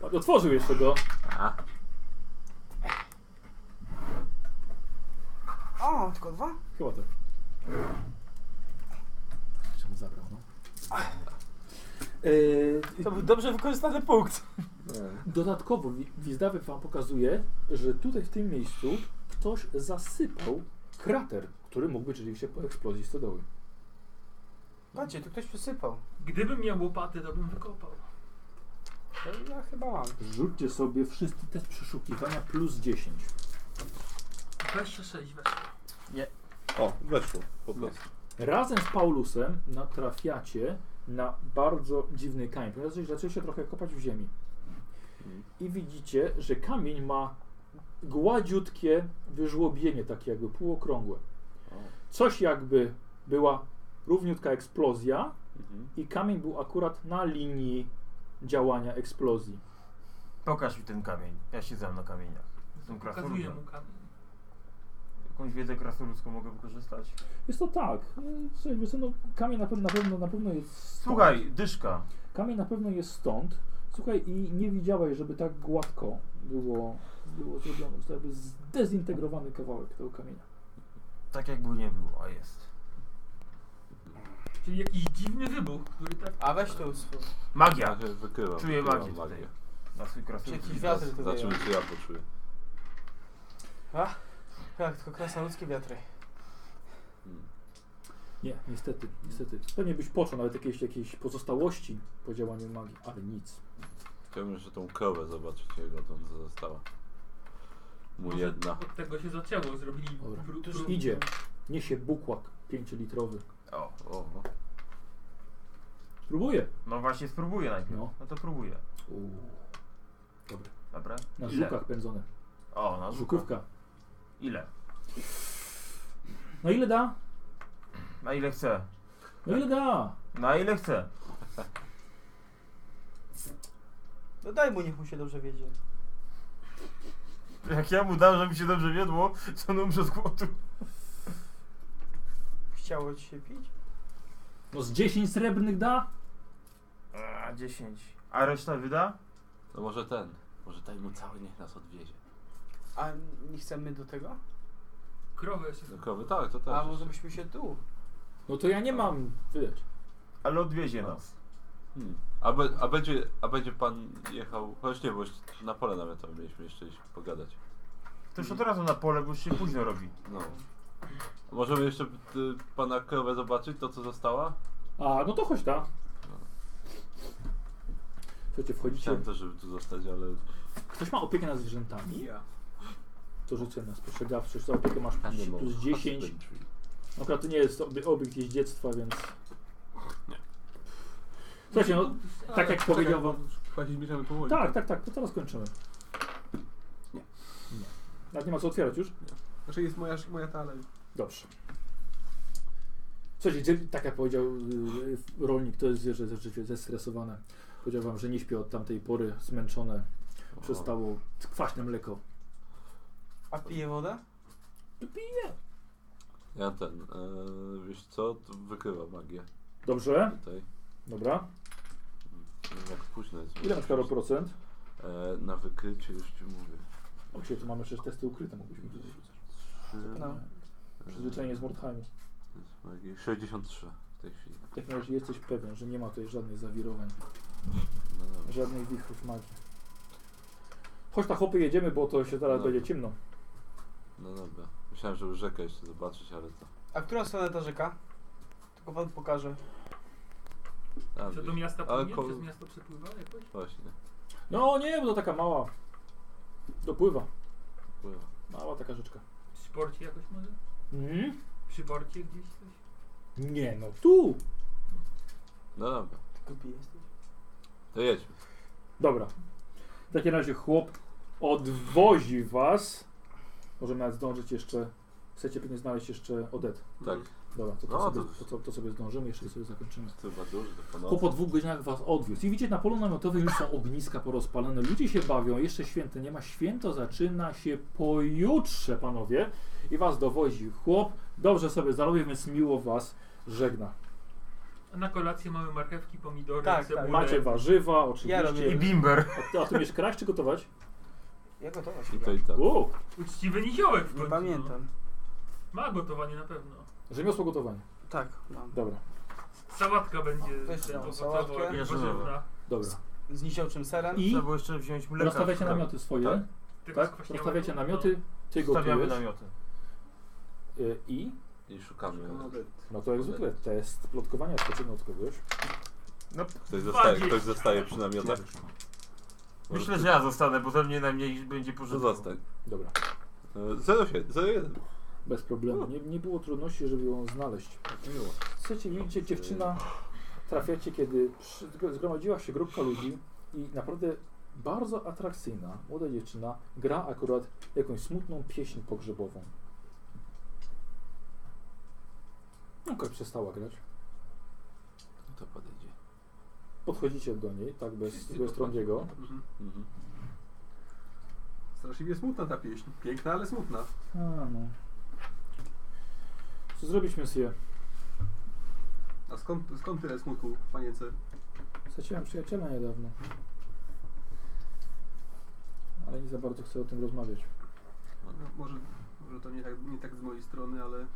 S2: Tak, Otworzył jeszcze go.
S6: O, tylko dwa?
S2: Chyba tak. Czemu zabrał, no?
S6: To był dobrze wykorzystany punkt.
S2: Dodatkowo wi- Gwizdawek wam pokazuje, że tutaj w tym miejscu ktoś zasypał krater, który mógł być rzeczywiście po eksplozji stodoły.
S6: Patrzcie, tu ktoś przysypał.
S4: Gdybym miał łopatę, to bym wykopał.
S6: To ja No, chyba mam.
S2: Rzućcie sobie wszyscy test przeszukiwania plus 10.
S4: 26 weszło.
S1: O, weszło, po prostu.
S2: Razem z Paulusem natrafiacie na bardzo dziwny kamień, ponieważ zaczęliście trochę kopać w ziemi. I widzicie, że kamień ma gładziutkie wyżłobienie, takie jakby półokrągłe. Coś jakby była równiutka eksplozja
S1: Mhm.
S2: i kamień był akurat na linii działania eksplozji.
S5: Pokaż mi ten kamień. Ja siedzę na kamieniach. Jestem
S4: Pokazuję
S5: krasoludem.
S4: mu kamień.
S5: Jakąś wiedzę krasoludzką mogę wykorzystać?
S2: Jest to tak. y, Słuchaj, wiesz co, no, kamień na pewno, na pewno, na pewno jest stąd.
S5: Słuchaj, dyszka.
S2: Kamień na pewno jest stąd. Słuchaj, i nie widziałeś, żeby tak gładko było, było zrobione. To jakby zdezintegrowany kawałek tego kamienia.
S5: Tak jakby nie było, a jest.
S4: Czyli jakiś dziwny wybuch, który tak...
S6: A weź tu swój.
S5: Magia!
S1: się wykrywam.
S5: Czuję
S1: wykrywam
S5: magię tutaj. Na swój
S6: Jakiś
S5: krasnoludki.
S6: wiatr tutaj.
S1: Zobaczymy, czy ja poczuję.
S6: A? Tak, tylko krasnoludzkie wiatry.
S1: Hmm.
S2: Nie, niestety, niestety. Pewnie byś poczuł nawet jakieś, jakieś pozostałości po działaniu magii, ale nic.
S1: Chciałbym jeszcze tą krowę zobaczyć, jego tam co została. Mu
S4: Może
S1: jedna.
S4: Od tego się zaczęło, zrobili...
S2: Dobra.
S4: pró-
S2: Tuż
S4: pró-
S2: idzie. Niesie bukłak 5-litrowy.
S5: O,
S1: O, o.
S2: Próbuję.
S5: no właśnie spróbuję najpierw.
S2: No.
S5: No to próbuję.
S2: Uuu.
S5: Dobra.
S2: Na
S5: Ile?
S2: żukach pędzone.
S5: O, na żuka.
S2: Żukówka.
S5: Ile?
S2: No ile da?
S5: Na ile chcę?
S2: No ile da?
S5: Na ile chcę?
S6: No daj mu, niech mu się dobrze wiedzie.
S5: Jak ja mu dam, żeby się dobrze wiedło, to on umrze z głodu.
S6: Chciało ci się pić?
S2: No z 10 srebrnych da?
S5: A, 10. A reszta wyda?
S1: No może ten. Może daj mu cały, niech nas odwiezie.
S6: A nie chcemy do tego?
S4: Krowę jeszcze...
S1: Do krowy, tak, to też.
S6: A może byśmy się tu?
S2: No to ja nie mam wydać.
S5: Ale odwiezie nas.
S1: Hmm. A, be, a, będzie, a będzie pan jechał... Chociaż nie, bo jeszcze na pole namiotowe mieliśmy jeszcze iść pogadać.
S5: To już od razu na pole, bo już się późno robi.
S1: No. A Możemy jeszcze y, pana krowę zobaczyć, to co została?
S2: A, no to chodź ta. Słuchajcie, wchodzicie.
S1: Chciałem też, żeby tu zostać, ale...
S2: Ktoś ma opiekę nad zwierzętami?
S3: Ja.
S2: To rzucę na spostrzegawczość. Za opiekę masz plus,
S1: Animal
S2: plus 10.
S1: husbandry.
S2: No Akurat to nie jest obie- obiekt jeździectwa, więc... Słuchajcie, no tak jak powiedział wam...
S3: Chyba się zbliżamy powoli.
S2: Tak, tak, tak, to teraz kończymy.
S3: Nie.
S2: Nie. Nawet nie ma co otwierać już?
S3: Znaczy jest moja, moja ta,
S1: Tak.
S3: ale...
S2: Dobrze. Słuchajcie, gdzie- tak jak powiedział y, rolnik, to jest zwierzę rzeczywiście zestresowane. Powiedział wam, że nie śpi od tamtej pory, zmęczone. Przestało kwaśne mleko.
S6: A pije wodę?
S1: Ja ten, e, wiesz co, to wykrywa magię
S2: Dobrze,
S1: tutaj.
S2: dobra.
S1: Jak późno jest.
S2: Ile masz Karol procent?
S1: E, E, na wykrycie już ci mówię.
S2: Oczywiście tu mamy przecież testy ukryte, mogliśmy tutaj rzucać.
S1: Trzy,
S6: No.
S2: Przyzwyczajenie z Mordheimu.
S1: E, to jest magii- 63 w tej chwili.
S2: Jak na razie jesteś pewien, że nie ma tutaj żadnych zawirowań,
S1: No dobra.
S2: żadnych wichrów magii. Chodź na chłopy jedziemy, bo to się zaraz
S1: No.
S2: będzie ciemno.
S1: No dobra. Myślałem, żeby rzekę jeszcze zobaczyć, ale to.
S6: A którą stronę ta rzeka? Tylko wam pokażę.
S1: A,
S4: Czy do
S1: gdzieś-
S4: miasta
S1: Ale
S4: płynie?
S1: ko-
S4: Przez miasto przepływa jakoś?
S1: Właśnie,
S2: No nie, bo to taka mała. Dopływa.
S1: pływa.
S2: Mała taka rzeczka.
S4: Przy porcie jakoś może?
S2: Mhm.
S4: Przy porcie gdzieś coś?
S2: Nie no, tu!
S1: No dobra,
S6: Ty głupi jesteś.
S1: to jedźmy.
S2: Dobra. W takim razie chłop odwozi was. Możemy nawet zdążyć jeszcze. Chcecie pewnie znaleźć jeszcze Odet.
S1: Tak,
S2: Dobra, to, to,
S1: No,
S2: sobie,
S1: to- No.
S2: to, to, to sobie zdążymy, jeszcze sobie zakończymy.
S1: to chyba duży, to po
S2: Chłop po
S1: nocy.
S2: dwóch godzinach was odwiózł. I widzicie, na polu namiotowym już są ogniska porozpalone. Ludzie się bawią, jeszcze święte nie ma. Święto zaczyna się pojutrze, panowie. I was dowozi chłop. Dobrze sobie zarobił, więc miło was żegna.
S4: A na kolację mamy marchewki, pomidory,
S6: Tak, tak.
S4: cebulę.
S2: Macie warzywa,
S6: Ja
S2: oczywiście.
S6: robię.
S5: I bimber.
S2: a, ty, a ty umiesz kraść czy gotować?
S6: Ja gotowa
S1: I
S6: się
S1: to i tak.
S2: Wow,
S4: Uczciwy niziołek w końcu.
S6: Nie pamiętam.
S4: No. Ma gotowanie na pewno.
S2: rzemiosło gotowanie.
S6: Tak, mam.
S2: Dobra,
S4: Sałatka będzie
S6: Weź tam
S4: owocowa,
S6: sałatkę.
S4: jakaś
S5: Jarzynowa.
S4: warzywna.
S2: dobra.
S6: Z niziołczym serem.
S2: I
S5: Trzeba było jeszcze wziąć mleka.
S2: rozstawiacie namioty
S1: Tak.
S2: swoje,
S4: Tego
S2: tak?
S4: skwaśniałego.
S2: Rozstawiacie
S4: No.
S2: namioty, ty
S5: Stawiamy
S2: gotujesz
S5: namioty.
S2: y, i
S1: I szukamy.
S2: no to jak zwykle test plotkowania skoczymy od kogoś.
S1: Ktoś zostaje,
S4: Dwadzieścia.
S1: ktoś zostaje przy namiotach.
S5: Myślę, że ja zostanę, bo ze mnie najmniej będzie
S1: Może
S5: pożytku.
S1: zostań.
S2: Dobra,
S1: 0,1.
S2: bez problemu. Nie, nie było trudności, żeby ją znaleźć.
S1: Miło.
S2: Słuchajcie, widzicie, dziewczyna, trafiacie, kiedy przy- zgromadziła się grupka ludzi i naprawdę bardzo atrakcyjna młoda dziewczyna gra akurat jakąś smutną pieśń pogrzebową. Okej, przestała grać.
S1: No to podejdzie.
S2: Podchodzicie do niej, tak, bez, bez trąbiego.
S3: Mhm.
S1: Mhm.
S3: Straszliwie smutna ta pieśń. Piękna, ale smutna.
S2: A, no. Co zrobić, monsieur?
S3: A skąd, skąd tyle smutku, panience?
S2: Straciłem przyjaciela niedawno. Ale nie za bardzo chcę o tym rozmawiać.
S3: No, może, może to nie tak, nie tak z mojej strony, ale yy,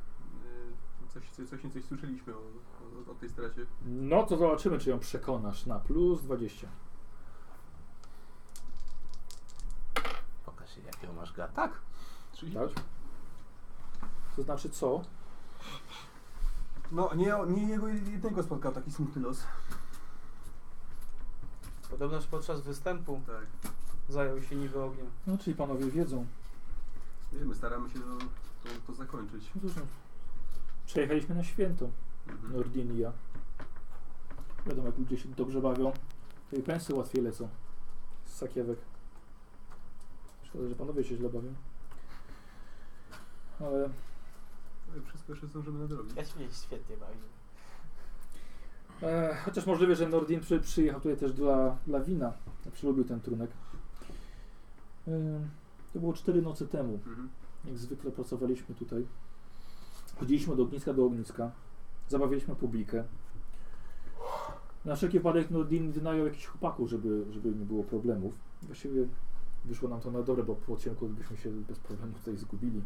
S3: coś, coś, coś, coś słyszeliśmy o, o, o tej stracie.
S2: No to zobaczymy, czy ją przekonasz na plus 20.
S1: Pokaż się, jakiego masz gata.
S3: Czyli...
S2: Tak? To znaczy co?
S3: No, nie, nie jego jednego spotkał taki smutny los.
S6: Podobnoż podczas występu
S3: Tak.
S6: zajął się niby ogniem.
S2: No czyli panowie wiedzą.
S3: Wiemy, staramy się to, to, to zakończyć.
S2: No cóż, no. Przejechaliśmy na święto
S3: Mhm.
S2: Nordin i ja. Wiadomo, jak ludzie się dobrze bawią, to i pensy łatwiej lecą. Z sakiewek. Szkoda, że panowie się źle bawią. Ale
S3: Wszystko jeszcze zdążymy nadrobić.
S6: Ja się świetnie bawię.
S2: E, chociaż możliwe, że Nordin przy, przyjechał tutaj też dla, dla wina. Przylubił ten trunek. E, to było cztery nocy temu.
S3: Mhm.
S2: Jak zwykle pracowaliśmy tutaj. Chodziliśmy od ogniska do ogniska. Zabawiliśmy publikę. Na wszelki wypadek Nordin wynajął jakichś chłopaków, żeby, żeby nie było problemów. Właściwie wyszło nam to na dobre, bo po ciemku byśmy się bez problemu tutaj zgubili.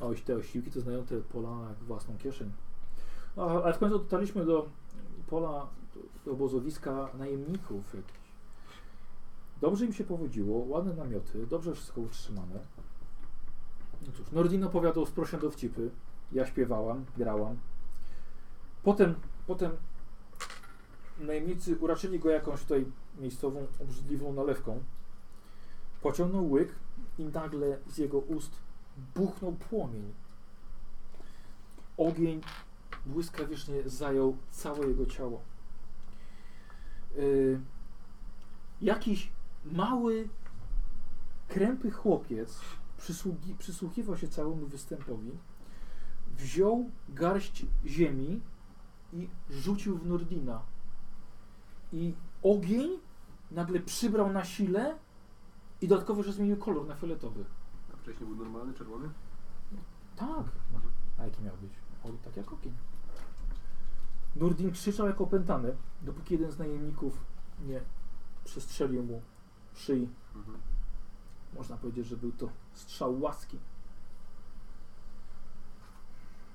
S2: A oś te osiłki to znają te pola jak własną kieszeń. A, ale w końcu dotarliśmy do pola, do, do obozowiska najemników jakichś. Dobrze im się powodziło, ładne namioty, dobrze wszystko utrzymane. No cóż, Nordin opowiadał z prosią dowcipy. Ja śpiewałam, grałam. Potem, potem najemnicy uraczyli go jakąś tutaj miejscową, obrzydliwą nalewką. Pociągnął łyk i nagle z jego ust buchnął płomień. Ogień błyskawicznie zajął całe jego ciało. Yy, jakiś mały, krępy chłopiec przysługi, przysłuchiwał się całemu występowi, wziął garść ziemi i rzucił w Nordina. I ogień nagle przybrał na sile i dodatkowo jeszcze zmienił kolor na fioletowy.
S3: A wcześniej był normalny, czerwony?
S2: Tak. A jaki miał być? Oj, tak jak ogień. Nurdin krzyczał jak opętany, dopóki jeden z najemników nie przestrzelił mu szyi.
S3: Mhm.
S2: Można powiedzieć, że był to strzał łaski.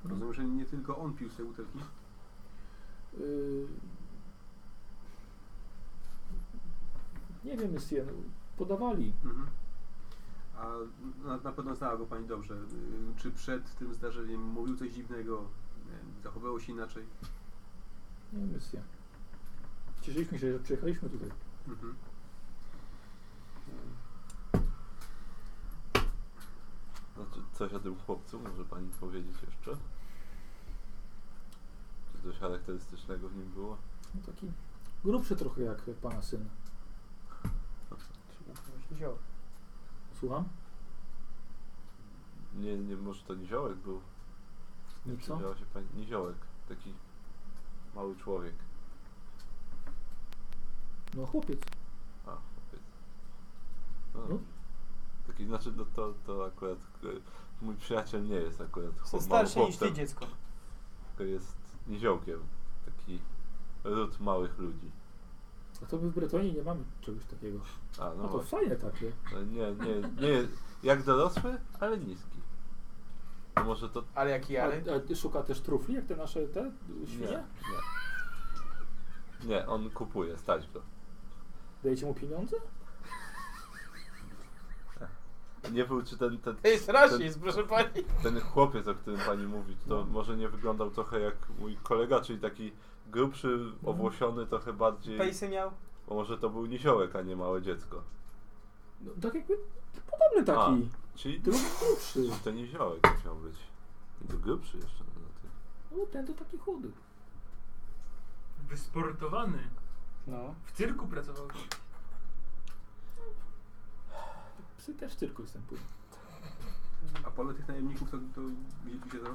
S3: Rozumiem, że nie tylko on pił sobie butelki.
S2: Yy... Nie wiem, Sien, podawali.
S3: Mhm. A na, na pewno znała go pani dobrze. Y, Czy przed tym zdarzeniem mówił coś dziwnego? Nie wiem, Zachowywał się inaczej?
S2: Nie wiem, Sien. Cieszyliśmy się, że przyjechaliśmy tutaj.
S3: Mhm.
S1: Znaczy, coś o tym chłopcu może pani powiedzieć jeszcze? Czy coś charakterystycznego w nim było?
S2: No, taki grubszy trochę jak pana syn.
S6: Wziął.
S2: Słucham?
S1: Nie, nie, może to niziołek był. Znaczy,
S2: Nie co?
S1: przyjrzała się pani. Niziołek, taki mały człowiek.
S2: No chłopiec.
S1: A, chłopiec. No,
S2: No.
S1: dobrze. Taki, znaczy, no to, to akurat y, mój przyjaciel nie jest akurat
S6: Są
S1: chłop,
S6: starsze niż
S1: chłopcem,
S6: ty dziecko.
S1: tylko jest niziołkiem. Taki ród małych ludzi.
S2: A to my w Bretonii nie mamy czegoś takiego.
S1: A, no,
S2: No to
S1: właśnie.
S2: fajne takie.
S1: No Nie, nie, nie. Jak dorosły, ale niski. To może to.
S6: Ale jaki
S2: A,
S6: jary?
S2: a szuka też trufli, jak te nasze te
S1: Nie,
S2: świnie?
S1: nie. Nie, on kupuje, stać go.
S2: Dajecie mu pieniądze?
S1: Nie był, czy ten, ten,
S6: To jest rasizm, proszę pani.
S1: ten chłopiec, o którym pani mówi, to może nie wyglądał trochę jak mój kolega, czyli taki grubszy, owłosiony, trochę bardziej.
S6: Pejsy miał?
S1: Bo może to był niziołek, a nie małe dziecko.
S2: No, tak jakby podobny taki.
S1: Czyli
S2: Tylko grubszy.
S1: to niziołek musiał być. I to grubszy jeszcze na tym.
S2: No ten to taki chudy.
S4: Wysportowany.
S6: No.
S4: W cyrku pracował.
S2: Psy też w cyrku występują.
S3: A pole tych najemników to, to gdzie tu się to?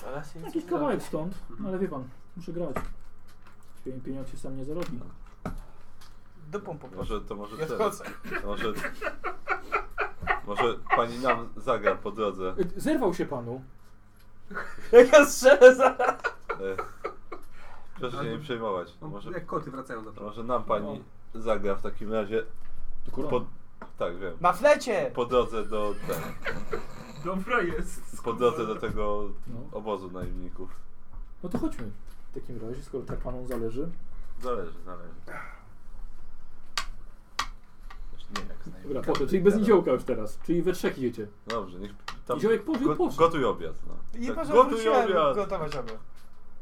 S6: Zaraz jest.
S2: Jakiś kawałek stąd, no ale wie pan, muszę grać. Swoim pieniądze się sam nie zarobi.
S6: Dupą po prostu.
S1: Może to może
S6: Ja
S1: ten.
S6: wchodzę.
S1: Może. Może pani nam zagra po drodze.
S2: E, Zerwał się panu.
S6: Jak ja strzelę zaraz.
S1: E, Proszę się nie przejmować.
S3: No,
S1: Może,
S3: Jak koty wracają do
S1: może nam pani zagra w takim razie.
S2: Tylko
S1: Po, tak, wiem.
S6: Na flecie!
S1: Po drodze do ten,
S4: Dobra jest.
S1: Po drodze do tego
S2: No.
S1: obozu najemników.
S2: no to chodźmy. W takim razie, skoro tak panu zależy.
S1: Zależy, zależy. Też Nie jak z najemnikami.
S2: Dobra, poszedł, czyli bez niziołka już teraz. Czyli we trzech idziecie.
S1: Dobrze, niech tam.
S2: Niziołek pożył, poszedł.
S1: Gotuj obiad. No.
S6: I
S1: Tak,
S6: proszę,
S1: gotuj
S6: wróciłem
S1: obiad.
S6: gotować obiad.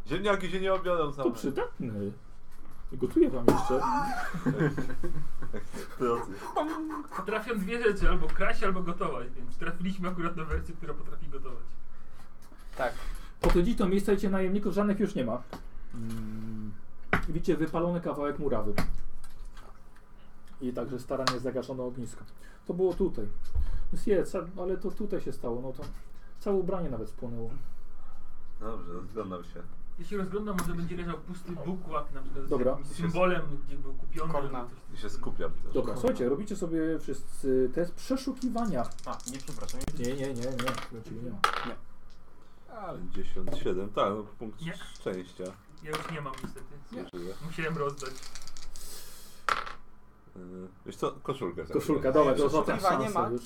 S1: Ziemniaki się nie
S2: To
S1: obiadą same.
S2: przydatny. Gotuję wam jeszcze.
S1: Drodzy.
S4: Trafiam dwie rzeczy, albo kraść, albo gotować, więc trafiliśmy akurat na wersję, która potrafi gotować.
S6: Tak.
S2: Podchodzić do miejsca, gdzie najemników żadnych już nie ma. Mm. Widzicie wypalony kawałek murawy. I także starannie zagaszono ognisko. To było tutaj. Jest, ca- ale to tutaj się stało. No to całe ubranie nawet spłonęło.
S1: Dobrze, rozglądam się.
S4: Jeśli rozglądam, może będzie leżał pusty bukłak, na przykład
S2: Dobra.
S4: z jakimś symbolem, gdzie był kupiony.
S6: Korna.
S4: albo coś.
S1: I się skupiam też.
S2: Dobra, słuchajcie, robicie sobie wszyscy test przeszukiwania.
S5: A, nie przepraszam.
S2: Nie, nie, nie, nie. Czyli nie ma.
S1: Ale 57, tak, no punkt
S4: Nie.
S1: szczęścia.
S4: Ja już nie mam niestety.
S1: Zużyję.
S4: Musiałem rozdać.
S1: Yy, Wiesz co, koszulkę. zabiorę.
S2: Koszulka, dobra, to ostatnia
S6: Przeszukiwanie
S2: szansa
S6: ma?
S2: już.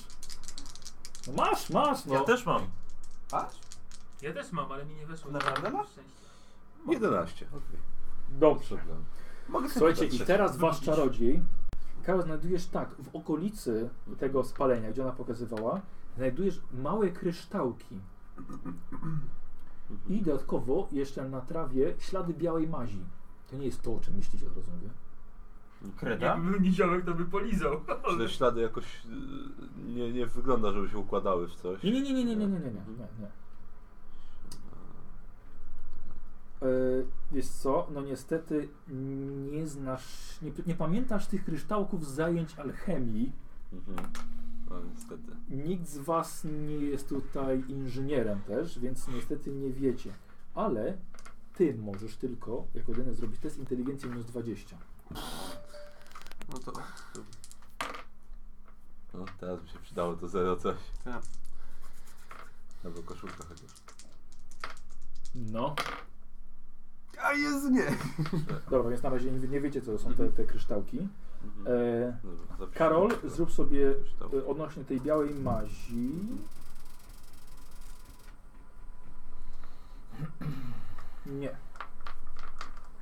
S2: No masz, masz, no.
S5: Ja też mam.
S4: Ja też mam, ale mi nie weszło.
S6: Naprawdę masz?
S4: Szczęście.
S1: 11.
S2: Dobrze.
S1: Przepraszam.
S5: Mogę sobie
S2: Słuchajcie, i
S5: popatrzeć.
S2: teraz wasz czarodziej, Karol, znajdujesz tak, w okolicy tego spalenia, gdzie ona pokazywała, znajdujesz małe kryształki. I dodatkowo jeszcze na trawie ślady białej mazi. To nie jest to, o czym myślicie, od razu mówię.
S5: Kreda?
S4: Tak Jakby był niziołek, to by polizał.
S1: Czy te ślady jakoś yy, nie, nie wygląda, żeby się układały w coś?
S2: Nie, nie, nie, nie, nie, nie, nie, nie, nie, nie. E, Yy, wiesz co, no niestety nie znasz, nie, nie pamiętasz tych kryształków z zajęć alchemii,
S1: Mhm. No niestety.
S2: Nikt z Was nie jest tutaj inżynierem też, więc niestety nie wiecie. Ale Ty możesz tylko, jako jedyny, zrobić test inteligencji minus 20.
S3: No to
S1: No teraz by się przydało to zero coś. No,
S3: Tak.
S1: Albo koszulka chociaż.
S2: No.
S6: A
S3: jest nie.
S2: Dobra, więc na razie nie, nie wiecie, co to są te, te kryształki.
S1: Mhm.
S2: E,
S1: Dobra, zapiszę
S2: Karol,
S1: to.
S2: zrób sobie
S1: Kryształ.
S2: e, odnośnie tej białej mazi. Nie.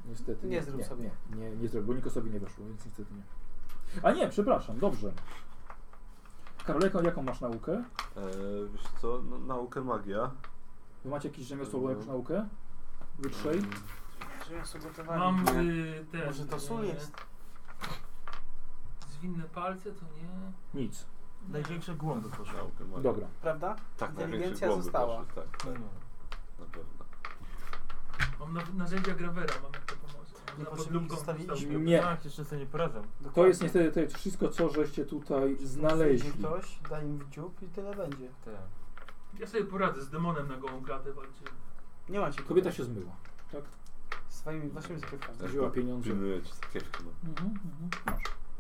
S2: Niestety.
S6: Nie zrób
S2: nie,
S6: sobie.
S2: Nie, nie, nie zrobił, bo Nikosowi nie weszło, więc niestety nie. A nie, przepraszam, dobrze. Karol, jaką, jaką masz naukę?
S1: E, wiesz co, no, naukę magia.
S2: Wy macie jakiś rzemiosło, jakąś naukę? Wyższej?
S6: Że ja sobie gotowali.
S4: Mam y, ten...
S6: Może to sól
S4: y,
S6: jest?
S4: Zwinne palce to nie...
S2: Nic.
S5: Największe głąby poszły.
S1: Naukę magia.
S2: Dobra.
S6: Prawda?
S1: Tak,
S6: Inteligencja
S1: największe głowy
S6: została.
S1: poszły, Tak,
S5: No,
S1: tak, na pewno.
S4: Mam na, narzędzia grawera, mam jak to pomoże.
S6: Nie
S4: Można pod
S6: potrzebnie
S4: lupką
S6: zostawiliśmy.
S4: wstawić.
S2: Nie.
S5: Tak, jeszcze sobie nie poradzę.
S2: To jest niestety to jest wszystko, co żeście tutaj znaleźli.
S6: Widzi ktoś, da im w dziób i tyle będzie.
S5: Tak.
S4: Ja sobie poradzę z demonem na gołą klatę walczyłem.
S6: Nie macie.
S2: Kobieta się zmyła.
S6: Swoimi waszymi zakrywkami.
S2: Wzięła pieniądze.
S1: Pilnuję ci sakiewkę, no.
S6: Mhm,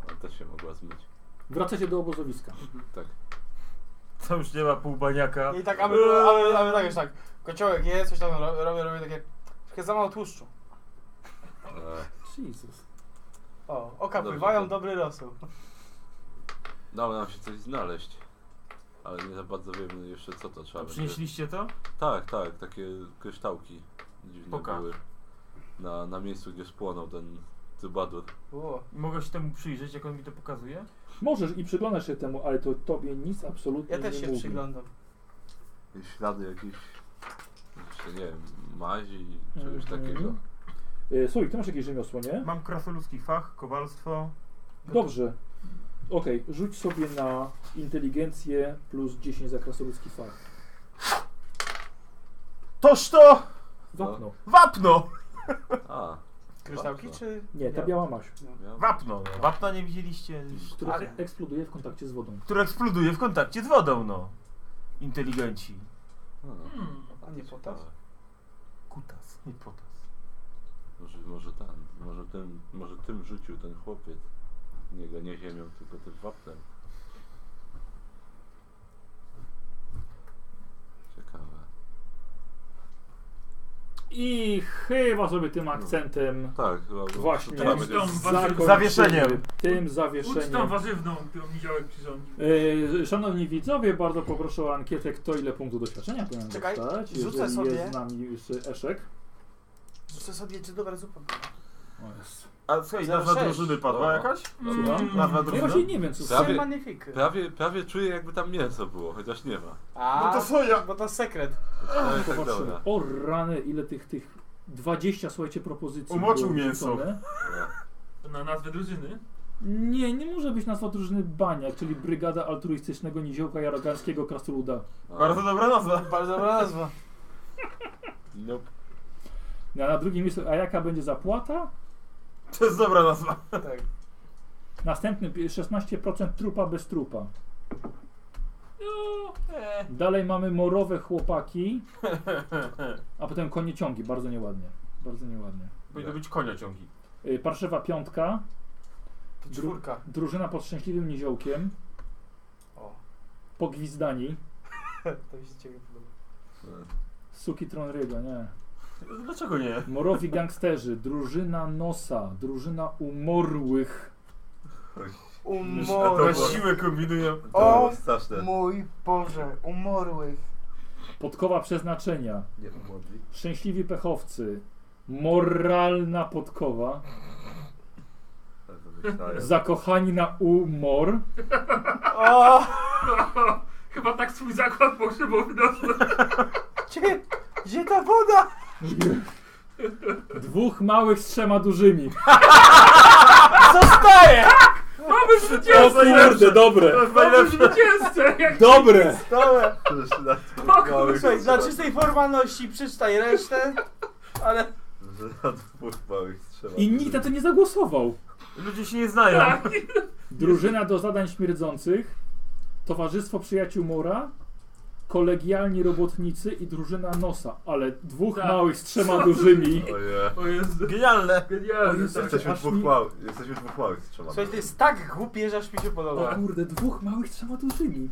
S1: Ona też się mogła zmyć.
S2: Wracacie do obozowiska.
S1: Tak.
S5: Co już nie ma pół baniaka.
S6: I tak, aby,
S2: Eee.
S6: aby, aby tak, już tak, kociołek jest, coś tam ro- robię, robię takie, trochę za mało tłuszczu.
S1: E,
S2: Jesus.
S6: O, oka
S1: Dobrze,
S6: pływają,
S1: to-
S6: dobry rosół.
S1: dało nam się coś znaleźć. Ale nie za bardzo wiemy jeszcze co to trzeba
S5: A
S1: będzie.
S5: przynieśliście to?
S1: Tak, tak, takie kryształki dziwne
S5: Pokaż.
S1: były. Na, na miejscu, gdzie spłonął ten cybadur.
S6: Było.
S5: I Mogę się temu przyjrzeć, jak on mi to pokazuje?
S2: Możesz i przyglądasz się temu, ale to tobie nic absolutnie
S6: Ja też
S2: nie
S6: się
S2: mówi.
S6: przyglądam.
S1: I ślady jakiejś, jeszcze nie wiem, mazi, czegoś
S2: Mhm.
S1: takiego.
S2: Y, Słowik, ty masz jakieś rzemiosło, nie?
S5: Mam krasoludzki fach, kowalstwo.
S2: Dobrze. Okej, rzuć sobie na inteligencję plus 10 za krasoludzki fach.
S5: Toż to!
S6: No.
S2: Wapno.
S5: Wapno!
S1: A,
S6: Kryształki
S1: Dobrze.
S6: czy...
S2: Nie, ta biała maś,
S1: miałem...
S5: Wapno, no. Wapna nie widzieliście.
S2: która
S6: Ale-
S2: eksploduje w kontakcie z wodą.
S5: Które eksploduje w kontakcie z wodą, no. Inteligenci.
S1: A, no,
S4: Hmm.
S6: A nie potas?
S1: ciekawe.
S5: Kutas, nie potas.
S1: Może, może ten, może tym, może tym rzucił ten chłopiec. Nie go nie ziemią, tylko tym wapnem. Ciekawe.
S2: I chyba sobie tym akcentem
S1: Tak, chyba było-
S2: właśnie
S1: to trzeba
S4: Ucztą
S1: będzie-
S4: warzy-
S2: zakończymy
S5: Zawieszeniem.
S2: Tym
S4: Ucztą
S2: zawieszeniem.
S4: warzywną, którą niziołek przyrządził.
S2: E, Szanowni widzowie, bardzo poproszę o ankietę, kto ile punktów doświadczenia powinien
S6: Czekaj,
S2: dostać,
S6: rzucę
S2: jeżeli
S6: sobie.
S2: jest z nami już Eszek.
S6: Rzucę sobie, czy dobra zupa była.
S2: O jest.
S5: A słuchaj,
S6: Zero
S5: nazwa
S6: sześć.
S5: drużyny padła
S1: O.
S5: jakaś?
S2: No. Słucham?
S5: Nazwa
S2: Mm. Ja
S5: drużyny?
S2: właśnie nie wiem, co
S1: Prawie-
S6: Trzy magnifiky.
S1: Prawie, prawie czuję jakby tam mięso było, chociaż nie ma.
S6: A,
S5: No to soja.
S6: Bo to sekret.
S1: No i tak
S2: Popatrzymy.
S1: dobra.
S2: O rany, ile tych, tych 20, słuchajcie, propozycji
S5: Umoczył
S2: było
S5: mięso.
S2: wrzucone.
S4: Na nazwę drużyny.
S2: Nie, nie może być nazwa drużyny Bania, czyli Brygada Altruistycznego Niziołka Jaroganskiego Krasnoluda.
S1: A,
S5: Bardzo dobra nazwa.
S6: Bardzo dobra nazwa.
S1: Nope.
S2: Na, na drugim miejscu, a jaka będzie zapłata?
S5: To jest dobra nazwa.
S6: Tak.
S2: Następny pi- 16% trupa bez trupa.
S4: No, e,
S2: Dalej mamy morowe chłopaki, a potem konieciągi, bardzo nieładnie. Bardzo nieładnie.
S5: Powinno być konia ciągi.
S2: Y, Parszywa piątka,
S6: To czwórka.
S2: drużyna pod szczęśliwym niziołkiem,
S6: O,
S2: pogwizdani,
S6: to mi się ciebie podoba.
S2: suki Tronrygo, nie.
S5: Dlaczego nie?
S2: Morowi gangsterzy, drużyna nosa, drużyna umorłych.
S5: To
S6: Umory.
S5: siłę kombinują.
S1: To
S6: O,
S1: było straszne.
S6: Mój Boże, umorłych.
S2: Podkowa przeznaczenia.
S16: Nie umodli.
S2: Szczęśliwi pechowcy. Moralna podkowa.
S16: Tak wymyślają.
S2: Zakochani na umor.
S6: O,
S4: chyba tak swój zakład pogrzebowy dostał.
S6: gdzie, gdzie ta woda?
S2: Dwóch małych z trzema dużymi.
S6: Zostaje!
S4: Mamy
S2: O
S4: zwycięzcę!
S2: kurde, dobre.
S4: Mamy zwycięzcę! Jak
S2: Dobre.
S6: Dobra.
S16: Przecież
S4: O kurwa.
S6: Słuchaj, dla czystej formalności przeczytaj resztę, ale
S16: Że na dwóch małych trzeba.
S2: I nikt na to nie zagłosował.
S5: Ludzie się nie znają.
S4: tak.
S2: Drużyna do zadań śmierdzących. Towarzystwo przyjaciół mora. Kolegialni robotnicy i drużyna nosa. Ale dwóch
S4: Tak.
S2: małych z trzema dużymi.
S16: Ojej.
S4: O Jezu.
S5: Genialne.
S2: O
S4: Genialny,
S2: Jezu.
S4: tak.
S16: Jesteśmy
S2: aż
S16: dwóch
S2: mi-
S16: małych. Jesteśmy dwóch małych trzeba.
S6: słuchaj, to jest tak głupie, że aż mi się
S2: O
S6: podoba.
S2: kurde, dwóch małych z trzema dużymi.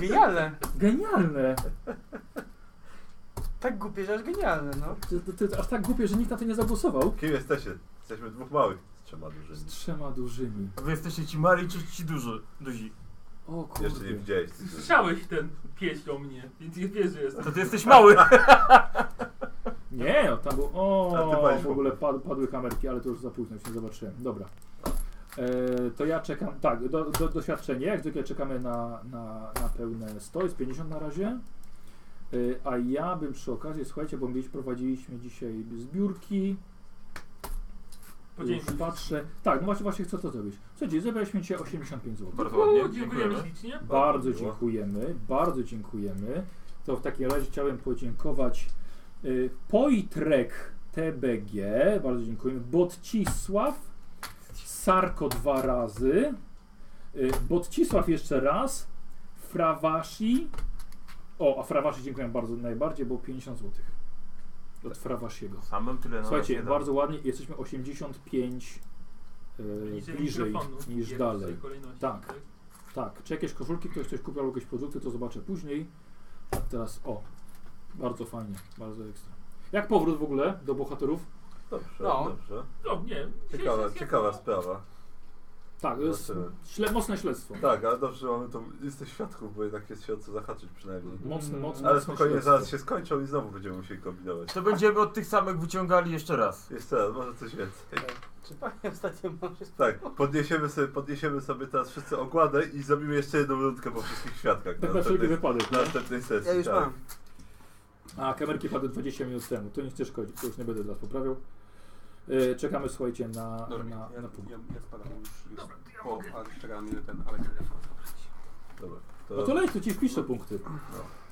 S6: Genialne.
S2: Genialne.
S6: tak głupie, że aż genialne, no.
S2: To, to, to jest aż tak głupie, że nikt na to nie zagłosował.
S1: Kim jesteście? Jesteśmy dwóch małych z trzema dużymi.
S2: Z trzema dużymi.
S5: A wy jesteście ci mali czy ci duży? Duzi.
S2: O kurde.
S1: Jeszcze nie widziałeś.
S4: Słyszałeś ten pieśń o mnie, więc nie wiesz, że jestem.
S5: To ty jesteś mały.
S2: Nie, no tam był.
S1: A ty
S2: O,
S1: palisz
S2: w ogóle pad, padły kamerki, ale to już za późno, już nie zobaczyłem. Dobra. E, to ja czekam. Tak, do, do, doświadczenie. Jak zwykle czekamy na, na, na pełne 100, jest 50 na razie. E, a ja bym przy okazji, słuchajcie, bo mieliśmy, prowadziliśmy dzisiaj zbiórki. Już
S4: Podziękuj.
S2: patrzę. Tak, no właśnie, właśnie chcę to zrobić. Słuchajcie, zebraliśmy cię 85 zł.
S5: Bardzo
S4: U,
S5: ładnie,
S4: dziękujemy
S5: dziękujemy.
S4: ślicznie.
S2: Bardzo
S1: Bardzo miło.
S2: dziękujemy, bardzo dziękujemy. To w takim razie chciałem podziękować y, Pojtrek TBG, bardzo dziękujemy. Botcisław, Sarko dwa razy, y, Botcisław jeszcze raz, Frawashi. O, a Frawashi dziękuję bardzo najbardziej, bo 50 zł. Od Frawashiego.
S5: Samym tyle no, na
S2: Słuchajcie,
S5: razie
S4: no.
S2: bardzo ładnie, jesteśmy 85 y,
S4: Bliżej
S2: bliżej
S4: mikrofonu.
S2: niż
S4: Jak w
S2: dalej.
S4: tej kolejności,
S2: Tak. Tak, czy jakieś koszulki, ktoś coś kupił, albo jakieś produkty, to zobaczę później. A teraz, o, bardzo fajnie, bardzo ekstra. Jak powrót w ogóle do bohaterów?
S1: Dobrze,
S6: No.
S1: dobrze.
S4: No nie.
S1: Ciekawa,
S4: jest-
S1: ciekawa sprawa.
S2: Tak, to jest
S1: Zobaczymy.
S2: śle, mocne śledztwo.
S1: Tak, ale dobrze, że mamy to. Jesteś świadków, bo jednak jest się o co zahaczyć przynajmniej.
S2: Mocne,
S5: Mm.
S2: mocne,
S1: Ale
S2: mocne
S1: spokojnie,
S2: śledztwo.
S1: zaraz się skończą i znowu będziemy musieli kombinować.
S5: To będziemy od tych samych wyciągali jeszcze raz.
S1: Jeszcze raz, może coś więcej.
S6: Czy panie ostatnio może...
S1: Tak, podniesiemy sobie, podniesiemy sobie teraz wszyscy ogładę i zrobimy jeszcze jedną rundkę po wszystkich świadkach.
S2: Tak
S1: Na
S2: na wszelki
S1: następnej,
S2: wypadek.
S1: na
S2: nie?
S1: następnej sesji.
S6: Ja już
S1: tak.
S6: mam.
S2: A, kamerki padły 20 minut temu, to nic nie szkodzi, to już nie będę teraz poprawiał. E, czekamy, słuchajcie, na,
S3: Dobra,
S2: na,
S3: ja,
S2: na punkt.
S3: ja, ja spadam już, już
S4: Dobra, to ja
S3: po,
S4: mogę.
S3: a czekam ile ten, ale
S1: Dobra. To,
S2: No to leć, to ci wpisz te punkty.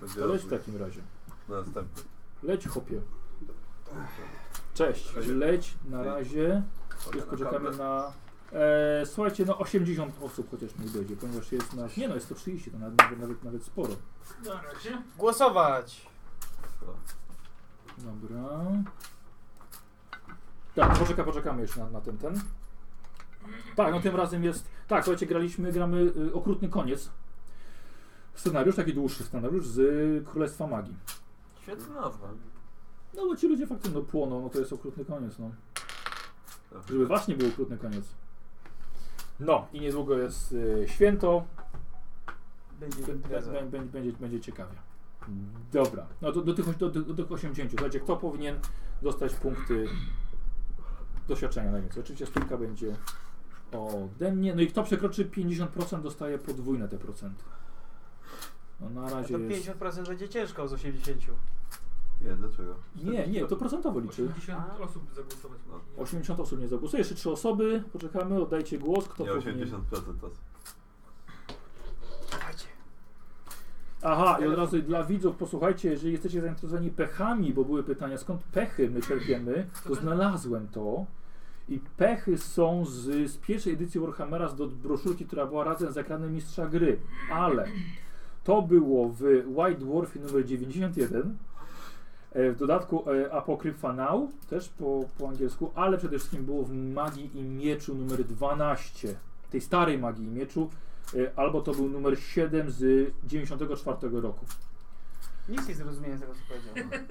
S1: będzie
S2: To leć tak. w takim razie.
S1: na następny.
S2: Leć, chopie. Cześć, leć, na razie. Już poczekamy na. E, słuchajcie, no 80 osób chociaż nie dojdzie, ponieważ jest nas. Nie no, jest 130, to nawet, nawet, nawet, nawet sporo.
S4: Na razie.
S6: Głosować!
S2: Dobra. Tak, poczeka, poczekamy jeszcze na, na ten ten. Tak, no tym razem jest. Tak, słuchajcie, graliśmy, gramy y, okrutny koniec. Scenariusz, taki dłuższy scenariusz z y, Królestwa Magii.
S5: Świetna nazwa.
S2: No bo ci ludzie faktycznie no, płoną, no to jest okrutny koniec, no. Żeby was nie był okrutny koniec. No i niedługo jest y, święto.
S6: Będzie
S2: Będzie,
S6: impreza.
S2: będzie, będzie, będzie ciekawie. Dobra, no do, do, tych, do, do, do tych 80. Słuchajcie, kto powinien dostać punkty doświadczenia najwięcej? Oczywiście stójka będzie ode mnie. No i kto przekroczy 50% dostaje podwójne te procenty. No na
S6: A
S2: razie
S6: to
S2: jest...
S6: 50% będzie ciężko z 80.
S1: Nie, dlaczego?
S2: Nie, nie, to procentowo liczy.
S4: 80 osób zagłosować.
S1: No.
S4: musi.
S2: 80 osób nie zagłosuje, jeszcze 3 osoby, poczekamy, oddajcie głos, kto
S1: Nie
S2: powinien...
S1: 80% osób.
S6: Dajcie.
S2: Aha, i od razu dla widzów, posłuchajcie, jeżeli jesteście zainteresowani pechami, bo były pytania, skąd pechy my czerpiemy, to znalazłem to. I pechy są z, z pierwszej edycji Warhammera, z do broszurki, która była razem z ekranem mistrza gry. Ale to było w White Dwarfie numer 91. e, W dodatku e, Apokryfa Now, też po, po angielsku, ale przede wszystkim było w Magii i Mieczu numer 12, tej starej Magii i Mieczu, E, albo to był numer 7 z 94 roku.
S6: Nic nie zrozumiałem z tego, co powiedziałem.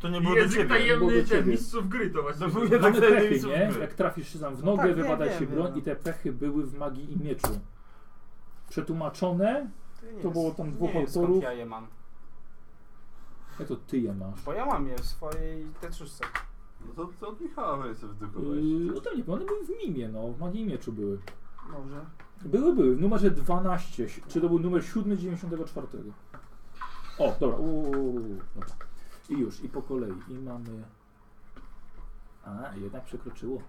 S5: To nie było do
S4: Język
S5: ciebie.
S2: Było do
S4: tajemny ten
S2: ciebie. No
S4: mistrzów gry to
S5: No, To
S4: właśnie.
S5: był
S2: Mamy
S5: jednak tajemny
S2: pechy,
S5: mistrz
S2: nie?
S5: gry.
S2: Jak trafisz się tam w nogę,
S6: tak, wiem,
S2: wybadaj się
S6: wiem,
S2: broń
S6: wiem.
S2: i te pechy były w magii i mieczu. Przetłumaczone,
S6: To, nie
S2: To było
S6: jest-
S2: tam dwóch
S6: nie jest, skąd
S2: autorów.
S6: ja je mam.
S2: jak to ty je masz?
S6: Bo ja mam je w swojej T3.
S1: No to, to od Michała weź sobie wydrukowałeś.
S2: Yy, no to nie, one były w mimie, no, w magii i mieczu były.
S6: Dobrze.
S2: Były, były, w numerze 12, czy to był numer 7 94. O, dobra, uuu, dobra. I już, i po kolei, i mamy... A, jednak przekroczyło.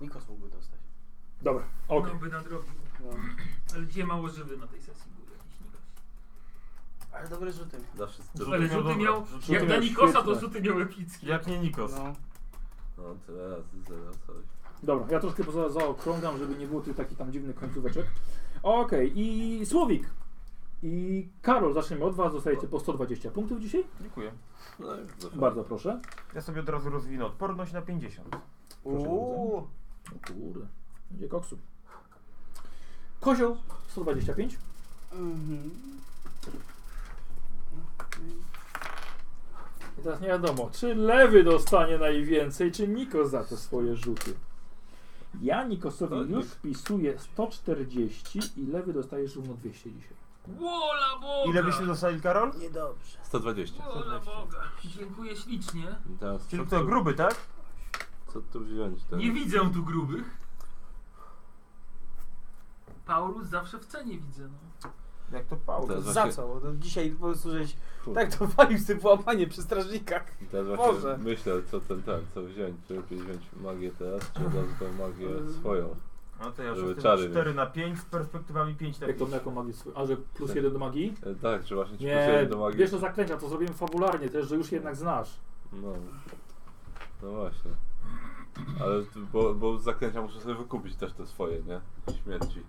S6: Nikos mógłby dostać.
S2: Dobra, okej.
S4: No by nadrobił.
S6: No.
S4: Ale gdzie mało żywy na tej sesji był jakiś Nikos.
S6: Ale dobre rzuty.
S1: Dla wszystkich.
S5: Rzuty
S4: Ale
S5: miał
S4: rzuty
S5: dobre.
S4: miał,
S5: Rzuty
S4: jak
S2: miał
S4: dla Nikosa to
S2: świetne.
S4: rzuty miał epickie.
S5: Jak nie Nikos.
S6: No.
S1: No tyle razy, zero coś.
S2: Dobra, ja troszkę poza zaokrągam, żeby nie było tych takich tam dziwnych końcóweczek. Okej, i Słowik. I Karol, zaczniemy od Was. Dostajecie po 120 punktów dzisiaj.
S5: Dziękuję.
S1: No i bardzo fajnie.
S2: Bardzo proszę.
S5: Ja sobie od razu rozwinę odporność na 50.
S2: Proszę
S6: Uuu.
S2: O kurde, będzie koksu. Kozioł 125.
S6: Mhm.
S2: I teraz nie wiadomo, czy lewy dostanie najwięcej, czy Nikos za te swoje rzuty. Ja
S1: To
S2: Nikosowi
S1: nie-
S2: już wpisuję 140 i lewy dostaje równo 200 dzisiaj.
S4: Wola Boga!
S5: Ile byśmy dostali, Karol?
S6: Niedobrze.
S1: 120.
S4: Wola Boga. Dziękuję ślicznie.
S1: I teraz co,
S5: Czyli to gruby, tak?
S1: co tu wziąć teraz?
S4: Nie widzę tu grubych. Paulus zawsze w cenie widzę. No.
S5: Jak to Paulus.
S1: Teraz
S6: Za
S1: właśnie-
S6: co? No, dzisiaj po prostu żeś
S1: Kurde.
S6: tak to walił z tym włamanie przy strażnikach.
S1: I Teraz właśnie
S6: Boże.
S1: myślę, co ten tak, co wziąć. Czy lepiej wziąć magię teraz, czy od razu tą magię swoją.
S5: No to ja
S1: Żeby
S5: już
S1: czary
S5: 4 na 5 z perspektywami 5 na
S2: Jak to
S5: 5.
S2: jaką magię swój? A, że plus
S1: Tak.
S2: jeden do magii?
S1: E, tak, czy właśnie ci
S2: Nie,
S1: plus do magii.
S2: wiesz to zaklęcia, to zrobimy fabularnie też, że już jednak znasz.
S1: No. No właśnie. Ale tu- bo, bo z zaklęcia muszę sobie wykupić też te swoje, nie? Śmierci.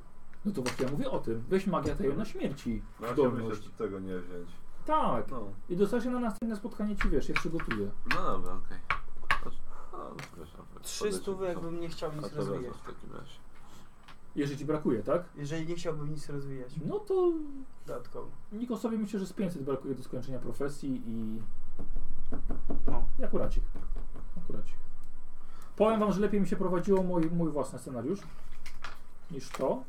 S2: No to właśnie ja mówię o tym. Weź magia tajemna śmierci.
S17: No ja się myślę,
S2: Zdolność.
S17: czy tego nie wziąć.
S2: Tak.
S17: No,
S2: I dostajesz je na następne spotkanie ci wiesz, ja przygotuję.
S1: No dobra, okej. Okay. No, przepraszam.
S6: 300 jakbym nie chciał
S1: A
S6: nic
S1: to wezmę
S6: rozwijać.
S1: w takim razie.
S2: Jeżeli ci brakuje, tak?
S6: Jeżeli nie chciałbym nic rozwijać.
S2: No to
S6: Dodatkowo.
S2: Nikosowi myślę, że z 500 brakuje do skończenia profesji i...
S6: No.
S2: I akuracik. Akuracik. Powiem wam, że lepiej mi się prowadziło mój, mój własny scenariusz niż to,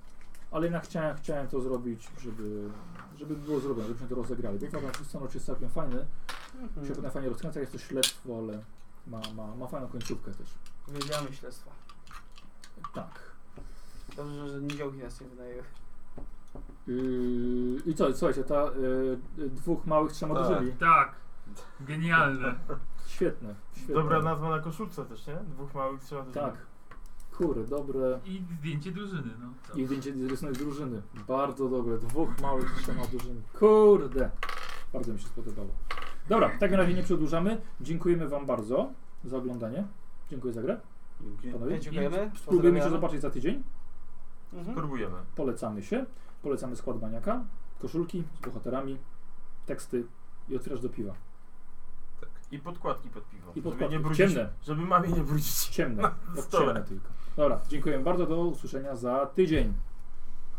S2: ale jednak chciałem, chciałem to zrobić, żeby, żeby było zrobione, żebyśmy to rozegrali. Bo uważam, że scenariusz jest całkiem fajny, się
S6: Mhm.
S2: potem fajnie rozkręca, jest to śledztwo, ale ma, ma, ma fajną końcówkę też.
S6: Wiedziałem śledztwa.
S2: Tak.
S6: Dobrze, że nie działki nas nie wynajęły.
S2: Yy, I co, słuchajcie, ta yy, dwóch małych trzema
S1: Tak.
S2: dużymi.
S4: Tak. Genialne.
S2: Świetne, świetne.
S5: Dobra nazwa na koszulce też, nie? Dwóch małych trzeba dużych.
S2: Tak. Kury, dobre.
S4: I zdjęcie drużyny. No. Tak.
S2: I zdjęcie rysunek drużyny. Bardzo dobre. Dwóch małych z trzema drużyny. Kurde. Bardzo mi się spodobało. Dobra, w takim razie nie przedłużamy. Dziękujemy Wam bardzo za oglądanie. Dziękuję za grę.
S17: dzięki.
S2: Panowie,
S6: Dziękujemy.
S2: spróbujemy się
S6: pozdrawiamy.
S2: zobaczyć za tydzień.
S6: Mhm.
S5: Próbujemy.
S2: Polecamy się. Polecamy skład maniaka, koszulki z bohaterami, teksty i otwierasz do piwa.
S5: I podkładki pod piwo.
S2: I podkładki.
S5: Żeby nie brudzić,
S2: Ciemne.
S5: Żeby mamie nie brudzić.
S2: Ciemne. Tak
S5: stole.
S2: ciemne tylko. Dobra, dziękuję bardzo. Do usłyszenia za tydzień.